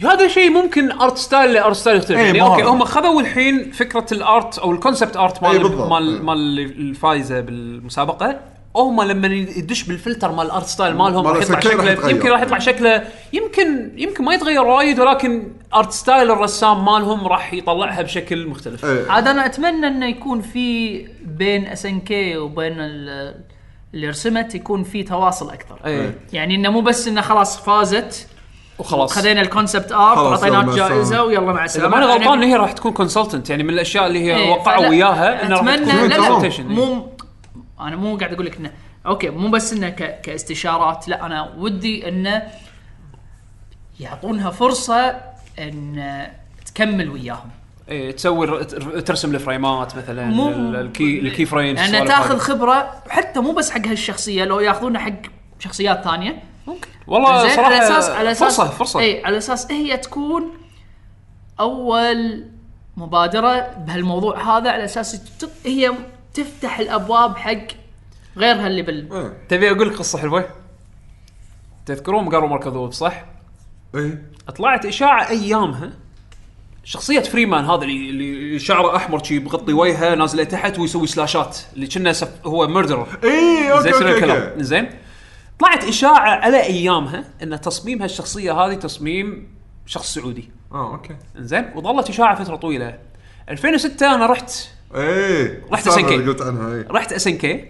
S1: هذا شيء ممكن ارت ستايل لارت ستايل يختلف
S3: إي،
S1: يعني
S3: ما
S1: اوكي
S3: هذا.
S1: هم خذوا الحين فكره الارت او الكونسبت ارت
S3: إي،
S1: مال
S3: إيه، بالضبط. إي.
S1: مال مال الفايزه بالمسابقه هم لما يدش بالفلتر مال الارت ستايل مالهم
S3: مال
S1: راح يطلع
S3: أسنكي راح
S1: شكله
S3: يتغير.
S1: يمكن راح يطلع شكله يمكن يمكن ما يتغير وايد ولكن ارت ستايل الرسام مالهم راح يطلعها بشكل مختلف
S3: إيه.
S2: عاد انا اتمنى انه يكون في بين اس ان كي وبين ال- اللي رسمت يكون في تواصل اكثر
S1: اي
S3: إيه.
S2: يعني انه مو بس انه خلاص فازت
S1: وخلاص
S2: خذينا الكونسبت ارت
S3: خلاص، يلا
S2: وعطيناها
S3: مع السلامة.
S2: جائزه ويلا مع يعني-
S1: اذا
S2: السلامه
S1: ماني
S2: أنا-
S1: غلطان هي راح تكون كونسلتنت يعني من الاشياء اللي هي
S2: إيه،
S1: وقعوا
S2: فلا،
S1: وياها انها راح
S2: اتمنى
S1: تكون
S2: لا لا
S1: consultant. إيه.
S2: مو انا مو قاعد اقول لك انه اوكي مو بس انه ك... كاستشارات لا انا ودي انه يعطونها فرصه ان تكمل وياهم
S1: إيه، تسوي الر- تر- ترسم الفريمات مثلا
S2: مو
S1: ال- الكي الكي فريمز
S2: لان
S1: السوالف
S2: تاخذ
S1: هذه.
S2: خبره حتى مو بس حق هالشخصيه لو ياخذونها حق شخصيات ثانيه
S1: والله
S2: زين
S1: صراحه
S2: على اساس على إيه. اساس
S1: فرصه فرصه
S2: اي على اساس هي تكون اول مبادره بهالموضوع هذا على اساس ت- هي تفتح الابواب حق غيرها اللي بال
S1: تبي اقول لك قصه حلوه تذكرون قالوا مركز ذوب صح؟
S3: ايه
S1: طلعت اشاعه ايامها شخصية فريمان هذا اللي اللي شعره احمر شي بغطي وجهه نازل تحت ويسوي سلاشات اللي كنا سف... هو ميردرر
S3: ايه اوكي
S1: زين شنو
S3: اوكي
S1: الكلام
S3: اوكي
S1: زين طلعت اشاعه على ايامها ان تصميم هالشخصيه هذه تصميم شخص سعودي
S3: اه اوكي
S1: زين وظلت اشاعه فتره طويله 2006 انا رحت
S3: ايه
S1: رحت
S3: السالفة
S1: أسنكي.
S3: اللي قلت عنها ايه
S1: رحت اس ان كي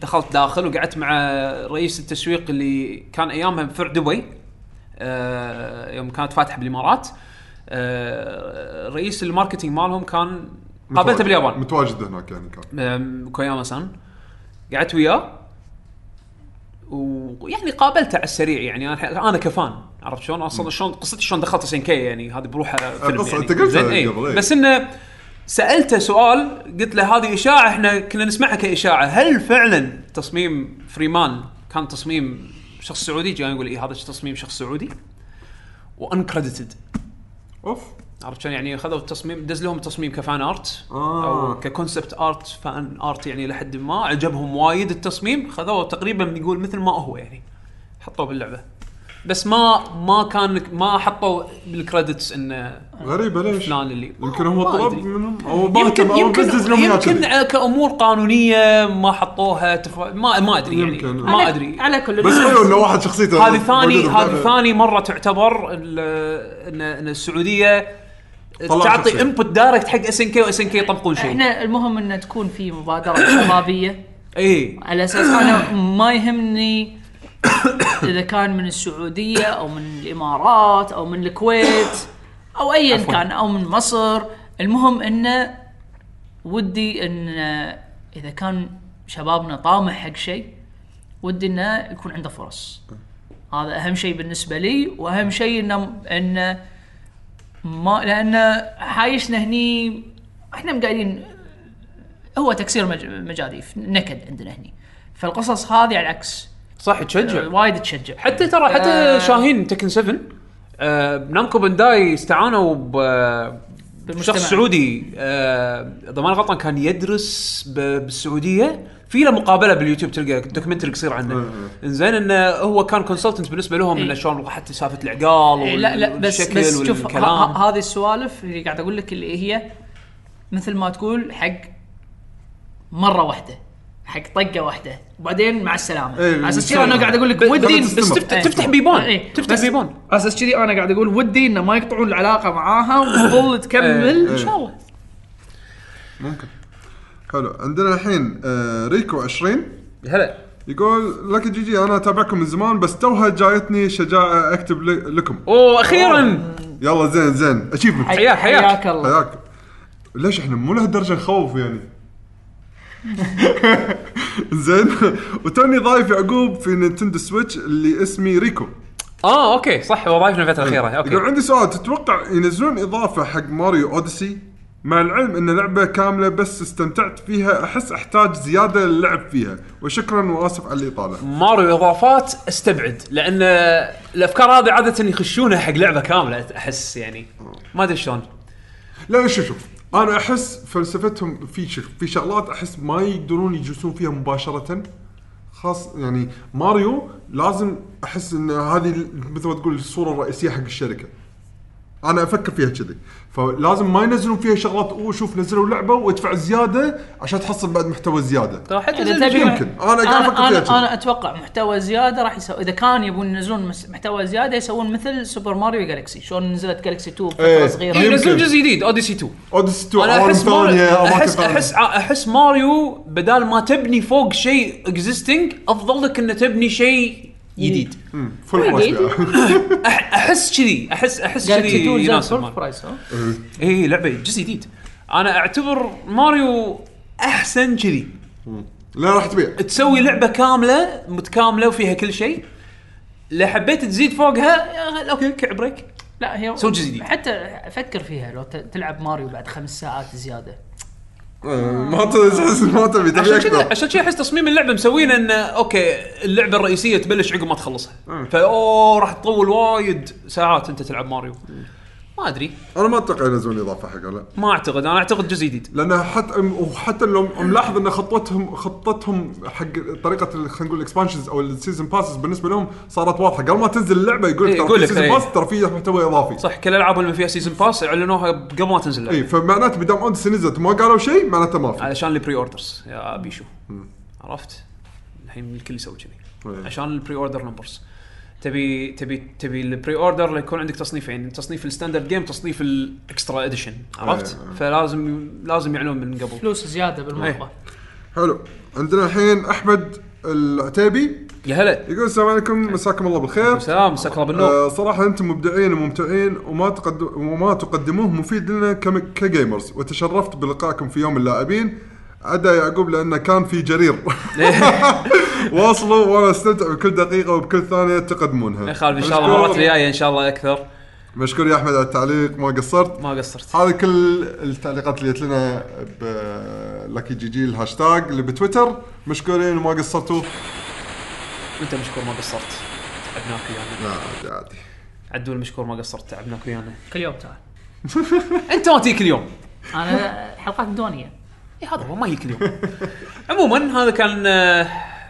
S1: دخلت داخل وقعدت مع رئيس التسويق اللي كان ايامها بفرع دبي آه، يوم كانت فاتحه بالامارات آه، رئيس الماركتينج مالهم كان قابلته
S3: متواجد-
S1: باليابان
S3: متواجد هناك يعني كان
S1: أم، كوياما سان قعدت وياه ويعني قابلته على السريع يعني انا انا كفان عرفت شلون اصلا شلون قصتي شلون دخلت اس ان كي يعني هذه بروحها فيلم
S3: آه، قصة
S1: يعني.
S3: أنت قلتها
S1: زين، إيه.
S3: قبل، إيه.
S1: بس انه سالته سؤال قلت له هذه اشاعه احنا كنا نسمعها كاشاعه هل فعلا إيه، تصميم فريمان كان تصميم شخص سعودي؟ جاي يقول اي هذا تصميم شخص سعودي وانكريدتد
S3: اوف
S1: عرفت شلون يعني خذوا التصميم دز لهم تصميم كفان ارت
S3: آه.
S1: او ككونسبت ارت فان ارت يعني لحد ما عجبهم وايد التصميم خذوه تقريبا نقول مثل ما هو يعني حطوه باللعبه بس ما ما كان ما حطوا بالكريدتس انه
S3: غريبه ليش؟
S1: فلان اللي
S3: يمكن هو
S1: ما
S3: طلب
S1: أدري.
S3: منهم او ما اهتم
S1: يمكن
S3: او
S1: يمكن
S3: بس دز لهم إياه كذي.
S1: يمكن كامور قانونيه ما حطوها تف... ما ما ادري يعني
S3: يمكن.
S1: ما ادري
S2: على كل
S3: بس حلو انه واحد شخصيته
S1: هذه ثاني
S3: موجودة
S1: هذه
S3: باللعبة.
S1: ثاني مره تعتبر ال- ان ان السعوديه
S3: طلعوا
S1: تعطي
S3: شخصية.
S1: انبوت دايركت حق اس ان كي واس ان كي يطبقون شيء
S2: احنا المهم ان تكون في مبادره شبابيه
S1: اي
S2: على اساس انا ما يهمني اذا كان من السعوديه او من الامارات او من الكويت او ايا
S1: عفواً.
S2: كان او من مصر المهم انه ودي ان اذا كان شبابنا طامح حق شيء ودي انه يكون عنده فرص هذا اهم شيء بالنسبه لي واهم شيء انه انه ما لان حايشنا هني احنا مقاعدين هو تكسير مج- مجاديف نكد عندنا هني فالقصص هذه على العكس
S1: صح تشجع
S2: آه، وايد تشجع
S1: حتى ترى حتى
S2: آه.
S1: شاهين تكن 7 آه نامكو بنداي استعانوا ب
S2: بالمجتمع.
S1: شخص سعودي آه، اذا ما أنا غلطان كان يدرس ب- بالسعوديه في له مقابله باليوتيوب تلقى دوكيومنتري قصير عنه زين انه هو كان كونسلتنت بالنسبه لهم
S2: إيه.
S1: انه شلون حتى سالفه العقال
S2: إيه، لا لا بس
S1: والشكل
S2: بس شوف ه-
S1: والكلام.
S2: ه- هذه السوالف اللي قاعد اقول لك اللي هي مثل ما تقول حق مره واحده حق طقه واحده وبعدين مع السلامه
S3: إيه،
S2: على اساس كذا
S3: بالسلامة.
S2: انا قاعد اقول لك
S1: بس-
S2: ودي
S1: بس
S2: بس
S1: تفت- تفتح بيبان. تفتح
S2: بس
S1: بيبان.
S2: على اساس كذي انا قاعد اقول ودي انه ما يقطعون العلاقه معاها وتظل
S1: إيه،
S2: تكمل ان شاء الله
S3: ممكن حلو عندنا الحين آه، ريكو 20
S1: هلا
S3: يقول لك جي جي انا اتابعكم من زمان بس توها جايتني شجاعه اكتب لي- لكم
S1: اوه اخيرا
S3: يلا زين زين اتشيفمنت
S1: حياك- حياك.
S2: حياك الله
S3: حياك ليش احنا مو لهالدرجه نخوف يعني
S1: [laughs]
S3: [laughs] زين وتوني ضايف يعقوب في نينتندو سويتش اللي اسمي ريكو
S1: اه اوكي صح وظائفنا الفتره الاخيره
S3: يقول
S1: اوكي
S3: عندي سؤال تتوقع ينزلون اضافه حق ماريو اوديسي مع العلم ان لعبه كامله بس استمتعت فيها احس احتاج زياده للعب فيها وشكرا واسف على الاطاله
S1: ماريو اضافات استبعد لان الافكار هذه عاده يخشونها حق لعبه كامله احس يعني ما ادري شلون
S3: لا شوف شوف انا احس فلسفتهم في شغ... في شغلات احس ما يقدرون يجلسون فيها مباشره خاص يعني ماريو لازم احس ان هذه ال- مثل ما تقول الصوره الرئيسيه حق الشركه انا افكر فيها كذي فلازم ما ينزلون فيها شغلات اوه شوف نزلوا لعبه وادفع زياده عشان تحصل بعد محتوى زياده
S1: ترى حتى
S2: يعني إذا
S1: زلدة
S2: تبي-
S1: كذا.
S3: يمكن انا قاعد
S2: انا
S3: افكر فيها
S2: انا,
S3: كذي
S2: أنا اتوقع محتوى زياده راح يسوي اذا كان يبون ينزلون مس- محتوى زياده يسوون مثل سوبر ماريو جالكسي شلون نزلت جالكسي 2 بفتره
S3: إيه.
S1: إيه،
S2: صغيره
S3: يمكن.
S1: ينزلون جزء جديد اوديسي 2
S3: اوديسي 2
S1: انا
S3: عوالم
S1: احس ماريو
S3: ثانية، أماكن
S1: احس
S3: ثانية.
S1: احس احس ماريو بدال ما تبني فوق شيء اكزيستنج افضل لك انه تبني شيء جديد
S3: فول برايس
S1: أح- احس كذي احس احس
S2: جالكسي 2
S1: كذي
S2: نزلت
S1: يناسب
S2: فول
S1: ماريو.
S2: برايس ها؟
S1: اي لعبه جزء جديد انا اعتبر ماريو احسن كذي
S3: [laughs] لا راح تبيع
S1: [laughs] تسوي لعبه كامله متكامله وفيها كل شيء لو حبيت تزيد فوقها يا أخي، اوكي كعب بريك
S2: لا هي
S1: سوي جزء جديد.
S2: حتى فكر فيها لو ت- تلعب ماريو بعد خمس ساعات زياده
S3: آه، ما تحس [laughs] ما تبي تبي
S1: عشان كذا
S3: اكثر
S1: عشان كذا احس تصميم اللعبه مسوينه انه اوكي اللعبه الرئيسيه تبلش عقب ما تخلصها فاوه راح تطول وايد ساعات انت تلعب ماريو ما ادري
S3: انا ما اتوقع ينزلون اضافه حقها لا
S1: ما اعتقد انا اعتقد جزء جديد
S3: لان حتى وحتى لو ملاحظ ان خطتهم خطتهم حق طريقه ال- خلينا نقول الاكسبانشنز او السيزون باسز بالنسبه لهم صارت واضحه قبل ما تنزل اللعبه يقول
S1: إيه،
S3: لك
S1: يقول
S3: ترى
S1: لك،
S3: السيزون
S1: إيه.
S3: باس ترى فيه محتوى اضافي
S1: صح كل الالعاب اللي فيها سيزون باس اعلنوها قبل ما تنزل اللعبة.
S3: اي إيه، فمعناته بدام اوديسي نزلت وما قالوا شيء معناته ما في
S1: علشان البري اوردرز يا بيشو عرفت الحين الكل يسوي كذي
S3: إيه.
S1: عشان البري اوردر نمبرز تبي تبي تبي البري اوردر يكون عندك تصنيفين تصنيف الستاندرد جيم تصنيف الاكسترا اديشن عرفت
S3: إيه.
S1: فلازم لازم يعلنون من قبل
S2: فلوس زياده بالمره
S1: إيه.
S3: حلو عندنا الحين احمد العتيبي
S1: يا هلا
S3: يقول السلام عليكم مساكم الله بالخير
S1: سلام مساك الله بالنور
S3: [laughs] آه صراحة أنتم مبدعين وممتعين وما تقدم وما تقدموه مفيد لنا كم- كجيمرز وتشرفت بلقائكم في يوم اللاعبين عدا يعقوب لأنه كان في جرير [laughs]
S1: إيه.
S3: واصلوا وأنا استمتع بكل دقيقة وبكل ثانية تقدمونها
S1: يا خالد ان شاء الله
S3: مشكور-
S1: المرات الجايه ان شاء الله اكثر
S3: مشكور يا أحمد على التعليق ما قصرت
S1: ما قصرت
S3: هذا كل التعليقات اللي جت لنا بلاكي جي جي الهاشتاج اللي بتويتر مشكورين وما قصرتوا
S1: انت مشكور ما قصرت تعبناك ويانا
S3: لا عادي عادي
S1: عدول مشكور ما قصرت تعبناك ويانا
S2: كل يوم تعال
S1: انت ما تجيك اليوم
S2: انا حلقات دونيه
S1: اي هذا هو ما يجيك اليوم عموما هذا كان آه،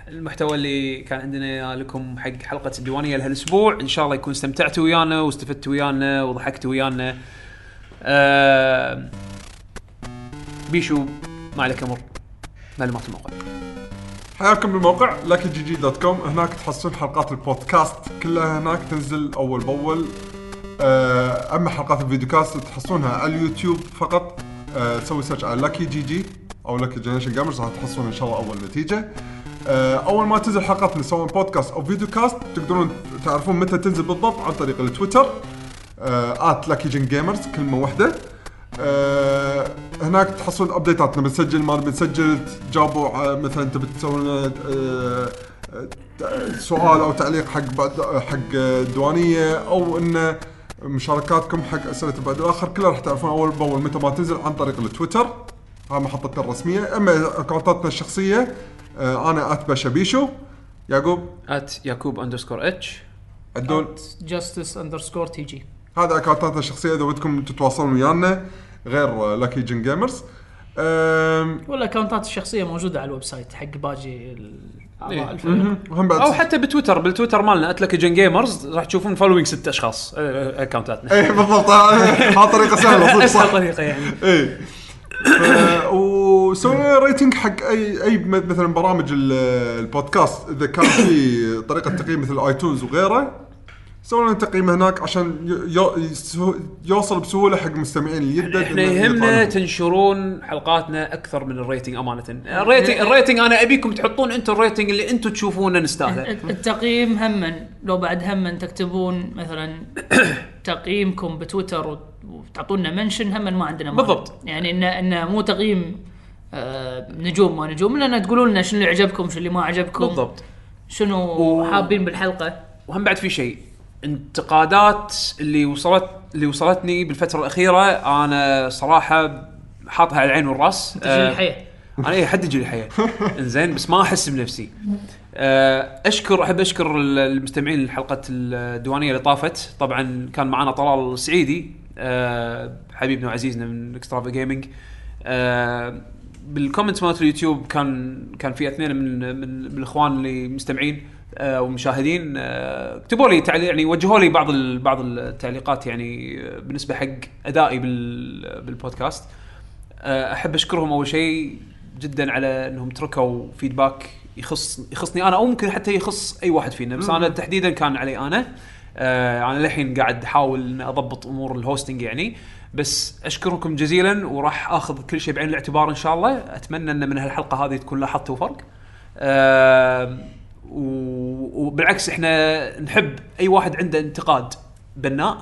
S1: المحتوى اللي كان عندنا لكم حق حلقه الديوانيه لهالاسبوع ان شاء الله يكون استمتعتوا ويانا واستفدتوا ويانا وضحكتوا ويانا آه، بيشو ما عليك امر معلومات الموقع
S3: حياكم بالموقع جي جي دوت كوم هناك تحصلون حلقات البودكاست كلها هناك تنزل اول باول آه، اما حلقات الفيديو كاست تحصلونها على اليوتيوب فقط آه، سوي سيرش على لاكي جي جي او لاكي جنريشن جيمرز راح تحصلون ان شاء الله اول نتيجه آه، اول ما تنزل حلقاتنا سواء بودكاست او فيديو كاست تقدرون تعرفون متى تنزل بالضبط عن طريق التويتر ات لاكي جن جيمرز كلمه واحده آه، هناك تحصلون ابديتاتنا بنسجل ما بنسجل تجاوبوا على- مثلا انت بتسوون آه، آه، سؤال او تعليق حق بعد حق الديوانيه او انه مشاركاتكم حق اسئله البعد الاخر كلها راح تعرفون اول باول متى ما تنزل عن طريق التويتر هاي محطتنا الرسميه اما اكونتاتنا الشخصيه آه، انا اتبشا بيشو يعقوب
S1: ات يعقوب اندرسكور اتش
S3: عدول
S2: جاستس اندرسكور تي جي
S3: هذا اكونتاتنا الشخصيه اذا ودكم تتواصلون ويانا غير لاكي جن جيمرز
S2: والاكونتات الشخصيه موجوده على الويب سايت حق باقي ال-
S1: إيه.
S2: اعضاء الفريق
S3: وهم بعد
S1: او حتى بتويتر بالتويتر مالنا اتلكجن جيمرز راح تشوفون فولوينج ست اشخاص آه، اكونتاتنا
S3: اي إيه، بالضبط ها إيه، طريقه سهله صدق
S1: اسهل
S3: صح
S1: طريقه يعني
S3: اي ف- وسوينا ريتنج حق اي اي م- مثلا برامج ال- البودكاست اذا كان في طريقه تقييم مثل ايتونز وغيره سوينا تقييم هناك عشان ي- يو- يسهو- يوصل بسهوله حق المستمعين اللي يدد
S1: احنا
S3: إنه يطلع
S1: يهمنا
S3: لهم.
S1: تنشرون حلقاتنا اكثر من الريتنج امانه الريتنج الريتنج انا ابيكم تحطون انتم الريتنج اللي انتم تشوفونه نستاهله
S2: التقييم هما لو بعد هما تكتبون
S3: [coughs]
S2: مثلا تقييمكم بتويتر وت- وتعطونا منشن هما ما عندنا مانع.
S1: بالضبط.
S2: يعني انه انه مو تقييم آه، نجوم ما نجوم لان تقولوا لنا شنو اللي عجبكم شنو اللي ما عجبكم
S1: بالضبط
S2: شنو حابين بالحلقه
S1: وهم بعد في شيء انتقادات اللي وصلت اللي وصلتني بالفتره الاخيره انا صراحه حاطها على العين والراس
S2: تجري
S1: آه،
S2: الحياه
S1: انا اي حد يجي لي حياه انزين بس ما احس بنفسي آه، اشكر احب اشكر ال- المستمعين لحلقه الديوانيه اللي طافت طبعا كان معنا طلال السعيدي آه، حبيبنا وعزيزنا من اكسترافا جيمنج بالكومنتس مالت اليوتيوب كان كان في اثنين من من, من الاخوان اللي مستمعين آه، ومشاهدين آه، كتبوا لي تعليق يعني وجهوا لي بعض ال- بعض التعليقات يعني آه، بالنسبه حق ادائي بال- بالبودكاست آه، احب اشكرهم اول شيء جدا على انهم تركوا فيدباك يخص يخصني انا او ممكن حتى يخص اي واحد فينا بس انا تحديدا كان علي انا آه انا للحين قاعد احاول ان اضبط امور الهوستنج يعني بس اشكركم جزيلا وراح اخذ كل شيء بعين الاعتبار ان شاء الله اتمنى ان من هالحلقه هذه تكون لاحظتوا فرق آه و- وبالعكس احنا نحب اي واحد عنده انتقاد بناء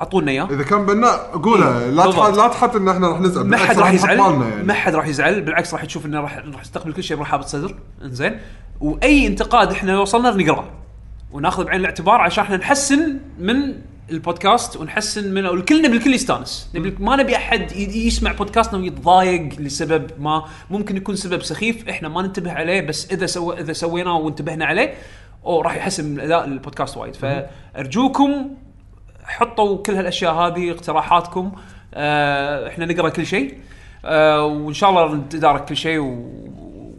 S1: اعطونا اياه
S3: اذا كان بناء قولها لا
S1: بالضبط.
S3: تح- لا تحط ان احنا راح نزعل
S1: ما
S3: بالعكس
S1: حد راح
S3: نحط
S1: يزعل
S3: بالنا يعني.
S1: ما حد راح يزعل بالعكس راح تشوف انه راح راح تستقبل كل شيء برحابه صدر انزين واي انتقاد احنا وصلنا له نقراه وناخذه بعين الاعتبار عشان احنا نحسن من البودكاست ونحسن من الكل نبي الكل يستانس نبي ما نبي احد ي- يسمع بودكاستنا ويتضايق لسبب ما ممكن يكون سبب سخيف احنا ما ننتبه عليه بس اذا سو اذا سويناه وانتبهنا عليه او راح يحسن من اداء البودكاست وايد فارجوكم حطوا كل هالاشياء هذه اقتراحاتكم آه احنا نقرا كل شيء آه وان شاء الله نتدارك كل شيء و...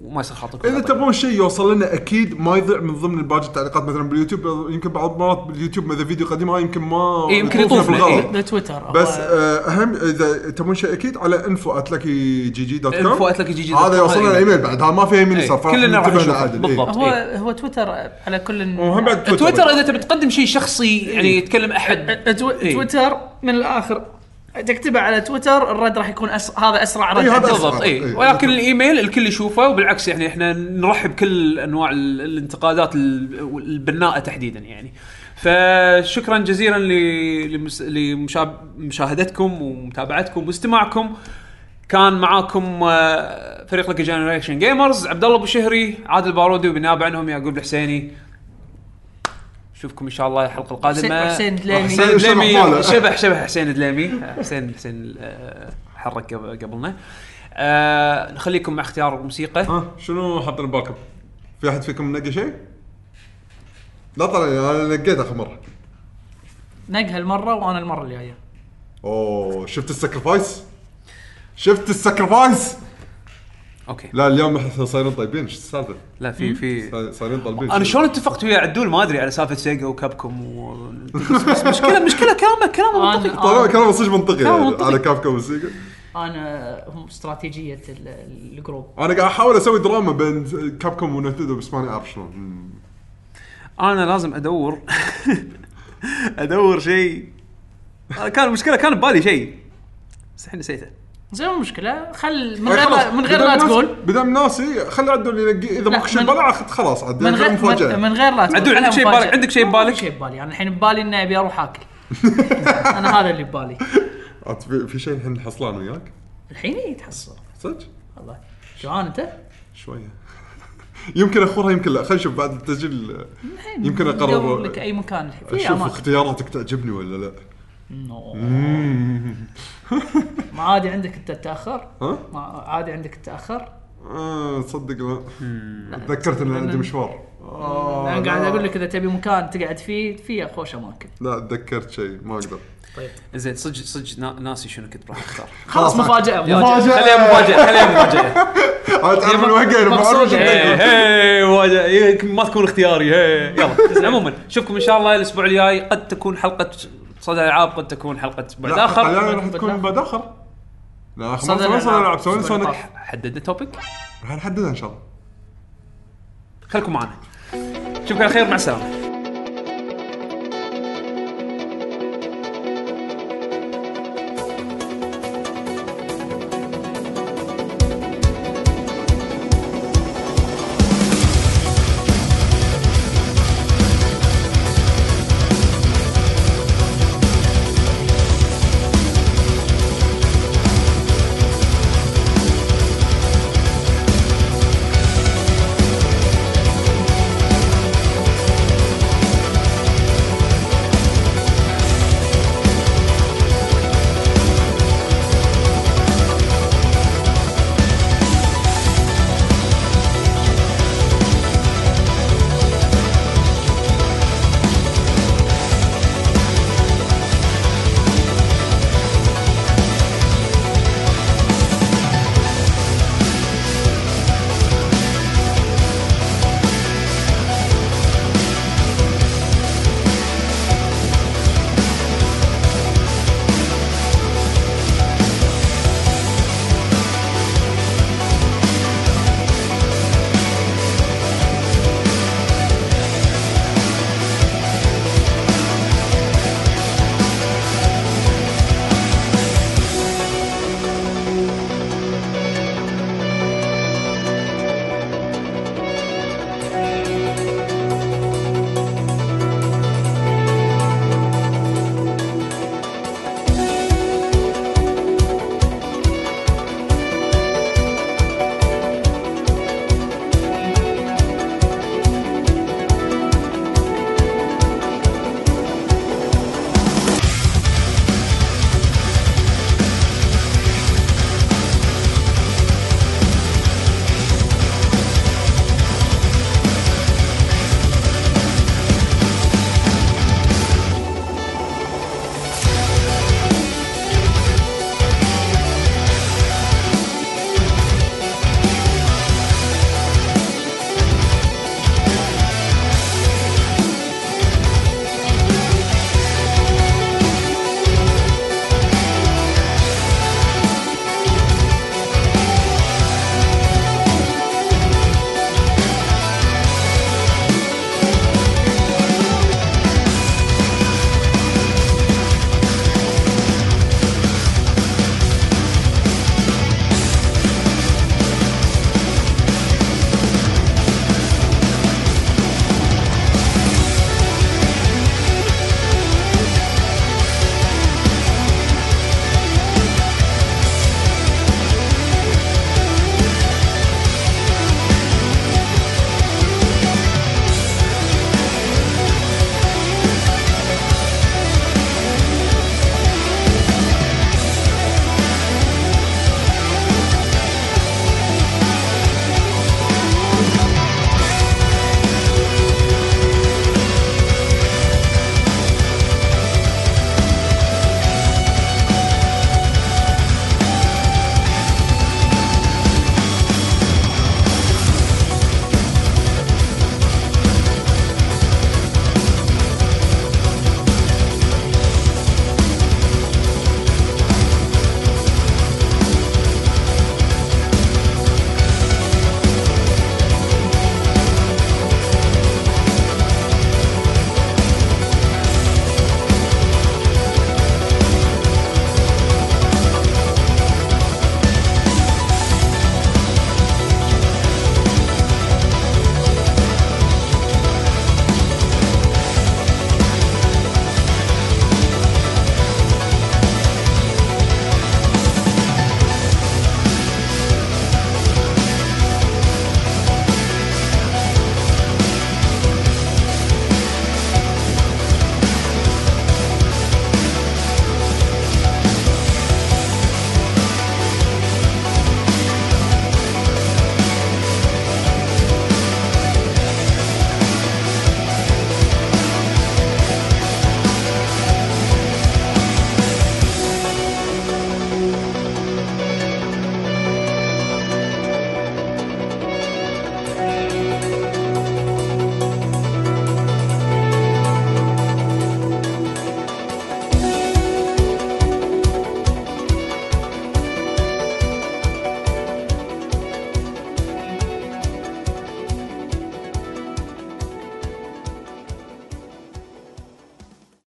S1: وما يصير خاطركم
S3: اذا تبون شيء يوصل لنا اكيد ما يضيع من ضمن باقي التعليقات مثلا باليوتيوب يمكن بعض المرات باليوتيوب اذا فيديو قديم هاي يمكن ما
S1: إيه، يمكن
S3: يطوفنا
S1: يطوفنا،
S3: بالغلط.
S1: إيه.
S2: بتويتر
S3: بس آه، اهم اذا تبون شيء اكيد على انفو اتلكي جي جي دوت كوم
S1: info@luckyGG.com.
S3: هذا يوصلنا
S1: إيه.
S3: الايميل بعد هذا ما في يمين
S1: إيه.
S3: يسار
S1: كلنا راح نشوفه. بالضبط.
S2: هو
S1: إيه.
S2: هو تويتر على كل
S3: وهم بعد
S1: تويتر اذا تبي تقدم شيء شخصي يعني يتكلم احد
S2: تو- إيه.
S3: إيه.
S2: تويتر من الاخر تكتبه على تويتر الرد راح يكون أس... هذا اسرع رد
S3: إيه، هذا
S2: عندك.
S3: أسرع.
S1: بالضبط اي
S3: إيه.
S1: ولكن الايميل الكل يشوفه وبالعكس يعني احنا نرحب كل انواع ال- الانتقادات ال- البناءه تحديدا يعني فشكرا جزيلا ل- لمس- لمشا- لمشاهدتكم ومتابعتكم واستماعكم كان معاكم آه، فريق لك جنريشن جيمرز عبد الله ابو شهري عادل بارودي وبنيابه عنهم يعقوب الحسيني نشوفكم ان شاء الله الحلقه القادمه
S2: حسين دليمي
S3: حسين شبح ماله.
S1: دليمي شبح شبح حسين دليمي حسين حسين آه، حرك قبل- قبلنا آه نخليكم مع اختيار الموسيقى
S3: ها شنو حاطين ببالكم؟ في احد فيكم نقى شيء؟ لا طلع انا نقيت اخر مره
S2: نقها المره وانا المره الجايه
S3: اوه شفت السكرفايس شفت السكرفايس
S1: اوكي
S3: لا اليوم احنا صايرين طيبين شو السالفه
S1: لا في في
S3: صاير- صايرين طالبين
S1: انا شلون اتفقت ويا عدول ما ادري على سالفه سيجا وكابكوم و... بس مشكله مشكله كلامه كلامه
S2: أنا-
S1: منطقي
S3: طبعا كلام صدق منطقي
S1: كلام
S3: يعني
S1: منطقي.
S3: على كاب كاب وسيجا
S2: انا هم استراتيجيه ال- ال- الجروب
S3: انا قاعد احاول اسوي دراما بين كاب كوم ونتندو بس ماني عارف شلون مم.
S1: انا لازم ادور [laughs] ادور شيء أنا كان المشكله كان ببالي شيء بس الحين نسيته
S2: زين مو مشكله خل من
S3: يعني
S2: غير
S3: خلاص،
S2: لا من غير
S3: بدام
S2: لا
S3: ناس-
S2: تقول
S3: بدام ناسي خلي عدول ينقي اذا
S2: لا،
S3: ماكو شيء
S2: من-
S3: ببالي أخذ خلاص يعني عدول
S2: من غير
S3: كان مفاجاه
S2: من, من غير لا تقول
S1: عدول،
S2: خلها
S1: عندك شيء
S2: مفاجأة.
S1: ببالك؟ عندك شيء
S2: ما-
S1: ببالك؟
S2: ما في شيء ببالي انا الحين ببالي اني ابي اروح
S3: [laughs]
S2: اكل انا هذا اللي ببالي
S3: عاد في- في شيء الحين حصلان وياك
S2: الحين يتحصل
S3: صدق
S2: والله جوعان انت؟
S3: شويه [laughs] يمكن اخورها يمكن لا خلينا نشوف بعد التسجيل
S2: الحين
S3: يمكن أقرب-
S2: ندور لك اي مكان الحين في
S3: اشوف
S2: اماكن
S3: اختياراتك تعجبني ولا
S2: [laughs]
S3: لا
S2: نو. ما عادي عندك انت التاخر؟
S3: ها؟
S2: ما عادي عندك التاخر؟
S3: آه، تصدق لا تذكرت ان عندي مشوار آه،
S2: انا قاعد
S3: لا.
S2: اقول لك اذا تبي مكان تقعد فيه في خوش اماكن
S3: لا تذكرت شيء ما اقدر
S1: زين صدق صدق نا- ناسي شنو كنت راح اختار
S2: خلاص مفاجاه مفاجاه
S1: خليها مفاجاه خليها مفاجاه
S3: عاد تعرف الوقت
S2: مقصودة.
S3: إيه.
S1: هي- هي، مفاجأة. هي، إيه، ما تكون اختياري هي. [laughs] يلا عموما نشوفكم ان شاء الله الاسبوع الجاي قد تكون حلقه صدى العاب قد تكون حلقه بعد
S3: لا
S1: اخر
S3: خلينا راح تكون بعد اخر لا خلاص
S2: صدر
S3: ما صار
S2: الألعاب.
S3: العب سوني
S2: صدر
S3: سونيك
S2: الألعاب.
S1: حددنا توبيك
S3: راح نحددها ان شاء الله
S1: خليكم معنا نشوفكم على خير مع السلامه